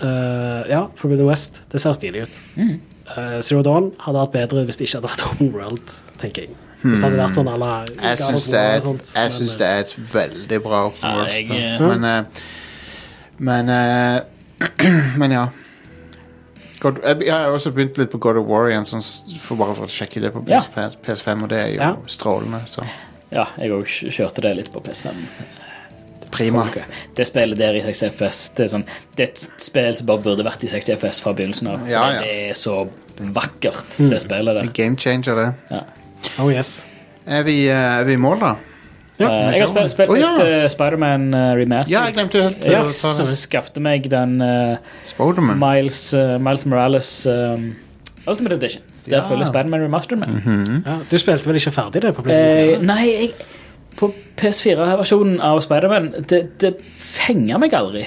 [SPEAKER 4] eh, ja, Forbidden West, det ser stilig ut.
[SPEAKER 3] Mm.
[SPEAKER 4] Eh, Zero Dawn hadde vært bedre hvis det ikke hadde vært Open World, tenker jeg. Hvis det hadde vært sånn à la
[SPEAKER 1] Hmm. Jeg
[SPEAKER 4] God of
[SPEAKER 1] syns det, er
[SPEAKER 4] War og
[SPEAKER 1] et-
[SPEAKER 4] sånt,
[SPEAKER 1] jeg
[SPEAKER 4] men,
[SPEAKER 1] syns det er et veldig bra open
[SPEAKER 3] Ja,
[SPEAKER 1] world
[SPEAKER 3] jeg,
[SPEAKER 1] spill.
[SPEAKER 3] eh,
[SPEAKER 1] Men, eh, men, eh, men ja. God, jeg, jeg har også begynt litt på God of War igjen, sånn, s- for bare for å sjekke det på
[SPEAKER 3] Ja.
[SPEAKER 1] PS, PS5, og det er jo
[SPEAKER 4] Ja.
[SPEAKER 1] strålende. Så.
[SPEAKER 3] Ja, jeg også kjørte det litt på PS5.
[SPEAKER 1] Prima.
[SPEAKER 3] Ok. Det spillet der i 60 FPS det er, sånn, det er et spill som bare burde vært i 60 FPS fra begynnelsen av.
[SPEAKER 1] Ja, Mm. ja.
[SPEAKER 3] Det er så vakkert, det spillet der.
[SPEAKER 1] Game changer, det.
[SPEAKER 4] Oh yes.
[SPEAKER 1] Er vi, eh, er vi i mål, da?
[SPEAKER 3] Eh, jeg har spilt, spilt
[SPEAKER 1] Å,
[SPEAKER 3] litt
[SPEAKER 1] ja.
[SPEAKER 3] eh, Spiderman eh, Remastered.
[SPEAKER 1] Ja, jeg glemte jo helt eh,
[SPEAKER 3] Jeg
[SPEAKER 1] å ta det. Mm.
[SPEAKER 3] skapte meg den eh,
[SPEAKER 1] Spoderman.
[SPEAKER 3] Miles, eh, Miles Morales eh, Ultimate Edition. Der
[SPEAKER 1] Ja.
[SPEAKER 3] følger Spiderman Remastered med.
[SPEAKER 4] Ja, du spilte vel ikke ferdig det på
[SPEAKER 3] Eh,
[SPEAKER 4] PlayStation?
[SPEAKER 3] nei, jeg, på PS4-versjonen av Spiderman det, det fenger meg aldri.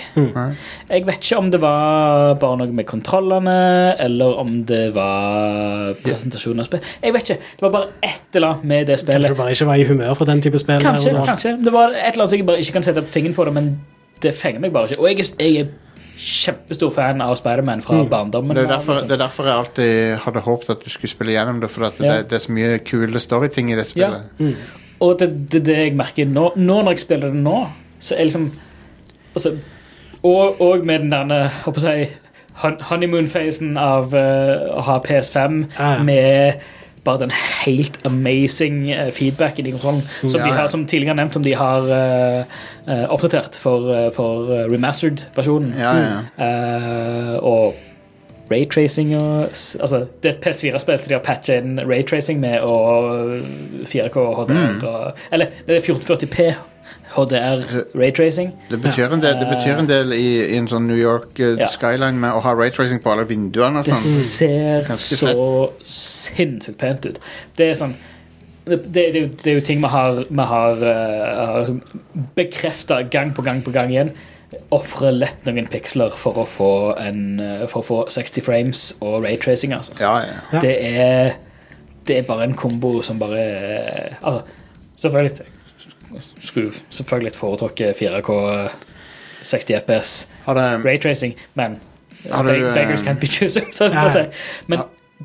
[SPEAKER 3] Jeg vet ikke om det var bare noe med kontrollene, eller om det var presentasjonen av spill. Jeg vet ikke. Det var bare et eller annet med det
[SPEAKER 4] Kanskje
[SPEAKER 3] spillet.
[SPEAKER 4] du bare ikke var i humør for den type spill?
[SPEAKER 3] Kanskje,
[SPEAKER 4] eller noe?
[SPEAKER 3] kanskje. Det var et eller annet som jeg bare ikke kan sette fingeren på det, men det fenger meg bare ikke. Og jeg, er- jeg er kjempestor fan av Spiderman fra barndommen.
[SPEAKER 1] Det er,
[SPEAKER 3] av,
[SPEAKER 1] derfor,
[SPEAKER 3] liksom.
[SPEAKER 1] det er derfor jeg alltid hadde håpet at du skulle spille gjennom det, for at
[SPEAKER 3] Ja.
[SPEAKER 1] det, det er så mye kule storyting i det
[SPEAKER 3] Ja.
[SPEAKER 1] spillet.
[SPEAKER 3] Og det er det, det jeg merker nå, nå når jeg spiller det nå, så er liksom altså, og, og med den der håper jeg, å si, hun- honeymoon-fasen av eh, å ha PS5
[SPEAKER 4] Ja, ja.
[SPEAKER 3] med bare den helt amazing eh, feedbacken i kontrollen som,
[SPEAKER 1] Ja,
[SPEAKER 3] de
[SPEAKER 1] ja.
[SPEAKER 3] har, som tidligere nevnt, som de har eh, eh, oppdatert for, eh, for eh, remastered-versjonen.
[SPEAKER 1] Ja, ja.
[SPEAKER 3] Eh, og raytracing og s- Altså, det er et PS4-spill de har patcha inn raytracing med, eh, og 4K
[SPEAKER 1] Mm.
[SPEAKER 3] HDR og Eller det er 1440P HDR raytracing.
[SPEAKER 1] Det betyr en del, det betyr en del i, i en sånn New York eh,
[SPEAKER 3] Ja.
[SPEAKER 1] skyline med å ha raytracing på alle vinduene og
[SPEAKER 3] Det
[SPEAKER 1] sånn.
[SPEAKER 3] ser
[SPEAKER 1] Ganske
[SPEAKER 3] så sinnssykt pent ut. Det er sånn det, det, er jo- det er jo ting vi har, vi har, uh, har bekrefta gang på gang på gang igjen. Ofre lett noen piksler for å få, en, eh, for å få 60 frames og raytracing, altså.
[SPEAKER 1] Ja, ja.
[SPEAKER 4] Ja.
[SPEAKER 3] Det er Det er bare en kombo som bare er- altså, Selvfølgelig Skulle selvfølgelig foretrukket 4K 60 FPS
[SPEAKER 1] Har det,
[SPEAKER 3] Raytracing, men
[SPEAKER 1] Har du,
[SPEAKER 3] beg- Beggars
[SPEAKER 1] eh,
[SPEAKER 3] can't be choosers, sånn
[SPEAKER 4] Ja.
[SPEAKER 3] å si. Men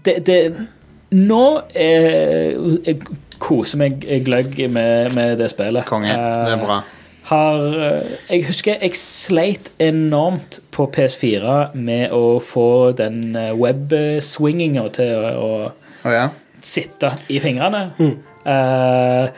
[SPEAKER 3] det, det Nå er, jeg koser meg gløgg med, med det spillet.
[SPEAKER 1] konge. Det er
[SPEAKER 3] Eh,
[SPEAKER 1] bra.
[SPEAKER 3] har eh, Jeg husker jeg sleit enormt på PS4 med å få den eh, web-swinginga til å,
[SPEAKER 1] Å ja.
[SPEAKER 3] å sitte i fingrene.
[SPEAKER 4] Mm.
[SPEAKER 3] Eh,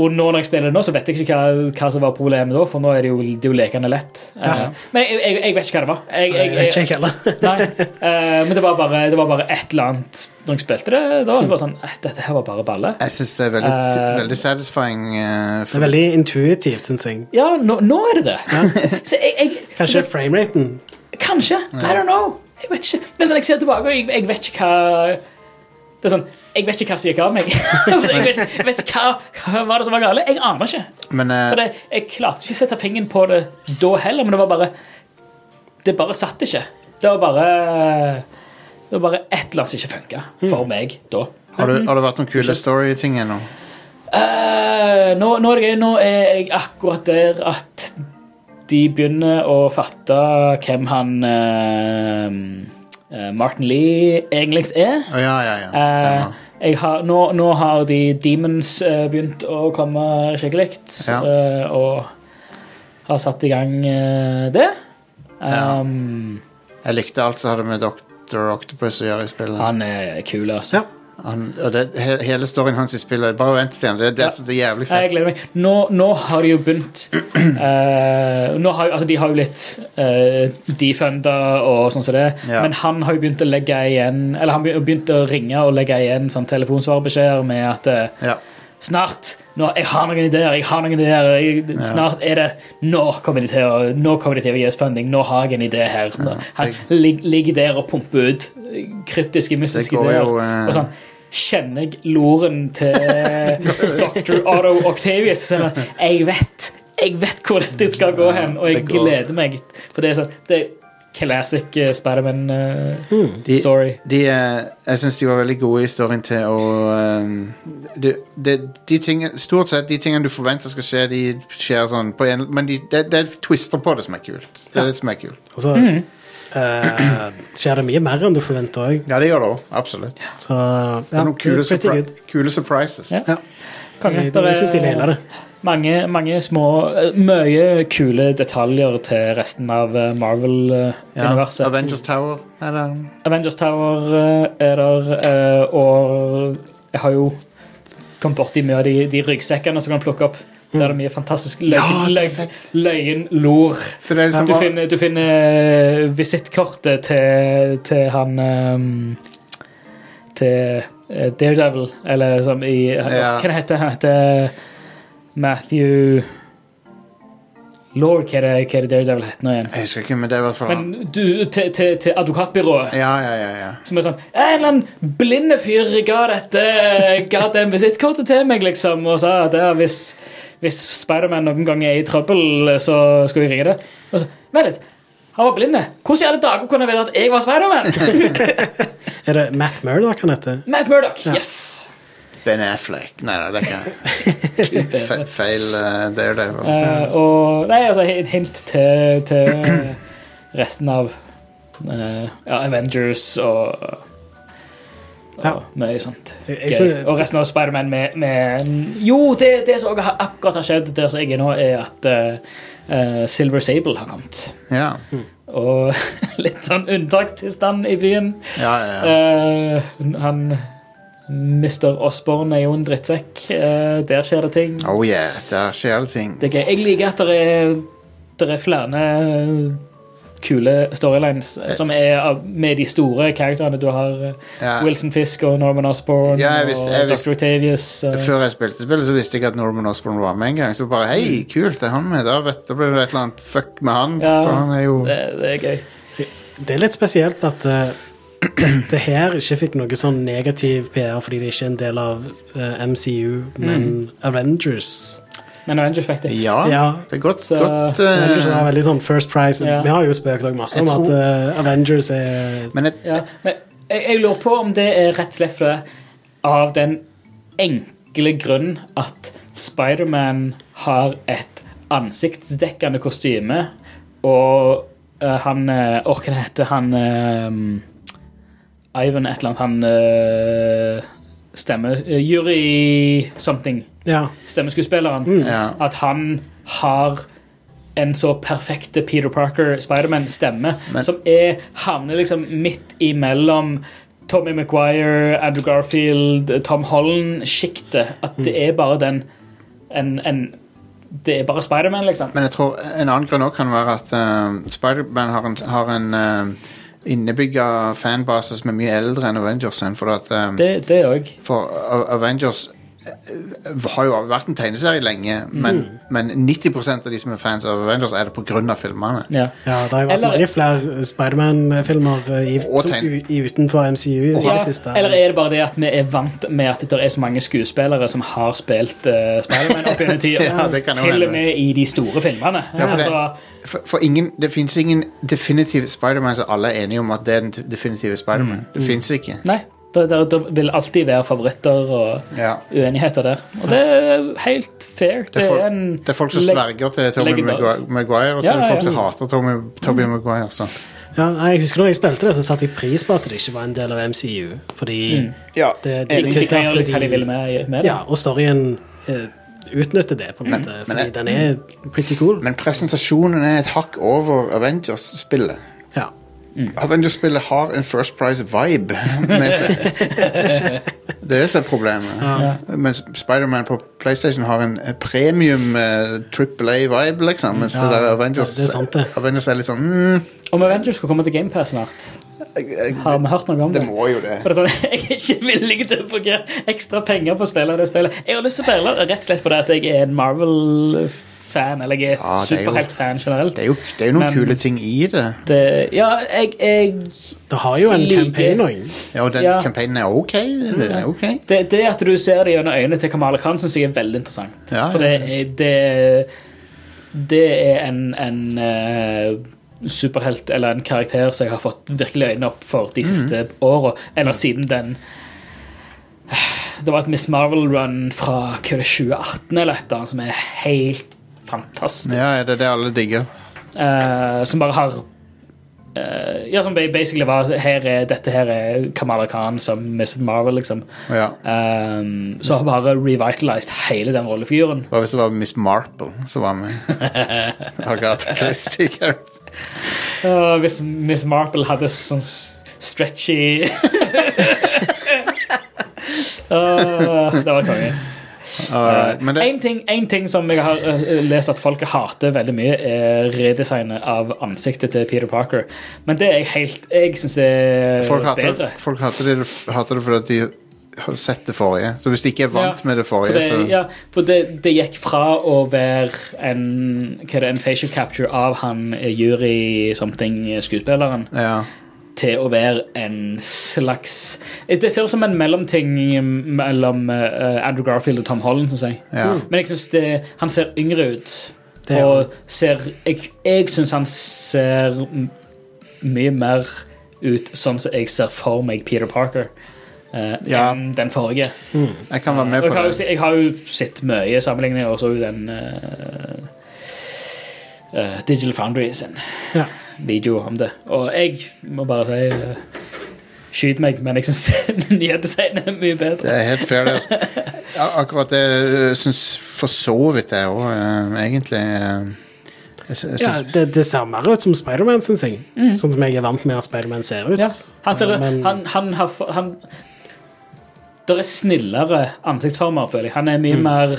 [SPEAKER 3] og nå når jeg spiller det nå, så vet jeg ikke hva, hva som var problemet da, for nå er det jo, det er jo lekende lett. Eh, Men jeg, jeg, jeg vet ikke hva det var. Jeg,
[SPEAKER 4] Eh, Jeg vet ikke, jeg heller.
[SPEAKER 3] Nei, eh, men det var, bare, det var bare et eller annet Når jeg spilte det da, det var sånn eh, Dette her var bare balle.
[SPEAKER 1] Jeg syns det er veldig,
[SPEAKER 3] Eh,
[SPEAKER 1] veldig satisfying. eh,
[SPEAKER 4] Det er
[SPEAKER 1] for,
[SPEAKER 4] veldig intuitivt, syns jeg.
[SPEAKER 3] Ja, nå, nå er det det. Så jeg, jeg
[SPEAKER 4] Kanskje frameraten
[SPEAKER 3] Kanskje. I don't know. Jeg vet ikke. Det er sånn, jeg ser tilbake, og jeg, jeg vet ikke hva Det er sånn, Jeg vet ikke hva som gikk av meg. jeg vet, jeg vet ikke hva, hva var det som var gale. Jeg aner ikke.
[SPEAKER 1] Men eh,
[SPEAKER 3] Og det, jeg klarte ikke å sette fingeren på det da heller, men det var bare Det bare satt ikke. Det var bare Det var bare et eller annet som ikke funka for meg da.
[SPEAKER 1] har, du, har det vært noen kule storyting ennå?
[SPEAKER 3] Eh, nå, nå, er jeg, nå er jeg akkurat der at de begynner å fatte hvem han eh, eh, Martin Lee egentlig er.
[SPEAKER 1] Å ja, ja, ja.
[SPEAKER 3] Eh,
[SPEAKER 1] Stemmer.
[SPEAKER 3] jeg har, nå, nå har de demons eh, begynt å komme skikkelig,
[SPEAKER 1] Ja.
[SPEAKER 3] eh, og har satt i gang eh, det. Um,
[SPEAKER 1] Jeg likte alt som hadde med Dr. Octopus å gjøre i spillet.
[SPEAKER 3] Han er kul, altså.
[SPEAKER 1] Han, og det, he, hele storyen hans i spillet Bare vent, Stian. Det, det,
[SPEAKER 3] Ja.
[SPEAKER 1] som er jævlig
[SPEAKER 3] Nei, Eh, Jeg
[SPEAKER 1] fett.
[SPEAKER 3] gleder meg. Nå, nå har de jo begynt eh, nå har, jo- altså De har jo blitt uh, defunda og sånn som det,
[SPEAKER 1] Ja.
[SPEAKER 3] men han har jo begynt å legge igjen Eller han har begynt å ringe og legge igjen sånn telefonsvarebeskjeder med at eh,
[SPEAKER 1] Ja.
[SPEAKER 3] Snart! Nå, jeg har noen ideer! jeg har noen ideer jeg, Snart er det Nå kommer de til å Nå kommer de til å gi oss funding. Nå har jeg en idé her. Nå, han
[SPEAKER 1] tenk-
[SPEAKER 3] lig- ligger der og pumper ut kryptiske, mystiske
[SPEAKER 1] går
[SPEAKER 3] ideer.
[SPEAKER 1] jo, eh,
[SPEAKER 3] Og sånn Kjenner jeg loren til dr. Otto Octavius? Så jeg, jeg vet Jeg vet hvor dette skal gå hen, og jeg
[SPEAKER 1] Det går.
[SPEAKER 3] gleder meg. For det er sånn Det er classic eh, Spiderman-story.
[SPEAKER 1] De, de, eh, jeg syns de var veldig gode i storyen til å eh, de, de, de tingene- Stort sett de tingene du forventer skal skje, de skjer sånn på en Men de, det det er twister på det som er kult. Det er det som er kult.
[SPEAKER 4] Og så
[SPEAKER 3] Mm.
[SPEAKER 4] eh, skjer det mye mer enn du forventer òg.
[SPEAKER 1] Ja, det gjør det òg. Absolutt.
[SPEAKER 4] Så ja,
[SPEAKER 1] Det er noen kule,
[SPEAKER 4] pretty
[SPEAKER 1] surpri-
[SPEAKER 4] good.
[SPEAKER 1] kule surprises.
[SPEAKER 3] Ja. Konge.
[SPEAKER 4] Jeg,
[SPEAKER 3] Der er-
[SPEAKER 4] jeg syns de nailer det.
[SPEAKER 3] Mange, mange små eh, Mye kule detaljer til resten av eh,
[SPEAKER 1] Ja,
[SPEAKER 3] Marvel-universet.
[SPEAKER 1] Avengers Tower er det.
[SPEAKER 3] Avengers Tower eh, er der, eh, og jeg har jo kommet borti mye av de, de ryggsekkene som kan plukke opp. Der er det mye fantastisk løgn, løgn, løgn lor.
[SPEAKER 1] For det er liksom
[SPEAKER 3] Du
[SPEAKER 1] bare-
[SPEAKER 3] finner, du finner eh, visittkortet til, til han ehm, Til eh, Daredevil, eller som i
[SPEAKER 1] Ja.
[SPEAKER 3] Hva det heter han? heter Matthew Lord, hva er det, hva er det Daredevil heter nå igjen?
[SPEAKER 1] Jeg husker ikke, men det er i hvert fall
[SPEAKER 3] Men du, til, til, til advokatbyrået.
[SPEAKER 1] Ja, ja, ja. ja.
[SPEAKER 3] Som er sånn En eller annen blinde fyr ga dette Ga det visittkortet til meg, liksom, og sa at ja, hvis, hvis Spiderman noen gang er i trøbbel, så skal vi ringe det. Og så Vent litt. Han var blinde. Hvordan i alle dager kunne jeg vite at jeg var Spiderman?
[SPEAKER 4] Er det Matt Murdoch han heter?
[SPEAKER 3] Matt Murdoch. Yes!
[SPEAKER 1] Ben Affleck. Nei, nei, det er ikke Fe- feil. eh, Det er det. vel.
[SPEAKER 3] Eh,
[SPEAKER 4] Mm.
[SPEAKER 3] og Nei, altså, et hint til, til resten av eh, ja, Avengers og og
[SPEAKER 4] Ja.
[SPEAKER 3] mye sånt.
[SPEAKER 4] Jeg- jeg
[SPEAKER 3] Gøy.
[SPEAKER 4] synes-
[SPEAKER 3] Og resten av Spiderman med, med Jo, det, det som også har- akkurat har skjedd der som jeg er nå, er at eh, eh, Silver Sable har kommet.
[SPEAKER 1] Ja.
[SPEAKER 3] Og litt sånn unntakstilstand i byen.
[SPEAKER 1] Ja, ja, ja.
[SPEAKER 3] Eh, han Mr. Osborne er jo en drittsekk. Eh, der skjer det ting.
[SPEAKER 1] Oh yeah, der skjer det ting.
[SPEAKER 3] Det er gøy. Jeg liker at det er, det er flere eh, kule storylines eh, som er av- med de store karakterene. Du har eh,
[SPEAKER 1] Ja.
[SPEAKER 3] Wilson Fisk og Norman Osborne
[SPEAKER 1] Ja, jeg visste- jeg
[SPEAKER 3] og
[SPEAKER 1] visste-
[SPEAKER 3] Dr. Octavius. eh,
[SPEAKER 1] Før jeg spilte spillet, så visste jeg ikke at Norman Osborn var med en gang. Så bare hei, kult, det er han med. Da, vet, da ble det et eller annet fuck med han.
[SPEAKER 3] Mm. Ja.
[SPEAKER 1] For han er jo
[SPEAKER 3] det, det er gøy.
[SPEAKER 4] Det er litt spesielt at eh, dette her ikke fikk noe sånn negativ PR fordi det ikke er en del av eh, MCU, men Avengers.
[SPEAKER 3] Men Avengers fikk det.
[SPEAKER 1] Ja.
[SPEAKER 4] Ja.
[SPEAKER 1] Det er godt,
[SPEAKER 3] Så-
[SPEAKER 1] godt eh,
[SPEAKER 4] Avengers er veldig sånn first prize.
[SPEAKER 3] Ja.
[SPEAKER 4] Vi har jo spøkt også masse
[SPEAKER 1] Jeg
[SPEAKER 4] om
[SPEAKER 1] tror-
[SPEAKER 4] at eh, Avengers er
[SPEAKER 1] Men et,
[SPEAKER 3] Ja. Men jeg, jeg lurer på om det er rett og slett fordi av den enkle grunn at Spiderman har et ansiktsdekkende kostyme, og eh, han uh, Å, hva heter han eh, Ivan et eller annet, han eh, stemme... eh, jury something.
[SPEAKER 4] Ja.
[SPEAKER 3] Stemmeskuespilleren.
[SPEAKER 1] ja.
[SPEAKER 3] At han har en så perfekte Peter Parker, Spiderman-stemme,
[SPEAKER 1] Men-
[SPEAKER 3] som er, havner liksom midt imellom Tommy Maguire, Andrew Garfield, Tom Holland-sjiktet. At det er bare den en, en, Det er bare Spiderman, liksom.
[SPEAKER 1] Men jeg tror en annen grunn også kan være at eh, Spider-Man har en, har en eh, innebygga fanbase som er mye eldre enn Avengers. enn, For at eh,
[SPEAKER 3] Det òg.
[SPEAKER 1] For A- Avengers eh, har jo vært en tegneserie lenge,
[SPEAKER 3] Mm.
[SPEAKER 1] men, men 90 av de som er fans av Avengers, er det pga. filmene.
[SPEAKER 3] Ja.
[SPEAKER 4] Ja, det har jo vært
[SPEAKER 3] Eller-
[SPEAKER 4] mange flere eh, Spiderman-filmer eh, i-
[SPEAKER 1] Og
[SPEAKER 4] som
[SPEAKER 1] tegn-
[SPEAKER 4] u- i- utenfor MCU i
[SPEAKER 3] Ja,
[SPEAKER 4] det siste.
[SPEAKER 3] eller er det bare det at vi er vant med at det er så mange skuespillere som har spilt uh, Spiderman opp gjennom tida?
[SPEAKER 1] Ja, det kan jo
[SPEAKER 3] til og
[SPEAKER 1] hende.
[SPEAKER 3] med i de store filmene.
[SPEAKER 1] Ja, for det-
[SPEAKER 3] altså,
[SPEAKER 1] For, for ingen, det fins ingen definitiv Spiderman som alle er enige om at det er den t- definitive Spiderman.
[SPEAKER 3] Mm.
[SPEAKER 1] Det fins ikke.
[SPEAKER 3] nei, det, det, det vil alltid være favoritter og
[SPEAKER 1] Ja.
[SPEAKER 3] uenigheter der. Og det er helt fair. Det
[SPEAKER 1] Det, er folk,
[SPEAKER 3] er en
[SPEAKER 1] det er folk som
[SPEAKER 3] leg-
[SPEAKER 1] sverger til Tommy
[SPEAKER 3] legendarisk.
[SPEAKER 1] Maguire, og så
[SPEAKER 3] Ja,
[SPEAKER 1] er det
[SPEAKER 3] ja, Mm.
[SPEAKER 1] folk
[SPEAKER 3] ja.
[SPEAKER 1] som hater Tommy, Tobey Maguire. Så.
[SPEAKER 4] Ja, nei, jeg husker når jeg spilte det, så satte jeg pris på at det ikke var en del av MCU. Fordi
[SPEAKER 1] Ja,
[SPEAKER 4] det, det,
[SPEAKER 1] enig.
[SPEAKER 3] De kan gjøre hva de vil med, med det.
[SPEAKER 4] Ja, og storyen eh, utnytter det, på en måte.
[SPEAKER 1] men
[SPEAKER 4] fordi
[SPEAKER 1] jeg-
[SPEAKER 4] den er pretty cool.
[SPEAKER 1] Men presentasjonen er et hakk over Avengers-spillet.
[SPEAKER 4] ja.
[SPEAKER 1] Avengers-spillet har en First Price-vibe med seg. Det er det som er problemet. Mens Spiderman på PlayStation har en eh, premium eh, Triple A-vibe, liksom. Mens
[SPEAKER 4] Ja,
[SPEAKER 1] det der Avengers,
[SPEAKER 4] det er sant det.
[SPEAKER 1] Avengers er litt sånn mm,
[SPEAKER 3] Om Avengers skal komme til GamePass snart,
[SPEAKER 1] jeg- jeg-
[SPEAKER 3] har vi hørt noe om
[SPEAKER 1] Det
[SPEAKER 3] det?
[SPEAKER 1] må jo det.
[SPEAKER 3] For det er sånn, jeg er ikke villig til å bruke ekstra penger på å spille det spillet. Jeg har lyst til å spille det, rett og slett fordi at jeg er en Marvel-fan, eller jeg
[SPEAKER 1] Ja,
[SPEAKER 3] er
[SPEAKER 1] det er jo-
[SPEAKER 3] superhelt-fan generelt.
[SPEAKER 1] Det er jo, det er jo noen
[SPEAKER 3] Men-
[SPEAKER 1] kule ting i det.
[SPEAKER 3] Det, ja, jeg, jeg
[SPEAKER 4] Det har jo en
[SPEAKER 3] Like-
[SPEAKER 4] campaign òg.
[SPEAKER 1] Ja, og den
[SPEAKER 3] Ja.
[SPEAKER 1] campaignen er ok. Det
[SPEAKER 4] Mm.
[SPEAKER 1] er ok.
[SPEAKER 3] det, det at du ser det gjennom øynene til Kamala Khan, syns jeg er veldig interessant.
[SPEAKER 1] Ja, ja.
[SPEAKER 3] For det, er- det, det er en, en eh, superhelt eller en karakter som jeg har fått virkelig øynene opp for
[SPEAKER 1] Mhm.
[SPEAKER 3] de siste åra. Eller siden den Det var et Miss Marvel-run fra hva er det, 2018 eller et eller annet som er helt fantastisk.
[SPEAKER 1] Ja, er det det alle digger?
[SPEAKER 3] Eh, som bare har eh, Ja, som ba- basically var her er, Dette her er Kamala Khan som Miss Marvel, liksom.
[SPEAKER 1] Ja.
[SPEAKER 3] Um, så har bare revitalized hele den rollefiguren.
[SPEAKER 1] Hva hvis det var Miss Marple som var med? Agatha Christie. character.
[SPEAKER 3] Uh, hvis Miss Marple hadde sånn s- stretchy uh, Det var konge.
[SPEAKER 1] Alright, Men det,
[SPEAKER 3] En ting, en ting som jeg har eh, lest at folk hater veldig mye, er redesignet av ansiktet til Peter Parker. Men det er jeg helt Jeg syns det er
[SPEAKER 1] folk hater,
[SPEAKER 3] bedre.
[SPEAKER 1] det- folk hater det, hater det fordi at de har sett det forrige. Så hvis de ikke er vant
[SPEAKER 3] Ja,
[SPEAKER 1] med det forrige,
[SPEAKER 3] For det,
[SPEAKER 1] så
[SPEAKER 3] ja, for det, det gikk fra å være en, hva er det, en facial capture av han eh, Yuri something-skuespilleren,
[SPEAKER 1] ja.
[SPEAKER 3] til å være en slags eh, Det ser ut som en mellomting mm, mellom eh, Andrew Garfield og Tom Holland, syns jeg.
[SPEAKER 1] Ja.
[SPEAKER 3] Men jeg syns han ser yngre ut.
[SPEAKER 4] Det er
[SPEAKER 3] og ser Jeg, jeg syns han ser m- mye mer ut sånn som jeg ser for meg Peter Parker. eh,
[SPEAKER 1] Ja.
[SPEAKER 3] Enn den forrige.
[SPEAKER 1] Jeg kan være med
[SPEAKER 3] Og jeg,
[SPEAKER 1] på
[SPEAKER 3] har jo,
[SPEAKER 1] det.
[SPEAKER 3] se- jeg har jo sett mye sammenligninger også i den eh, eh, Digital Foundry sin
[SPEAKER 4] Ja.
[SPEAKER 3] video om det. Og jeg må bare si eh, Skyt meg, men jeg syns nyhetsdesignet er mye
[SPEAKER 1] Det
[SPEAKER 3] bedre.
[SPEAKER 1] er helt fair. det, Altså. Ja, akkurat det eh, syns for så vidt jeg òg, egentlig. eh, Jeg, sy- jeg
[SPEAKER 4] Ja,
[SPEAKER 1] syns
[SPEAKER 4] det, det ser mer ut som Spiderman, syns jeg. Sånn som jeg er vant med at Spiderman ser
[SPEAKER 3] Mm.
[SPEAKER 4] ut.
[SPEAKER 3] Ja, han, ser,
[SPEAKER 4] Men-
[SPEAKER 3] han, han har f- han, Det er snillere ansiktsformer, føler jeg. Han er mye
[SPEAKER 4] Mm.
[SPEAKER 3] mer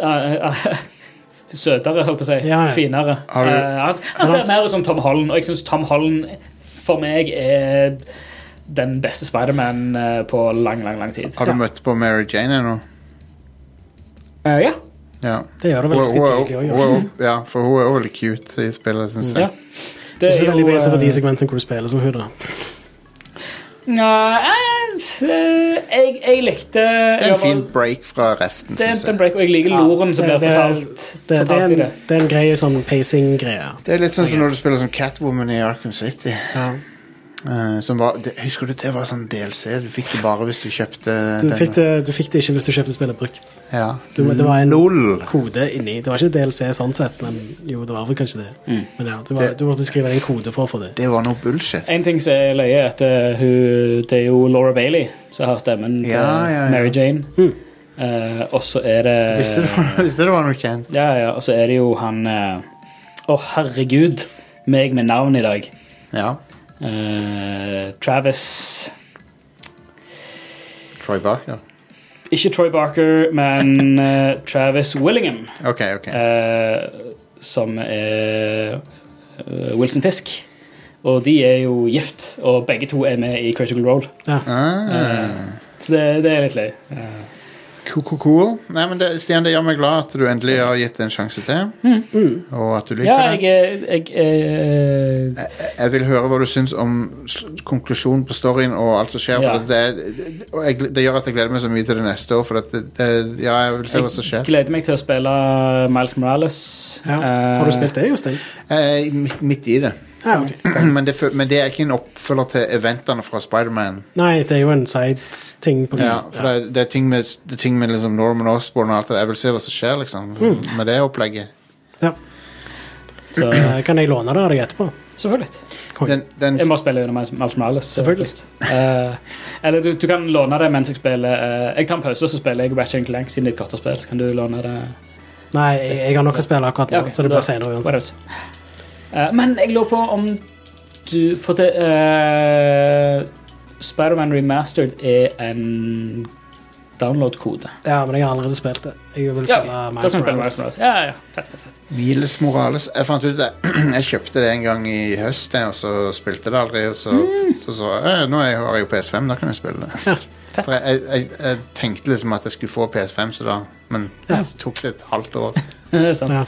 [SPEAKER 3] eh, eh, Søtere, holdt på å si.
[SPEAKER 4] Ja, ja.
[SPEAKER 3] Finere.
[SPEAKER 1] Har du-
[SPEAKER 3] Eh, han, han
[SPEAKER 4] Men
[SPEAKER 3] ser
[SPEAKER 4] han-
[SPEAKER 3] mer ut som Tom Holland, og jeg syns Tom Holland for meg er den beste Spiderman eh, på lang, lang lang tid.
[SPEAKER 1] Har du møtt på Mary Jane ennå?
[SPEAKER 3] Eh, ja.
[SPEAKER 1] Ja.
[SPEAKER 4] Det gjør det vel
[SPEAKER 1] Hun,
[SPEAKER 4] ganske
[SPEAKER 1] hun,
[SPEAKER 4] tidlig
[SPEAKER 1] hun,
[SPEAKER 4] òg.
[SPEAKER 1] hun, hun, ja, for hun er òg veldig cute i spillet, syns jeg.
[SPEAKER 3] ja. Det
[SPEAKER 4] Det er så veldig mye som for de
[SPEAKER 3] eh,
[SPEAKER 4] segmentene hvor du spiller som hun, da.
[SPEAKER 3] Nei, eh, jeg, jeg likte
[SPEAKER 1] Det er en fin break fra resten,
[SPEAKER 3] det er
[SPEAKER 1] syns
[SPEAKER 3] en
[SPEAKER 1] jeg.
[SPEAKER 3] break, og jeg liker loren som blir
[SPEAKER 4] det- det-
[SPEAKER 3] fortalt,
[SPEAKER 4] Det, det, er
[SPEAKER 3] fortalt
[SPEAKER 4] en,
[SPEAKER 3] i det.
[SPEAKER 4] det er en greie sånn pacing-greie.
[SPEAKER 1] Det er litt sånn som når du spiller som Catwoman i Arkham City.
[SPEAKER 4] Ja.
[SPEAKER 1] eh, som var, det, husker du det var sånn DLC? Du fikk det bare hvis du kjøpte
[SPEAKER 4] Du, fikk det, du fikk det ikke hvis du kjøpte spillet brukt.
[SPEAKER 1] Ja.
[SPEAKER 4] Du, det var en
[SPEAKER 1] LOL!
[SPEAKER 4] kode inni. Det var ikke DLC sånn sett, men jo, det var vel kanskje det. Men ja, du, var,
[SPEAKER 1] Mm. Det-
[SPEAKER 4] du måtte skrive en kode for å få det.
[SPEAKER 1] Det var noe bullshit.
[SPEAKER 3] En ting som er løye, er at eh, hun, det er jo Laura Bailey som har stemmen til
[SPEAKER 1] Ja, ja, ja.
[SPEAKER 3] Mary Jane. Eh, og så er det
[SPEAKER 1] Visste det
[SPEAKER 4] Eh.
[SPEAKER 1] var, visste det var noe kjent.
[SPEAKER 3] Ja, ja, og så er det jo han eh, Å, herregud! Meg med navn i dag.
[SPEAKER 1] Ja.
[SPEAKER 3] Eh, Travis
[SPEAKER 1] Troy Barker.
[SPEAKER 3] Ikke Troy Barker, men eh, Travis Willingham.
[SPEAKER 1] OK, OK.
[SPEAKER 3] eh, som er eh, Wilson Fisk. Og de er jo gift, og begge to er med i Critical Role.
[SPEAKER 4] Ja.
[SPEAKER 1] Ah,
[SPEAKER 3] Så det, det er litt løy. Eh,
[SPEAKER 1] Cool, cool, cool. Nei, men det, Stian, det gjør meg glad at du endelig har gitt det en sjanse til.
[SPEAKER 4] Mm.
[SPEAKER 1] Og at du liker
[SPEAKER 3] Ja,
[SPEAKER 1] det.
[SPEAKER 3] jeg, jeg, jeg, eh,
[SPEAKER 1] Jeg vil høre hva du syns om s- konklusjonen på storyen og alt som skjer.
[SPEAKER 3] Ja.
[SPEAKER 1] For det, det, og jeg, gl- det gjør at jeg gleder meg så mye til det neste år. For at det, det, ja, jeg vil se hva som
[SPEAKER 3] jeg
[SPEAKER 1] skjer.
[SPEAKER 3] gleder meg til å spille Miles Morales.
[SPEAKER 4] Ja.
[SPEAKER 3] Eh,
[SPEAKER 4] Har du spilt det, Jostein?
[SPEAKER 1] Jeg er midt, midt i det.
[SPEAKER 4] Ja, ok.
[SPEAKER 1] Men det, fø- men det er ikke en oppfølger til eventene fra Spiderman.
[SPEAKER 4] Nei, det er jo en side-ting.
[SPEAKER 3] Mm.
[SPEAKER 4] på
[SPEAKER 1] Ja, for
[SPEAKER 4] ja.
[SPEAKER 1] det, det er ting med, det er ting med liksom Norman Osborn og alt det der. Jeg vil se hva som skjer liksom,
[SPEAKER 3] Mm.
[SPEAKER 1] med det opplegget.
[SPEAKER 4] Ja.
[SPEAKER 3] så,
[SPEAKER 4] Eh, Kan jeg låne det av deg etterpå?
[SPEAKER 3] selvfølgelig.
[SPEAKER 1] Den, den,
[SPEAKER 3] Jeg må spille gjennom Miles- Miles Morales. eh,
[SPEAKER 4] Selvfølgelig.
[SPEAKER 3] først. Eh, eller du, du kan låne det mens jeg spiller eh, Jeg tar en pause, og så spiller jeg Ratchet Clank siden det er et korterspill. Så kan du låne det
[SPEAKER 4] Nei, jeg, jeg har nok å spille akkurat nå,
[SPEAKER 3] Ja, ok.
[SPEAKER 4] så det
[SPEAKER 3] Da-
[SPEAKER 4] blir senere uansett.
[SPEAKER 3] Whatever. Eh, men jeg lurer på om du For det uh, Spiderman Remastered er en download-kode.
[SPEAKER 4] Ja, men jeg har allerede spilt det. Jeg vil
[SPEAKER 3] Ja,
[SPEAKER 4] spille
[SPEAKER 3] ok. Da
[SPEAKER 4] Miles
[SPEAKER 3] kan du spille
[SPEAKER 4] Morales.
[SPEAKER 3] Miles Morales. Ja, ja, fett, fett, fett.
[SPEAKER 1] Miles Morales Jeg fant ut det Jeg kjøpte det en gang i høst jeg, Og så spilte det aldri Og så så, så eh, Nå er jeg- har jeg jo PS5 Da kan jeg spille det
[SPEAKER 4] Mm. Ja,
[SPEAKER 1] For jeg, jeg, jeg, jeg tenkte liksom at jeg skulle få PS5 Så da Men
[SPEAKER 4] Ja.
[SPEAKER 1] det tok det et halvt år
[SPEAKER 3] sånn.
[SPEAKER 4] ja.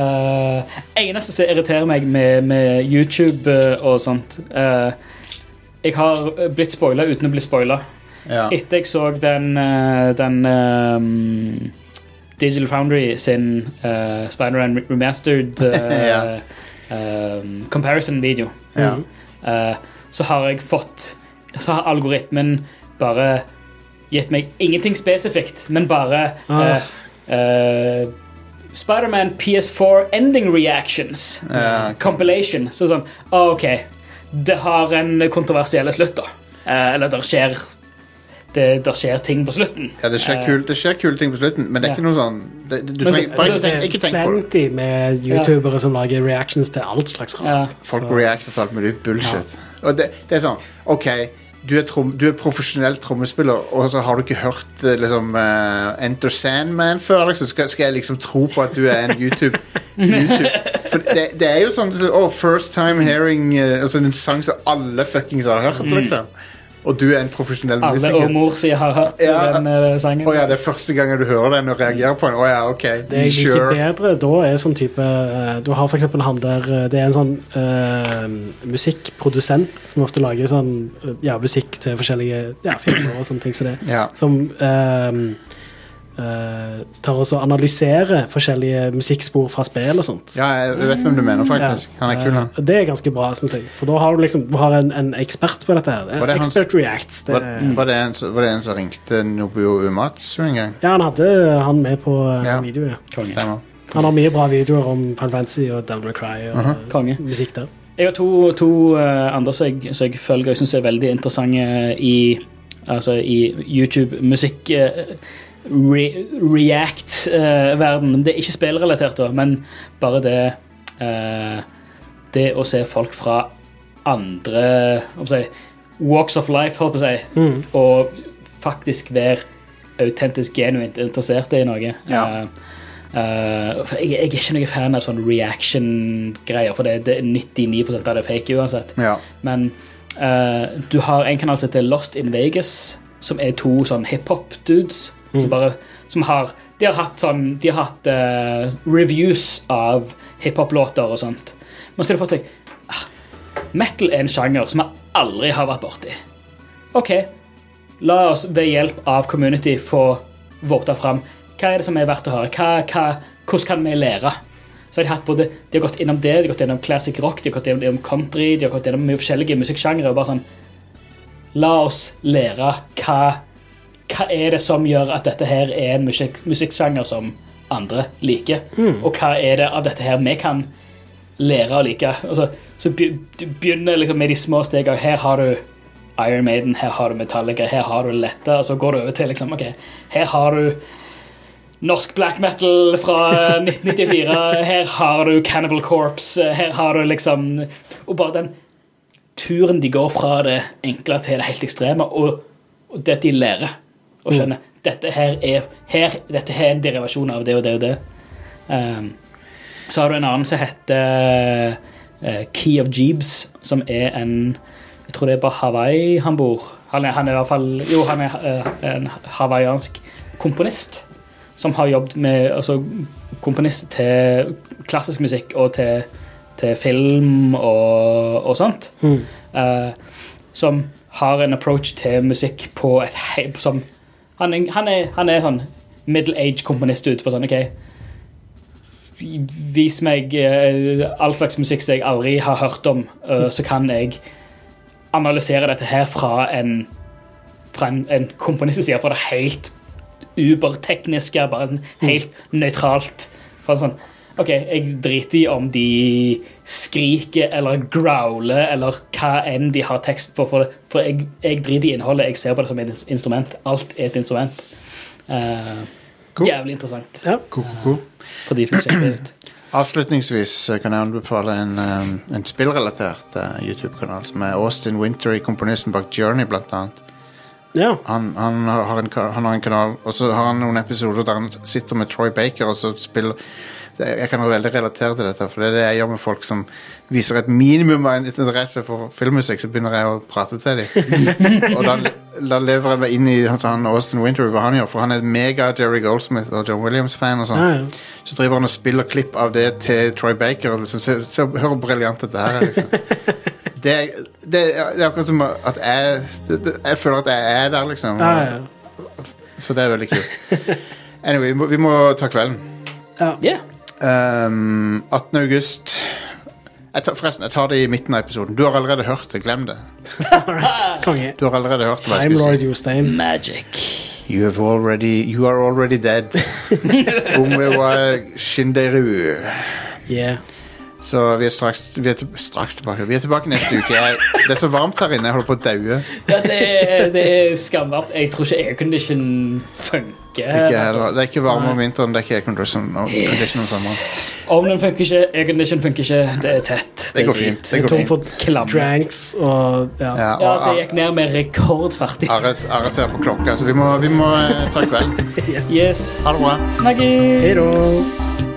[SPEAKER 3] Eh, eneste som irriterer meg med, med YouTube eh, og sånt eh, Jeg har blitt spoila uten å bli spoila.
[SPEAKER 1] ja.
[SPEAKER 3] Etter jeg så den, eh, den ehm, Digital Foundry sin uh, Spider-Man Re- Remastered eh, ehm, comparison-video,
[SPEAKER 1] ja.
[SPEAKER 3] eh, så har jeg fått Så har algoritmen bare gitt meg ingenting spesifikt, men bare
[SPEAKER 4] Ah.
[SPEAKER 3] eh, eh, Spider-Man PS4 Ending Reactions
[SPEAKER 1] Ja, ok.
[SPEAKER 3] Compilation. Så sånn, ah, OK, det har en kontroversiell slutt, da. Eh, eller det skjer det, der skjer ting på slutten.
[SPEAKER 1] ja, det skjer, kul, det skjer kule ting på slutten Men det er
[SPEAKER 3] Ja.
[SPEAKER 1] ikke noe sånn det, du
[SPEAKER 4] Eh. Men
[SPEAKER 1] trenger,
[SPEAKER 4] det-
[SPEAKER 1] Bare
[SPEAKER 4] det-
[SPEAKER 1] ikke tenk, ikke tenk på det
[SPEAKER 4] Plenty med youtubere som lager reactions til alt slags rart.
[SPEAKER 1] Folk
[SPEAKER 4] Så-
[SPEAKER 1] reacter til alt mulig bullshit. Og det, det er sånn OK, du er, trom, du er profesjonell trommespiller, og så har du ikke hørt eh, liksom, eh, Enter Sandman før? Liksom. Skal, skal jeg liksom tro på at du er en YouTube, YouTube. For det, det er jo sånn oh, First time hearing eh, altså En sang som alle fuckings har hørt, liksom. Og du er en profesjonell
[SPEAKER 3] Alle og
[SPEAKER 1] musiker.
[SPEAKER 3] mor si har hørt
[SPEAKER 1] Ja.
[SPEAKER 3] den eh, sangen.
[SPEAKER 1] Å ja, det er første gangen du hører den og reagerer på den? Å ja, OK.
[SPEAKER 4] Det jeg liker
[SPEAKER 1] Sure.
[SPEAKER 4] bedre da, er sånn type eh, Du har for eksempel han der eh, Det er en sånn eh, musikkprodusent som ofte lager sånn eh, ja, musikk til forskjellige ja, filmer og sånne ting som det.
[SPEAKER 1] Ja.
[SPEAKER 4] Som eh, eh, tar også og analyserer forskjellige musikkspor fra spill og sånt.
[SPEAKER 1] ja, jeg vet hvem du mener, faktisk. Han er kul, han.
[SPEAKER 4] Eh, og det er ganske bra, syns jeg. For da har du liksom du har en, en ekspert på dette. her
[SPEAKER 1] Var det han som-
[SPEAKER 4] Expert Reacts. Det,
[SPEAKER 1] Var, var, det en, som- var det en som ringte Nobuo Umatsu en gang?
[SPEAKER 4] ja, han hadde han med på eh,
[SPEAKER 1] Ja.
[SPEAKER 4] video. Ja.
[SPEAKER 1] Stemmer.
[SPEAKER 4] Han har mye bra videoer om Pan Fancy og Devil May Cry og
[SPEAKER 1] Uh-huh.
[SPEAKER 3] Konge.
[SPEAKER 4] musikk der.
[SPEAKER 3] Jeg har to, to eh, andre som jeg, som jeg følger jeg syns er veldig interessante i, altså, i YouTube-musikk. eh, Re React-verden. Det er ikke spillrelatert, da, men bare det eh, Det å se folk fra andre hva skal jeg si, walks of life, holdt jeg på å si, og faktisk være autentisk, genuint interessert i noe.
[SPEAKER 1] Ja.
[SPEAKER 3] Eh, Eh, for jeg, jeg er ikke noen fan av sånne reaction-greier, for det, det er 99 av det er fake uansett.
[SPEAKER 1] Ja.
[SPEAKER 3] Men eh, du har en kanal som heter Lost in Vegas, som er to sånn hiphop-dudes som bare som har, De har hatt, sånn, de har hatt eh, reviews av hiphop-låter og sånt. Men så har de fått seg ah, Metal er en sjanger som jeg aldri har vært borti. OK, la oss ved hjelp av community få vote fram hva er det som er verdt å høre. Hva, hva, hvordan kan vi lære? Så har de, hatt både, de har gått innom det, de har gått innom classic rock, de har gått innom country, de har gått innom mye forskjellige musikksjangre. og bare sånn, La oss lære hva, hva er det som gjør at dette her er en musikk, musikksjanger som andre liker. Og hva er det av dette her vi kan lære å like. Altså, så be- du begynner liksom med de små stegene. Her har du Iron Maiden, her har du Metallica, her har du Letta. Og så går du over til liksom, ok, her har du norsk black metal fra 1994. Her har du Cannibal Corpse. Her har du liksom Og bare den turen de går fra det enkle til det helt ekstreme, og, og det de lærer og skjønner dette her er, her, dette her er en derivasjon av det og det og det. Um, så har du en annen som heter eh, Key of Jeebs, som er en Jeg tror det er på Hawaii han bor. Han er, han er i hvert fall Jo, han er eh, en hawaiiansk komponist som har jobbet med altså, komponist til klassisk musikk og til, til film og, og sånt. Eh, som har en approach til musikk på et hei- som Han, er- han, er, han er sånn middle age komponist ute på sånn OK Vis meg eh, all slags musikk som jeg aldri har hørt om, eh, så kan jeg analysere dette her fra en fra en, en komponists side, fra det helt ubertekniske, bare en helt nøytralt. Fra sånn, OK, jeg driter i om de skriker eller growler eller hva enn de har tekst på, for, for jeg, jeg driter i innholdet. Jeg ser på det som et ins- instrument. Alt er et instrument. Eh,
[SPEAKER 1] Cool.
[SPEAKER 3] Jævlig interessant
[SPEAKER 4] Ja.
[SPEAKER 1] Ko, ko.
[SPEAKER 3] for de som sjekker det ut.
[SPEAKER 1] Avslutningsvis eh, kan jeg anbefale en, eh, en spillrelatert eh, YouTube-kanal som er Austin Wintery, komponisten bak Journey, blant annet.
[SPEAKER 4] ja.
[SPEAKER 1] Han, han, har en, ka- han har en kanal, og så har han noen episoder der han sitter med Troy Baker og så spiller Det- Jeg kan veldig relatere til dette, for det er det jeg gjør med folk som viser et minimum av en interesse for filmmusikk, så begynner jeg å prate til dem. og da, da lever jeg meg inn i altså, han Austin Wintery, hva han gjør, for han er mega Jerry Goldsmith og John Williams-fan og sånn.
[SPEAKER 4] Ja, ja.
[SPEAKER 1] Så driver han og spiller klipp av det til Troy Baker. og Liksom. Se, se, hør hvor briljant dette her er. Liksom. Det, er- det, er- det er akkurat som at jeg det, det, Jeg føler at jeg er der, liksom.
[SPEAKER 4] Ja, ja.
[SPEAKER 1] Så det er veldig kult. Anyway, vi må, vi må ta kvelden.
[SPEAKER 3] Yeah.
[SPEAKER 1] Ehm, 18. august jeg tar, Forresten, jeg tar det i midten av episoden. Du har allerede hørt det. Glem det.
[SPEAKER 4] Alright. Konge.
[SPEAKER 1] Du har allerede hørt hva jeg
[SPEAKER 4] Time
[SPEAKER 1] skulle
[SPEAKER 4] Lord
[SPEAKER 1] si.
[SPEAKER 4] Jostein.
[SPEAKER 1] You, have already, you are already dead. Omewa Shinderu.
[SPEAKER 4] Yeah.
[SPEAKER 1] Så vi er straks, vi er til, straks tilbake. Vi er tilbake neste uke. Jeg, det er så varmt her inne. Jeg holder på å daue.
[SPEAKER 3] Ja, det, er- det er skamvarmt. Jeg tror ikke aircondition funker.
[SPEAKER 1] Ikke
[SPEAKER 3] altså.
[SPEAKER 1] heller- Det er ikke varme om vinteren, det er ikke aircondition om condition om sommeren.
[SPEAKER 3] Ovnen funker ikke, aircondition funker ikke. Det er tett.
[SPEAKER 1] Det
[SPEAKER 3] er
[SPEAKER 1] går
[SPEAKER 3] drit.
[SPEAKER 1] fint. Det går
[SPEAKER 4] Tom
[SPEAKER 1] fint.
[SPEAKER 4] for
[SPEAKER 3] Klamme.
[SPEAKER 4] dranks og ja.
[SPEAKER 1] Ja,
[SPEAKER 3] Ja, det
[SPEAKER 1] og
[SPEAKER 3] gikk ned med rekordfart.
[SPEAKER 1] Are Are ser på klokka, så vi må, vi må eh, ta kvelden.
[SPEAKER 3] Yes.
[SPEAKER 1] Ha det bra.
[SPEAKER 3] Snakkes!
[SPEAKER 4] Hei da.
[SPEAKER 3] Yes.